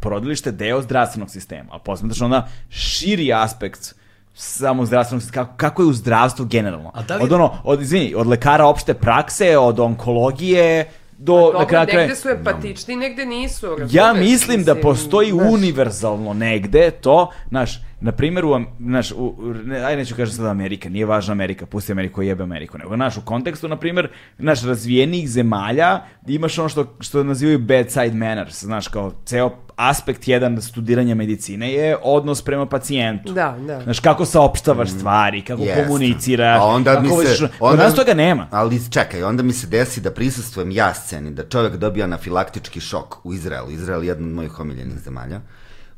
porodilište je deo zdravstvenog sistema, a posmetaš onda širi aspekt samog zdravstvenog sistema, kako, kako je u zdravstvu generalno. A da li- Od ono, od, izvini, od lekara opšte prakse, od onkologije, do, Dobro, na kraju kraja- negde su empatični, negde nisu. ja razumeš? mislim da Mislim, postoji znaš, univerzalno negde to, znaš, na primjer, u, Am- znaš, u- u, ne, aj neću kažem sad Amerika, nije važna Amerika, pusti Ameriku, jebe Ameriku, nego, znaš, u kontekstu, na primjer, znaš, razvijenih zemalja imaš ono što, što nazivaju bedside manners, znaš, kao ceo aspekt jedan studiranja medicine je odnos prema pacijentu. Da, da. Znaš, kako saopštavaš stvari, kako Mm. Jeste. komuniciraš, A onda kako mi vodiš- se... Kod nas toga nema. Ali čekaj, onda mi se desi da prisustvujem ja sceni, da čovjek dobija anafilaktički šok u Izraelu. Izrael je jedan od mojih omiljenih zemalja.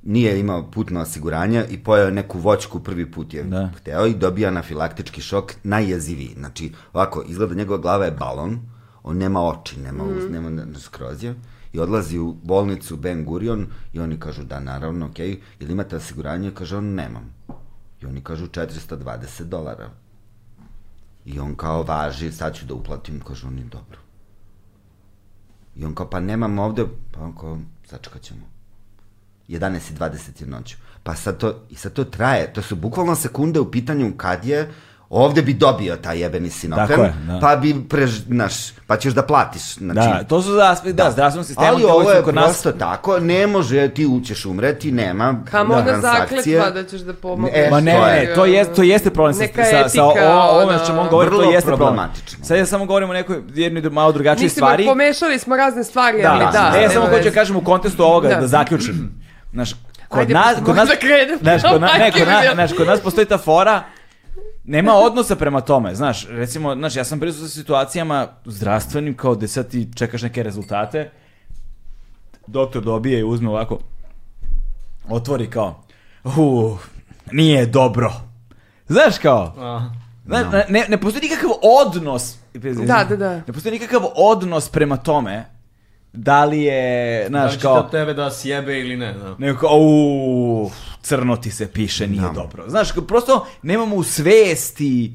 Nije imao putno osiguranje i pojao je neku voćku prvi put je Da. hteo i dobija anafilaktički šok najjeziviji. Znači, ovako, izgleda njegova glava je balon, on nema oči, nema, uz, nema n- n- skroz je i odlazi u bolnicu Ben Gurion i oni kažu da naravno, okej, jel imate osiguranje? Kaže on nemam. I oni kažu 420 dolara. I on kao važi, sad ću da uplatim, kaže on je dobro. I on kao, pa nemam ovde, pa on kao, sačekat ćemo. 11.20 je noću. Pa sad to, i sad to traje, to su bukvalno sekunde u pitanju kad je Ovde bi dobio taj jebeni sinofen, Tako je, da. pa bi prež, naš, pa ćeš da platiš. Znači, Da, to su za aspekt, da, da zdravstvenog sistema Ali koji ovo su je kod nas- prosto tako, ne može, ti ćeš umreti, nema Da. Kamo ona transakcije. zakletva da ćeš da pomogneš. E, Ma ne, to ne, je- to, jest, to jeste problem sa, Neka sa, sa etika, o- o- ovome ona- što ćemo on govori, to Vrlo jeste problem. problematično. Sad ja samo govorim o nekoj jednoj dru- malo drugačijoj Mislim, Znači, stvari. pomešali smo razne stvari, Da, ali da. ne, ja nema samo hoću veze. da kažem u kontekstu ovoga, da, Da. zaključim. Znaš, kod Ajde, nas, možda kod nas, krenem. znaš, kod, na, ne, kod, na, Majke mi, znaš, kod nas postoji ta fora, nema odnosa prema tome, znaš, recimo, znaš, ja sam prisutno sa situacijama zdravstvenim, kao da sad ti čekaš neke rezultate, doktor dobije i uzme ovako, otvori kao, uh, nije dobro. Znaš kao, Znaš, ne- ne, ne postoji nikakav odnos. Da, da, da. Ne postoji nikakav odnos prema tome da li je, znaš, Znači kao... kao... tebe da sjebe ili ne, da. Nego kao, "Au, crno ti se piše, nije dobro. Znaš, kao, prosto nemamo u svesti,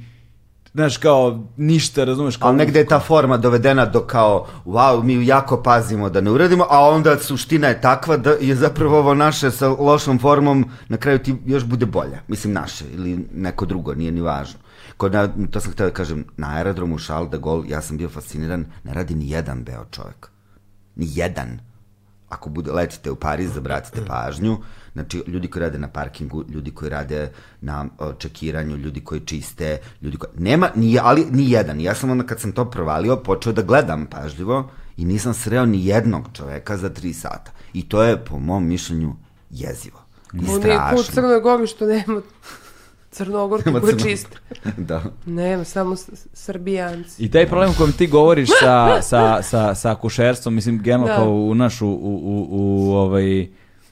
znaš, kao, ništa, razumeš? Kao, Ali negde je ta forma dovedena do kao, wow, mi ju jako pazimo da ne uradimo, a onda suština je takva da je zapravo ovo naše sa lošom formom na kraju ti još bude bolje. Mislim naše ili neko drugo, nije ni važno. Kod na, to sam htio da kažem, na aerodromu Charles de Gaulle, ja sam bio fasciniran, ne radi ni jedan beo čovek. Ni jedan. Ako bude, letite u Pariz, da obratite pažnju. Znači, ljudi koji rade na parkingu, ljudi koji rade na o, čekiranju, ljudi koji čiste, ljudi koji... Nema, ni, ali ni jedan. Ja sam onda kad sam to provalio, počeo da gledam pažljivo i nisam sreo ni jednog čoveka za tri sata. I to je, po mom mišljenju, jezivo. I Oni u strašno. Crnoj Gori što nema Crnogorki Nema koji Crno- čiste. da. Nema, samo s- s- Srbijanci. I taj problem o kojem ti govoriš sa, sa, sa, sa akušerstvom, mislim, generalno Da. kao u naš, u, u, u, u ovaj,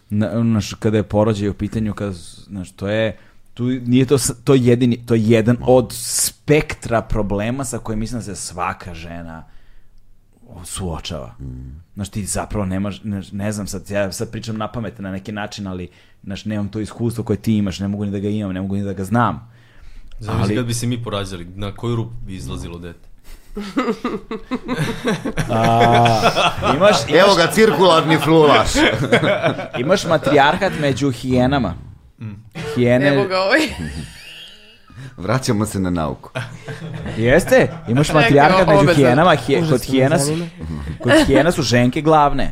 na, u naš, kada je porođaj u pitanju, kada, s- znaš, to je, tu nije to, s- to jedini, to je jedan od spektra problema sa kojim mislim da se svaka žena suočava. Mm. Znaš, ti zapravo nemaš, ne, ne znam, sad, ja sad pričam na pamet na neki način, ali znaš, nemam to iskustvo koje ti imaš, ne mogu ni da ga imam, ne mogu ni da ga znam. Zamisli Ali- kad bi se mi porađali, na koju rupu bi izlazilo dete? Imaš, imaš, Evo ga, cirkularni flulaš. Imaš matrijarhat među hijenama. Hijene... Evo ga ovaj. Vraćamo se na nauku. Jeste, imaš matrijarhat Rekao, među ove za- hijenama. hije- Užasno kod, me hijena su, zanima. kod hijena su ženke glavne.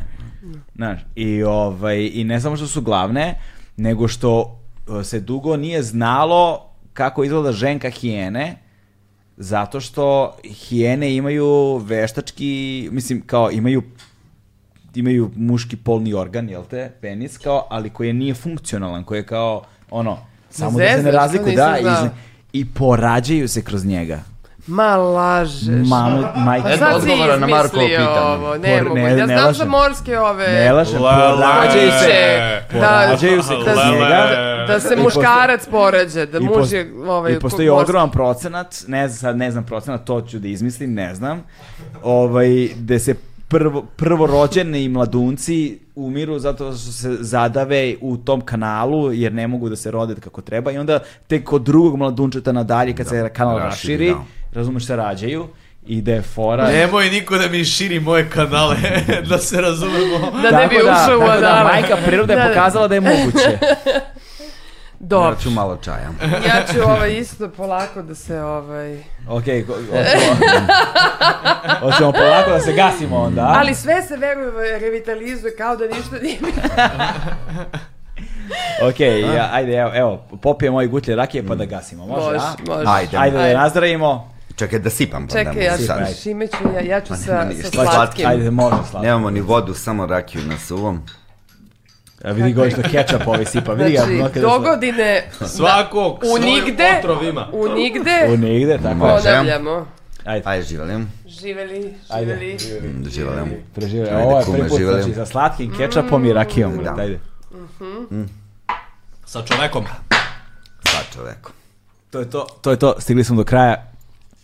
Znaš, i, ovaj, I ne samo što su glavne, nego što e, se dugo nije znalo kako izgleda ženka hijene, zato što hijene imaju veštački, mislim, kao imaju imaju muški polni organ, jel te, penis, kao, ali koji je nije funkcionalan, koji je kao, ono, samo da se ne Zezaš, to razliku, nisam da, znala. iz, i porađaju se kroz njega. Ma lažeš. Mamu, A majke, sad si odgovora na Markovo izmislio pitanje. ovo, ne Por- mogu. ne- Ja ne znam za lažem. morske ove... ne lažem, Lele. porađaju se, Će, da, porađaju se kroz da, njega. da, da se I posto- muškarac porađa, da i muž posto- je ovaj... I postoji morski. ogroman procenat, ne znam, sad ne znam procenat, to ću da izmislim, ne znam, ovaj, gde se prvo, prvorođeni mladunci umiru zato što se zadave u tom kanalu jer ne mogu da se rode kako treba i onda tek kod drugog mladunčeta nadalje kad se kanal raširi, raširi, da. razumeš se rađaju i da je fora... Nemoj niko da mi širi moje kanale, da se razumemo. Da ne bi Tako da- ušao u tako da, anale. majka priroda Da, je da. pokazala da je moguće. Dobro, Vraću malo čaja. ja ću ovaj isto polako da se ovaj... Ok, ko- hoćemo- hoćemo polako da se gasimo onda. a? Ali sve se veruje revitalizuje kao da ništa nije bilo. Ok, ja, ajde, evo, evo popijem moje gutlje rakije pa da gasimo, može, Može, a? može. Ajde. Ajde da je Ajde. nazdravimo, Čekaj da sipam. pa da Čekaj, ja mu ću, sad. Ajde. šime ću, ja, ja ću nema sa, ništa. sa Slatki. slatkim. Pa ajde, može slatko. Nemamo ni vodu, samo rakiju na suvom. A vidi ga što kečap ovaj sipa, vidi ga. Znači, ono kada do se- godine, Svako u nigde, otrov ima. u nigde, U nigde, tako je. Može. ponavljamo. Ajde, Ajde, živjeli. Živeli, Ajde. živeli. Mm, Živjeli. preživljamo. Ajde, Ovo je kume, prvi put, živeli. znači, sa Mm. slatkim kečapom i rakijom, brate, Da. ajde. Sa čovekom. Sva čoveku. To je to, to je to, stigli smo do kraja,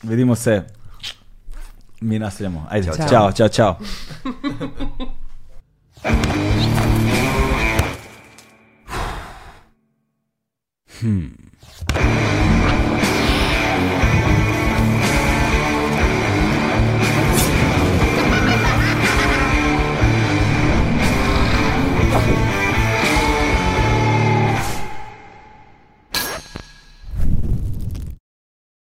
vidimo se, mi nastavljamo, ajde, Ćao. čao, čao, čao.